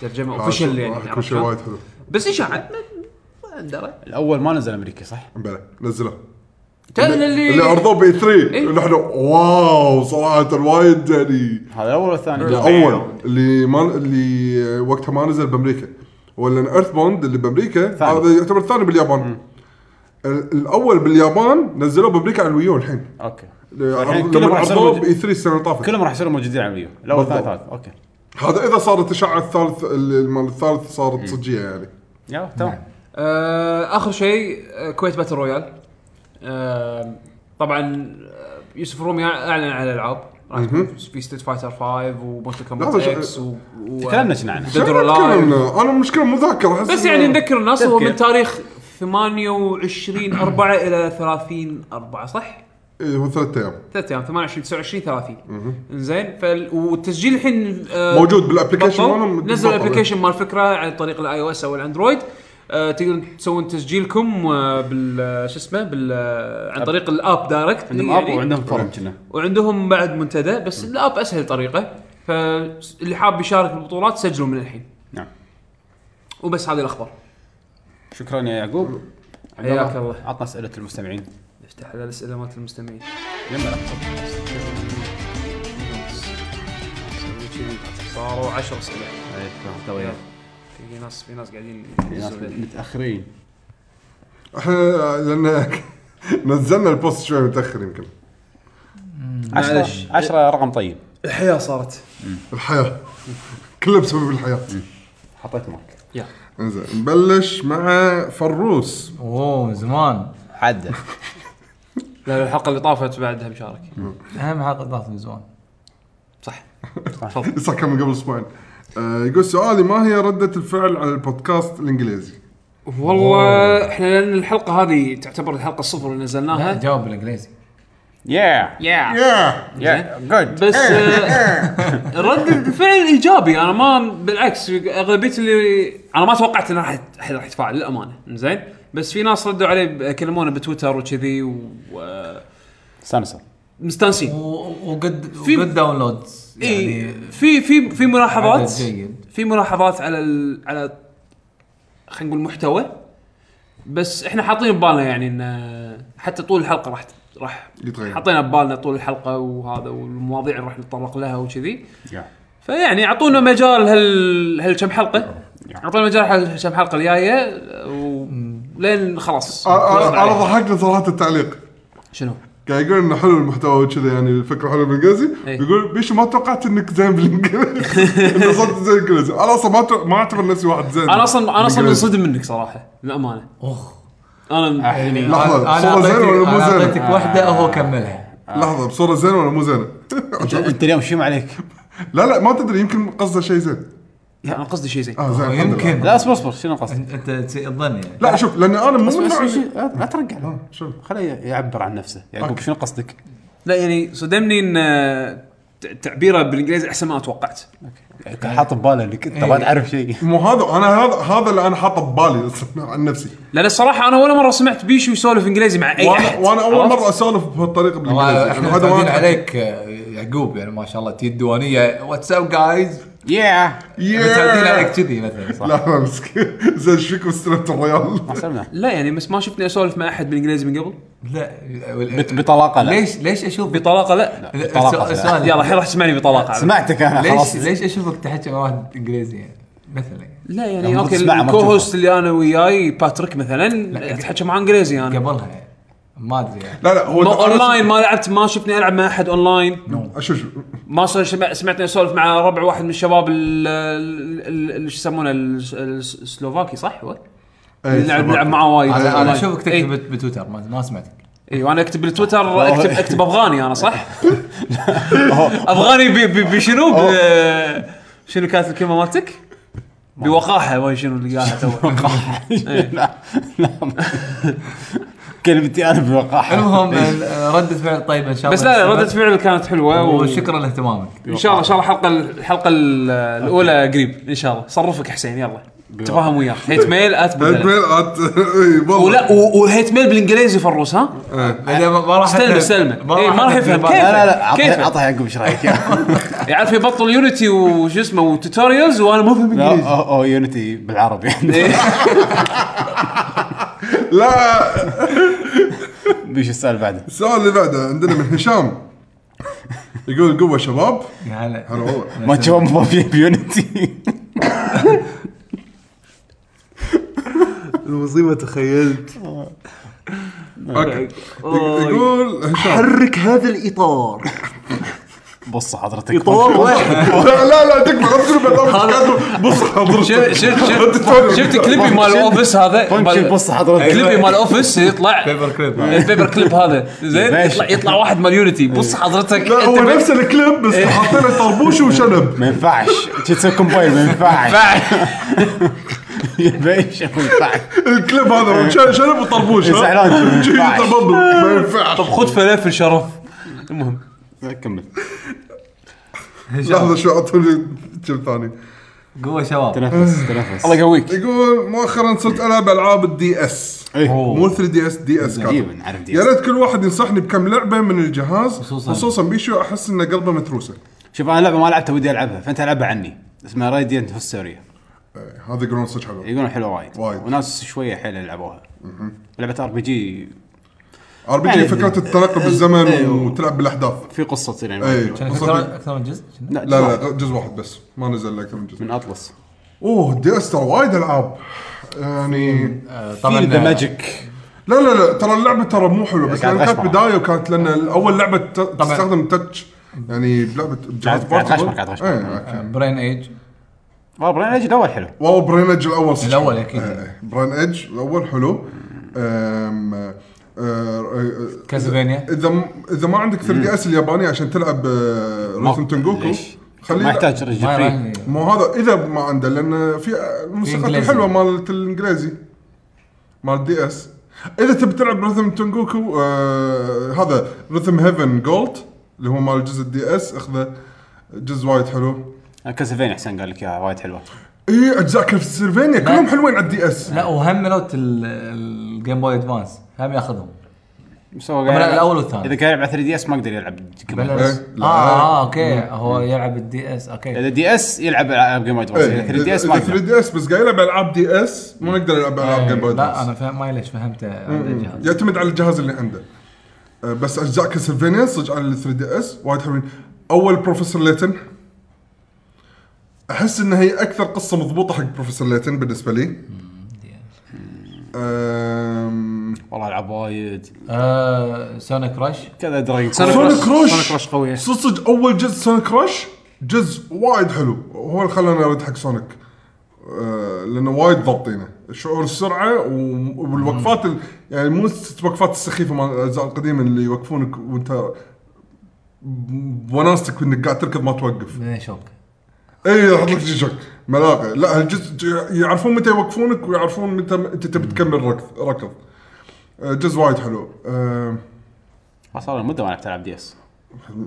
[SPEAKER 3] ترجمه اوفشل يعني
[SPEAKER 2] راح يكون
[SPEAKER 3] عرفت
[SPEAKER 2] شيء
[SPEAKER 3] شلون؟
[SPEAKER 2] وايد حلو
[SPEAKER 3] بس اشاعه ما- ما ندري
[SPEAKER 1] الاول ما نزل امريكي صح؟
[SPEAKER 2] بلى نزله
[SPEAKER 3] تعال
[SPEAKER 2] اللي
[SPEAKER 3] اللي
[SPEAKER 2] عرضوه بي 3
[SPEAKER 3] إيه.
[SPEAKER 2] نحن واو صراحه وايد يعني
[SPEAKER 1] هذا الاول والثاني
[SPEAKER 2] الاول اللي ما اللي وقتها ما نزل بامريكا ولا ايرث بوند اللي بامريكا
[SPEAKER 1] ثاني.
[SPEAKER 2] هذا يعتبر الثاني باليابان ال- الاول باليابان نزلوه بامريكا على الويو الحين
[SPEAKER 1] اوكي الحين كلهم
[SPEAKER 2] لما
[SPEAKER 1] راح يصيرون
[SPEAKER 2] عرضوه
[SPEAKER 1] موجود-
[SPEAKER 2] بي 3 السنه اللي طافت
[SPEAKER 1] كلهم راح يصيرون موجودين على الويو الاول
[SPEAKER 2] بالضبط.
[SPEAKER 1] والثاني ثالث اوكي
[SPEAKER 2] هذا اذا صارت الاشاعه الثالث ال- مال الثالث صارت صجيه يعني
[SPEAKER 1] يلا تمام
[SPEAKER 3] آه، اخر شيء آه، كويت باتل رويال آه، طبعا آه، يوسف رومي اعلن عن الالعاب راح تكون في ستيت فايتر 5 ومونتر كومبات
[SPEAKER 2] لا، بس-
[SPEAKER 3] اكس و و-
[SPEAKER 1] تكلمنا عنه
[SPEAKER 3] Dead or
[SPEAKER 2] شنو
[SPEAKER 3] Alive.
[SPEAKER 2] تكلمنا؟ انا المشكله مو ذاكر أحس
[SPEAKER 3] بس
[SPEAKER 2] إنه-
[SPEAKER 3] يعني نذكر الناس هو من
[SPEAKER 1] إيه. تذكير.
[SPEAKER 3] تاريخ 28 4 الى 30 4 صح؟ يعني
[SPEAKER 2] إيه، هو ثلاث ايام
[SPEAKER 3] ثلاث ايام 28 29 30 زين فال... والتسجيل الحين آه،
[SPEAKER 2] موجود بالابلكيشن
[SPEAKER 3] بطل.
[SPEAKER 2] مالهم
[SPEAKER 3] نزل
[SPEAKER 2] بطل.
[SPEAKER 3] الابلكيشن مال فكره عن طريق الاي او اس او الاندرويد آه، تقدرون تسوون تسجيلكم آه، بال آه، شو اسمه بال آه، عن طريق الاب دايركت
[SPEAKER 1] عندهم اب وعندهم فورم كنا
[SPEAKER 3] إيه، يعني وعندهم بعد منتدى بس الاب اسهل طريقه فاللي حاب يشارك بالبطولات سجلوا من الحين
[SPEAKER 1] نعم
[SPEAKER 3] وبس هذه الاخبار
[SPEAKER 1] شكرا يا يعقوب عبد
[SPEAKER 3] حياك الله.
[SPEAKER 1] عطنا اسئله المستمعين
[SPEAKER 3] نفتح على الاسئله مالت المستمعين
[SPEAKER 1] لما راح تصب؟
[SPEAKER 3] صاروا 10 اسئله
[SPEAKER 1] إيه، تمام، تو يلا.
[SPEAKER 3] في ناس طيب. في ناس قاعدين
[SPEAKER 1] الناس
[SPEAKER 3] ينزلون.
[SPEAKER 1] متاخرين
[SPEAKER 2] احنا لان نزلنا البوست شوي متاخر يمكن
[SPEAKER 1] 10 10 رقم طيب
[SPEAKER 3] الحياه صارت
[SPEAKER 2] الحياه كله بسبب الحياه
[SPEAKER 1] حطيت مارك
[SPEAKER 2] انزين نبلش مع فروس
[SPEAKER 6] اوه من زمان
[SPEAKER 1] عدل
[SPEAKER 3] لا الحلقه اللي طافت بعدها مشارك
[SPEAKER 6] اهم حلقه ضغط من زمان
[SPEAKER 2] لسه كان من قبل اسبوعين آه، يقول سؤالي ما هي ردة الفعل على البودكاست الانجليزي؟
[SPEAKER 3] والله احنا لان الحلقه هذه تعتبر الحلقه الصفر اللي نزلناها
[SPEAKER 6] جاوب بالانجليزي
[SPEAKER 1] يا
[SPEAKER 3] يا
[SPEAKER 2] يا
[SPEAKER 1] يا جود
[SPEAKER 3] بس آه، رد الفعل ايجابي انا ما بالعكس اغلبيه اللي انا ما توقعت ان راح احد راح يتفاعل للامانه زين بس في ناس ردوا علي ب- كلمونا بتويتر وكذي آه، ومستانسين
[SPEAKER 1] سانسر
[SPEAKER 6] و- وقد
[SPEAKER 3] في-
[SPEAKER 6] وقد داونلود
[SPEAKER 3] اي
[SPEAKER 6] يعني
[SPEAKER 3] في في في
[SPEAKER 6] عدد
[SPEAKER 3] ملاحظات
[SPEAKER 6] جيد
[SPEAKER 3] في ملاحظات على ال... على خلينا نقول محتوى بس احنا حاطين ببالنا يعني ان حتى طول الحلقه راح راح
[SPEAKER 2] يتغير
[SPEAKER 6] طيب.
[SPEAKER 3] حطينا ببالنا طول الحلقه وهذا والمواضيع اللي راح نتطرق لها وكذي فيعني اعطونا مجال هال هالكم حلقه اعطونا مجال هالكم حلقه الجايه ولين
[SPEAKER 2] آه،
[SPEAKER 3] خلاص
[SPEAKER 2] انا ضحكني صراحه التعليق
[SPEAKER 3] شنو؟
[SPEAKER 2] قاعد يقول انه حلو المحتوى وكذا يعني الفكره حلوه بالانجليزي
[SPEAKER 3] إيه.
[SPEAKER 2] يقول بيشو ما توقعت انك زين بالانجليزي انه صرت زين بالانجليزي انا اصلا ما تو- ما اعتبر نفسي واحد زين
[SPEAKER 3] انا اصلا انا اصلا
[SPEAKER 2] بالإنجليزي.
[SPEAKER 3] منصدم منك صراحه للامانه
[SPEAKER 6] اخ
[SPEAKER 3] انا
[SPEAKER 1] يعني
[SPEAKER 2] لحظة،
[SPEAKER 6] انا
[SPEAKER 2] صورة زينة ولا
[SPEAKER 6] اعطيتك
[SPEAKER 2] مو
[SPEAKER 6] أنا
[SPEAKER 2] زينة؟
[SPEAKER 6] اعطيتك واحده وهو كملها
[SPEAKER 2] لحظه بصوره زينه ولا مو زينه؟
[SPEAKER 1] انت انت اليوم شيم عليك
[SPEAKER 2] لا لا ما تدري يمكن قصده شيء زين
[SPEAKER 3] انا قصدي شيء زين
[SPEAKER 2] اه زين الحمد لله.
[SPEAKER 6] يمكن
[SPEAKER 1] لا اصبر اصبر شنو قصدك؟
[SPEAKER 6] انت أنت تظن يعني
[SPEAKER 2] لا شوف لان انا مو من
[SPEAKER 1] بس-
[SPEAKER 2] نوع-
[SPEAKER 1] بس- لا لا ترجع له
[SPEAKER 2] شوف
[SPEAKER 1] خليه يعبر عن نفسه يعقوب شنو قصدك؟
[SPEAKER 3] لا يعني صدمني ان آه، ت- تعبيره بالانجليزي احسن ما توقعت
[SPEAKER 1] كان حاط بباله انك انت ما تعرف شيء
[SPEAKER 2] مو هذا انا هذا هذا اللي انا حاطه ببالي أصلاً عن نفسي
[SPEAKER 3] لان الصراحه انا ولا مره سمعت بيشو يسولف انجليزي مع اي
[SPEAKER 1] إيه.
[SPEAKER 2] وانا
[SPEAKER 3] احد
[SPEAKER 2] وانا اول
[SPEAKER 3] عرفت؟
[SPEAKER 2] مره اسولف بهالطريقه بالانجليزي
[SPEAKER 6] احنا
[SPEAKER 2] يعني هذا ما-
[SPEAKER 6] متعودين عليك آه، يعقوب يعني ما شاء الله تي الديوانيه واتساب جايز
[SPEAKER 1] يا
[SPEAKER 2] Yeah.
[SPEAKER 6] متعودين عليك كذي مثلا صح
[SPEAKER 2] لا لا مسكين زين ايش فيكم استلمت الريال؟
[SPEAKER 1] سلمنا
[SPEAKER 3] لا يعني بس ما شفتني اسولف مع احد بالانجليزي من قبل
[SPEAKER 6] لا وال-
[SPEAKER 1] بت- بطلاقه لا
[SPEAKER 6] ليش ليش اشوف
[SPEAKER 3] بطلاقه لا
[SPEAKER 1] بطلاقة
[SPEAKER 6] السؤال-
[SPEAKER 1] لا.
[SPEAKER 6] السؤال
[SPEAKER 3] يلا الحين راح تسمعني بطلاقه
[SPEAKER 1] سمعتك انا
[SPEAKER 6] ليش
[SPEAKER 1] خلاص
[SPEAKER 6] ليش اشوفك تحكي مع واحد انجليزي يعني مثلا يعني.
[SPEAKER 3] لا يعني
[SPEAKER 1] لما
[SPEAKER 3] اوكي
[SPEAKER 1] تسمعه ما
[SPEAKER 3] الكو هوست
[SPEAKER 1] تشوفه.
[SPEAKER 3] اللي انا وياي باتريك مثلا اتحكى معاه انجليزي انا
[SPEAKER 6] قبلها يعني ما ادري يعني
[SPEAKER 2] لا لا هو
[SPEAKER 3] ما اونلاين ما لعبت ما شفتني العب مع احد اونلاين
[SPEAKER 2] شوف شوف
[SPEAKER 3] ما صار شم- سمعتني اسولف مع ربع واحد من الشباب ال- ال- ال- ال- شو يسمونه ال- ال- السلوفاكي صح هو؟ اللي نلعب نلعب معاه وايد
[SPEAKER 6] انا انا
[SPEAKER 3] أونلاين.
[SPEAKER 6] اشوفك
[SPEAKER 3] إي.
[SPEAKER 6] تكتب بت- بتويتر ما ما سمعتك
[SPEAKER 3] اي وانا اكتب إيه، بالتويتر اكتب اكتب افغاني انا صح؟ افغاني ب- ب- بشنو؟ ب- شنو كانت الكلمه مالتك؟ بوقاحه وين شنو اللي قاعد تو
[SPEAKER 1] لا لا كلمتي انا بوقاحه
[SPEAKER 6] المهم آه، ردة فعل طيبة ان شاء الله
[SPEAKER 3] إيه. بس لا لا، ردة فعل كانت حلوه و-
[SPEAKER 6] وشكرا لاهتمامك
[SPEAKER 3] ان شاء الله ان شاء الله الحلقه الحلقه ال- الاولى قريب ان شاء الله صرفك حسين يلا تفاهم وياه هيت ميل ات
[SPEAKER 2] هيدميل ات اي والله
[SPEAKER 3] ولا و- وهيت ميل بالانجليزي فروس ها
[SPEAKER 2] إيه.
[SPEAKER 6] بعدين ما ما راح
[SPEAKER 3] استلمه،
[SPEAKER 6] أتعب-
[SPEAKER 3] استلمه. إي، ما راح
[SPEAKER 6] أتعب
[SPEAKER 3] يفهم.
[SPEAKER 6] بالبال.
[SPEAKER 3] كيف؟
[SPEAKER 1] لا لا لا
[SPEAKER 3] كيف؟
[SPEAKER 1] اعطيها اعطيها يعقوب ايش رايك يا.
[SPEAKER 3] يعرف في بطل يونيتي وش اسمه وتوتوريالز وانا ما فاهم
[SPEAKER 1] لا
[SPEAKER 3] انجليزي
[SPEAKER 1] أو- او يونيتي بالعربي
[SPEAKER 2] لا
[SPEAKER 1] بيش السؤال بعده
[SPEAKER 2] السؤال اللي بعده عندنا من هشام يقول قوه شباب
[SPEAKER 6] يا هلا
[SPEAKER 2] هلا والله
[SPEAKER 1] ما تشوف ما في بيونيتي
[SPEAKER 8] المصيبه تخيلت
[SPEAKER 2] أوكي. يقول هشام
[SPEAKER 8] حرك هذا الاطار
[SPEAKER 1] بص حضرتك
[SPEAKER 8] اطار واحد
[SPEAKER 2] لا لا لا تكفى لا تقول بالضبط. بص حضرتك
[SPEAKER 3] شفت شفت شفت- شفت كليبي مال اوفيس هذا
[SPEAKER 1] بنشي
[SPEAKER 3] مال-
[SPEAKER 1] بص حضرتك
[SPEAKER 3] كليبي
[SPEAKER 4] إيه.
[SPEAKER 3] مال اوفيس يطلع
[SPEAKER 6] بيبر كليب
[SPEAKER 3] البيبر كليب هذا زين
[SPEAKER 1] ماشي.
[SPEAKER 3] يطلع يطلع واحد مال يونيتي بص حضرتك
[SPEAKER 2] لا هو
[SPEAKER 3] أنت إيه.
[SPEAKER 2] نفس الكليب بس حاطين له طربوش وشنب
[SPEAKER 1] ما ينفعش تسوي كومباين ما ينفعش
[SPEAKER 3] فاعل.
[SPEAKER 1] يا بيش ما ينفعش
[SPEAKER 2] الكليب
[SPEAKER 3] إيه.
[SPEAKER 2] هذا وش- شنب وطربوش ها؟
[SPEAKER 1] زعلان ما
[SPEAKER 2] شي
[SPEAKER 1] ينفعش.
[SPEAKER 2] يتبضل. ما ينفعش
[SPEAKER 3] خذ فلافل شرف
[SPEAKER 1] كمل
[SPEAKER 2] لحظه شو اعطوني كم ثاني
[SPEAKER 6] قوة شباب
[SPEAKER 1] تنفس تنفس
[SPEAKER 3] الله يقويك
[SPEAKER 2] يقول مؤخرا صرت العب العاب الدي اس مو 3 دي اس دي اس
[SPEAKER 1] عجيب نعرف إيه، دي
[SPEAKER 2] يا ريت كل واحد ينصحني بكم لعبه من الجهاز
[SPEAKER 6] خصوصاً.
[SPEAKER 2] خصوصا بيشو احس انه قلبه متروسه
[SPEAKER 1] شوف انا لعبه ما لعبتها ودي العبها فانت العبها عني اسمها راديانت هوستوريا
[SPEAKER 2] إيه، هذا يقولون صدق حلو
[SPEAKER 1] يقولون حلوه وايد
[SPEAKER 2] وايد.
[SPEAKER 1] وناس شويه حيل لعبوها لعبه ار بي جي
[SPEAKER 2] ار بي
[SPEAKER 1] يعني-
[SPEAKER 2] جي فكره التنقل بالزمن
[SPEAKER 1] أيوه.
[SPEAKER 2] وتلعب بالاحداث
[SPEAKER 1] في قصه يعني
[SPEAKER 2] اي
[SPEAKER 1] وايد.
[SPEAKER 6] كان
[SPEAKER 2] قصدي-
[SPEAKER 6] اكثر اكثر من جزء كنا؟
[SPEAKER 1] لا
[SPEAKER 2] إيه. لا
[SPEAKER 1] لا
[SPEAKER 2] لا جزء واحد بس ما نزل لك من جزء
[SPEAKER 1] من اطلس
[SPEAKER 2] اوه الدي اس ترى وايد العاب يعني
[SPEAKER 6] آه، طبعا
[SPEAKER 1] في ذا
[SPEAKER 6] آه،
[SPEAKER 1] ماجيك
[SPEAKER 2] لا لا لا ترى اللعبه ترى مو حلوه بس
[SPEAKER 1] إيه، قاعد
[SPEAKER 2] لأن كانت
[SPEAKER 1] غشمر.
[SPEAKER 2] بدايه وكانت لان اول لعبه ت- تستخدم تاتش يعني بلعبه بجهاز
[SPEAKER 1] قاعد
[SPEAKER 2] portable.
[SPEAKER 1] غشمر، قاعد غشمر.
[SPEAKER 2] إيه، أوكي.
[SPEAKER 6] برين ايج
[SPEAKER 1] والله برين ايج الاول حلو
[SPEAKER 2] واو برين ايدج الاول صدق
[SPEAKER 6] الأول
[SPEAKER 2] حلو.
[SPEAKER 6] أكيد.
[SPEAKER 2] إيه، برين ايدج الاول حلو أم، آه، آه،
[SPEAKER 6] كاسلفينيا
[SPEAKER 2] اذا اذا ما عندك 3 دي اس الياباني عشان تلعب آه، ريتم تنجوكو
[SPEAKER 1] ليش؟
[SPEAKER 2] خليه
[SPEAKER 1] ما يحتاج رجل
[SPEAKER 6] ما
[SPEAKER 1] فري
[SPEAKER 6] راح-
[SPEAKER 2] مو هذا اذا ما عنده لان في آه، الموسيقى
[SPEAKER 6] إنجليزي.
[SPEAKER 2] الحلوه مالت الانجليزي مال الدي اس اذا تبي تلعب ريثم تنجوكو آه هذا ريثم هيفن جولد اللي هو مال جزء الدي اس اخذه جزء وايد حلو
[SPEAKER 1] كاسلفينيا احسن آه، قال لك اياها وايد حلوه
[SPEAKER 2] اي اجزاء كاسلفينيا كلهم حلوين على الدي اس
[SPEAKER 6] لا وهم نوت ال- الجيم بوي ادفانس هم ياخذهم
[SPEAKER 1] بس هو
[SPEAKER 6] طبعاً
[SPEAKER 1] قاعد-
[SPEAKER 6] الأول
[SPEAKER 1] اذا
[SPEAKER 6] والثاني
[SPEAKER 1] كان يلعب على 3 دي اس ما يقدر يلعب
[SPEAKER 6] بلا-
[SPEAKER 2] لا.
[SPEAKER 6] اه اه اوكي هو يلعب الدي اس اوكي
[SPEAKER 1] اذا دي اس يلعب العاب جيم ادفانس
[SPEAKER 2] إيه،
[SPEAKER 1] اذا 3 دي اس ما
[SPEAKER 2] 3
[SPEAKER 1] يقدر
[SPEAKER 2] دي اس بس قاعد يلعب العاب دي اس ما نقدر يلعب العاب جيم بوي
[SPEAKER 6] لا
[SPEAKER 2] أدفانس.
[SPEAKER 6] انا فاهم ما ليش فهمته على الجهاز
[SPEAKER 2] يعتمد على الجهاز اللي عنده أه، بس اجزاء كاسلفينيا صدق على ال 3 دي اس وايد حلوين اول بروفيسور ليتن احس انها هي اكثر قصه مضبوطه حق بروفيسور ليتن بالنسبه لي أم...
[SPEAKER 1] والله العب وايد
[SPEAKER 6] آه سونيك رش
[SPEAKER 1] كذا درينك
[SPEAKER 2] سونيك رش
[SPEAKER 9] سونيك رش قوية.
[SPEAKER 2] صدق صدق اول جزء سونيك رش جزء وايد حلو هو اللي خلاني ارد حق سونيك آه، لانه وايد ضابطينه شعور السرعه و- والوقفات ال... يعني مو الست وقفات السخيفه مال الاجزاء القديمه اللي يوقفونك وانت بوناستك انك قاعد تركض ما توقف
[SPEAKER 6] بعدين شوك
[SPEAKER 2] اي يحط لك جي شوك ملاقي لا الجزء يعرفون متى يوقفونك ويعرفون متى م- انت تبي تكمل ركض ركض آه، جزء وايد حلو آه،
[SPEAKER 1] صار لي مده ما لعبت العب دي اس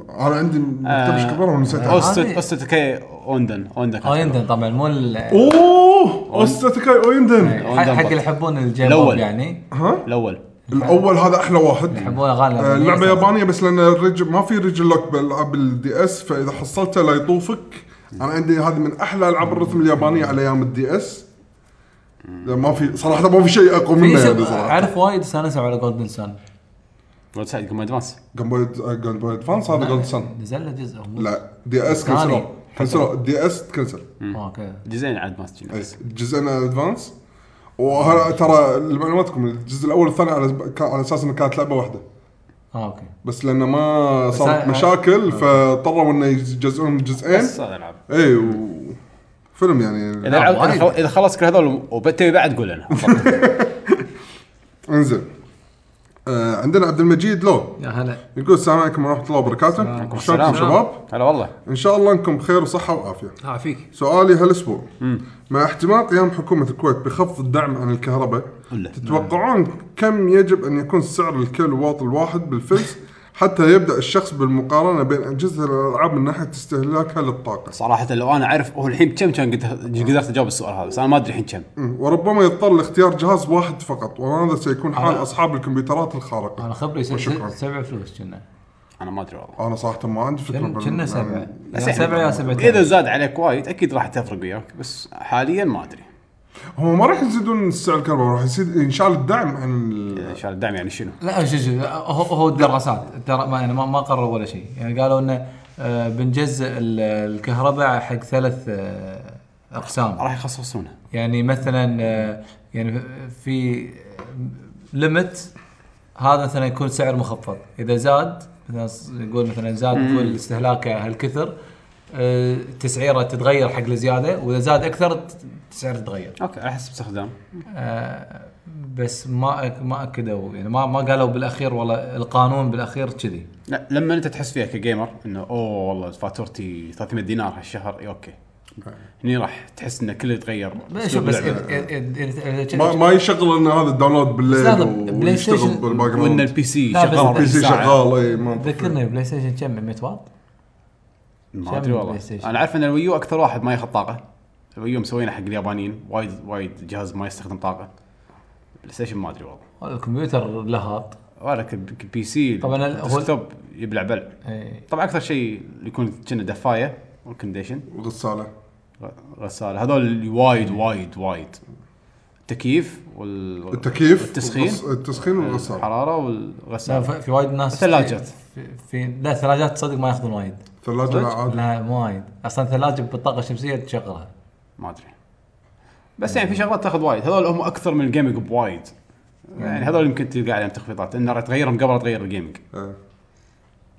[SPEAKER 2] انا عندي مكتبش كبيره ونسيت ألعب.
[SPEAKER 1] اوست
[SPEAKER 6] هذه-
[SPEAKER 1] اوست كي اوندن اوندن كانت حلوة.
[SPEAKER 6] اويندن طبعا آه، مو ال-
[SPEAKER 2] اوه اوستاتيكاي اويندن
[SPEAKER 6] حق حق اللي يحبون الجيم
[SPEAKER 1] الأول.
[SPEAKER 6] بوب يعني
[SPEAKER 2] ها
[SPEAKER 1] الاول
[SPEAKER 2] الاول هذا احلى واحد
[SPEAKER 6] يحبونه غالبا
[SPEAKER 2] آه، اللعبه يابانيه بس لان الرجل ما في رجل لوك بالالعاب الدي اس فاذا حصلته لا يطوفك انا عندي هذه من احلى العاب الرتم اليابانيه على ايام الدي اس لا، ما في صراحه ما في شيء اقوى منه يعني صراحه
[SPEAKER 6] اعرف وايد استانسوا على جولدن سان
[SPEAKER 1] جولد سايد جيم ادفانس
[SPEAKER 2] جيم بوي جيم بوي ادفانس هذا جولد سن
[SPEAKER 6] نزل له جزء أو مو؟
[SPEAKER 2] لا دي اس
[SPEAKER 6] ثاني.
[SPEAKER 2] كنسلوا كنسلوا دي اس كنسل
[SPEAKER 6] اوكي
[SPEAKER 1] جزئين عاد ما سجلنا.
[SPEAKER 2] أي، جزئين ادفانس وهلا ترى لمعلوماتكم الجزء الاول والثاني على كان- على اساس انه كانت لعبه واحده
[SPEAKER 6] اه اوكي
[SPEAKER 2] بس لانه ما
[SPEAKER 6] بس
[SPEAKER 2] صارت
[SPEAKER 6] أنا-
[SPEAKER 2] مشاكل فاضطروا انه يجزئون جزئين
[SPEAKER 1] بس هذا العب
[SPEAKER 2] اي و... فيلم يعني
[SPEAKER 1] اذا لعب-
[SPEAKER 6] وايد.
[SPEAKER 1] إذا خل- اذا خلص كل هذول وبتبي بعد قول لنا
[SPEAKER 2] انزين آه عندنا عبد المجيد لو
[SPEAKER 6] يا هلا
[SPEAKER 2] يقول السلام عليكم ورحمه الله وبركاته شلونكم
[SPEAKER 1] السلام.
[SPEAKER 2] شباب؟
[SPEAKER 1] هلا والله
[SPEAKER 2] ان شاء الله انكم بخير وصحه وعافيه
[SPEAKER 3] ها آه، فيك
[SPEAKER 2] سؤالي هالاسبوع مع احتمال قيام حكومه الكويت بخفض الدعم عن الكهرباء
[SPEAKER 1] ولا.
[SPEAKER 2] تتوقعون كم يجب ان يكون سعر الكيلووات الواحد بالفلس حتى يبدا الشخص بالمقارنه بين اجهزه الالعاب من ناحيه استهلاكها للطاقه
[SPEAKER 1] صراحه لو انا اعرف هو الحين كم كان قد- قدرت اجاوب السؤال هذا بس انا ما ادري الحين كم
[SPEAKER 2] مم. وربما يضطر لاختيار جهاز واحد فقط وهذا سيكون حال اصحاب الكمبيوترات الخارقه
[SPEAKER 6] انا خبري س-
[SPEAKER 2] وشكراً.
[SPEAKER 6] س- سبع فلوس كنا
[SPEAKER 1] انا ما ادري والله
[SPEAKER 2] انا صراحه ما عندي فكره بال-
[SPEAKER 6] كنا
[SPEAKER 2] يعني-
[SPEAKER 6] سبع يا
[SPEAKER 1] بس يعني
[SPEAKER 6] سبع يا سبع
[SPEAKER 1] اذا زاد عليك وايد اكيد راح تفرق وياك بس حاليا ما ادري
[SPEAKER 2] هم ما راح يزيدون سعر الكهرباء راح يزيد ينشال الدعم عن ال-
[SPEAKER 1] ان شاء الله الدعم يعني شنو
[SPEAKER 6] لا شو شو هو هو الدراسات الدرا- ما يعني ما ما قرروا ولا شيء يعني قالوا انه آه، بنجزء ال- الكهرباء حق ثلاث آه، اقسام
[SPEAKER 1] راح يخصصونه
[SPEAKER 6] يعني مثلا آه، يعني في ليمت هذا مثلا يكون سعر مخفض اذا زاد مثلا س- يقول مثلا زاد يقول استهلاكه هالكثر آه، تسعيره تتغير حق الزياده واذا زاد اكثر ت- تسعيره تتغير
[SPEAKER 1] اوكي على حسب استخدام
[SPEAKER 6] آه، بس ما أك- ما اكدوا يعني ما ما قالوا بالاخير والله القانون بالاخير كذي
[SPEAKER 1] لا لما انت تحس فيها كجيمر انه اوه والله فاتورتي 300 دينار هالشهر اي اوكي
[SPEAKER 6] نعم.
[SPEAKER 1] هني راح تحس ان كله يتغير
[SPEAKER 6] بس شوف
[SPEAKER 1] أسلوب
[SPEAKER 6] بس
[SPEAKER 1] اللعبة.
[SPEAKER 6] إذا- إذا- إذا- إذا-
[SPEAKER 2] ما, ما يشغل ان هذا الداونلود بالليل
[SPEAKER 6] استخدم
[SPEAKER 2] و-
[SPEAKER 6] بلاي
[SPEAKER 2] ويشتغل
[SPEAKER 6] ستيشن
[SPEAKER 2] بالباك
[SPEAKER 1] وان
[SPEAKER 2] جراوند
[SPEAKER 1] البي سي
[SPEAKER 6] لا، بس
[SPEAKER 1] شغال
[SPEAKER 6] البي
[SPEAKER 2] البي سي
[SPEAKER 1] ساعة.
[SPEAKER 2] شغال اي ما
[SPEAKER 6] ذكرني بلاي ستيشن كم 100 واط
[SPEAKER 1] ما
[SPEAKER 6] شغل
[SPEAKER 1] ادري والله
[SPEAKER 6] بلاي ستيشن.
[SPEAKER 1] انا عارف ان الويو اكثر واحد ما ياخذ طاقه الويو مسوينه حق اليابانيين وايد وايد جهاز ما يستخدم طاقه بلاي ستيشن ما ادري والله
[SPEAKER 6] والله الكمبيوتر لهاط
[SPEAKER 1] ولا كب- كبي سي
[SPEAKER 6] طبعاً ال- هو-
[SPEAKER 1] الديسكتوب يبلع بلع
[SPEAKER 6] إيه.
[SPEAKER 1] طبعا اكثر شيء يكون كنا دفايه والكنديشن
[SPEAKER 2] غساله
[SPEAKER 1] غساله هذول اللي وايد وايد وايد التكييف وال
[SPEAKER 2] التكييف آه.
[SPEAKER 1] والتسخين
[SPEAKER 2] والغس- التسخين والغساله
[SPEAKER 1] الحراره
[SPEAKER 6] لا،
[SPEAKER 1] والغساله
[SPEAKER 6] في في وايد ناس
[SPEAKER 1] ثلاجات.
[SPEAKER 6] في- في لا ثلاجات تصدق ما ياخذون وايد
[SPEAKER 2] ثلاجه لا عاد
[SPEAKER 6] لا مو وايد اصلا ثلاجه بالطاقه الشمسيه تشغلها
[SPEAKER 1] ما ادري بس يعني في شغلات تاخذ وايد هذول هم اكثر من الجيمنج بوايد يعني هذول يمكن تلقى عليهم تخفيضات انه راح تغيرهم قبل لا تغير الجيمنج
[SPEAKER 2] إيه.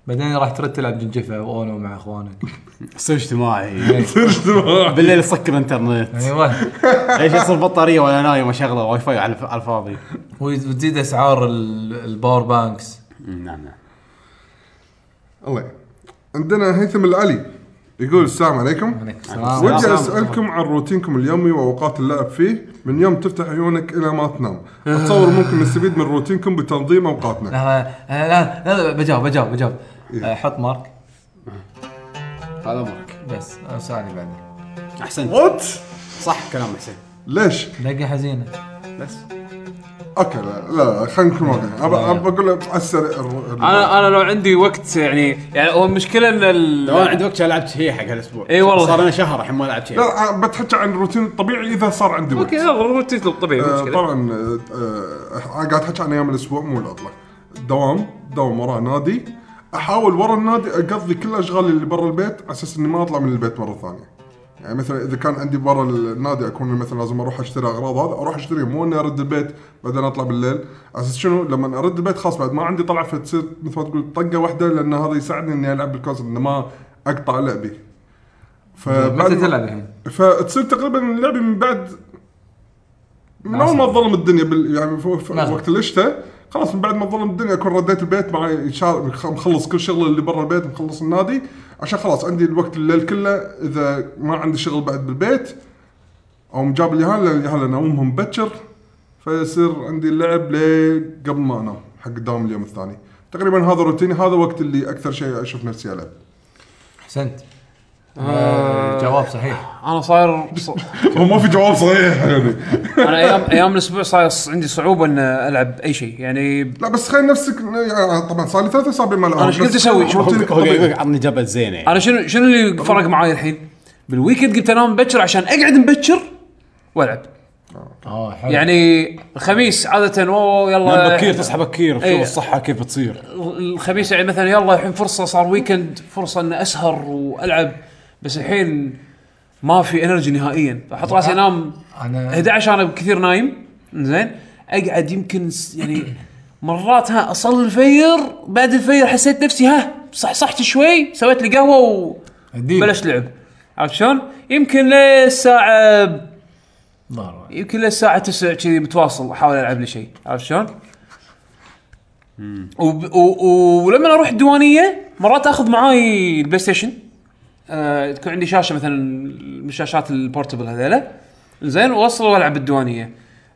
[SPEAKER 6] بعدين راح ترد تلعب جنجفه واونو مع اخوانك
[SPEAKER 1] تصير اجتماعي
[SPEAKER 2] تصير اجتماع.
[SPEAKER 1] بالليل سكر انترنت
[SPEAKER 6] ايوه
[SPEAKER 1] ليش يصير بطاريه وانا نايم واشغله واي فاي على الف- على الفاضي
[SPEAKER 6] وتزيد اسعار ال- الباور بانكس
[SPEAKER 1] مم، نعم نعم
[SPEAKER 2] الله يعين. عندنا هيثم العلي يقول السلام عليكم
[SPEAKER 6] عليكم السلام
[SPEAKER 2] ودي اسالكم عن روتينكم اليومي واوقات اللعب فيه من يوم تفتح عيونك الى ما تنام اتصور ممكن نستفيد من روتينكم بتنظيم اوقاتنا
[SPEAKER 6] لا لا لا, لا, لا بجاوب بجاوب بجاوب آه، حط مارك
[SPEAKER 1] هذا امرك
[SPEAKER 6] بس آه، سؤالي بعدين
[SPEAKER 1] احسنت
[SPEAKER 2] وات
[SPEAKER 1] صح كلام حسين
[SPEAKER 2] ليش؟
[SPEAKER 6] دقه حزينه
[SPEAKER 1] بس
[SPEAKER 2] اوكي لا لا خلينا نكون واقعيين أبا- ابى اقول على السريع الر- الر-
[SPEAKER 3] انا انا لو عندي وقت يعني يعني هو المشكله ان ال...
[SPEAKER 1] لو انا عندي وقت كان لعبت شيء حق هالاسبوع
[SPEAKER 3] إي والله.
[SPEAKER 1] صار لنا شهر الحين ما لعبت شيء
[SPEAKER 2] لا أنا بتحكي عن الروتين الطبيعي اذا صار عندي وقت
[SPEAKER 3] اوكي يلا روتين طبيعي مو
[SPEAKER 2] آه،
[SPEAKER 3] مشكله
[SPEAKER 2] طبعا آه، آه، أنا قاعد احكي عن ايام الاسبوع مو العطله دوام دوام ورا نادي احاول ورا النادي اقضي كل اشغالي اللي برا البيت على اساس اني ما اطلع من البيت مره ثانيه يعني مثلا اذا كان عندي برا النادي اكون مثلا لازم اروح اشتري اغراض هذا اروح اشتريهم مو اني ارد البيت بعدين اطلع بالليل على اساس شنو لما ارد البيت خلاص بعد ما عندي طلعه فتصير مثل ما تقول طقه واحده لان هذا يساعدني اني العب بالكونسل انه ما اقطع لعبي
[SPEAKER 6] متى
[SPEAKER 2] ما-
[SPEAKER 6] تلعب الحين؟
[SPEAKER 2] فتصير تقريبا لعبي من بعد من
[SPEAKER 6] عسل.
[SPEAKER 2] اول ما تظلم الدنيا بال... يعني في في
[SPEAKER 6] لازم.
[SPEAKER 2] وقت الشتاء خلاص من بعد ما تظلم الدنيا اكون رديت البيت معي شار... مخلص كل شغل اللي برا البيت مخلص النادي عشان خلاص عندي الوقت الليل كله اذا ما عندي شغل بعد بالبيت او مجاب اليهال لان اليهال انا امهم مبكر فيصير عندي اللعب لي قبل ما انام حق دوام اليوم الثاني تقريبا هذا روتيني هذا وقت اللي اكثر شيء اشوف نفسي العب
[SPEAKER 6] احسنت آه، جواب صحيح
[SPEAKER 3] انا صاير ص-
[SPEAKER 2] هو ما في جواب صحيح يعني
[SPEAKER 3] انا ايام ايام الاسبوع صاير ص- عندي صعوبه ان العب اي شيء يعني
[SPEAKER 2] لا بس تخيل نفسك يعني طبعا صار لي ثلاث اسابيع ما العب
[SPEAKER 3] أنا إيش قلت أسوي؟ شو-
[SPEAKER 2] روتينك الطبيعي.
[SPEAKER 10] عطني جبل زينه يعني
[SPEAKER 3] انا شنو شنو اللي فرق معاي الحين؟ بالويكند قمت انام مبكر عشان اقعد مبكر والعب
[SPEAKER 6] اه حلو
[SPEAKER 3] يعني الخميس عاده واو
[SPEAKER 10] نام
[SPEAKER 3] يلا
[SPEAKER 10] بكير تصحى بكير شوف
[SPEAKER 3] آه، إيه.
[SPEAKER 10] الصحه كيف بتصير
[SPEAKER 3] الخميس يعني مثلا يلا الحين فرصه صار ويكند فرصه اني اسهر والعب بس الحين ما في انرجي نهائيا فاحط راسي انام
[SPEAKER 6] انا
[SPEAKER 3] 11 انا كثير نايم زين اقعد يمكن س- يعني مرات ها اصل الفير بعد الفير حسيت نفسي ها صحصحت شوي سويت لي قهوه
[SPEAKER 6] الديل.
[SPEAKER 3] وبلشت لعب عرفت شلون؟ يمكن للساعه
[SPEAKER 6] ضار.
[SPEAKER 3] يمكن للساعه 9 كذي متواصل احاول العب لي شيء عرفت شلون؟ وب- و- و- ولما اروح الديوانيه مرات اخذ معاي البلاي ستيشن آه تكون عندي شاشه مثلا من الشاشات البورتبل هذيلا زين واوصل والعب بالديوانيه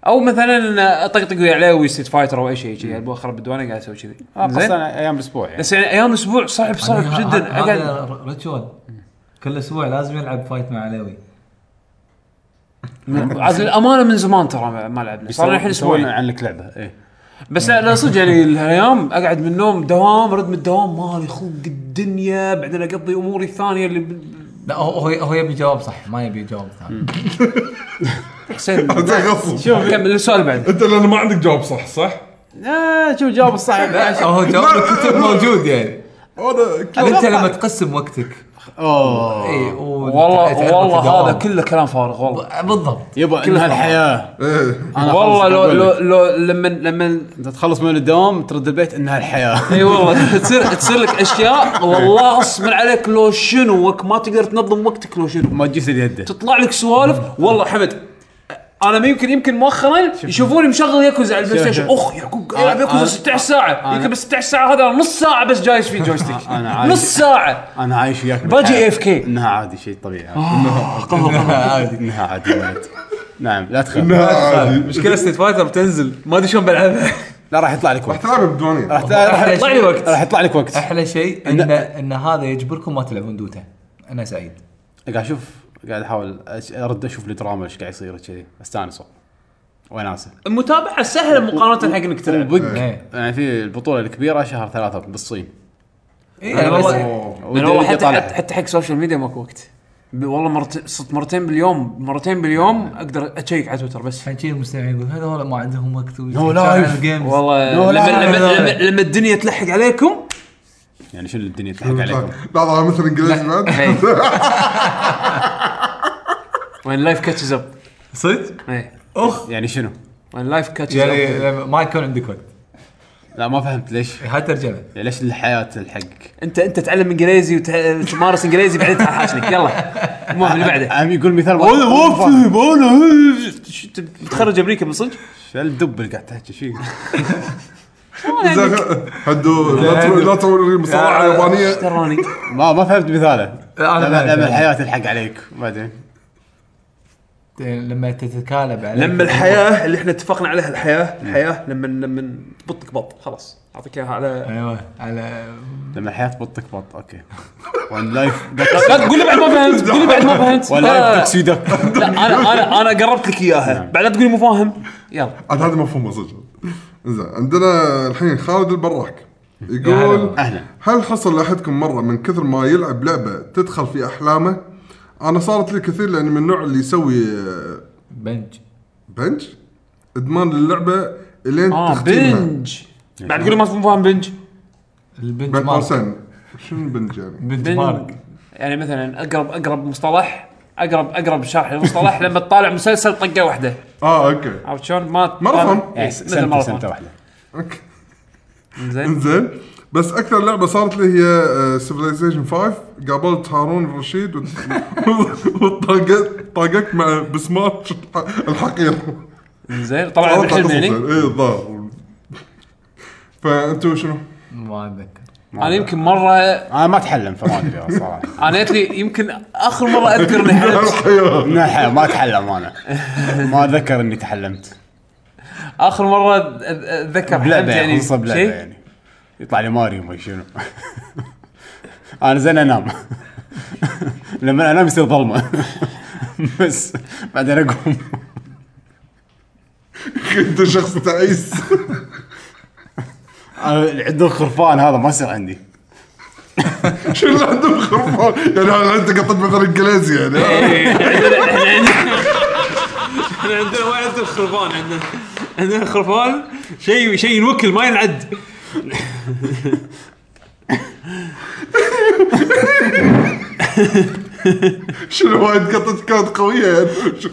[SPEAKER 3] او مثلا اطقطق ويا عليه ويستيت فايتر او اي شيء كذي ابغى اخرب الديوانيه قاعد اسوي كذي
[SPEAKER 1] آه،
[SPEAKER 3] زين
[SPEAKER 10] اصلا ايام الاسبوع يعني
[SPEAKER 3] بس يعني ايام اسبوع صعب صعب
[SPEAKER 6] أنا يعني ه-
[SPEAKER 3] جدا
[SPEAKER 6] ه- هذا
[SPEAKER 3] اقعد
[SPEAKER 6] ر- ريتشوال كل اسبوع لازم يلعب فايت مع علوي
[SPEAKER 3] عاد للامانه من زمان ترى ما- ما لعبنا صار لنا الحين اسبوعين
[SPEAKER 10] يسوون عنك لعبه ايه
[SPEAKER 3] بس لا صدق يعني الايام اقعد من النوم دوام رد من الدوام مالي خلق الدنيا بعدين اقضي اموري الثانيه اللي ب-
[SPEAKER 6] لا هو هو هو يبي جواب صح ما يبي جواب ثاني
[SPEAKER 3] حسين
[SPEAKER 2] زين غصب
[SPEAKER 3] كمل السؤال بعد
[SPEAKER 2] انت لان ما عندك جواب صح صح؟
[SPEAKER 10] آه شوف جواب الصعب
[SPEAKER 6] هو جواب الكتب موجود يعني
[SPEAKER 2] انا
[SPEAKER 6] انت لما تقسم وقتك
[SPEAKER 10] اوه
[SPEAKER 6] اي و- تعرف
[SPEAKER 3] والله والله
[SPEAKER 6] الدوام.
[SPEAKER 3] هذا كله كلام فارغ والله
[SPEAKER 6] ب- بالضبط
[SPEAKER 10] يبا انها الحياه
[SPEAKER 2] إيه.
[SPEAKER 10] أنا
[SPEAKER 3] والله
[SPEAKER 10] خلص
[SPEAKER 3] لو
[SPEAKER 10] أقول
[SPEAKER 3] لو
[SPEAKER 10] لك.
[SPEAKER 3] لو لما لما
[SPEAKER 10] انت تخلص من الدوام ترد البيت انها الحياه
[SPEAKER 3] اي والله تصير تصير لك اشياء والله غصب عليك لو شنو وك ما تقدر تنظم وقتك لو شنو
[SPEAKER 10] ما تجيس اليد
[SPEAKER 3] تطلع لك سوالف والله حمد انا يمكن يمكن مؤخرا يشوفوني مشغل ياكوزا على
[SPEAKER 10] شوف-
[SPEAKER 3] البلاي ستيشن اخ يعقوب
[SPEAKER 10] أنا-
[SPEAKER 3] العب ياكوزا
[SPEAKER 10] أنا-
[SPEAKER 3] 16 ساعه
[SPEAKER 10] أنا-
[SPEAKER 3] يمكن بال 16 ساعه هذا أنا نص ساعه بس جايز في جويستيك
[SPEAKER 10] آه، أنا عايش-
[SPEAKER 3] نص ساعه
[SPEAKER 10] انا عايش وياك
[SPEAKER 3] باجي
[SPEAKER 10] بالحياة.
[SPEAKER 3] AFK.
[SPEAKER 10] انها عادي شيء طبيعي انها عادي ولد. نعم لا تخاف
[SPEAKER 2] لا عادي
[SPEAKER 4] مشكله ستيت فايتر بتنزل ما ادري شلون بلعبها
[SPEAKER 10] لا راح يطلع لك وقت
[SPEAKER 2] تلعب بديوانيه
[SPEAKER 10] راح راح-
[SPEAKER 6] أحلى
[SPEAKER 3] طلع لي
[SPEAKER 6] شيء-
[SPEAKER 3] وقت
[SPEAKER 10] راح يطلع لك وقت
[SPEAKER 6] احلى شيء ان ان هذا يجبركم ما تلعبون دوتا انا سعيد
[SPEAKER 10] قاعد اشوف قاعد احاول أش- ارد اشوف الدراما ايش قاعد يصير كذي استانس والله. وناسه
[SPEAKER 3] المتابعه سهله مقارنه حق انك تلعب
[SPEAKER 10] وبق
[SPEAKER 6] إيه.
[SPEAKER 10] يعني في البطوله الكبيره شهر ثلاثه بالصين
[SPEAKER 6] اي انا والله
[SPEAKER 3] لأن إيه، يعني والله حتى حتى-
[SPEAKER 10] يطالعها.
[SPEAKER 3] حتى حق السوشيال ميديا ماكو وقت ب- والله مرت... صرت مرتين باليوم مرتين باليوم اقدر اتشيك على تويتر بس
[SPEAKER 6] الحين شي المستمعين يقول هذول ما عندهم وقت
[SPEAKER 10] No life. لا،
[SPEAKER 3] والله لما,
[SPEAKER 10] لا،
[SPEAKER 3] لما,
[SPEAKER 10] لا.
[SPEAKER 3] لما, لما الدنيا تلحق عليكم
[SPEAKER 10] يعني شنو الدنيا تضحك عليكم
[SPEAKER 2] لا هذا طيب، مثل انجليزي بعد
[SPEAKER 10] إيه.
[SPEAKER 3] وين لايف كاتشز اب
[SPEAKER 6] صدق؟
[SPEAKER 3] ايه
[SPEAKER 6] اخ
[SPEAKER 10] يعني شنو؟
[SPEAKER 3] وين لايف كاتشز اب
[SPEAKER 6] يعني لما ما يكون عندك وقت
[SPEAKER 10] لا ما فهمت ليش
[SPEAKER 6] هاي ترجمه
[SPEAKER 10] يعني ليش الحياه الحق
[SPEAKER 3] انت انت تعلم انجليزي وتمارس انجليزي بعدين تحاشني يلا المهم اللي بعده
[SPEAKER 10] عم يقول مثال
[SPEAKER 3] والله
[SPEAKER 4] Oh,
[SPEAKER 3] ما
[SPEAKER 10] فاهم انا
[SPEAKER 3] تخرج امريكا من صدق
[SPEAKER 10] شو الدب اللي قاعد تحكي فيه
[SPEAKER 2] هدو لا تقول- لا تقول مصارعه يابانيه
[SPEAKER 3] تراني
[SPEAKER 10] ما ما فهمت مثاله
[SPEAKER 6] لا، أنا
[SPEAKER 10] لما
[SPEAKER 6] فهمت.
[SPEAKER 10] لما الحياه تلحق عليك بعدين
[SPEAKER 6] لما تتكالب عليك
[SPEAKER 4] لما الحياه اللي احنا اتفقنا عليها الحياه الحياه لما لما تبطك بط خلاص اعطيك اياها على
[SPEAKER 6] ايوه على
[SPEAKER 10] لما الحياه تبطك بط اوكي وان لايف
[SPEAKER 3] لا تقول لي بعد ما فهمت تقول لي بعد ما فهمت
[SPEAKER 10] وان
[SPEAKER 3] لا، لا،
[SPEAKER 10] لايف
[SPEAKER 3] لا.
[SPEAKER 10] تكسيدك
[SPEAKER 3] لا انا انا انا قربت لك
[SPEAKER 4] نعم.
[SPEAKER 3] اياها بعد لا تقول لي مو فاهم يلا
[SPEAKER 2] عاد هذا مفهوم صدق زين عندنا الحين خالد البراك
[SPEAKER 6] يا هلا
[SPEAKER 2] يقول
[SPEAKER 6] والله.
[SPEAKER 10] اهلا
[SPEAKER 2] هل حصل لاحدكم مره من كثر ما يلعب لعبه تدخل في احلامه؟ انا صارت لي كثير لاني من النوع اللي يسوي آه،
[SPEAKER 6] بنج
[SPEAKER 2] بنج ادمان اللعبه الين
[SPEAKER 3] اه
[SPEAKER 2] تختمها.
[SPEAKER 3] بنج بعد تقول لي ما تكون فاهم بنج
[SPEAKER 6] البنج
[SPEAKER 2] بين
[SPEAKER 6] مارك
[SPEAKER 2] قوسين شنو بنج يعني؟
[SPEAKER 6] بنج
[SPEAKER 3] بنج.
[SPEAKER 6] مارك
[SPEAKER 3] يعني مثلا اقرب اقرب مصطلح اقرب اقرب شرح للمصطلح لما تطالع مسلسل طقه واحده
[SPEAKER 2] اه اوكي
[SPEAKER 3] عرفت شلون؟ ما
[SPEAKER 2] ماراثون.
[SPEAKER 3] إيه، مثل
[SPEAKER 1] سنه سنه
[SPEAKER 3] ماراثون
[SPEAKER 1] واحده
[SPEAKER 2] اوكي
[SPEAKER 3] زين
[SPEAKER 2] انزين بس اكثر لعبه صارت لي هي سيفلايزيشن 5 قابلت هارون الرشيد وت- وطاقت طاقت مع بسمار الحقير
[SPEAKER 3] زين طبعا الحلم يعني
[SPEAKER 2] اي الظاهر فانتم شنو؟
[SPEAKER 6] ما اتذكر
[SPEAKER 3] انا يمكن مره
[SPEAKER 1] انا ما اتحلم فما ادري صراحه
[SPEAKER 3] انا جت لي يمكن اخر مره اذكر اني حلمت
[SPEAKER 2] الحيوان
[SPEAKER 1] لا، ما اتحلم انا ما اتذكر اني تحلمت
[SPEAKER 3] اخر مره أذ- اتذكر حلمت
[SPEAKER 1] بلعبه
[SPEAKER 3] يعني
[SPEAKER 1] يعني خصوصا بلعبه
[SPEAKER 3] شيء
[SPEAKER 1] يعني يطلع لي ماريو ما شنو انا زين انام لما انام يصير ظلمه بس بعدين اقوم
[SPEAKER 2] انت شخص تعيس
[SPEAKER 1] أنا عند الخرفان هذا ما يصير عندي
[SPEAKER 2] شنو اللي عندهم خرفان يعني هذا انت قطت مثلا انجليزي يعني
[SPEAKER 4] احنا عندنا ما عندنا خرفان عندنا عندنا خرفان شيء شيء ينوكل ما ينعد
[SPEAKER 2] شنو وايد قطت كانت قويه يعني شو-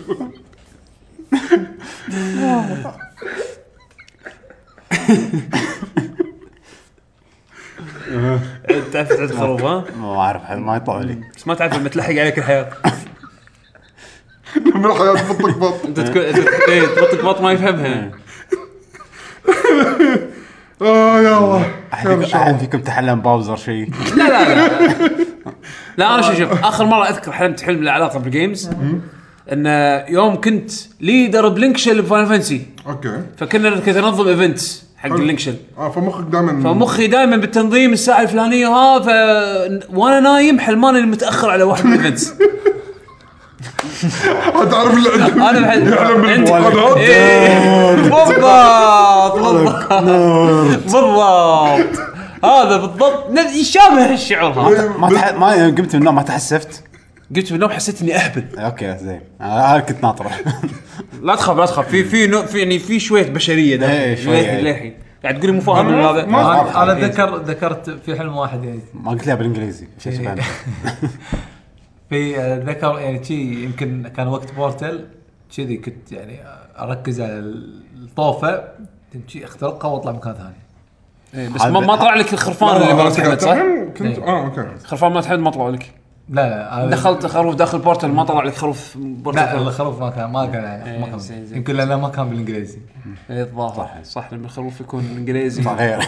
[SPEAKER 4] تعرف تعد خروف ها
[SPEAKER 1] ما اعرف ما يطلع لي
[SPEAKER 4] بس ما تعرف لما تلحق عليك الحياه
[SPEAKER 2] من الحياه بطك بط
[SPEAKER 4] انت تكون أنت تكون- إيه، تبطك بط ما يفهمها
[SPEAKER 2] اه يا الله
[SPEAKER 1] احد فيكم- أحد فيكم تحلم باوزر شيء
[SPEAKER 3] لا لا لا لا انا شوف شوف اخر مره اذكر حلمت حلم له علاقه بالجيمز ان
[SPEAKER 4] eh,
[SPEAKER 3] يوم كنت ليدر بلينكشل بفاينل فانسي
[SPEAKER 2] اوكي
[SPEAKER 3] فكنا كنت انظم ايفنتس حق اللينكشل
[SPEAKER 2] اه فمخك دائما
[SPEAKER 3] فمخي دائما بالتنظيم الساعه الفلانيه
[SPEAKER 4] ah,
[SPEAKER 3] ها ف
[SPEAKER 4] eh,
[SPEAKER 3] وانا نايم حلمان اني متاخر على واحد من الايفنتس
[SPEAKER 2] تعرف اللي يعني عندهم
[SPEAKER 3] انا بحد
[SPEAKER 2] يعلم بالامتحانات
[SPEAKER 3] إيه، بالضبط بالضبط بالضبط
[SPEAKER 4] Ah,
[SPEAKER 3] هذا بالضبط نفس- يشابه الشعور هذا
[SPEAKER 1] ما تح... ما يوم قمت من النوم ما تحسفت
[SPEAKER 3] قلت بالنوم حسيت اني اهبل
[SPEAKER 1] اوكي زين انا أنا كنت ناطره
[SPEAKER 3] لا تخاف لا تخاف في في نوع في يعني في شويه بشريه ده
[SPEAKER 1] إيه، شوية.
[SPEAKER 3] للحين قاعد تقولي مو فاهم من هذا
[SPEAKER 2] ما-
[SPEAKER 6] انا أنا اتذكر ذكرت في حلم واحد يعني
[SPEAKER 1] ما قلت لها بالانجليزي شو اسمه؟
[SPEAKER 6] في اتذكر يعني شي يمكن كان وقت بورتل كذي كنت يعني اركز على الطوفه شي اخترقها واطلع مكان ثاني
[SPEAKER 3] إيه، بس ما ما طلع لك الخرفان اللي مالت حمد صح؟
[SPEAKER 2] كنت اه اوكي
[SPEAKER 3] خرفان مالت حمد ما طلع لك
[SPEAKER 6] لا لا أنا-
[SPEAKER 3] دخلت خروف داخل بورتل ما طلع لك خروف بورتل
[SPEAKER 6] لا
[SPEAKER 3] لا
[SPEAKER 6] الخروف ما كان ما كان ما
[SPEAKER 3] إيه، زين،
[SPEAKER 6] كان
[SPEAKER 3] زين.
[SPEAKER 6] يمكن لانه ما كان بالانجليزي
[SPEAKER 3] إيه، الظاهر صح لما الخروف يكون انجليزي
[SPEAKER 1] غير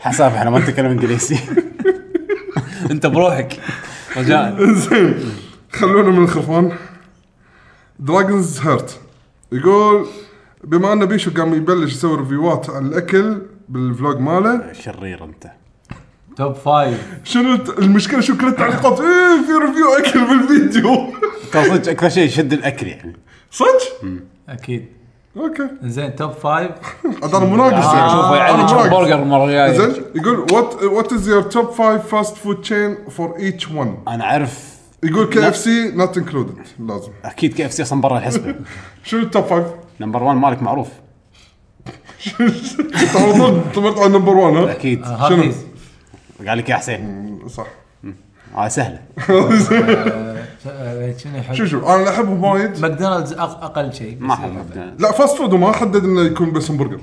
[SPEAKER 1] حساب احنا ما نتكلم انجليزي
[SPEAKER 3] انت بروحك رجاء
[SPEAKER 2] زين خلونا من الخرفان دراجونز هيرت يقول بما ان بيشو قام يبلش يسوي ريفيوات عن الاكل بالفلوج ماله
[SPEAKER 1] شرير انت
[SPEAKER 6] توب فايف
[SPEAKER 2] شنو الت- المشكله شو كل التعليقات ايه في ريفيو اكل بالفيديو
[SPEAKER 1] ترى صدق اكثر شيء يشد الاكل يعني
[SPEAKER 2] صدق؟
[SPEAKER 6] اكيد
[SPEAKER 2] اوكي
[SPEAKER 6] زين توب فايف
[SPEAKER 2] عاد انا مناقص يعني
[SPEAKER 3] شوفه
[SPEAKER 2] أنا
[SPEAKER 3] يعني
[SPEAKER 2] مناقص.
[SPEAKER 3] برجر المره الجايه
[SPEAKER 2] زين يقول وات وات از يور توب فايف فاست فود تشين فور ايتش ون
[SPEAKER 1] انا اعرف
[SPEAKER 2] يقول كي اف سي نوت انكلودد لازم
[SPEAKER 1] اكيد كي اف سي اصلا برا الحسبه
[SPEAKER 2] شنو التوب فايف؟
[SPEAKER 1] نمبر 1 مالك معروف
[SPEAKER 2] انت على طول طلعت على نمبر 1 ها؟
[SPEAKER 1] اكيد
[SPEAKER 6] آه، هارديز
[SPEAKER 1] قال لك يا حسين
[SPEAKER 2] صح
[SPEAKER 1] اه سهله
[SPEAKER 6] آه، شنو
[SPEAKER 2] شو
[SPEAKER 6] يحب
[SPEAKER 2] شو انا اللي احبهم وايد
[SPEAKER 6] ماكدونالدز أق- اقل شيء
[SPEAKER 1] ما حد
[SPEAKER 2] لا فاست فود وما حدد انه يكون بس همبرجر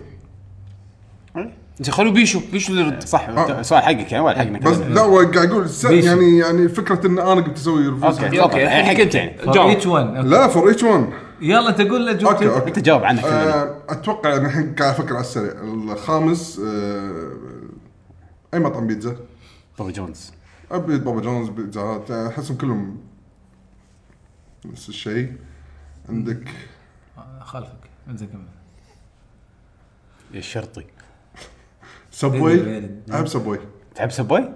[SPEAKER 3] انت خلوا بيشو بيشو اللي يرد
[SPEAKER 1] صح سؤال حقك يعني ولا حقنا
[SPEAKER 2] آه. بس
[SPEAKER 1] كلنا.
[SPEAKER 2] لا هو قاعد يقول س- يعني يعني فكره ان انا قمت اسوي
[SPEAKER 1] اوكي
[SPEAKER 2] ريفيو
[SPEAKER 1] اوكي الحين حقك يعني
[SPEAKER 6] ايتش 1
[SPEAKER 2] لا فور ايتش 1
[SPEAKER 6] يلا انت قول له
[SPEAKER 2] اوكي
[SPEAKER 6] جوك
[SPEAKER 2] اوكي
[SPEAKER 1] انت جاوب عنه كلنا
[SPEAKER 2] آه، اتوقع ان الحين قاعد افكر على السريع الخامس آه، اي مطعم بيتزا
[SPEAKER 1] بوبي جونز
[SPEAKER 2] ابي بابا جونز بيتزا هات آه، احسهم كلهم نفس الشيء عندك
[SPEAKER 6] آه، خلفك انزين كمل
[SPEAKER 1] الشرطي
[SPEAKER 2] سبوي احب سبوي
[SPEAKER 1] تحب سبوي؟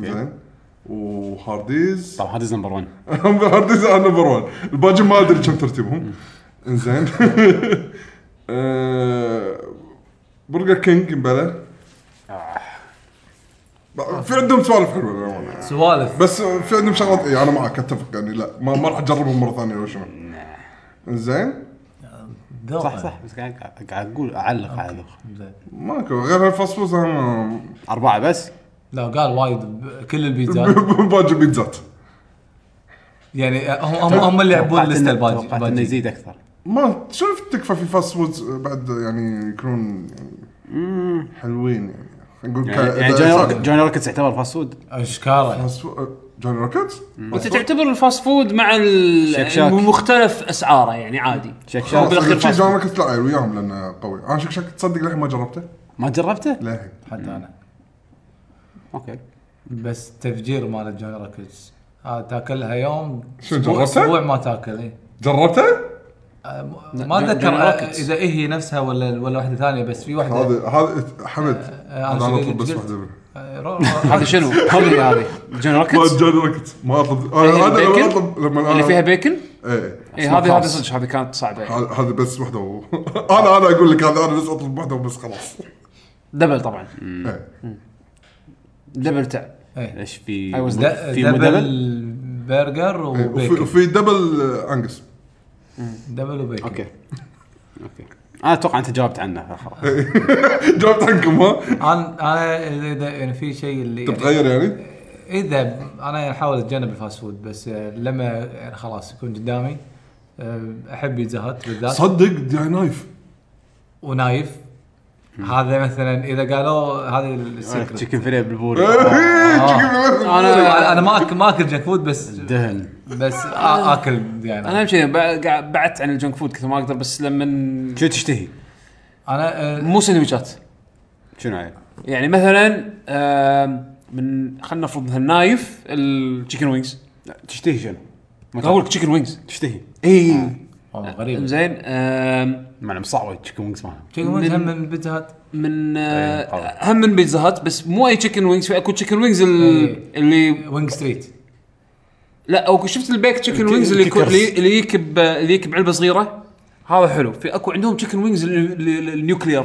[SPEAKER 2] زين وهارديز
[SPEAKER 1] طبعا هذا نمبر 1
[SPEAKER 2] هم هارديز انا نمبر 1 الباقي ما ادري كم ترتيبهم انزين آه، برجر كينج بلا في عندهم سوالف حلوه للأمانة.
[SPEAKER 6] سوالف
[SPEAKER 2] بس في عندهم شغلات اي انا معك اتفق يعني لا ما, ما راح اجربهم مره ثانيه ولا شنو انزين
[SPEAKER 6] ذوقه.
[SPEAKER 1] صح صح بس قاعد قاعد اقول اعلق على ذوق
[SPEAKER 6] زين.
[SPEAKER 2] ماكو غير هالفاست فود أنا
[SPEAKER 1] اربعه بس
[SPEAKER 6] لا قال وايد ب- كل البيتزات
[SPEAKER 2] باقي بيتزات
[SPEAKER 6] يعني هم هم- هم اللي يلعبون
[SPEAKER 1] توقعت
[SPEAKER 6] لسته
[SPEAKER 1] إنه-
[SPEAKER 6] الباجي
[SPEAKER 1] توقعت انه
[SPEAKER 6] الباجي.
[SPEAKER 1] يزيد اكثر
[SPEAKER 2] ما شوف تكفى في فاست فودز بعد يعني يكونون يعني حلوين يعني خلينا نقول
[SPEAKER 1] يعني
[SPEAKER 2] ك-
[SPEAKER 1] يعني
[SPEAKER 2] إذا-
[SPEAKER 1] جوني روكت جوني روكتس يعتبر فاست فود
[SPEAKER 6] اشكاره
[SPEAKER 2] فاست آه، فود- جوني روكت
[SPEAKER 3] انت
[SPEAKER 2] آه،
[SPEAKER 3] تعتبر الفاست فود مع ال-
[SPEAKER 1] شك شاك.
[SPEAKER 3] مختلف اسعاره يعني عادي
[SPEAKER 1] شك شاك.
[SPEAKER 3] هو بالاخير
[SPEAKER 2] شي
[SPEAKER 3] فاست
[SPEAKER 2] جوني
[SPEAKER 3] فود.
[SPEAKER 2] روكت لا يعني وياهم لانه قوي انا شك شك تصدق للحين ما جربته
[SPEAKER 1] ما جربته؟
[SPEAKER 2] للحين
[SPEAKER 6] حتى انا
[SPEAKER 1] اوكي
[SPEAKER 6] بس تفجير مال الجوني روكيتس آه تاكلها يوم
[SPEAKER 2] شو،
[SPEAKER 6] أسبوع-
[SPEAKER 2] جربته؟
[SPEAKER 6] اسبوع ما تاكل اي
[SPEAKER 2] جربته؟
[SPEAKER 6] آه، م-
[SPEAKER 1] لا،
[SPEAKER 6] ما
[SPEAKER 1] جوني-
[SPEAKER 6] اتذكر
[SPEAKER 1] جوني
[SPEAKER 6] آه،
[SPEAKER 1] روكيتس.
[SPEAKER 6] اذا إيه هي نفسها ولا ولا واحده ثانيه بس في واحده
[SPEAKER 2] هذا هذا حمد
[SPEAKER 6] آه، أنا
[SPEAKER 2] هذا انا
[SPEAKER 6] شو
[SPEAKER 2] اطلب بس
[SPEAKER 6] قلت؟
[SPEAKER 2] واحده منه.
[SPEAKER 6] آه، رو- رو-
[SPEAKER 3] هذه شنو؟
[SPEAKER 1] هذه هذه جوني
[SPEAKER 2] ما
[SPEAKER 1] روكتس
[SPEAKER 2] جوني روكت ما اطلب انا
[SPEAKER 3] اللي
[SPEAKER 2] هذا لما
[SPEAKER 3] بيكن؟
[SPEAKER 2] اطلب لما أنا-
[SPEAKER 3] اللي فيها بيكن
[SPEAKER 2] ايه
[SPEAKER 3] اي هذه هذه
[SPEAKER 1] خاص.
[SPEAKER 3] صدق هذه كانت صعبه
[SPEAKER 2] هذا هذا بس وحده و... انا انا اقول لك هذا انا بس اطلب وحده وبس خلاص
[SPEAKER 3] دبل طبعا
[SPEAKER 2] إيه.
[SPEAKER 3] دبل تعب
[SPEAKER 1] ايش في
[SPEAKER 3] I was
[SPEAKER 6] د-
[SPEAKER 1] في مدبل
[SPEAKER 6] دبل برجر
[SPEAKER 2] إيه، وفي
[SPEAKER 6] وبيكن
[SPEAKER 2] وفي دبل آه، انجس
[SPEAKER 6] دبل وبيكن
[SPEAKER 1] اوكي اوكي انا اتوقع انت جاوبت عنه فخلاص
[SPEAKER 2] جاوبت عنكم ها
[SPEAKER 6] انا انا إذا- اذا يعني في شيء اللي
[SPEAKER 2] انت بتغير يعني؟
[SPEAKER 6] اذا انا احاول اتجنب الفاست فود بس آه، لما يعني خلاص يكون قدامي آه، احب بيتزا هات بالذات
[SPEAKER 2] صدق دي نايف
[SPEAKER 6] ونايف هذا مثلا اذا قالوا هذا
[SPEAKER 2] آه،
[SPEAKER 6] السكرت
[SPEAKER 1] تشيكن فيليه بالبوري
[SPEAKER 6] انا انا ما اكل ما اكل جنك فود بس
[SPEAKER 1] دهن
[SPEAKER 6] بس آ- اكل يعني
[SPEAKER 3] انا اهم شيء بع- قاعد- بعدت عن الجنك فود كثر ما اقدر بس لما
[SPEAKER 1] شو تشتهي؟
[SPEAKER 6] انا آه،
[SPEAKER 3] مو سندويشات
[SPEAKER 1] شنو عيل؟
[SPEAKER 3] يعني مثلا آم، من خلينا نفرض هالنايف التشيكن وينجز
[SPEAKER 1] لا، تشتهي شنو؟ ما
[SPEAKER 3] اقول
[SPEAKER 1] تعرف.
[SPEAKER 3] لك تشيكن وينجز
[SPEAKER 1] تشتهي
[SPEAKER 3] اي
[SPEAKER 6] والله غريب
[SPEAKER 3] زين آم،
[SPEAKER 1] مع مصعوب تشيكن وينجز مالهم
[SPEAKER 6] شيء مو هم من بيتزا هات
[SPEAKER 3] من
[SPEAKER 1] إيه، طبعاً.
[SPEAKER 3] آه، هم من بيتزا هات بس مو اي تشيكن وينجز في اكو تشيكن وينجز ال-
[SPEAKER 6] إيه.
[SPEAKER 3] اللي
[SPEAKER 6] وينج ستريت
[SPEAKER 3] لا اكو شفت البيك تشيكن
[SPEAKER 1] الك-
[SPEAKER 3] وينجز اللي يكون-
[SPEAKER 1] الكيكرز.
[SPEAKER 3] اللي اللي يجيك ب- اللي يجيك بعلبه صغيره هذا حلو في اكو عندهم تشيكن وينجز ال- ال- ال- النيوكلير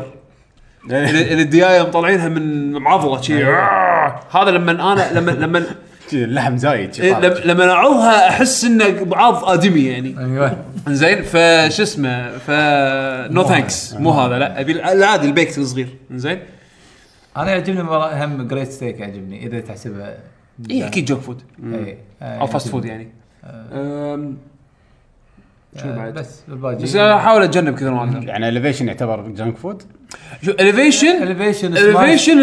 [SPEAKER 3] اللي اللي الديايه مطلعينها من معضله شي آه. هذا لما انا لما لما
[SPEAKER 1] اللحم زايد شي
[SPEAKER 3] إيه،
[SPEAKER 1] طالع.
[SPEAKER 3] لما- لما اعوها احس انه بعض ادمي يعني
[SPEAKER 6] ايوه
[SPEAKER 3] زين فش اسمه ف نو ثانكس مو هذا لا ابي العادي البيكت الصغير زين
[SPEAKER 6] انا يعجبني مرة- هم جريت ستيك يعجبني اذا تحسبها
[SPEAKER 3] اي اكيد جنك فود
[SPEAKER 6] إيه. آه،
[SPEAKER 3] او فاست
[SPEAKER 6] يعجبني.
[SPEAKER 3] فود يعني أم، شنو
[SPEAKER 6] آه،
[SPEAKER 3] بعد؟
[SPEAKER 6] بس الباجي
[SPEAKER 3] بس آه، احاول اتجنب كذا ما اقدر
[SPEAKER 1] يعني الفيشن يعتبر جنك فود؟
[SPEAKER 3] الفيشن
[SPEAKER 6] الفيشن
[SPEAKER 3] الفيشن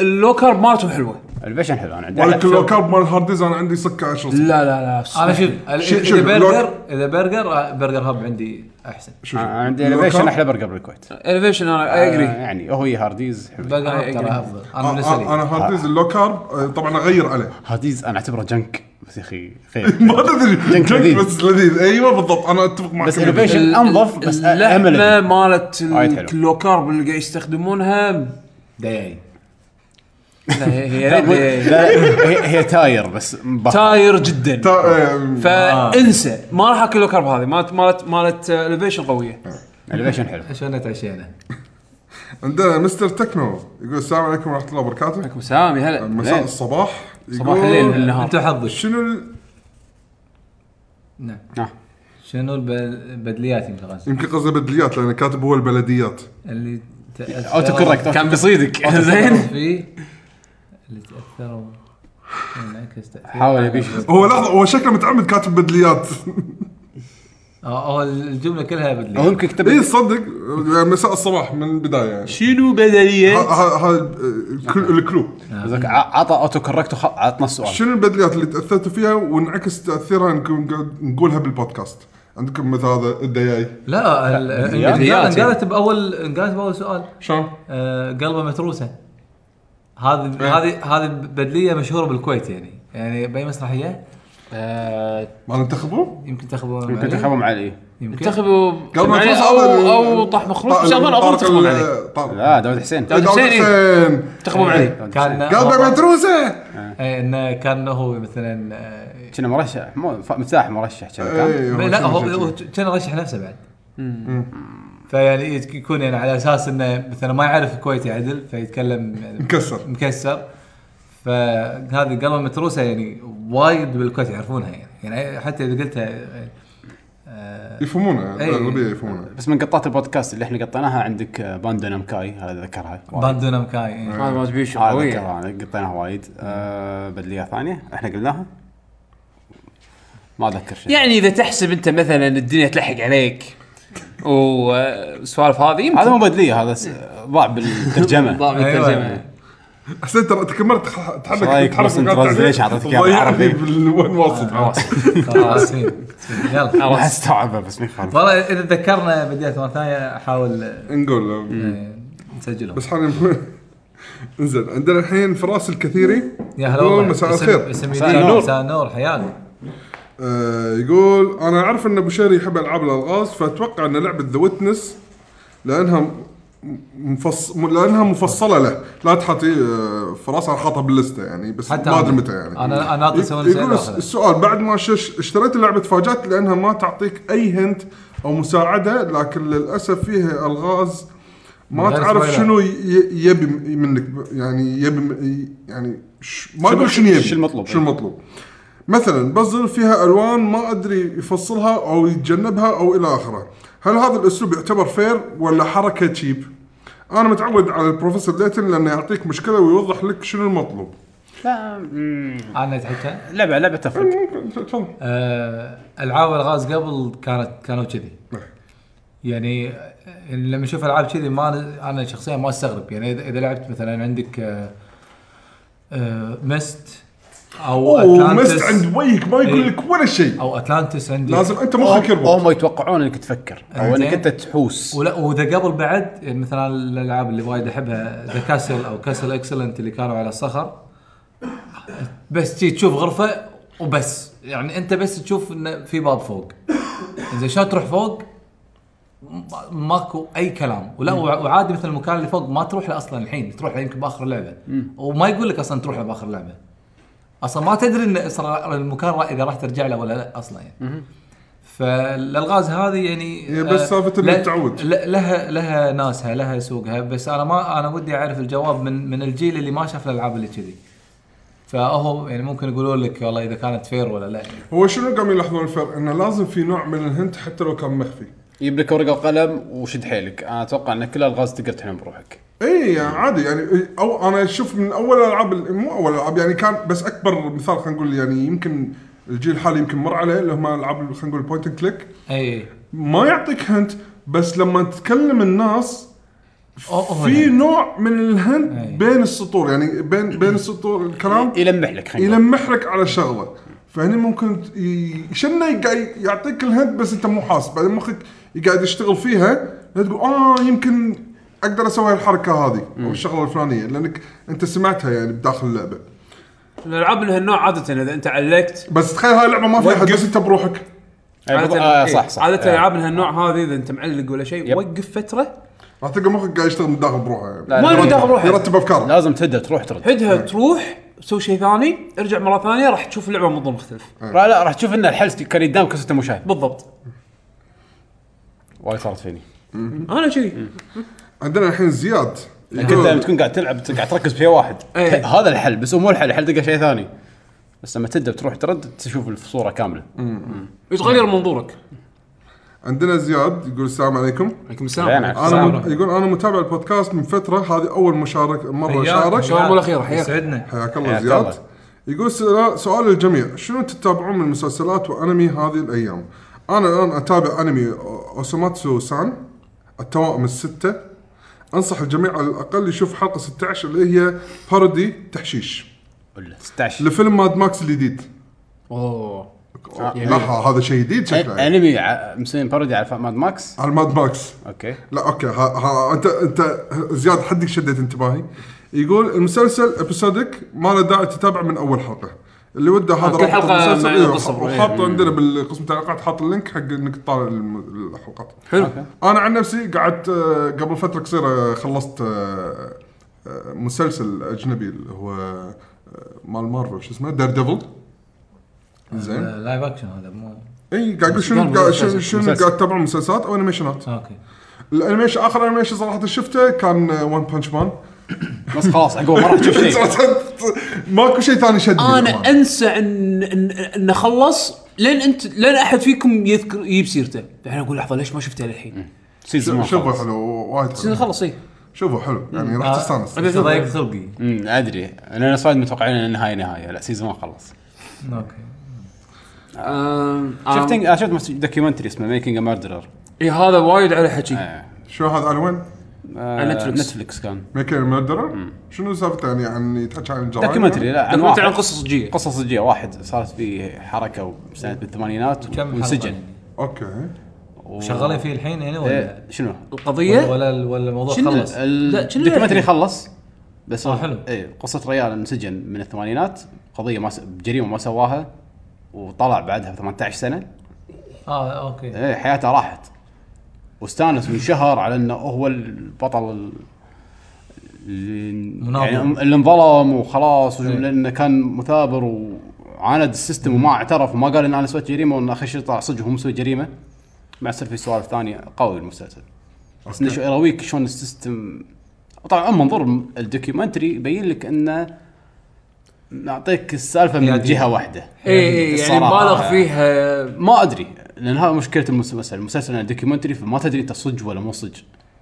[SPEAKER 3] اللو كارب مالتهم حلوه
[SPEAKER 1] الفيشن حلو انا عندي
[SPEAKER 2] مالك لو كاب مال هارديز انا عندي سكه 10
[SPEAKER 3] لا لا لا
[SPEAKER 6] انا شوف ال-
[SPEAKER 2] شوف-
[SPEAKER 6] اذا
[SPEAKER 2] شوف،
[SPEAKER 6] برجر اذا برجر آه، برجر هاب عندي احسن
[SPEAKER 2] شوف
[SPEAKER 1] انا آه، عندي الفيشن احلى برجر بالكويت
[SPEAKER 3] الفيشن انا اجري
[SPEAKER 1] يعني هو هي هارديز حلو
[SPEAKER 6] برجر هاب
[SPEAKER 3] أي-
[SPEAKER 6] ترى
[SPEAKER 3] أي.
[SPEAKER 6] افضل
[SPEAKER 2] آه،
[SPEAKER 6] انا بالنسبه لي
[SPEAKER 2] انا هارديز اللو كارب آه، طبعا اغير عليه
[SPEAKER 1] هارديز انا اعتبره جنك بس يا اخي خير
[SPEAKER 2] ما تدري
[SPEAKER 1] جنك لذيذ.
[SPEAKER 2] بس لذيذ ايوه بالضبط انا اتفق معك
[SPEAKER 1] بس elevation انظف بس اهم
[SPEAKER 3] اللحمه
[SPEAKER 1] لذيذ.
[SPEAKER 3] مالت
[SPEAKER 1] وايد حلو.
[SPEAKER 3] اللو كارب اللي قاعد يستخدمونها
[SPEAKER 6] دايعي
[SPEAKER 3] لا، هي-
[SPEAKER 1] لا، مو-
[SPEAKER 3] هي
[SPEAKER 1] لا، هي- هي تاير بس مبهر.
[SPEAKER 3] تاير جدا
[SPEAKER 2] تا- آه،
[SPEAKER 3] فانسى ما راح اكل كرب هذه مالت مالت مالت الفيشن قويه
[SPEAKER 1] الفيشن حلو
[SPEAKER 6] شلون تعشينا
[SPEAKER 2] عندنا مستر تكنو يقول السلام عليكم ورحمه الله وبركاته
[SPEAKER 3] عليكم سلام يا هلا
[SPEAKER 2] مساء
[SPEAKER 1] ليل.
[SPEAKER 2] الصباح
[SPEAKER 3] صباح
[SPEAKER 2] يقول،
[SPEAKER 6] إيه،
[SPEAKER 3] الليل بالنهار
[SPEAKER 6] انت حظك
[SPEAKER 2] شنو ال-
[SPEAKER 6] نعم
[SPEAKER 1] آه.
[SPEAKER 6] شنو الب- البدليات يمكن غازي
[SPEAKER 2] يمكن قصده بدليات لان كاتب هو البلديات
[SPEAKER 6] اللي تأثروا
[SPEAKER 1] اوتو كوركت
[SPEAKER 2] Oh.
[SPEAKER 3] كان بصيدك زين
[SPEAKER 6] فيه اللي تاثروا انعكس تاثير
[SPEAKER 1] حاول يبيش
[SPEAKER 2] هو لحظه هو شكله متعمد كاتب بدليات
[SPEAKER 6] اه آه، الجمله كلها
[SPEAKER 1] هو
[SPEAKER 6] بدليات
[SPEAKER 1] يمكن كتب
[SPEAKER 2] اي تصدق إيه، يعني مساء الصباح من البدايه يعني
[SPEAKER 3] شنو بدليه
[SPEAKER 2] هذا الكلو
[SPEAKER 1] قصدك ع- عطى اوتو كوركت وخ- عطنا السؤال
[SPEAKER 2] شنو البدليات اللي تاثرتوا فيها وانعكس تاثيرها نكون قاعد نقولها بالبودكاست عندكم مثل هذا الدياي
[SPEAKER 6] لا ال-
[SPEAKER 3] بدليات
[SPEAKER 6] انقالت انقالت باول انقالت باول سؤال
[SPEAKER 2] شلون؟
[SPEAKER 6] آه، قلبه متروسه هذه
[SPEAKER 2] إيه.
[SPEAKER 6] هذه هذه بدليه مشهوره بالكويت يعني يعني باي مسرحيه
[SPEAKER 3] آه،
[SPEAKER 2] ما ننتخبه؟
[SPEAKER 6] يمكن تاخذون
[SPEAKER 1] يمكن تخافوا علي
[SPEAKER 6] يمكن
[SPEAKER 3] انتخبوا يعني او او طاح مخروج بس اظن اظن تخبون عليه
[SPEAKER 1] لا آه، داود حسين
[SPEAKER 3] داود
[SPEAKER 2] داود
[SPEAKER 3] حسين، إيه.
[SPEAKER 2] حسين
[SPEAKER 3] تخبون
[SPEAKER 1] إيه.
[SPEAKER 3] عليه
[SPEAKER 6] كان
[SPEAKER 2] قلبه متروسه
[SPEAKER 6] إيه، انه كان هو مثلا آه،
[SPEAKER 1] كنا مرشح مو ف- مفتاح مرشح كنا كان
[SPEAKER 2] إيه، هو
[SPEAKER 6] لا
[SPEAKER 2] شنو
[SPEAKER 6] هو
[SPEAKER 2] شنو
[SPEAKER 6] هو
[SPEAKER 2] شنو.
[SPEAKER 6] كان رشح نفسه بعد فيعني يكون يعني على اساس انه مثلا ما يعرف الكويتي عدل فيتكلم يعني
[SPEAKER 2] مكسر
[SPEAKER 6] مكسر فهذه قلمه متروسه يعني وايد بالكويت يعرفونها يعني يعني حتى اذا قلتها آه،
[SPEAKER 2] يفهمونه
[SPEAKER 6] إيه.
[SPEAKER 2] الاغلبيه يفهمونه
[SPEAKER 1] بس من قطات البودكاست اللي احنا قطيناها عندك آه، باندا نمكاي هذا ذكرها
[SPEAKER 6] باندونا مكاي
[SPEAKER 2] أيوة.
[SPEAKER 6] إيه.
[SPEAKER 3] هذا ما تبيش
[SPEAKER 1] هذا
[SPEAKER 3] قويه
[SPEAKER 1] ذكرها أنا، قطيناها وايد آه، بدليه ثانيه احنا قلناها ما اذكر شيء
[SPEAKER 11] يعني اذا تحسب انت مثلا الدنيا تلحق عليك
[SPEAKER 3] آه،
[SPEAKER 11] والسوالف هذه يمكن
[SPEAKER 1] هذا مو بدليه هذا س- ضاع بالترجمه
[SPEAKER 11] ضاع بالترجمه
[SPEAKER 6] أيوة.
[SPEAKER 2] احسن ترى تكملت تح- تحرك
[SPEAKER 1] إيش رأيك
[SPEAKER 2] تتحرك
[SPEAKER 1] بس
[SPEAKER 2] مكان
[SPEAKER 1] ترانزليشن
[SPEAKER 2] تعديل.
[SPEAKER 1] أعطيتك إياه
[SPEAKER 2] ضيعني
[SPEAKER 1] بالعربي؟ آه،
[SPEAKER 2] بالوين واصل
[SPEAKER 6] خلاص إيه. يلا
[SPEAKER 1] راح استوعبه بس ما يخالف
[SPEAKER 6] والله اذا تذكرنا بديت مره ثانيه احاول آه،
[SPEAKER 2] نقول له.
[SPEAKER 6] نسجلهم
[SPEAKER 2] بس حاليا انزين عندنا الحين فراس الكثيري
[SPEAKER 6] يا هلا
[SPEAKER 2] يقول
[SPEAKER 6] والله
[SPEAKER 2] مساء
[SPEAKER 6] اسم-
[SPEAKER 2] الخير نعم.
[SPEAKER 6] اسم
[SPEAKER 1] مساء
[SPEAKER 6] جديد.
[SPEAKER 1] النور.
[SPEAKER 6] مساء النور حياك
[SPEAKER 2] آه، يقول انا اعرف ان ابو شيري يحب العاب الالغاز فاتوقع ان لعبه ذا ويتنس لانها م- مفص... م- لانها مفصله له لا تحطي آه، فراس انا حاطها باللسته يعني بس
[SPEAKER 6] حتى
[SPEAKER 2] ما
[SPEAKER 6] أنا.
[SPEAKER 2] ادري متى يعني
[SPEAKER 6] انا انا ناقص
[SPEAKER 2] ي- يقول الس- السؤال بعد ما شش اشتريت اللعبه تفاجات لانها ما تعطيك اي هنت او مساعده لكن للاسف فيها الغاز ما
[SPEAKER 6] غير
[SPEAKER 2] تعرف
[SPEAKER 6] spoiler.
[SPEAKER 2] شنو ي- ي- يبي م- منك يعني يبي م- يعني ش- ما
[SPEAKER 1] شنو-
[SPEAKER 2] اقول شنو يبي
[SPEAKER 1] شو المطلوب؟
[SPEAKER 2] شنو المطلوب مثلا بزل فيها الوان ما ادري يفصلها او يتجنبها او الى اخره هل هذا الاسلوب يعتبر فير ولا حركه تشيب انا متعود على البروفيسور ليتن لانه يعطيك مشكله ويوضح لك شنو المطلوب
[SPEAKER 1] لا مم،
[SPEAKER 6] انا تحكي
[SPEAKER 1] لعبه لعبه تفرق
[SPEAKER 2] تفضل
[SPEAKER 6] آه، العاب الغاز قبل كانت كانوا كذي
[SPEAKER 2] نعم.
[SPEAKER 6] يعني آه، لما اشوف العاب كذي ما أنا- انا شخصيا ما استغرب يعني اذا إذا لعبت مثلا عندك آه، آه، مست او
[SPEAKER 2] اوه مست
[SPEAKER 6] اتلانتس
[SPEAKER 2] عند وجهك ما يقول
[SPEAKER 1] إيه.
[SPEAKER 6] إي.
[SPEAKER 2] لك ولا شيء
[SPEAKER 6] او اتلانتس عندي
[SPEAKER 2] لازم انت مخك يربط
[SPEAKER 1] هم يتوقعون انك تفكر او انك
[SPEAKER 6] إنزين.
[SPEAKER 1] انت تحوس
[SPEAKER 6] ولا واذا قبل بعد يعني مثلا الالعاب اللي وايد احبها ذا كاسل او كاسل اكسلنت اللي كانوا على الصخر بس تجي تشوف غرفه وبس يعني انت بس تشوف انه في باب فوق اذا شلون تروح فوق ما- ماكو اي كلام ولا وع- وعادي مثل المكان اللي فوق ما تروح له اصلا الحين تروح له يمكن باخر لعبه وما يقول لك اصلا تروح له باخر لعبه اصلا ما تدري ان اصلا المكان را- اذا راح ترجع له ولا لا اصلا يعني فالالغاز هذه يعني
[SPEAKER 2] هي بس
[SPEAKER 6] آه،
[SPEAKER 2] سالفة إنك
[SPEAKER 6] لا-
[SPEAKER 2] تعود.
[SPEAKER 6] لا- لها لها ناسها لها سوقها بس انا ما انا ودي اعرف الجواب من من الجيل اللي ما شاف الالعاب اللي كذي فهو يعني ممكن يقولون لك والله اذا كانت فير ولا لا
[SPEAKER 2] هو شنو قام يلاحظون الفرق انه لازم في نوع من الهنت حتى لو كان مخفي
[SPEAKER 1] يجيب لك ورقه وقلم وشد حيلك انا اتوقع ان كل الغاز تقدر تحلم بروحك
[SPEAKER 2] اي يعني عادي يعني إي، او انا اشوف من اول العاب مو اول العاب يعني كان بس اكبر مثال خلينا نقول يعني يمكن الجيل الحالي يمكن مر عليه اللي هم العاب خلينا نقول بوينت اند كليك
[SPEAKER 6] اي
[SPEAKER 2] ما يعطيك هنت بس لما تكلم الناس
[SPEAKER 6] أو- أو
[SPEAKER 2] في
[SPEAKER 6] هنا.
[SPEAKER 2] نوع من الهنت
[SPEAKER 6] أي.
[SPEAKER 2] بين السطور يعني بين بين السطور الكلام
[SPEAKER 1] يلمح لك خلينا نقول.
[SPEAKER 2] يلمح لك على شغله فهني ممكن ت- ي- شنو يقع- يعطيك الهند بس انت مو حاسس بعدين مخك يقعد يشتغل فيها لا تقول اه يمكن اقدر اسوي الحركه هذه او الشغله الفلانيه لانك انت سمعتها يعني بداخل اللعبه
[SPEAKER 3] الالعاب من هالنوع عاده اذا انت علقت
[SPEAKER 2] بس تخيل هاي اللعبه ما فيها حد
[SPEAKER 3] وقف.
[SPEAKER 2] بس انت بروحك
[SPEAKER 1] أي،
[SPEAKER 3] عاده
[SPEAKER 1] آه، صح صح
[SPEAKER 3] عاده
[SPEAKER 1] آه.
[SPEAKER 3] الالعاب من هالنوع هذه اذا انت معلق ولا شيء
[SPEAKER 1] يب.
[SPEAKER 3] وقف فتره
[SPEAKER 2] راح تلقى مخك قاعد يشتغل من داخل بروحه يعني
[SPEAKER 1] لا، لا،
[SPEAKER 3] ما له دخل روحه.
[SPEAKER 2] يرتب افكاره
[SPEAKER 1] لازم تهدى تروح ترد
[SPEAKER 3] عدها تروح تسوي شيء ثاني ارجع مره ثانيه راح تشوف اللعبه منظور مختلف
[SPEAKER 1] لا لا راح تشوف ان الحل كان قدامك بس انت مو شايف
[SPEAKER 3] بالضبط
[SPEAKER 1] وايد صارت فيني
[SPEAKER 3] انا كذي
[SPEAKER 2] عندنا الحين زياد
[SPEAKER 1] لانك انت لما
[SPEAKER 2] يقول
[SPEAKER 1] يعني تكون قاعد تلعب قاعد تركز في شيء واحد
[SPEAKER 3] إيه.
[SPEAKER 1] ه- هذا الحل بس هو مو الحل الحل تلقى شيء ثاني بس لما تبدا بتروح ترد تشوف الصوره كامله
[SPEAKER 3] نعم. يتغير منظورك
[SPEAKER 2] عندنا زياد يقول السلام عليكم
[SPEAKER 3] عليكم
[SPEAKER 1] زين،
[SPEAKER 3] السلام
[SPEAKER 1] عاد.
[SPEAKER 2] انا م- يقول انا متابع البودكاست من فتره هذه اول مشارك مره اشارك
[SPEAKER 3] شلون مو الأخيرة، حياك.
[SPEAKER 6] يسعدنا
[SPEAKER 2] حياك الله
[SPEAKER 1] حياك
[SPEAKER 2] زياد
[SPEAKER 1] الله.
[SPEAKER 2] يقول سؤال- سؤال للجميع شنو تتابعون من مسلسلات وانمي هذه الايام؟ انا الان اتابع انمي أو- اوساماتسو سان التوائم السته انصح الجميع على الاقل يشوف حلقه 16 اللي هي بارودي تحشيش
[SPEAKER 1] ولا 16
[SPEAKER 2] لفيلم ماد ماكس الجديد
[SPEAKER 3] اوه
[SPEAKER 2] لا ه- هذا شيء جديد شكله يعني.
[SPEAKER 1] انمي ع- مسوين بارودي على ماد ماكس
[SPEAKER 2] على ماد ماكس
[SPEAKER 1] اوكي
[SPEAKER 2] لا اوكي ها ها انت انت زياد حدك شدت انتباهي يقول المسلسل ابيسودك ما له داعي تتابع من اول حلقه اللي وده هذا
[SPEAKER 3] كل
[SPEAKER 2] رابط
[SPEAKER 3] حلقة
[SPEAKER 2] المسلسل، إيه،
[SPEAKER 3] مع قصة برؤية.
[SPEAKER 2] وحاط عندنا بالقسم التعليقات حاط اللينك حق انك تطالع الم- الحلقات
[SPEAKER 3] حلو
[SPEAKER 2] انا عن نفسي قعدت آه، قبل فتره قصيره آه، خلصت آه، آه، مسلسل اجنبي اللي هو آه، مال مارفل شو اسمه دير ديفل زين
[SPEAKER 6] لايف اكشن هذا مو
[SPEAKER 2] اي إيه، قاعد اقول شنو قاعد شنو- شنو قاعد اتابع مسلسلات او انيميشنات
[SPEAKER 3] آه.
[SPEAKER 6] اوكي
[SPEAKER 2] الانيميشن اخر انيميشن صراحه شفته كان آه، ون بانش مان
[SPEAKER 1] بس خلاص عقب ما راح تشوف شيء
[SPEAKER 2] ماكو شيء ثاني شدني
[SPEAKER 3] انا
[SPEAKER 2] بأمانة.
[SPEAKER 3] انسى ان ان ان اخلص لين انت لين احد فيكم يذكر يجيب سيرته الحين اقول لحظه ليش ما شفته للحين
[SPEAKER 1] سيزون
[SPEAKER 2] شوفوا
[SPEAKER 1] ما خلص.
[SPEAKER 2] حلو وايد
[SPEAKER 3] بس
[SPEAKER 2] حلو
[SPEAKER 3] خلص ايه
[SPEAKER 2] شوفوا حلو يعني
[SPEAKER 1] آه.
[SPEAKER 2] راح
[SPEAKER 6] آه،
[SPEAKER 2] تستانس
[SPEAKER 3] أبي-
[SPEAKER 6] ضيق خلقي
[SPEAKER 1] امم ادري لان صايد متوقعين ان النهايه نهايه لا سيزون ما خلص
[SPEAKER 6] اوكي
[SPEAKER 3] شفت
[SPEAKER 1] شفت أنا شفت دوكيومنتري اسمه ميكينج ا ميردرر
[SPEAKER 3] اي هذا وايد على حكي
[SPEAKER 2] شو هذا على وين؟
[SPEAKER 3] Netflix.
[SPEAKER 1] نتفلكس آه، كان
[SPEAKER 2] ميكل ميردرر شنو سالفته يعني عن يتحكى عن الجرائم
[SPEAKER 1] دوكيومنتري لا عن
[SPEAKER 3] دوكيومنتري عن
[SPEAKER 1] واحد
[SPEAKER 3] قصه صجيه
[SPEAKER 1] قصة صجية واحد صارت فيه حركة سنة بالثمانينات
[SPEAKER 6] كم
[SPEAKER 1] وانسجن
[SPEAKER 2] اوكي
[SPEAKER 1] و-
[SPEAKER 6] شغالين فيه الحين يعني ولا
[SPEAKER 1] إيه، شنو؟
[SPEAKER 6] ولا-
[SPEAKER 3] القضيه
[SPEAKER 6] ولا ولا الموضوع
[SPEAKER 1] شنو
[SPEAKER 6] خلص
[SPEAKER 1] ال-
[SPEAKER 3] لا، شنو يعني؟
[SPEAKER 1] الدوكيومنتري
[SPEAKER 3] الحين؟
[SPEAKER 1] خلص بس
[SPEAKER 6] آه، حلو.
[SPEAKER 1] اي قصه ريال انسجن من الثمانينات قضيه ما س... جريمه ما سواها وطلع بعدها ب 18 سنه
[SPEAKER 6] اه اوكي
[SPEAKER 1] ايه حياته راحت واستانس من شهر على انه هو البطل ال- اللي
[SPEAKER 6] مناضل.
[SPEAKER 1] يعني اللي انظلم وخلاص
[SPEAKER 3] إيه.
[SPEAKER 1] لانه كان مثابر وعاند السيستم وما اعترف وما قال ان انا سويت جريمه وان اخر شيء طلع صدق هو مسوي جريمه مع يصير في سوالف ثانيه قوي المسلسل
[SPEAKER 3] إيه.
[SPEAKER 1] بس انه شو- يراويك شلون السيستم طبعا من منظور الدوكيومنتري يبين لك انه نعطيك السالفه من
[SPEAKER 6] يعني-
[SPEAKER 1] جهه واحده
[SPEAKER 3] اي اي يعني
[SPEAKER 1] الصراحة.
[SPEAKER 3] مبالغ فيها
[SPEAKER 1] ما ادري لان هذا مشكله المسلسل المسلسل دوكيومنتري فما تدري انت صج ولا مو صج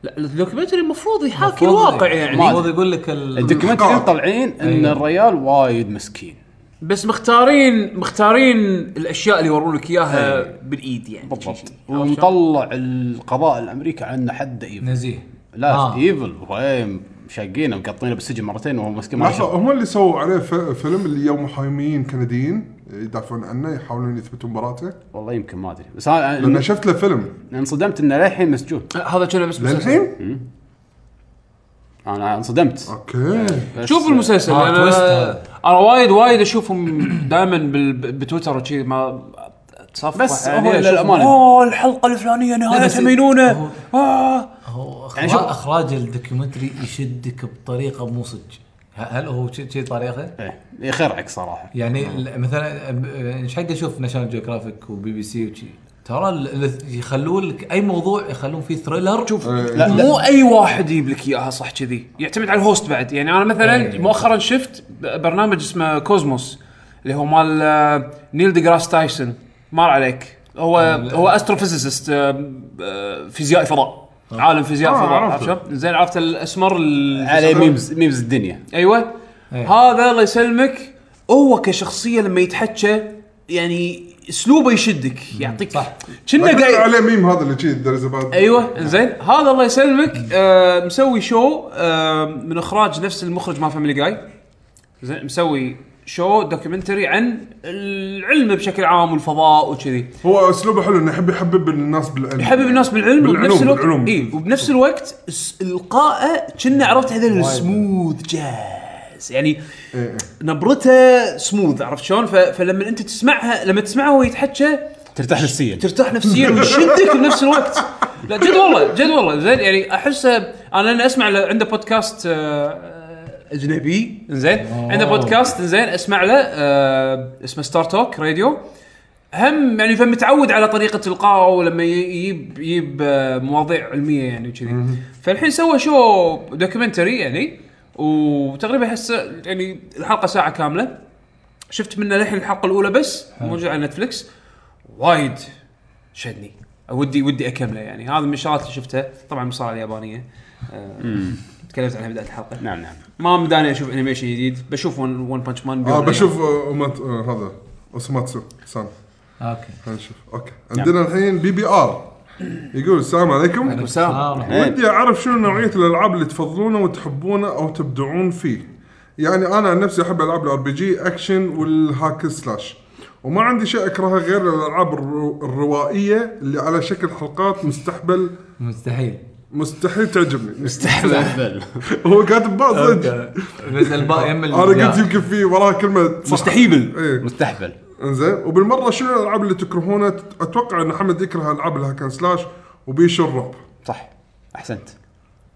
[SPEAKER 3] لا الدوكيومنتري المفروض يحاكي الواقع يعني
[SPEAKER 6] المفروض يقول لك ال-
[SPEAKER 1] الدوكيومنتري
[SPEAKER 2] الحقائق.
[SPEAKER 1] مطلعين ان
[SPEAKER 6] أيوة.
[SPEAKER 1] الريال وايد مسكين
[SPEAKER 3] بس مختارين مختارين الاشياء اللي يورونك اياها بالايد يعني
[SPEAKER 1] بالضبط
[SPEAKER 3] عرفت
[SPEAKER 1] ومطلع القضاء الامريكي على انه حد ايفل
[SPEAKER 6] نزيه
[SPEAKER 1] لا
[SPEAKER 6] آه.
[SPEAKER 1] ايفل وهي مشقينه مقطينه بالسجن مرتين وهو مسكين ما
[SPEAKER 2] لحظه
[SPEAKER 1] شاء
[SPEAKER 2] هم اللي سووا عليه ف- فيلم اللي يوم محاميين كنديين يدافعون عنه يحاولون يثبتون براءته
[SPEAKER 1] والله يمكن ما ادري بس انا
[SPEAKER 2] لان
[SPEAKER 1] أنا
[SPEAKER 2] شفت له فيلم
[SPEAKER 1] انصدمت انه للحين مسجون
[SPEAKER 3] هذا كنا بس مسلسل.
[SPEAKER 2] للحين
[SPEAKER 1] انا
[SPEAKER 2] آه.
[SPEAKER 1] انصدمت
[SPEAKER 2] اوكي
[SPEAKER 1] بس-
[SPEAKER 3] شوف المسلسل
[SPEAKER 6] آه، تويست
[SPEAKER 3] انا
[SPEAKER 6] هذا.
[SPEAKER 3] انا وايد وايد اشوفهم دائما بتويتر وشي ما تصفح
[SPEAKER 1] بس
[SPEAKER 3] عليه
[SPEAKER 1] هو
[SPEAKER 3] أشوف،
[SPEAKER 1] للأمانة.
[SPEAKER 3] اوه الحلقه الفلانيه نهايتها مينونه آه.
[SPEAKER 6] هو
[SPEAKER 1] يعني
[SPEAKER 6] يعني
[SPEAKER 1] شوف-
[SPEAKER 6] اخراج الدوكيومنتري يشدك بطريقه مو صدق ه- هل هو كذي طريقه؟
[SPEAKER 1] ايه يخرعك صراحه
[SPEAKER 6] يعني ال- مثلا أب- ايش حق اشوف ناشونال جيوغرافيك وبي بي سي وشي ترى ال- ال- يخلون لك اي موضوع يخلون فيه ثريلر شوف
[SPEAKER 2] لا،
[SPEAKER 3] مو اي واحد يجيب لك اياها صح كذي يعتمد على الهوست بعد يعني انا مثلا
[SPEAKER 6] إيه.
[SPEAKER 3] مؤخرا شفت ب- برنامج اسمه كوزموس اللي هو مال آه، نيل دي جراس تايسون مال عليك هو هو استروفيزيست فيزيائي فضاء عالم فيزياء
[SPEAKER 2] آه،
[SPEAKER 3] فضاء عرفت
[SPEAKER 2] عرفته.
[SPEAKER 3] شلون؟ زين عرفت الاسمر ال-
[SPEAKER 1] عليه ميمز ميمز الدنيا
[SPEAKER 3] ايوه
[SPEAKER 6] إيه.
[SPEAKER 3] هذا الله يسلمك هو كشخصيه لما يتحكى يعني اسلوبه يشدك يعطيك صح كنا
[SPEAKER 2] أتوقع
[SPEAKER 3] قاعد
[SPEAKER 2] طيب، عليه ميم هذا اللي كذي ذير از
[SPEAKER 3] ايوه زين هذا الله يسلمك آه مسوي شو آه من اخراج نفس المخرج مال فاميلي جاي زين مسوي شو دوكيومنتري عن العلم بشكل عام والفضاء وكذي
[SPEAKER 2] هو اسلوبه حلو انه يحب يحبب الناس بالعلم آه،
[SPEAKER 3] يحبب الناس بالعلم
[SPEAKER 2] بالعلوم-
[SPEAKER 3] وبنفس الوقت
[SPEAKER 2] بالعلوم.
[SPEAKER 3] اي وبنفس الوقت س- القائه كنا عرفت هذا السموث جاز يعني
[SPEAKER 2] إيه إيه.
[SPEAKER 3] نبرته سموث عرفت شلون ف- فلما انت تسمعها لما تسمعها وهو يتحكى
[SPEAKER 1] ترتاح نفسيا
[SPEAKER 3] ترتاح نفسيا ويشدك بنفس الوقت لا جد والله جد والله زين يعني احسه انا انا اسمع له عنده بودكاست آه، اجنبي زين عنده بودكاست زين اسمع له آه، اسمه ستار توك راديو هم يعني فمتعود على طريقه القائه ولما يجيب يجيب آه، مواضيع علميه يعني وكذي فالحين سوى شو دوكيومنتري يعني وتقريبا هسه يعني الحلقه ساعه كامله شفت منه للحين الحلقه الاولى بس موجوده على نتفلكس وايد شدني ودي ودي اكمله يعني هذا من الشغلات اللي شفتها طبعا مصارعه اليابانيه آه، تكلمت عنها بدايه الحلقه
[SPEAKER 1] نعم نعم
[SPEAKER 3] ما مداني اشوف انيميشن جديد بشوف ون, ون بانش مان
[SPEAKER 2] اه بشوف آه، أمت- آه، هذا اوسوماتسو سام
[SPEAKER 6] اوكي
[SPEAKER 2] خلينا نشوف اوكي عندنا الحين بي بي ار يقول السلام عليكم
[SPEAKER 6] سلام.
[SPEAKER 2] ودي اعرف شنو نوعيه الالعاب اللي تفضلونه وتحبونه او تبدعون فيه يعني انا عن نفسي احب العاب الار بي جي اكشن والهاك سلاش وما عندي شيء اكرهه غير الالعاب الرو- الروائيه اللي على شكل حلقات مستحبل
[SPEAKER 6] مستحيل
[SPEAKER 2] مستحيل تعجبني
[SPEAKER 1] تحبل
[SPEAKER 2] هو كاتب بقى صدق
[SPEAKER 6] بس الباء يم ال-
[SPEAKER 2] انا قلت يمكن في وراها كلمه صح.
[SPEAKER 3] مستحيبل
[SPEAKER 2] ايه
[SPEAKER 1] مستحبل
[SPEAKER 2] انزين وبالمره شنو الالعاب اللي تكرهونها اتوقع ان حمد يكره العاب الهاكن سلاش وبيش الرعب
[SPEAKER 1] صح احسنت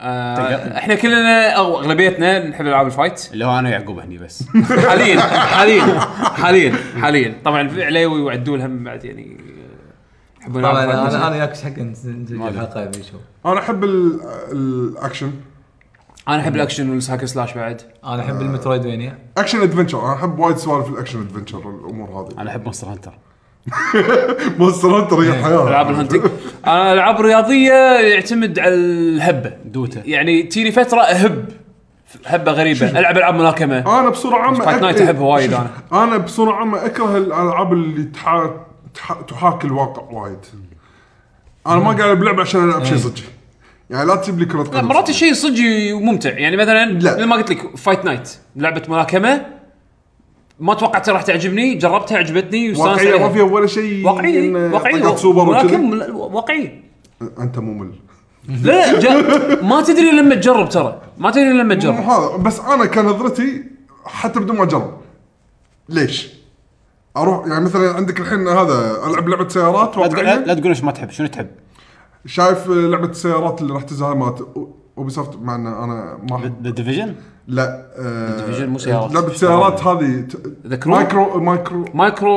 [SPEAKER 3] آه احنا كلنا او اغلبيتنا نحب العاب الفايت
[SPEAKER 1] اللي هو انا ويعقوب هني بس
[SPEAKER 3] حاليا حاليا حاليا حاليا طبعا في عليوي وعدول هم بعد يعني آه، يحبون
[SPEAKER 6] طبعا
[SPEAKER 3] الألعاب الفايت.
[SPEAKER 6] انا انا وياك ايش حق نسجل الحلقه يا بيشو
[SPEAKER 2] انا احب ال- الاكشن
[SPEAKER 3] انا احب الاكشن والساك سلاش بعد
[SPEAKER 6] انا احب المترويدفينيا
[SPEAKER 2] اكشن ادفنشر انا احب وايد سوالف الاكشن ادفنشر الامور هذه
[SPEAKER 1] انا احب مونستر هانتر
[SPEAKER 2] مونستر هانتر
[SPEAKER 3] إيه.
[SPEAKER 2] هي
[SPEAKER 3] العاب
[SPEAKER 2] الحياه
[SPEAKER 3] الهنتنج انا العاب رياضيه يعتمد على الهبه
[SPEAKER 1] دوتا
[SPEAKER 3] يعني تجيني فتره اهب هبه غريبه العب العاب ملاكمه
[SPEAKER 2] انا بصوره عامه
[SPEAKER 3] فايت نايت
[SPEAKER 2] أك-
[SPEAKER 3] احبها وايد
[SPEAKER 2] شوف،
[SPEAKER 3] انا
[SPEAKER 2] انا بصوره عامه اكره الالعاب اللي تحا- تح- تحاكي الواقع وايد انا ما قاعد بلعب عشان العب شيء صدق يعني لا تجيب لي كره
[SPEAKER 3] إيه. لا
[SPEAKER 2] قدم
[SPEAKER 3] مرات الشيء صدق وممتع يعني مثلا
[SPEAKER 2] لا.
[SPEAKER 3] مثل ما قلت لك فايت نايت لعبه ملاكمه ما توقعت راح تعجبني جربتها عجبتني واستانست
[SPEAKER 2] واقعيه
[SPEAKER 3] عليها.
[SPEAKER 2] ما فيها ولا شيء
[SPEAKER 3] واقعيه
[SPEAKER 2] إن
[SPEAKER 3] واقعيه
[SPEAKER 2] طقات سوبر وكذا
[SPEAKER 3] ملاكم واقعيه
[SPEAKER 2] انت ممل
[SPEAKER 3] لا لا جا- ما تدري لما تجرب ترى ما تدري لما
[SPEAKER 2] مو
[SPEAKER 3] تجرب
[SPEAKER 2] هذا بس انا كان نظرتي حتى بدون ما اجرب ليش؟ اروح يعني مثلا عندك الحين هذا العب لعبه سيارات
[SPEAKER 1] لا تقول
[SPEAKER 2] واقعيه
[SPEAKER 1] لا تقول ايش ما تحب شنو تحب
[SPEAKER 2] شايف لعبه السيارات اللي راح تنزل هاي مالت اوبي سوفت مع ان انا ما أحب-
[SPEAKER 1] ذا ديفيجن
[SPEAKER 2] لا آه،
[SPEAKER 3] Division مو سيارات.
[SPEAKER 2] لعبه السيارات هذه ت-
[SPEAKER 3] The Crew؟
[SPEAKER 2] مايكرو مايكرو
[SPEAKER 3] مايكرو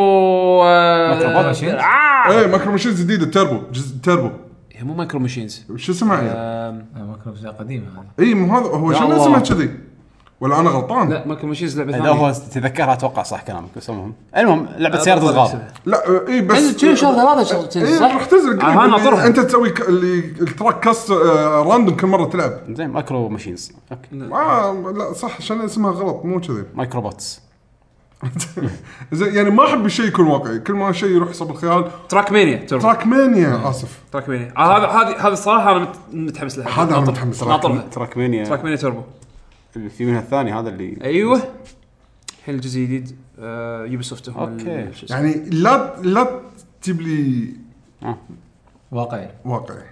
[SPEAKER 3] آه،
[SPEAKER 6] مايكرو ماشينز؟
[SPEAKER 3] آه.
[SPEAKER 2] ايه مايكرو ماشينز جديده تربو جزء تربو
[SPEAKER 3] هي مو مايكرو ماشينز
[SPEAKER 2] شو اسمها يعني؟
[SPEAKER 3] آم،
[SPEAKER 6] آه، مايكرو فيزا قديمه هذا
[SPEAKER 2] اي مو هذا هو
[SPEAKER 3] يا
[SPEAKER 2] شنو
[SPEAKER 3] الله.
[SPEAKER 2] اسمها كذي؟ ولا انا غلطان؟
[SPEAKER 3] لا مايكرو ماشينز لعبه
[SPEAKER 1] لا
[SPEAKER 3] ثانيه
[SPEAKER 1] هو تتذكرها اتوقع صح كلامك بس المهم المهم لعبه سياره الغاب
[SPEAKER 2] لا اي بس
[SPEAKER 3] كل شهر ثلاثة شهر
[SPEAKER 2] اي
[SPEAKER 3] صح؟
[SPEAKER 2] راح تنزل
[SPEAKER 3] آه،
[SPEAKER 2] قريب.
[SPEAKER 3] ناطرها.
[SPEAKER 2] انت تسوي ك- اللي التراك كاست آه، راندوم كل مره تلعب
[SPEAKER 1] زين مايكرو ماشينز اوكي
[SPEAKER 2] آه لا صح عشان اسمها غلط مو كذي
[SPEAKER 1] مايكرو بوتس
[SPEAKER 2] زين يعني ما احب الشيء يكون واقعي كل ما شيء يروح حسب الخيال
[SPEAKER 3] تراك مانيا ترى
[SPEAKER 2] تراك مانيا اسف
[SPEAKER 3] تراك مانيا آه، هذا هذه هذه الصراحه انا مت- متحمس لها
[SPEAKER 2] هذا انا متحمس له
[SPEAKER 3] ناطرها
[SPEAKER 1] تراك
[SPEAKER 3] تراك
[SPEAKER 1] مانيا
[SPEAKER 3] مانيا توربو
[SPEAKER 1] اللي في منها الثاني هذا اللي
[SPEAKER 3] ايوه الحين الجزء الجديد آه، يوبي سوفت هم ال-
[SPEAKER 1] أوكي.
[SPEAKER 3] شو اسمه.
[SPEAKER 2] يعني لا لا تجيب لي
[SPEAKER 6] واقعي
[SPEAKER 2] واقعي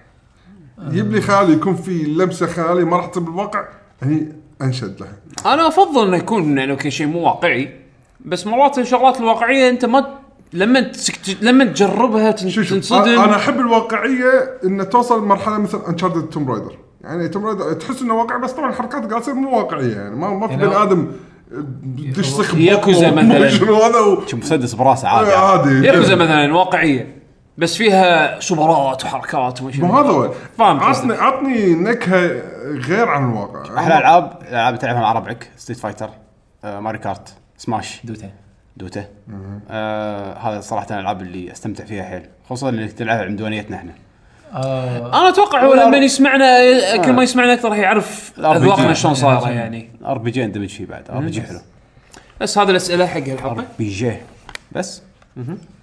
[SPEAKER 2] جيب لي خيالي يكون في لمسه خيالي ما راح يعني تصير بالواقع هني انشد له
[SPEAKER 3] انا افضل انه يكون يعني اوكي شيء مو واقعي بس مرات الشغلات الواقعيه انت ما ت- لما تسك... لما تجربها تن...
[SPEAKER 2] شو شو
[SPEAKER 3] تنصدم
[SPEAKER 2] أ- انا احب الواقعيه ان توصل مرحله مثل انشارتد توم رايدر يعني توم رايدر تحس انه واقع بس طبعا الحركات قاعد تصير مو واقعيه يعني ما ما في
[SPEAKER 6] يعني
[SPEAKER 2] بني ادم دش صخب
[SPEAKER 3] ياكوزا مثلاً.
[SPEAKER 2] شنو هذا و-
[SPEAKER 1] شو مسدس براسه عادي يعني. عادي.
[SPEAKER 2] عادي
[SPEAKER 3] ياكوزا مثلا واقعيه بس فيها سوبرات وحركات وما شنو.
[SPEAKER 2] مو هذا هو
[SPEAKER 3] فاهم
[SPEAKER 2] عطني
[SPEAKER 3] قصدك.
[SPEAKER 2] عطني نكهه غير عن الواقع
[SPEAKER 1] احلى العاب العاب تلعبها مع ربعك ستريت فايتر آه، ماري كارت سماش
[SPEAKER 6] دوتا
[SPEAKER 1] دوتا آه هذا صراحه الالعاب اللي استمتع فيها حيل خصوصا اللي تلعبها عمدونيتنا احنا
[SPEAKER 6] آه،
[SPEAKER 3] انا اتوقع هو لما يسمعنا كل ما يسمعنا اكثر راح يعرف
[SPEAKER 1] الأربعين.
[SPEAKER 3] اذواقنا شلون صايره يعني
[SPEAKER 1] ار بي جي اندمج فيه بعد ار بي جي حلو
[SPEAKER 3] بس هذه الاسئله حق الحلقه
[SPEAKER 1] بي جي بس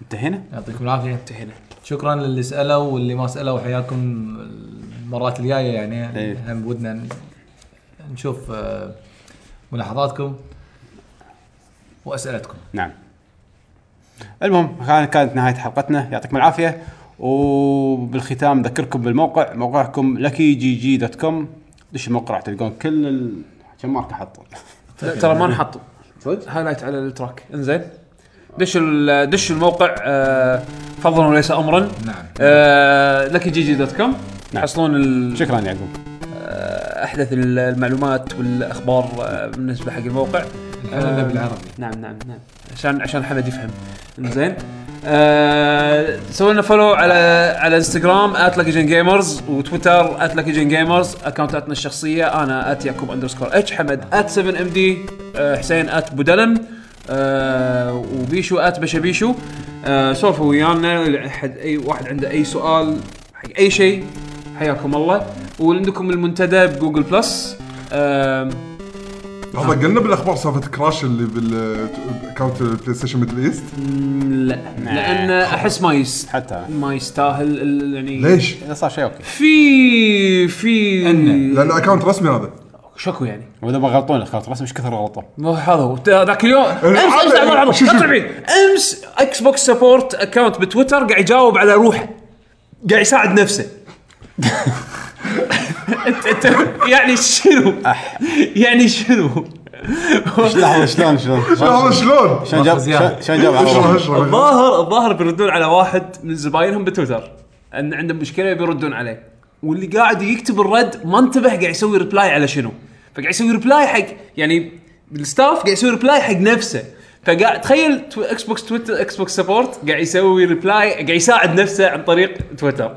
[SPEAKER 1] انتهينا
[SPEAKER 6] يعطيكم العافيه
[SPEAKER 3] انتهينا
[SPEAKER 6] شكرا للي سالوا واللي ما سالوا حياكم المرات الجايه يعني
[SPEAKER 1] إيه.
[SPEAKER 6] هم ودنا ن- نشوف آه، ملاحظاتكم واسئلتكم
[SPEAKER 1] نعم المهم كان- كانت نهايه حلقتنا يعطيكم العافيه وبالختام ذكركم بالموقع موقعكم لكي جي جي دوت كوم دش الموقع راح تلقون كل ال... كم ماركه حاطين
[SPEAKER 3] لا، ترى ما نحط
[SPEAKER 6] طيب.
[SPEAKER 1] صدق؟
[SPEAKER 3] هايلايت على التراك انزين دش ال- دش الموقع آه، فضلا وليس امرا
[SPEAKER 6] نعم
[SPEAKER 3] آه لكي جي جي دوت كوم
[SPEAKER 1] نعم.
[SPEAKER 3] تحصلون ال-
[SPEAKER 1] شكرا يعقوب
[SPEAKER 3] آه، احدث ال- المعلومات والاخبار آه، بالنسبه حق الموقع
[SPEAKER 6] الحلقه بالعربي
[SPEAKER 3] نعم نعم نعم عشان عشان حمد يفهم زين آه سووا لنا فولو على على انستغرام @luckygen gamers وتويتر @luckygen gamers اكونتاتنا الشخصيه انا @يعقوب اندرسكور اتش حمد @7md آه، حسين @بودلن آه وبيشو @بشبيشو آه سولفوا ويانا احد اي واحد عنده اي سؤال حق اي شيء حياكم الله وعندكم المنتدى بجوجل بلس آه
[SPEAKER 2] هذا قلنا بالاخبار سالفه كراش اللي بالاكونت البلاي ستيشن ميدل ايست
[SPEAKER 3] لا لان احس ما يس
[SPEAKER 1] حتى أنا.
[SPEAKER 3] ما يستاهل ال- يعني
[SPEAKER 2] ليش؟
[SPEAKER 1] اذا صار شيء اوكي
[SPEAKER 3] في في
[SPEAKER 2] لان اكونت رسمي هذا
[SPEAKER 3] شكو يعني
[SPEAKER 1] واذا ما غلطون الخط رسم ايش كثر غلطوا
[SPEAKER 3] مو هذا هو تا- ذاك اليوم امس امس
[SPEAKER 2] هذا-
[SPEAKER 3] لحظة، لحظة،
[SPEAKER 2] شو-
[SPEAKER 3] لا
[SPEAKER 2] شو-
[SPEAKER 3] تروح بعيد. امس اكس بوكس سبورت اكونت بتويتر قاعد يجاوب على روحه قاعد يساعد نفسه انت انت يعني شنو؟ يعني شنو؟
[SPEAKER 1] لحظه شلون شلون
[SPEAKER 2] هذا
[SPEAKER 1] شلون
[SPEAKER 2] شلون؟
[SPEAKER 1] شلون جاب شلون- شلون جاب على
[SPEAKER 2] اشرح
[SPEAKER 1] روحه؟
[SPEAKER 2] اشرح
[SPEAKER 3] الظاهر الظاهر بيردون على واحد من زباينهم بتويتر ان عندهم مشكله بيردون عليه واللي قاعد يكتب الرد ما انتبه قاعد يسوي ريبلاي على شنو فقاعد يسوي ريبلاي حق يعني الستاف قاعد يسوي ريبلاي حق نفسه فقاعد تخيل تو- اكس بوكس تويتر اكس بوكس سبورت قاعد يسوي ريبلاي قاعد يساعد نفسه عن طريق تويتر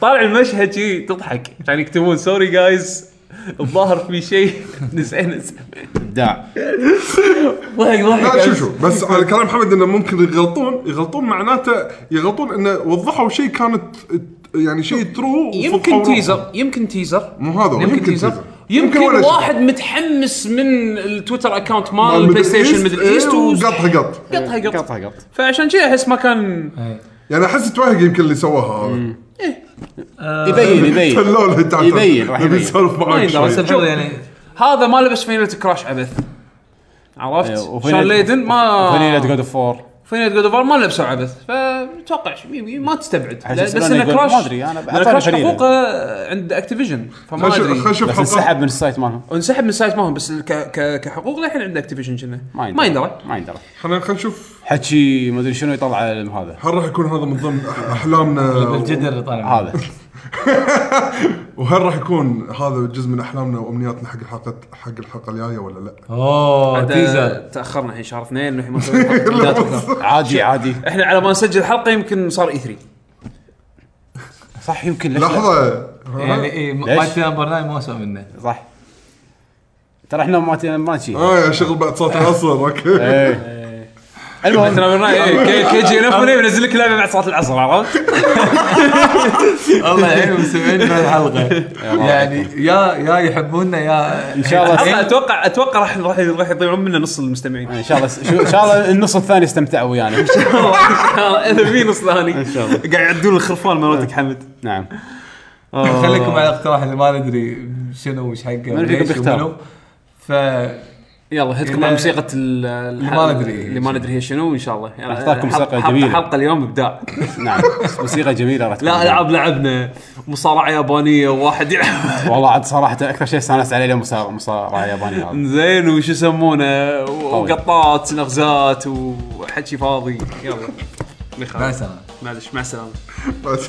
[SPEAKER 3] طالع المشهد شي تضحك يعني يكتبون سوري جايز الظاهر في شيء نسينا نسينا.
[SPEAKER 1] ابداع
[SPEAKER 3] ضحك
[SPEAKER 2] لا شوف
[SPEAKER 3] ضحك
[SPEAKER 2] شوف بس على كلام محمد انه ممكن يغلطون يغلطون معناته يغلطون انه وضحوا شيء كانت يعني شيء ترو
[SPEAKER 3] يمكن تيزر يمكن تيزر
[SPEAKER 2] مو هذا هو،
[SPEAKER 3] يمكن
[SPEAKER 2] يمكن
[SPEAKER 3] تيزر
[SPEAKER 2] تيزر.
[SPEAKER 3] يمكن,
[SPEAKER 2] يمكن ولا شيء.
[SPEAKER 3] واحد متحمس من التويتر اكونت
[SPEAKER 2] مال
[SPEAKER 3] مال البلاي
[SPEAKER 2] ميدل
[SPEAKER 3] ستيشن
[SPEAKER 2] إيست،
[SPEAKER 3] ميدل
[SPEAKER 2] إيه،
[SPEAKER 3] ايست
[SPEAKER 2] وقطها قط.
[SPEAKER 3] قطها قط
[SPEAKER 1] قطع قط
[SPEAKER 3] فعشان كذا احس ما كان
[SPEAKER 6] إيه.
[SPEAKER 2] يعني احس توهق يمكن اللي سواها هذا
[SPEAKER 1] يبين يبين
[SPEAKER 2] خلوه له تعال-
[SPEAKER 1] يبين، راح
[SPEAKER 2] نبي
[SPEAKER 1] يبين.
[SPEAKER 2] نسولف
[SPEAKER 6] ما
[SPEAKER 2] معاك
[SPEAKER 6] يقدر
[SPEAKER 2] شوي.
[SPEAKER 6] بس المفروض يعني
[SPEAKER 1] آه.
[SPEAKER 3] هذا ما لبس فينيلة كراش عبث
[SPEAKER 1] إيه،
[SPEAKER 3] عرفت؟
[SPEAKER 1] وفينيلة-
[SPEAKER 3] شان ليدن
[SPEAKER 1] فانيلا
[SPEAKER 3] ما
[SPEAKER 1] جود اوف 4
[SPEAKER 3] فينيلة جود اوف ما لبسوا عبث فاتوقع ش- يمكن ما تستبعد
[SPEAKER 1] عشان
[SPEAKER 3] لا- بس
[SPEAKER 1] سيبنا
[SPEAKER 3] ان
[SPEAKER 1] يقول-
[SPEAKER 3] كراش
[SPEAKER 1] ما أدري، أنا
[SPEAKER 3] لأن
[SPEAKER 1] أعطاني
[SPEAKER 3] كراش
[SPEAKER 1] فينيلة.
[SPEAKER 3] حقوقه عند اكتيفيجن فما
[SPEAKER 2] خلنا نشوف-
[SPEAKER 3] ادري
[SPEAKER 2] خلنا نشوف
[SPEAKER 1] بس
[SPEAKER 2] حلقات
[SPEAKER 1] انسحب من السايت مالهم
[SPEAKER 3] انسحب من السايت مالهم بس ك... ك... كحقوق للحين عند اكتيفيجن كنا ما يندرى
[SPEAKER 1] ما يندرى
[SPEAKER 2] خلنا خلنا نشوف
[SPEAKER 1] حكي ما ادري شنو يطلع على هذا
[SPEAKER 2] هل راح يكون هذا من ضمن أح- احلامنا
[SPEAKER 6] الجدر اللي طالع منه.
[SPEAKER 1] هذا
[SPEAKER 2] وهل راح يكون هذا جزء من احلامنا وامنياتنا حق الحلقه حق الحلقه الجايه ولا لا؟
[SPEAKER 6] اوه
[SPEAKER 3] عاد،
[SPEAKER 6] تيزر
[SPEAKER 3] تاخرنا الحين شهر اثنين والحين ما سوينا حلقة.
[SPEAKER 1] عادي عادي
[SPEAKER 3] احنا على ما نسجل حلقه يمكن صار E اي 3
[SPEAKER 1] صح يمكن ليش لا؟
[SPEAKER 2] لحظه
[SPEAKER 6] يعني اي
[SPEAKER 1] ليش؟
[SPEAKER 6] مايتي نمبر 9 ما اسوء منه
[SPEAKER 1] صح ترى احنا ما ما شي
[SPEAKER 2] اه يا شغل بعد صوت العصر اوكي
[SPEAKER 1] إيه.
[SPEAKER 3] المهم إيه، كي جي نفوني بنزل لك لعبه بعد صلاه العصر عرفت؟
[SPEAKER 6] الله يعين المستمعين بهالحلقه يعني يا يا يحبونا يا
[SPEAKER 1] ان شاء الله
[SPEAKER 3] اتوقع اتوقع راح راح راح يضيعون منا نص المستمعين
[SPEAKER 1] ان شاء الله شو- ان شاء الله النص الثاني استمتعوا ويانا
[SPEAKER 3] اذا في نص ثاني
[SPEAKER 1] ان شاء الله
[SPEAKER 3] قاعد يعدون الخرفان مالتك حمد
[SPEAKER 1] نعم
[SPEAKER 6] خليكم على اقتراح اللي ما ندري شنو وش حقه
[SPEAKER 1] من فيكم
[SPEAKER 6] وليش
[SPEAKER 1] بيختار؟
[SPEAKER 6] ومنو. ف
[SPEAKER 3] يلا هدكم على موسيقى ال- الحلقه
[SPEAKER 6] ما ندري.
[SPEAKER 3] اللي ما ندري هي شنو ان شاء الله يعني
[SPEAKER 1] نختاركم
[SPEAKER 3] حلقة-
[SPEAKER 1] موسيقى
[SPEAKER 3] حلقة-
[SPEAKER 1] جميلة.
[SPEAKER 3] حلقه اليوم ابداع
[SPEAKER 1] نعم موسيقى جميله راح تكون
[SPEAKER 3] لا العاب لعبنا مصارعه يابانيه وواحد يلعب
[SPEAKER 1] والله عاد صراحه اكثر شيء استانست عليه اليوم مصارع- مصارع ياباني هذا
[SPEAKER 3] زين وش يسمونه وقطات نغزات وحكي فاضي يلا
[SPEAKER 6] مع السلامه
[SPEAKER 3] معلش مع السلامه
[SPEAKER 2] بس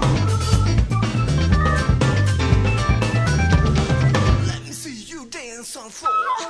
[SPEAKER 12] Let me see you dance on floor.